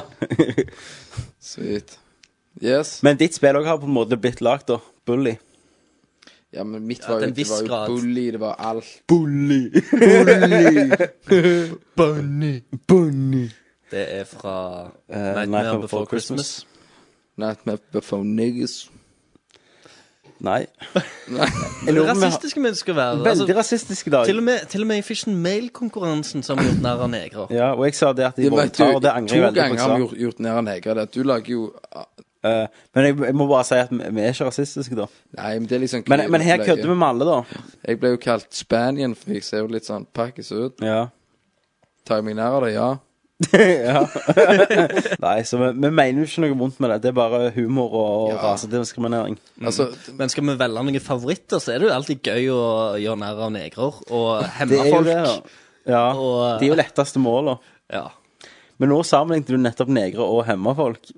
Speaker 9: Sweet. Yes.
Speaker 4: Men ditt spill òg har på en måte blitt lagd, da. Bully. eh,
Speaker 9: Ja, men mitt
Speaker 4: Ja,
Speaker 9: var jo,
Speaker 4: til en
Speaker 9: det
Speaker 4: viss
Speaker 9: var
Speaker 4: grad.
Speaker 9: jo bully, det var alt.
Speaker 4: Bully.
Speaker 1: Bunny.
Speaker 4: Bunny.
Speaker 1: Det er fra
Speaker 4: Eh,
Speaker 9: Nightmare Before Christmas. Nightmare Before Niggas.
Speaker 4: Nei.
Speaker 1: Det er rasistiske vi skal være. altså,
Speaker 4: Veldig rasistiske i dag.
Speaker 1: Til og med, til og med i Fish and Mail-konkurransen som har gjort narr av negre.
Speaker 4: Ja, og jeg sa det at de
Speaker 1: Det vet
Speaker 4: voldtar,
Speaker 1: du,
Speaker 4: og det angrer
Speaker 1: to
Speaker 4: jeg veldig
Speaker 1: ganger
Speaker 4: på.
Speaker 1: har vi
Speaker 9: gjort, gjort ned en heger. Det. Du lager jo Ah,
Speaker 4: Eh, men jeg, jeg må bare si at vi vi er ikke rasistiske, da.
Speaker 9: Nei, men det er liksom
Speaker 4: Men, men her kødder vi med alle, da.
Speaker 9: Jeg ble jo kalt Spanien, for jeg ser jo litt sånn pakkis ut.
Speaker 4: Ja.
Speaker 9: Tar jeg meg nær av det, ja.
Speaker 4: Mm. ja. Nei, så vi, vi mener jo ikke noe vondt med det. Det er bare humor og, og rasediskriminering.
Speaker 9: Altså,
Speaker 1: Men skal vi velge noen favoritter, så er det jo alltid gøy å gjøre narr av negre og
Speaker 4: det
Speaker 1: hemme
Speaker 4: er jo
Speaker 1: folk. eh,
Speaker 4: det, da. Ja. de er jo letteste måla.
Speaker 1: Ja.
Speaker 4: Men nå sammenlignet du nettopp negre og hemma folk.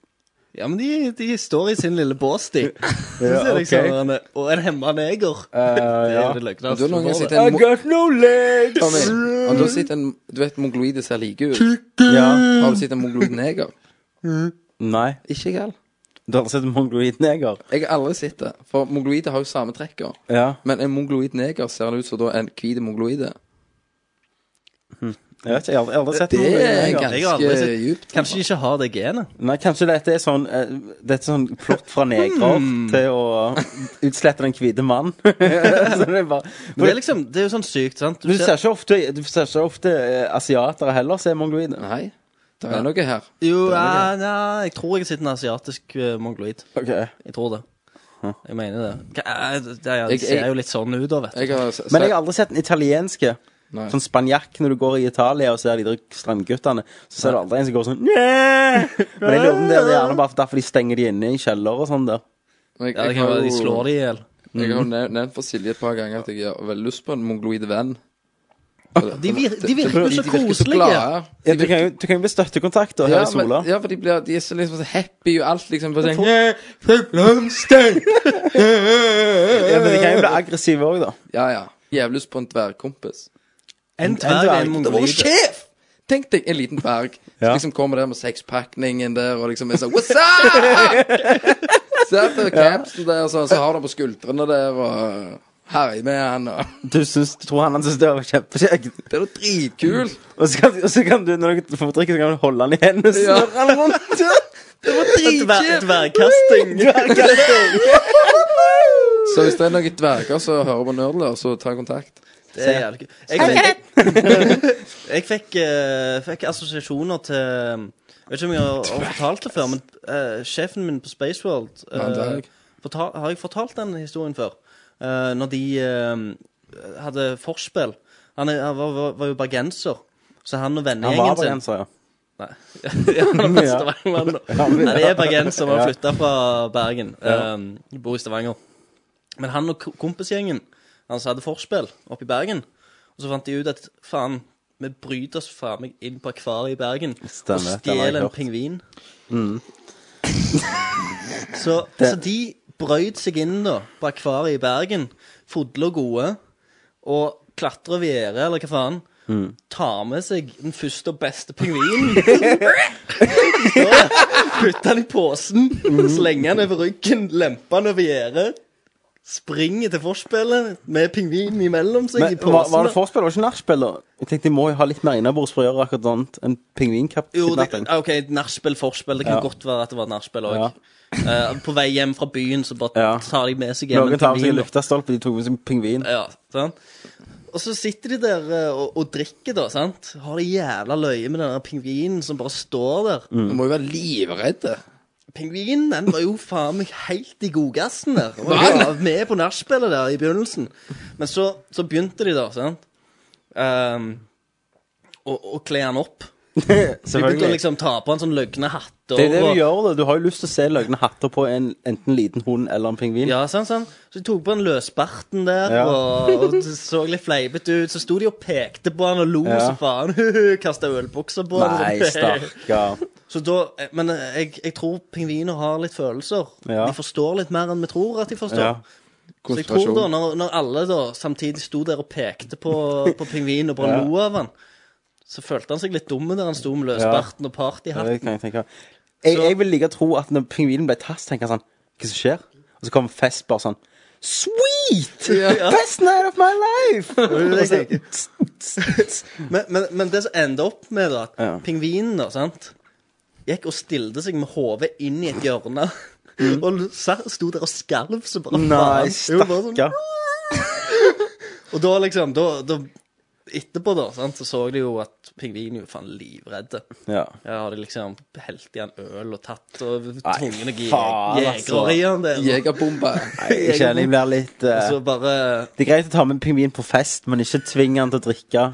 Speaker 1: Ja, men de, de står i sin lille bås, de. Så
Speaker 4: Ja,
Speaker 1: ser jeg
Speaker 4: ok.
Speaker 1: sånn, han er- og en hemma neger. det er
Speaker 9: ja.
Speaker 1: jo det løgneste
Speaker 9: Men du har noen
Speaker 1: målet.
Speaker 9: gang sett en I mo- got
Speaker 4: no legs!
Speaker 9: Tommy, har du sett en Du vet mongoloide ser like ut?
Speaker 4: Ja.
Speaker 9: Har du sett en mongoloid neger?
Speaker 4: Nei.
Speaker 9: Ikke jeg heller.
Speaker 4: Du har sett en mongoloid neger?
Speaker 9: Jeg har aldri sett det. For mongoloider har jo samme trekker.
Speaker 4: Ja.
Speaker 9: Men en mongoloid neger ser ut som da en hvit mongoloide.
Speaker 4: Jeg vet ikke, jeg har aldri- jeg har aldri sett
Speaker 9: Det
Speaker 4: en mongoloid
Speaker 9: er
Speaker 4: neger.
Speaker 9: ganske Jeg har aldri sett- djupt,
Speaker 1: Kanskje de ikke har det genet.
Speaker 4: Nei, kanskje dette er sånn eh, Dette er sånn plott fra negrer
Speaker 1: Hmm.
Speaker 4: til å utslette den hvite mann. Så det er bare
Speaker 1: Men det er liksom, det er jo sånn sykt, sant?
Speaker 4: Du ser ikke ofte, du ser ikke ofte eh, asiatere heller som er mongoloide.
Speaker 9: Nei. Det
Speaker 1: er
Speaker 9: noe her.
Speaker 1: Jo,
Speaker 4: Det
Speaker 1: ja,
Speaker 4: er
Speaker 1: nei, jeg tror jeg har sett en asiatisk eh, mongoloid. Jeg tror det. Jeg mener det. Ka- eh, det- det- De
Speaker 4: Jeg- jeg-
Speaker 1: ser jo litt sånn ut, da, vet du.
Speaker 4: Men jeg har aldri sett den italienske.
Speaker 1: Nei.
Speaker 4: Sånn spanjakk når du går i Italia og ser de der strandguttene. Så ser du aldri en som går sånn «Nye!» Men jeg lurer på om det er gjerne bare derfor de stenger de inne i kjeller og sånn der.
Speaker 9: Men jeg-
Speaker 1: Ja, det
Speaker 9: jeg
Speaker 1: kan
Speaker 9: har
Speaker 1: være de
Speaker 9: jo-
Speaker 1: slår de i hjel.
Speaker 9: Jeg har jo
Speaker 1: Mhm.
Speaker 9: nev- nevnt for Silje et par ganger at jeg har veldig lyst på en mongoloid venn.
Speaker 4: Ah,
Speaker 9: De,
Speaker 1: vir- de virker jo så
Speaker 9: virker
Speaker 1: koselige.
Speaker 9: glade.
Speaker 4: Ja, du, kan jo, du kan jo bli støttekontakt da, her
Speaker 9: Ja,
Speaker 4: i Sola.
Speaker 9: men, ja, for de, blir, de er så liksom så happy og alt, liksom. Bare
Speaker 4: Jeg
Speaker 9: sånn,
Speaker 4: tror-
Speaker 9: «Yeah, fruit blomster!»
Speaker 4: Ja, men de kan jo bli aggressive òg, da.
Speaker 9: Ja, ja. Jævlig lyst på en dvergkompis.
Speaker 1: En dverg er en
Speaker 9: Det var jo
Speaker 1: mongoloid.
Speaker 9: sjef! Tenk deg en liten dverg som
Speaker 1: Ja.
Speaker 9: liksom kommer der med sekspakningen der og liksom er sånn What's up? Setter capsen der, så, så har han på skuldrene der og herjer med han og
Speaker 4: Du, syns, du tror han han syns det var kjempekjekt?
Speaker 9: Det er jo dritkult!
Speaker 4: Og så kan, og så kan du, når dere får drikke, så kan du holde han i hendene.
Speaker 9: Ja.
Speaker 4: Ja.
Speaker 9: Det var
Speaker 1: dritkjipt! Dvergkasting.
Speaker 9: Så hvis det er noen dverger som hører på Nerdler, så ta kontakt.
Speaker 1: Det er jævlig kult. Jeg fikk, jeg fikk, eh, fikk assosiasjoner til Jeg vet ikke om jeg har, har fortalt det før, men eh, sjefen min på Spaceworld
Speaker 9: Ja, det har jeg.
Speaker 1: Har jeg fortalt den historien før? Eh, når de eh, hadde forspill Han, er, han var, var, var jo bergenser. Så han og
Speaker 4: Han var
Speaker 1: vennegjengen sin
Speaker 4: bergenser, ja.
Speaker 1: Nei. ja, han var
Speaker 4: Ja.
Speaker 1: Stavanger, da.
Speaker 4: Ja, men-
Speaker 1: Nei, det er bergenser som har
Speaker 4: Ja.
Speaker 1: flytta fra Bergen.
Speaker 4: Ja.
Speaker 1: Um, bor i Stavanger. Men han og ko- kompisgjengen hans hadde forspill oppe i Bergen. Og så fant de ut at faen, vi bryter oss faen meg inn på akvariet i Bergen
Speaker 4: Stemmer,
Speaker 1: og
Speaker 4: det har jeg
Speaker 1: stjeler en
Speaker 4: hørt.
Speaker 1: pingvin.
Speaker 4: Mm.
Speaker 1: Så, så
Speaker 4: Det-
Speaker 1: de brøyt seg inn da på akvariet i Bergen, fodle og gode, og klatre over gjerdet, eller hva faen.
Speaker 4: Mm.
Speaker 1: Tar med seg den første og beste pingvinen. Putter han i posen, slenger han over ryggen, lemper han over gjerdet. Springer til forspillet med pingvinen imellom seg i
Speaker 4: Men var,
Speaker 1: posen.
Speaker 4: var det forspill, var det ikke nachspiel, da? Jeg tenkte de må jo ha litt mer innabords for å gjøre akkurat sånt. En
Speaker 1: Jo, det,
Speaker 4: pingvinkidnapping.
Speaker 1: OK, nachspiel, forspill. Det kan
Speaker 4: Ja.
Speaker 1: godt være at det var et nachspiel òg. på vei hjem fra byen så bare tar de med seg hjem
Speaker 4: Noen tar med seg en
Speaker 1: da.
Speaker 4: luftestolpe, de tok med seg en pingvin.
Speaker 1: Ja, sant? Og så sitter de der eh, og, og drikker, da. sant? Har det jævla løye med den der pingvinen som bare står der.
Speaker 4: Mm.
Speaker 9: Du må jo være livredde.
Speaker 1: Pingvinen den var jo faen meg helt i godgassen der. Og
Speaker 9: Var den?
Speaker 1: var med på nachspielet der i begynnelsen. Men så, så begynte de, da, sant Ehm, Å å kle han opp. Så de begynte å liksom ta på han sånn løgne hatter.
Speaker 4: Det er det
Speaker 1: og-
Speaker 4: du gjør, da. Du har jo lyst til å se løgne hatter på en enten liten hund eller en pingvin.
Speaker 1: Ja, sånn, sånn. Så de tok på den løsbarten der,
Speaker 4: Ja.
Speaker 1: og, og det så litt fleipete ut. Så sto de og pekte på han og lo
Speaker 4: Ja.
Speaker 1: så faen. Kasta ølbukser på han.
Speaker 4: Nei, stakkar.
Speaker 1: Så da, men jeg, jeg tror pingviner har litt følelser.
Speaker 4: Ja.
Speaker 1: De forstår litt mer enn vi tror at de forstår.
Speaker 4: Ja.
Speaker 1: Så jeg tror
Speaker 4: Konsentrasjon.
Speaker 1: da, når, når alle da samtidig sto der og pekte på, på pingvinen og bare
Speaker 4: Ja.
Speaker 1: lo av han, så følte han seg litt dum der han sto med
Speaker 4: Ja.
Speaker 1: løsbarten og
Speaker 4: Ja, det
Speaker 1: partyhatten.
Speaker 4: kan jeg tenke. Jeg, jeg vil like å tro at når pingvinen ble tatt, tenker han sånn Hva som skjer? Og så kommer Fest bare sånn Sweet!
Speaker 1: Ja.
Speaker 4: Best night of my life! Og så-
Speaker 1: men, men, men det som endte opp med da, at
Speaker 4: Ja.
Speaker 1: pingvinen da, sant, gikk og stilte seg med hodet inn i et hjørne. Og sa- sto der og skalv så bare
Speaker 4: Mm. Nei,
Speaker 1: faen. Jo, bare sånn-
Speaker 4: stakkar.
Speaker 1: Og da liksom da, da, Etterpå, da, sant, så så de jo at pingvinen er jo faen livredde.
Speaker 4: Ja.
Speaker 1: ja Hadde liksom helt i han øl og tatt og
Speaker 4: Nei,
Speaker 1: tvunget noen
Speaker 4: faen,
Speaker 1: jeg-
Speaker 4: altså.
Speaker 1: jegere i han der.
Speaker 9: Jegerbombe.
Speaker 4: Nei, Jeg kjenner jeg blir litt eh,
Speaker 1: Og så bare-
Speaker 4: Det er greit å ta med en pingvin på fest, men ikke tving han til å drikke.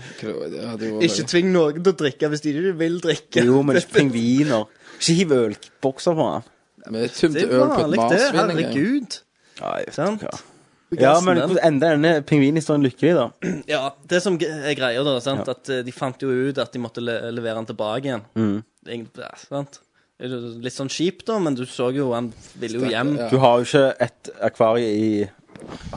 Speaker 1: Ikke tving noen til å drikke hvis de ikke vil drikke.
Speaker 4: Jo, men ikke pingviner. Ikke hiv ølbokser på han.
Speaker 9: Men jeg
Speaker 1: Det er vanlig, det. Herregud. Sant?
Speaker 4: Ja, men hvordan enda denne pingvinhistorien lykkelig, da?
Speaker 1: Ja, det som g- er greia, da, sant?
Speaker 4: Ja.
Speaker 1: at eh, de fant jo ut at de måtte le levere den tilbake igjen.
Speaker 4: Mm.
Speaker 1: Egentlig, ja, sant? Det er jo Litt sånn kjipt, da, men du så jo han ville jo hjem.
Speaker 4: Du har jo ikke et akvarie i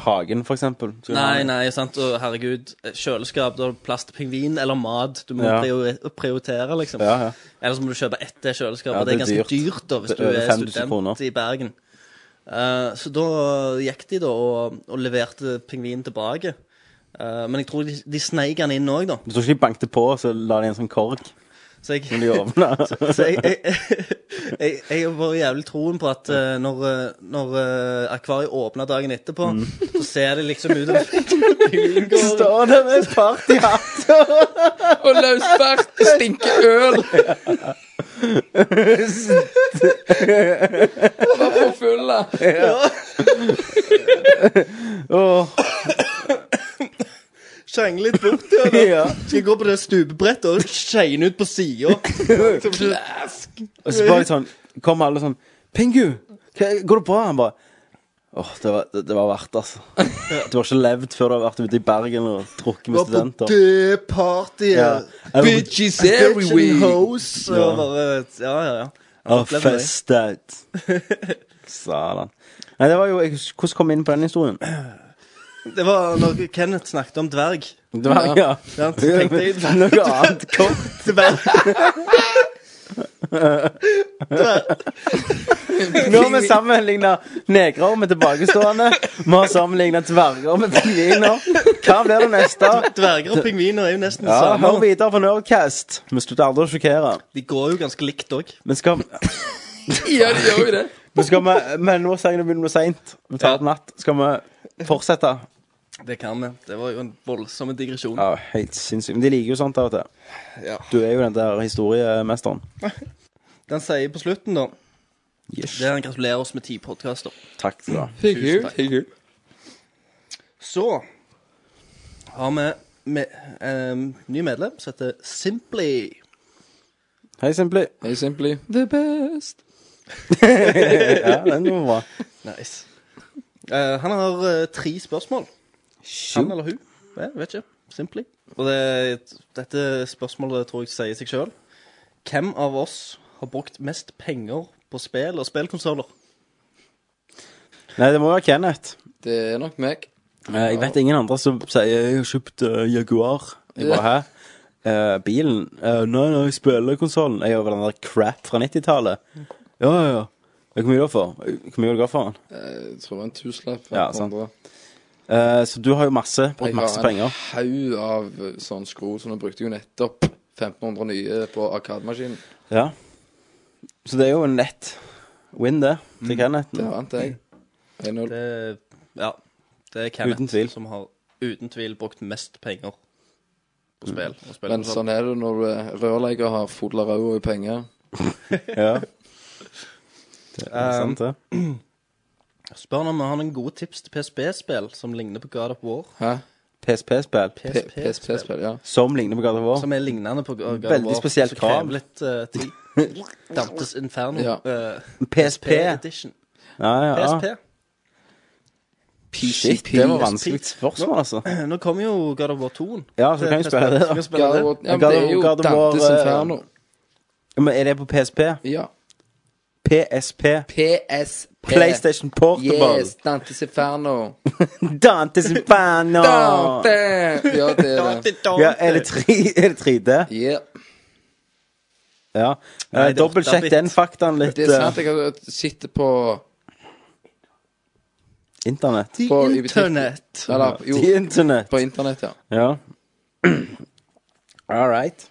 Speaker 4: hagen, for eksempel. Så-
Speaker 1: Nei, nei, sant. Og herregud, eh, kjøleskap, da har du plass til pingvin eller mat. Du må
Speaker 4: Ja.
Speaker 1: priori- prioritere, liksom.
Speaker 4: Ja, ja.
Speaker 1: Eller så må du kjøpe ett til kjøleskap.
Speaker 4: Ja,
Speaker 1: og det er
Speaker 4: det er
Speaker 1: ganske dyrt,
Speaker 4: dyrt.
Speaker 1: da, hvis
Speaker 4: Det
Speaker 1: du
Speaker 4: er over
Speaker 1: er
Speaker 4: 5000
Speaker 1: student
Speaker 4: kroner.
Speaker 1: i Bergen. Eh, så da gikk de da og, og leverte pingvinen tilbake. Eh, men jeg tror de, de sneik han inn òg, da.
Speaker 4: Du tror ikke de bankte på, og så la de en sånn korg?
Speaker 1: Så jeg,
Speaker 4: Som de åpna.
Speaker 1: så, så jeg, jeg, jeg, jeg har bare jævlig troen på at eh, når, eh, når eh, akvariet åpner dagen etterpå, så ser det liksom ut som
Speaker 4: Står der med partyhatt
Speaker 9: og løsbart det stinker øl. Han var for full, da.
Speaker 4: Åh.
Speaker 1: Skjeng litt bort til henne. Skal jeg gå på det stupebrettet og skeine ut på sida.
Speaker 9: Klask.
Speaker 4: Og så bare litt sånn Kom alle sånn Pingu, hva- går det bra? Han bare Åh, det, var- det, det var verdt det, altså. Du har ikke levd før du har vært ute i Bergen og drukket med
Speaker 1: Var på
Speaker 4: studenter.
Speaker 1: det partyet.
Speaker 4: Ja. Jeg var på-
Speaker 1: Bitches
Speaker 4: Every
Speaker 1: every
Speaker 4: week.
Speaker 1: week. Hoes, og
Speaker 4: Ja.
Speaker 1: bare, ja, ja, ja.
Speaker 4: Og
Speaker 1: Opplevde det.
Speaker 4: festet. Satan. Nei, det var jo jeg, Hvordan kom vi inn på den historien?
Speaker 1: Det var når Kenneth snakket om dverg.
Speaker 4: Dverg, ja.
Speaker 1: Ja, så tenkte jeg
Speaker 4: Noe annet kort. Nå har vi sammenligna negrer med tilbakestående. Vi har sammenligna dverger med pingviner. Hva blir det neste?
Speaker 1: Dverger og pingviner er jo nesten det
Speaker 4: Ja, hør
Speaker 1: samme.
Speaker 4: videre på Nerdcast. Vi slutter aldri å sjokkere.
Speaker 1: De går jo ganske likt òg.
Speaker 4: Men skal
Speaker 9: Ja, de gjør jo det.
Speaker 4: Men, skal vi, men nå sier jeg det begynner å bli seint. Vi tar det natt. Skal vi fortsette?
Speaker 1: Det kan vi. Det var jo en voldsom digresjon.
Speaker 4: Ja, helt sinnssykt. Men de liker jo sånt, da, vet du.
Speaker 1: Ja.
Speaker 4: Du er jo den der historiemesteren.
Speaker 1: Den sier på slutten, da Der han gratulerer oss med ti podkaster.
Speaker 4: Takk skal du ha.
Speaker 1: Tusen takk. Så har vi med, em, ny medlem som heter Simply.
Speaker 4: Hei, Simply.
Speaker 9: Hei, Simply.
Speaker 7: The best.
Speaker 4: ja, den var bra.
Speaker 1: Nice. Eh, han har eh, tre spørsmål. Han eller hun. Jeg vet ikke. Simply. Og det, dette spørsmålet tror jeg sier seg sjøl. Hvem av oss har brukt mest penger på spill og spillkonsoller?
Speaker 4: Nei, det må være Kenneth.
Speaker 9: Det er nok meg.
Speaker 4: Eh, jeg vet ingen andre som sier 'jeg har kjøpt eh, Jaguar'. Jeg bare 'hæ? Eh, bilen? Uh, nei, nei, jeg spiller konsollen. Jeg har vel den der crap fra 90-tallet. Ja, ja, ja. Hvor mye da for? Hvor mye har du gått for den?
Speaker 9: Jeg tror en tusenlapp.
Speaker 4: Ja, sant. Eh, så du har jo masse, brukt masse penger.
Speaker 9: Jeg har en haug av eh, sånn skro, så nå brukte jeg jo nettopp 1500 nye på arkademaskinen.
Speaker 4: Ja. Så det er jo en lett win, det. Til Kenneth.
Speaker 9: Mm. Det vant jeg.
Speaker 1: Det, ja. Det er Kenneth
Speaker 4: Uten tvil.
Speaker 1: som har uten tvil brukt mest penger
Speaker 4: Mm.
Speaker 1: på spill. og
Speaker 9: Men
Speaker 1: spillkonsoller.
Speaker 9: sånn er det når du er rørlegger har fodla ræva i penger.
Speaker 4: ja.
Speaker 9: Det
Speaker 1: sant,
Speaker 9: Um,
Speaker 1: det. Spør han om han har noen gode tips til PSP-spill som ligner på God of War.
Speaker 9: Hæ?
Speaker 4: PSP-spill.
Speaker 1: PSP-spill,
Speaker 9: ja.
Speaker 4: Som ligner på God of War.
Speaker 1: Som er lignende på God of War.
Speaker 4: Veldig spesielt
Speaker 1: som krever
Speaker 4: krav.
Speaker 1: litt eh, tid. Dantes Inferno.
Speaker 4: Ja.
Speaker 1: eh,
Speaker 4: PSP.
Speaker 1: Edition.
Speaker 4: Ja, ja, ja.
Speaker 1: PSP.
Speaker 4: Shit, det var vanskelig spørsmål, altså.
Speaker 1: Nå, nå kommer jo God of War 2.
Speaker 4: Ja, så du kan jo spille det, da.
Speaker 1: Skal vi spille det?
Speaker 4: God of War, eh, ja, Men er det på PSP?
Speaker 9: Ja.
Speaker 4: PSP.
Speaker 9: PSP.
Speaker 4: PlayStation Portable.
Speaker 9: Yes, Dantes Inferno.
Speaker 4: Dantes Inferno!
Speaker 9: Dante! Ja, det er det.
Speaker 4: Ja, er det, tre, er det 3D?
Speaker 9: Yeah.
Speaker 4: Ja.
Speaker 9: Nei,
Speaker 4: Eh,
Speaker 9: det er
Speaker 4: Dobbeltsjekk
Speaker 9: 8-bit.
Speaker 4: den faktaen litt.
Speaker 9: Det er sant,
Speaker 4: eh,
Speaker 9: jeg har- sitter på
Speaker 4: Internett.
Speaker 9: på i butikk- Eller, jo,
Speaker 4: The Internet.
Speaker 9: på internett, ja.
Speaker 4: Ja. All right.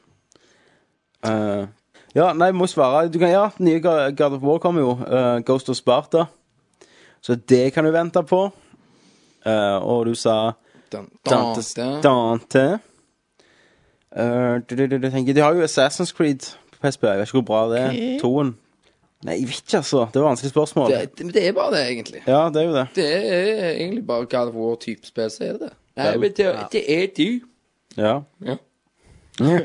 Speaker 4: Eh, ja, nei, må svare. Du kan, ja, nye Ga- God of War kommer jo. eh, Ghost of Sparta. Så det kan du vente på. Eh, og du sa
Speaker 9: Dan-
Speaker 4: Dantes-
Speaker 9: Dante.
Speaker 4: Dante. Eh, du, du, du, du tenker, de har jo Assassin's Creed på PSP. Jeg vet ikke hvor bra det er.
Speaker 9: Ok.
Speaker 4: Toen. Nei, jeg vet ikke, altså. Det var vanskelig spørsmål.
Speaker 9: Det, er- det er bare det, egentlig.
Speaker 4: Ja, det er jo det.
Speaker 9: Det er egentlig bare God of War-type spill, så er det det.
Speaker 4: Nei, men det- Ja.
Speaker 9: det er du.
Speaker 4: Ja.
Speaker 9: Ja.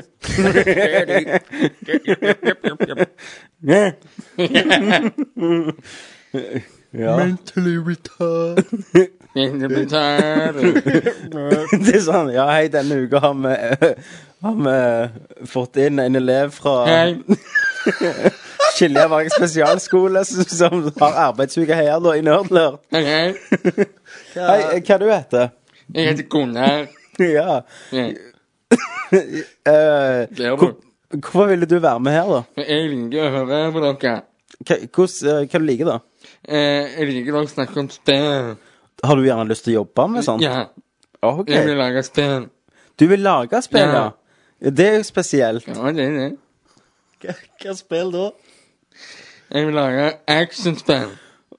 Speaker 4: ja.
Speaker 1: Mentally retard.
Speaker 4: det er sånn Ja, hei, denne uka har vi Har vi fått inn en elev fra
Speaker 9: Hei.
Speaker 4: Skiljevang spesialskole som, som har arbeidsuke her da, i Nerdlør.
Speaker 9: Hei,
Speaker 4: hva heter du? heter?
Speaker 9: Jeg heter Gunnar.
Speaker 4: ja.
Speaker 9: Ja.
Speaker 4: Eh,
Speaker 9: Gleder
Speaker 4: hvor, hvorfor ville du være med her, da?
Speaker 9: Jeg liker å høre på dere.
Speaker 4: Hva, hvordan, eh, hva du liker du, da?
Speaker 9: Eh, Jeg liker dere snakker om spill.
Speaker 4: Har du gjerne lyst til å jobbe med sånt?
Speaker 9: Ja.
Speaker 4: Ok.
Speaker 9: Jeg vil lage spill.
Speaker 4: Du vil lage spill, ja?
Speaker 9: Ja.
Speaker 4: Det er jo spesielt.
Speaker 9: Ja, det er det.
Speaker 1: Hva, hva spill da?
Speaker 9: Jeg vil lage actionspill.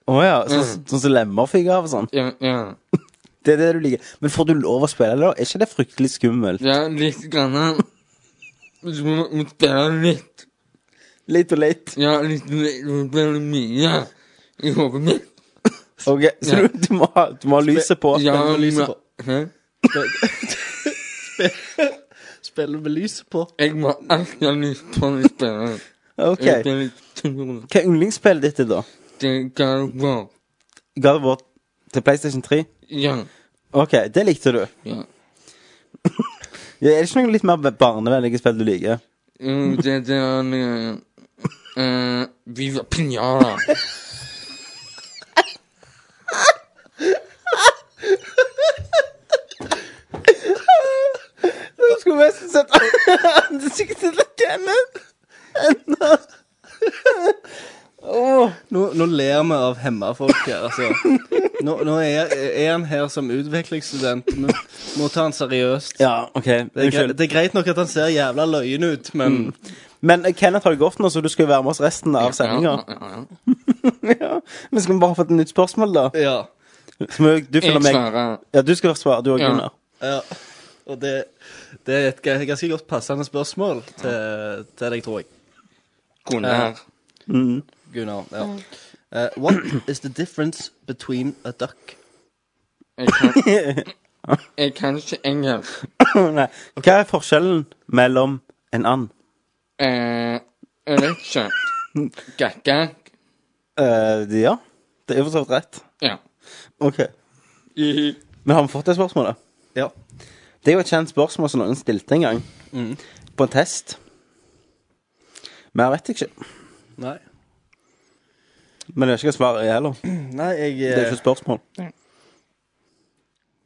Speaker 4: Å ja. så-
Speaker 9: Mm.
Speaker 4: Sånn som lemmer fikk av og sånn?
Speaker 9: Ja, ja.
Speaker 4: Det er det du liker. Men får du lov å spille, da? Er ikke det fryktelig skummelt?
Speaker 9: Ja, litt grann. Du må må spille litt.
Speaker 4: Litt og litt.
Speaker 9: Ja, litt og litt. Du må spille mye i hodet mitt.
Speaker 4: Ok, Så
Speaker 9: Ja.
Speaker 4: du, du, må ha, du må ha lyset på?
Speaker 9: Ja,
Speaker 4: Du må ha lyset
Speaker 9: men-
Speaker 4: på.
Speaker 9: Hæ?
Speaker 1: Spiller med lyset på.
Speaker 9: Jeg må alltid ha lyst på å spille.
Speaker 4: Ok.
Speaker 9: Jeg blir litt tungrodd.
Speaker 4: Hva er yndlingsspillet ditt, da?
Speaker 9: Det kan gå.
Speaker 4: God of War til PlayStation 3?
Speaker 9: Ja.
Speaker 4: Ok, det likte du.
Speaker 9: Ja.
Speaker 4: Ja, Er det ikke noen litt mer barnevennlige spill du liker?
Speaker 9: Jo, det der med eh, Viva Pinata.
Speaker 4: Du skulle nesten sett ansiktet til Kenneth.
Speaker 1: Nå, nå ler vi av hemma folk her, altså. Nå, nå er, er han her som utviklingsstudent. Vi må ta han seriøst.
Speaker 4: Ja, ok.
Speaker 1: Det er, greit,
Speaker 4: Unnskyld.
Speaker 1: det er greit nok at han ser jævla løyen ut, men
Speaker 4: Men eh, Kenneth har det godt nå, så du skal jo være med oss resten av sendinga. ja. Men skal vi bare få et nytt spørsmål, da?
Speaker 1: Ja.
Speaker 4: Så må du følger
Speaker 1: Jeg
Speaker 4: meg.
Speaker 1: svarer.
Speaker 4: Ja, du skal svare, du og
Speaker 1: Ja.
Speaker 4: Gunnar.
Speaker 1: ja. Og det, det er et ga- ganske godt passende spørsmål til, til deg, tror jeg.
Speaker 9: Gunnar.
Speaker 1: Eh, Gunnar, ja.
Speaker 4: Mm.
Speaker 1: Eh, what is the difference between a duck
Speaker 9: Jeg kan, Jeg kan ikke engelsk.
Speaker 4: Nei. Hva er forskjellen mellom en and?
Speaker 9: Eh, jeg vet ikke. Gekka.
Speaker 4: Eh, ja. Det er jo for så vidt rett.
Speaker 9: Ja.
Speaker 4: OK. Men har vi fått det spørsmålet? Ja. Det er jo et kjent spørsmål som noen stilte en gang.
Speaker 1: Mm.
Speaker 4: På en test. Mer vet jeg ikke.
Speaker 1: Nei.
Speaker 4: Men jeg vet ikke hva svaret er heller.
Speaker 1: Nei, jeg eh,
Speaker 4: Det er jo ikke et spørsmål.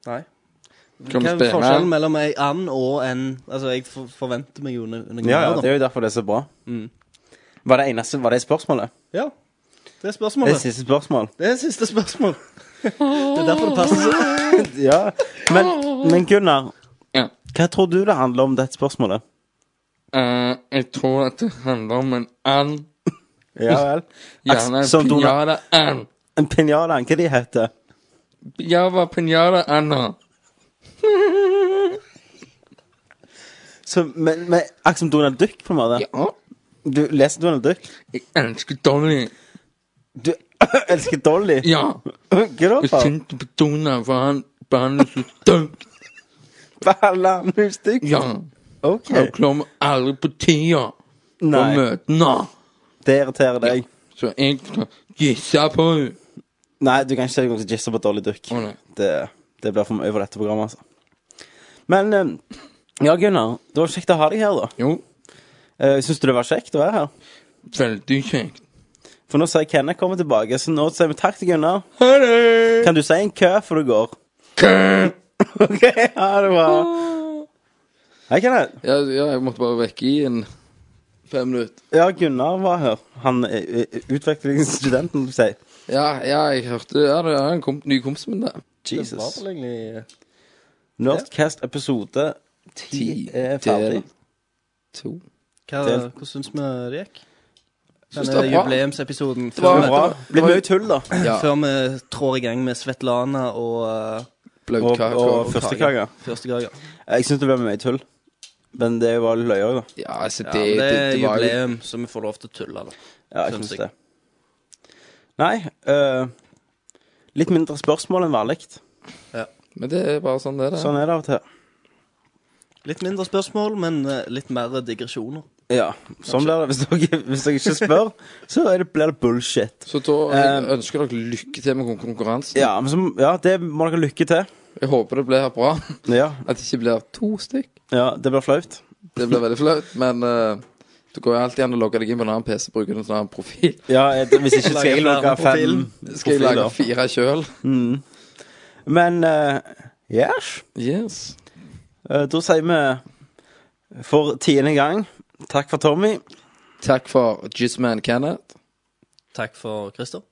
Speaker 1: Nei. Hva
Speaker 4: Kan vi
Speaker 1: er
Speaker 4: spille?
Speaker 1: forskjellen mellom ei and og en Altså, jeg for, forventer meg jo noe noe
Speaker 4: Ja, ja,
Speaker 1: mer, da.
Speaker 4: det er jo derfor det er så bra.
Speaker 1: Mm.
Speaker 4: Var det eneste Var det spørsmålet?
Speaker 1: Ja. Det er
Speaker 4: Det er
Speaker 1: spørsmålet.
Speaker 4: siste spørsmål.
Speaker 1: Det er siste spørsmål. Det er derfor det passer så
Speaker 4: ja. Men, men Gunnar,
Speaker 9: Ja.
Speaker 4: hva tror du det handler om, dette spørsmålet?
Speaker 9: Eh, jeg tror at det handler om en and.
Speaker 4: Ja vel.
Speaker 9: Gjerne en
Speaker 4: Som Donald-
Speaker 9: pinjada and.
Speaker 4: En pinjada, hva de heter?
Speaker 9: Java pinjada anna.
Speaker 4: Så, men, men akkurat som Donald Duck, på en måte?
Speaker 9: Ja.
Speaker 4: Du leser Donald Duck?
Speaker 9: Jeg elsker Dolly.
Speaker 4: Du elsker Dolly?
Speaker 9: Ja.
Speaker 4: Hva da,
Speaker 9: Jeg
Speaker 4: faen?
Speaker 9: tenkte på Donald, for han behandler så stygt.
Speaker 4: Behandler han meg stygt?
Speaker 9: Ja.
Speaker 4: Ok.
Speaker 9: Han kommer aldri på tida på
Speaker 4: Nei.
Speaker 9: møtene.
Speaker 4: Det irriterer deg?
Speaker 9: Så jeg skal gisse på henne.
Speaker 4: Nei, du kan ikke si noe som jizzer på Dolly Duck. det, det blir for mye for dette programmet, altså. Men eh, ja, Gunnar. Det var kjekt å ha deg her, da.
Speaker 9: Jo.
Speaker 4: Syns du det var kjekt å være her?
Speaker 9: Veldig kjekt.
Speaker 4: For nå sier Kenneth kommer tilbake, så nå sier vi takk til Gunnar.
Speaker 9: Ha det!
Speaker 4: Kan du si en kø før du går? Kø! OK, ha det bra. Hei, Kenneth.
Speaker 9: Ja, ja, jeg måtte bare vekke i en fem minutter.
Speaker 4: Ja, Gunnar var her. Han eh, eh, utvekslingsstudenten, du sier.
Speaker 9: Ja, ja, jeg hørte Ja, det er en kom, ny kompis min der.
Speaker 4: Jesus.
Speaker 1: Det var vel egentlig eh,
Speaker 4: Nerdcast episode ti er ferdig.
Speaker 9: To.
Speaker 1: Hva,
Speaker 4: Del.
Speaker 1: hvordan syns vi det gikk?
Speaker 4: Syns
Speaker 1: Denne
Speaker 4: det var bra.
Speaker 1: jubileumsepisoden.
Speaker 4: Det var
Speaker 1: før-
Speaker 4: bra. Blir mye tull, da. Ja.
Speaker 1: Før vi trår i gang med Svetlana og uh,
Speaker 4: Og, og førstekake.
Speaker 1: Førstekake.
Speaker 4: Jeg syns det ble mye tull. Men det var litt løye òg, da.
Speaker 9: Ja, altså,
Speaker 1: Ja, men det er jubileum, så vi får lov til å tulle, da.
Speaker 4: Ja, jeg
Speaker 1: Syns
Speaker 4: syns det. Nei eh, Litt mindre spørsmål enn vanlig.
Speaker 9: Men det er bare sånn det er.
Speaker 4: Sånn er det av og til.
Speaker 1: Litt mindre spørsmål, men eh, litt mer digresjoner.
Speaker 4: Ja, sånn blir det. Hvis dere, hvis dere ikke spør, så er det, blir det bullshit.
Speaker 9: Så da
Speaker 4: Eh,
Speaker 9: ønsker dere lykke til med kon- konkurransen.
Speaker 4: Ja, men så, ja, det må dere lykke til.
Speaker 9: Jeg håper det blir bra.
Speaker 4: Ja.
Speaker 9: At det ikke blir to stykk.
Speaker 4: Ja, det blir flaut.
Speaker 9: Det blir veldig flaut, men eh, det går jo alltid an å logge deg inn på en annen PC, bruke en sånn annen profil.
Speaker 4: Ja, eh, hvis ikke skal jeg
Speaker 9: Lage
Speaker 4: logge
Speaker 9: flere
Speaker 4: fem
Speaker 9: profiler. Skal jeg lage
Speaker 4: profiler.
Speaker 9: fire sjøl?
Speaker 4: Mm. Men eh, yes. Eh,
Speaker 9: yes.
Speaker 4: da sier vi for tiende gang takk for Tommy.
Speaker 9: Takk for Jizzman Kenneth.
Speaker 1: Takk for Christer.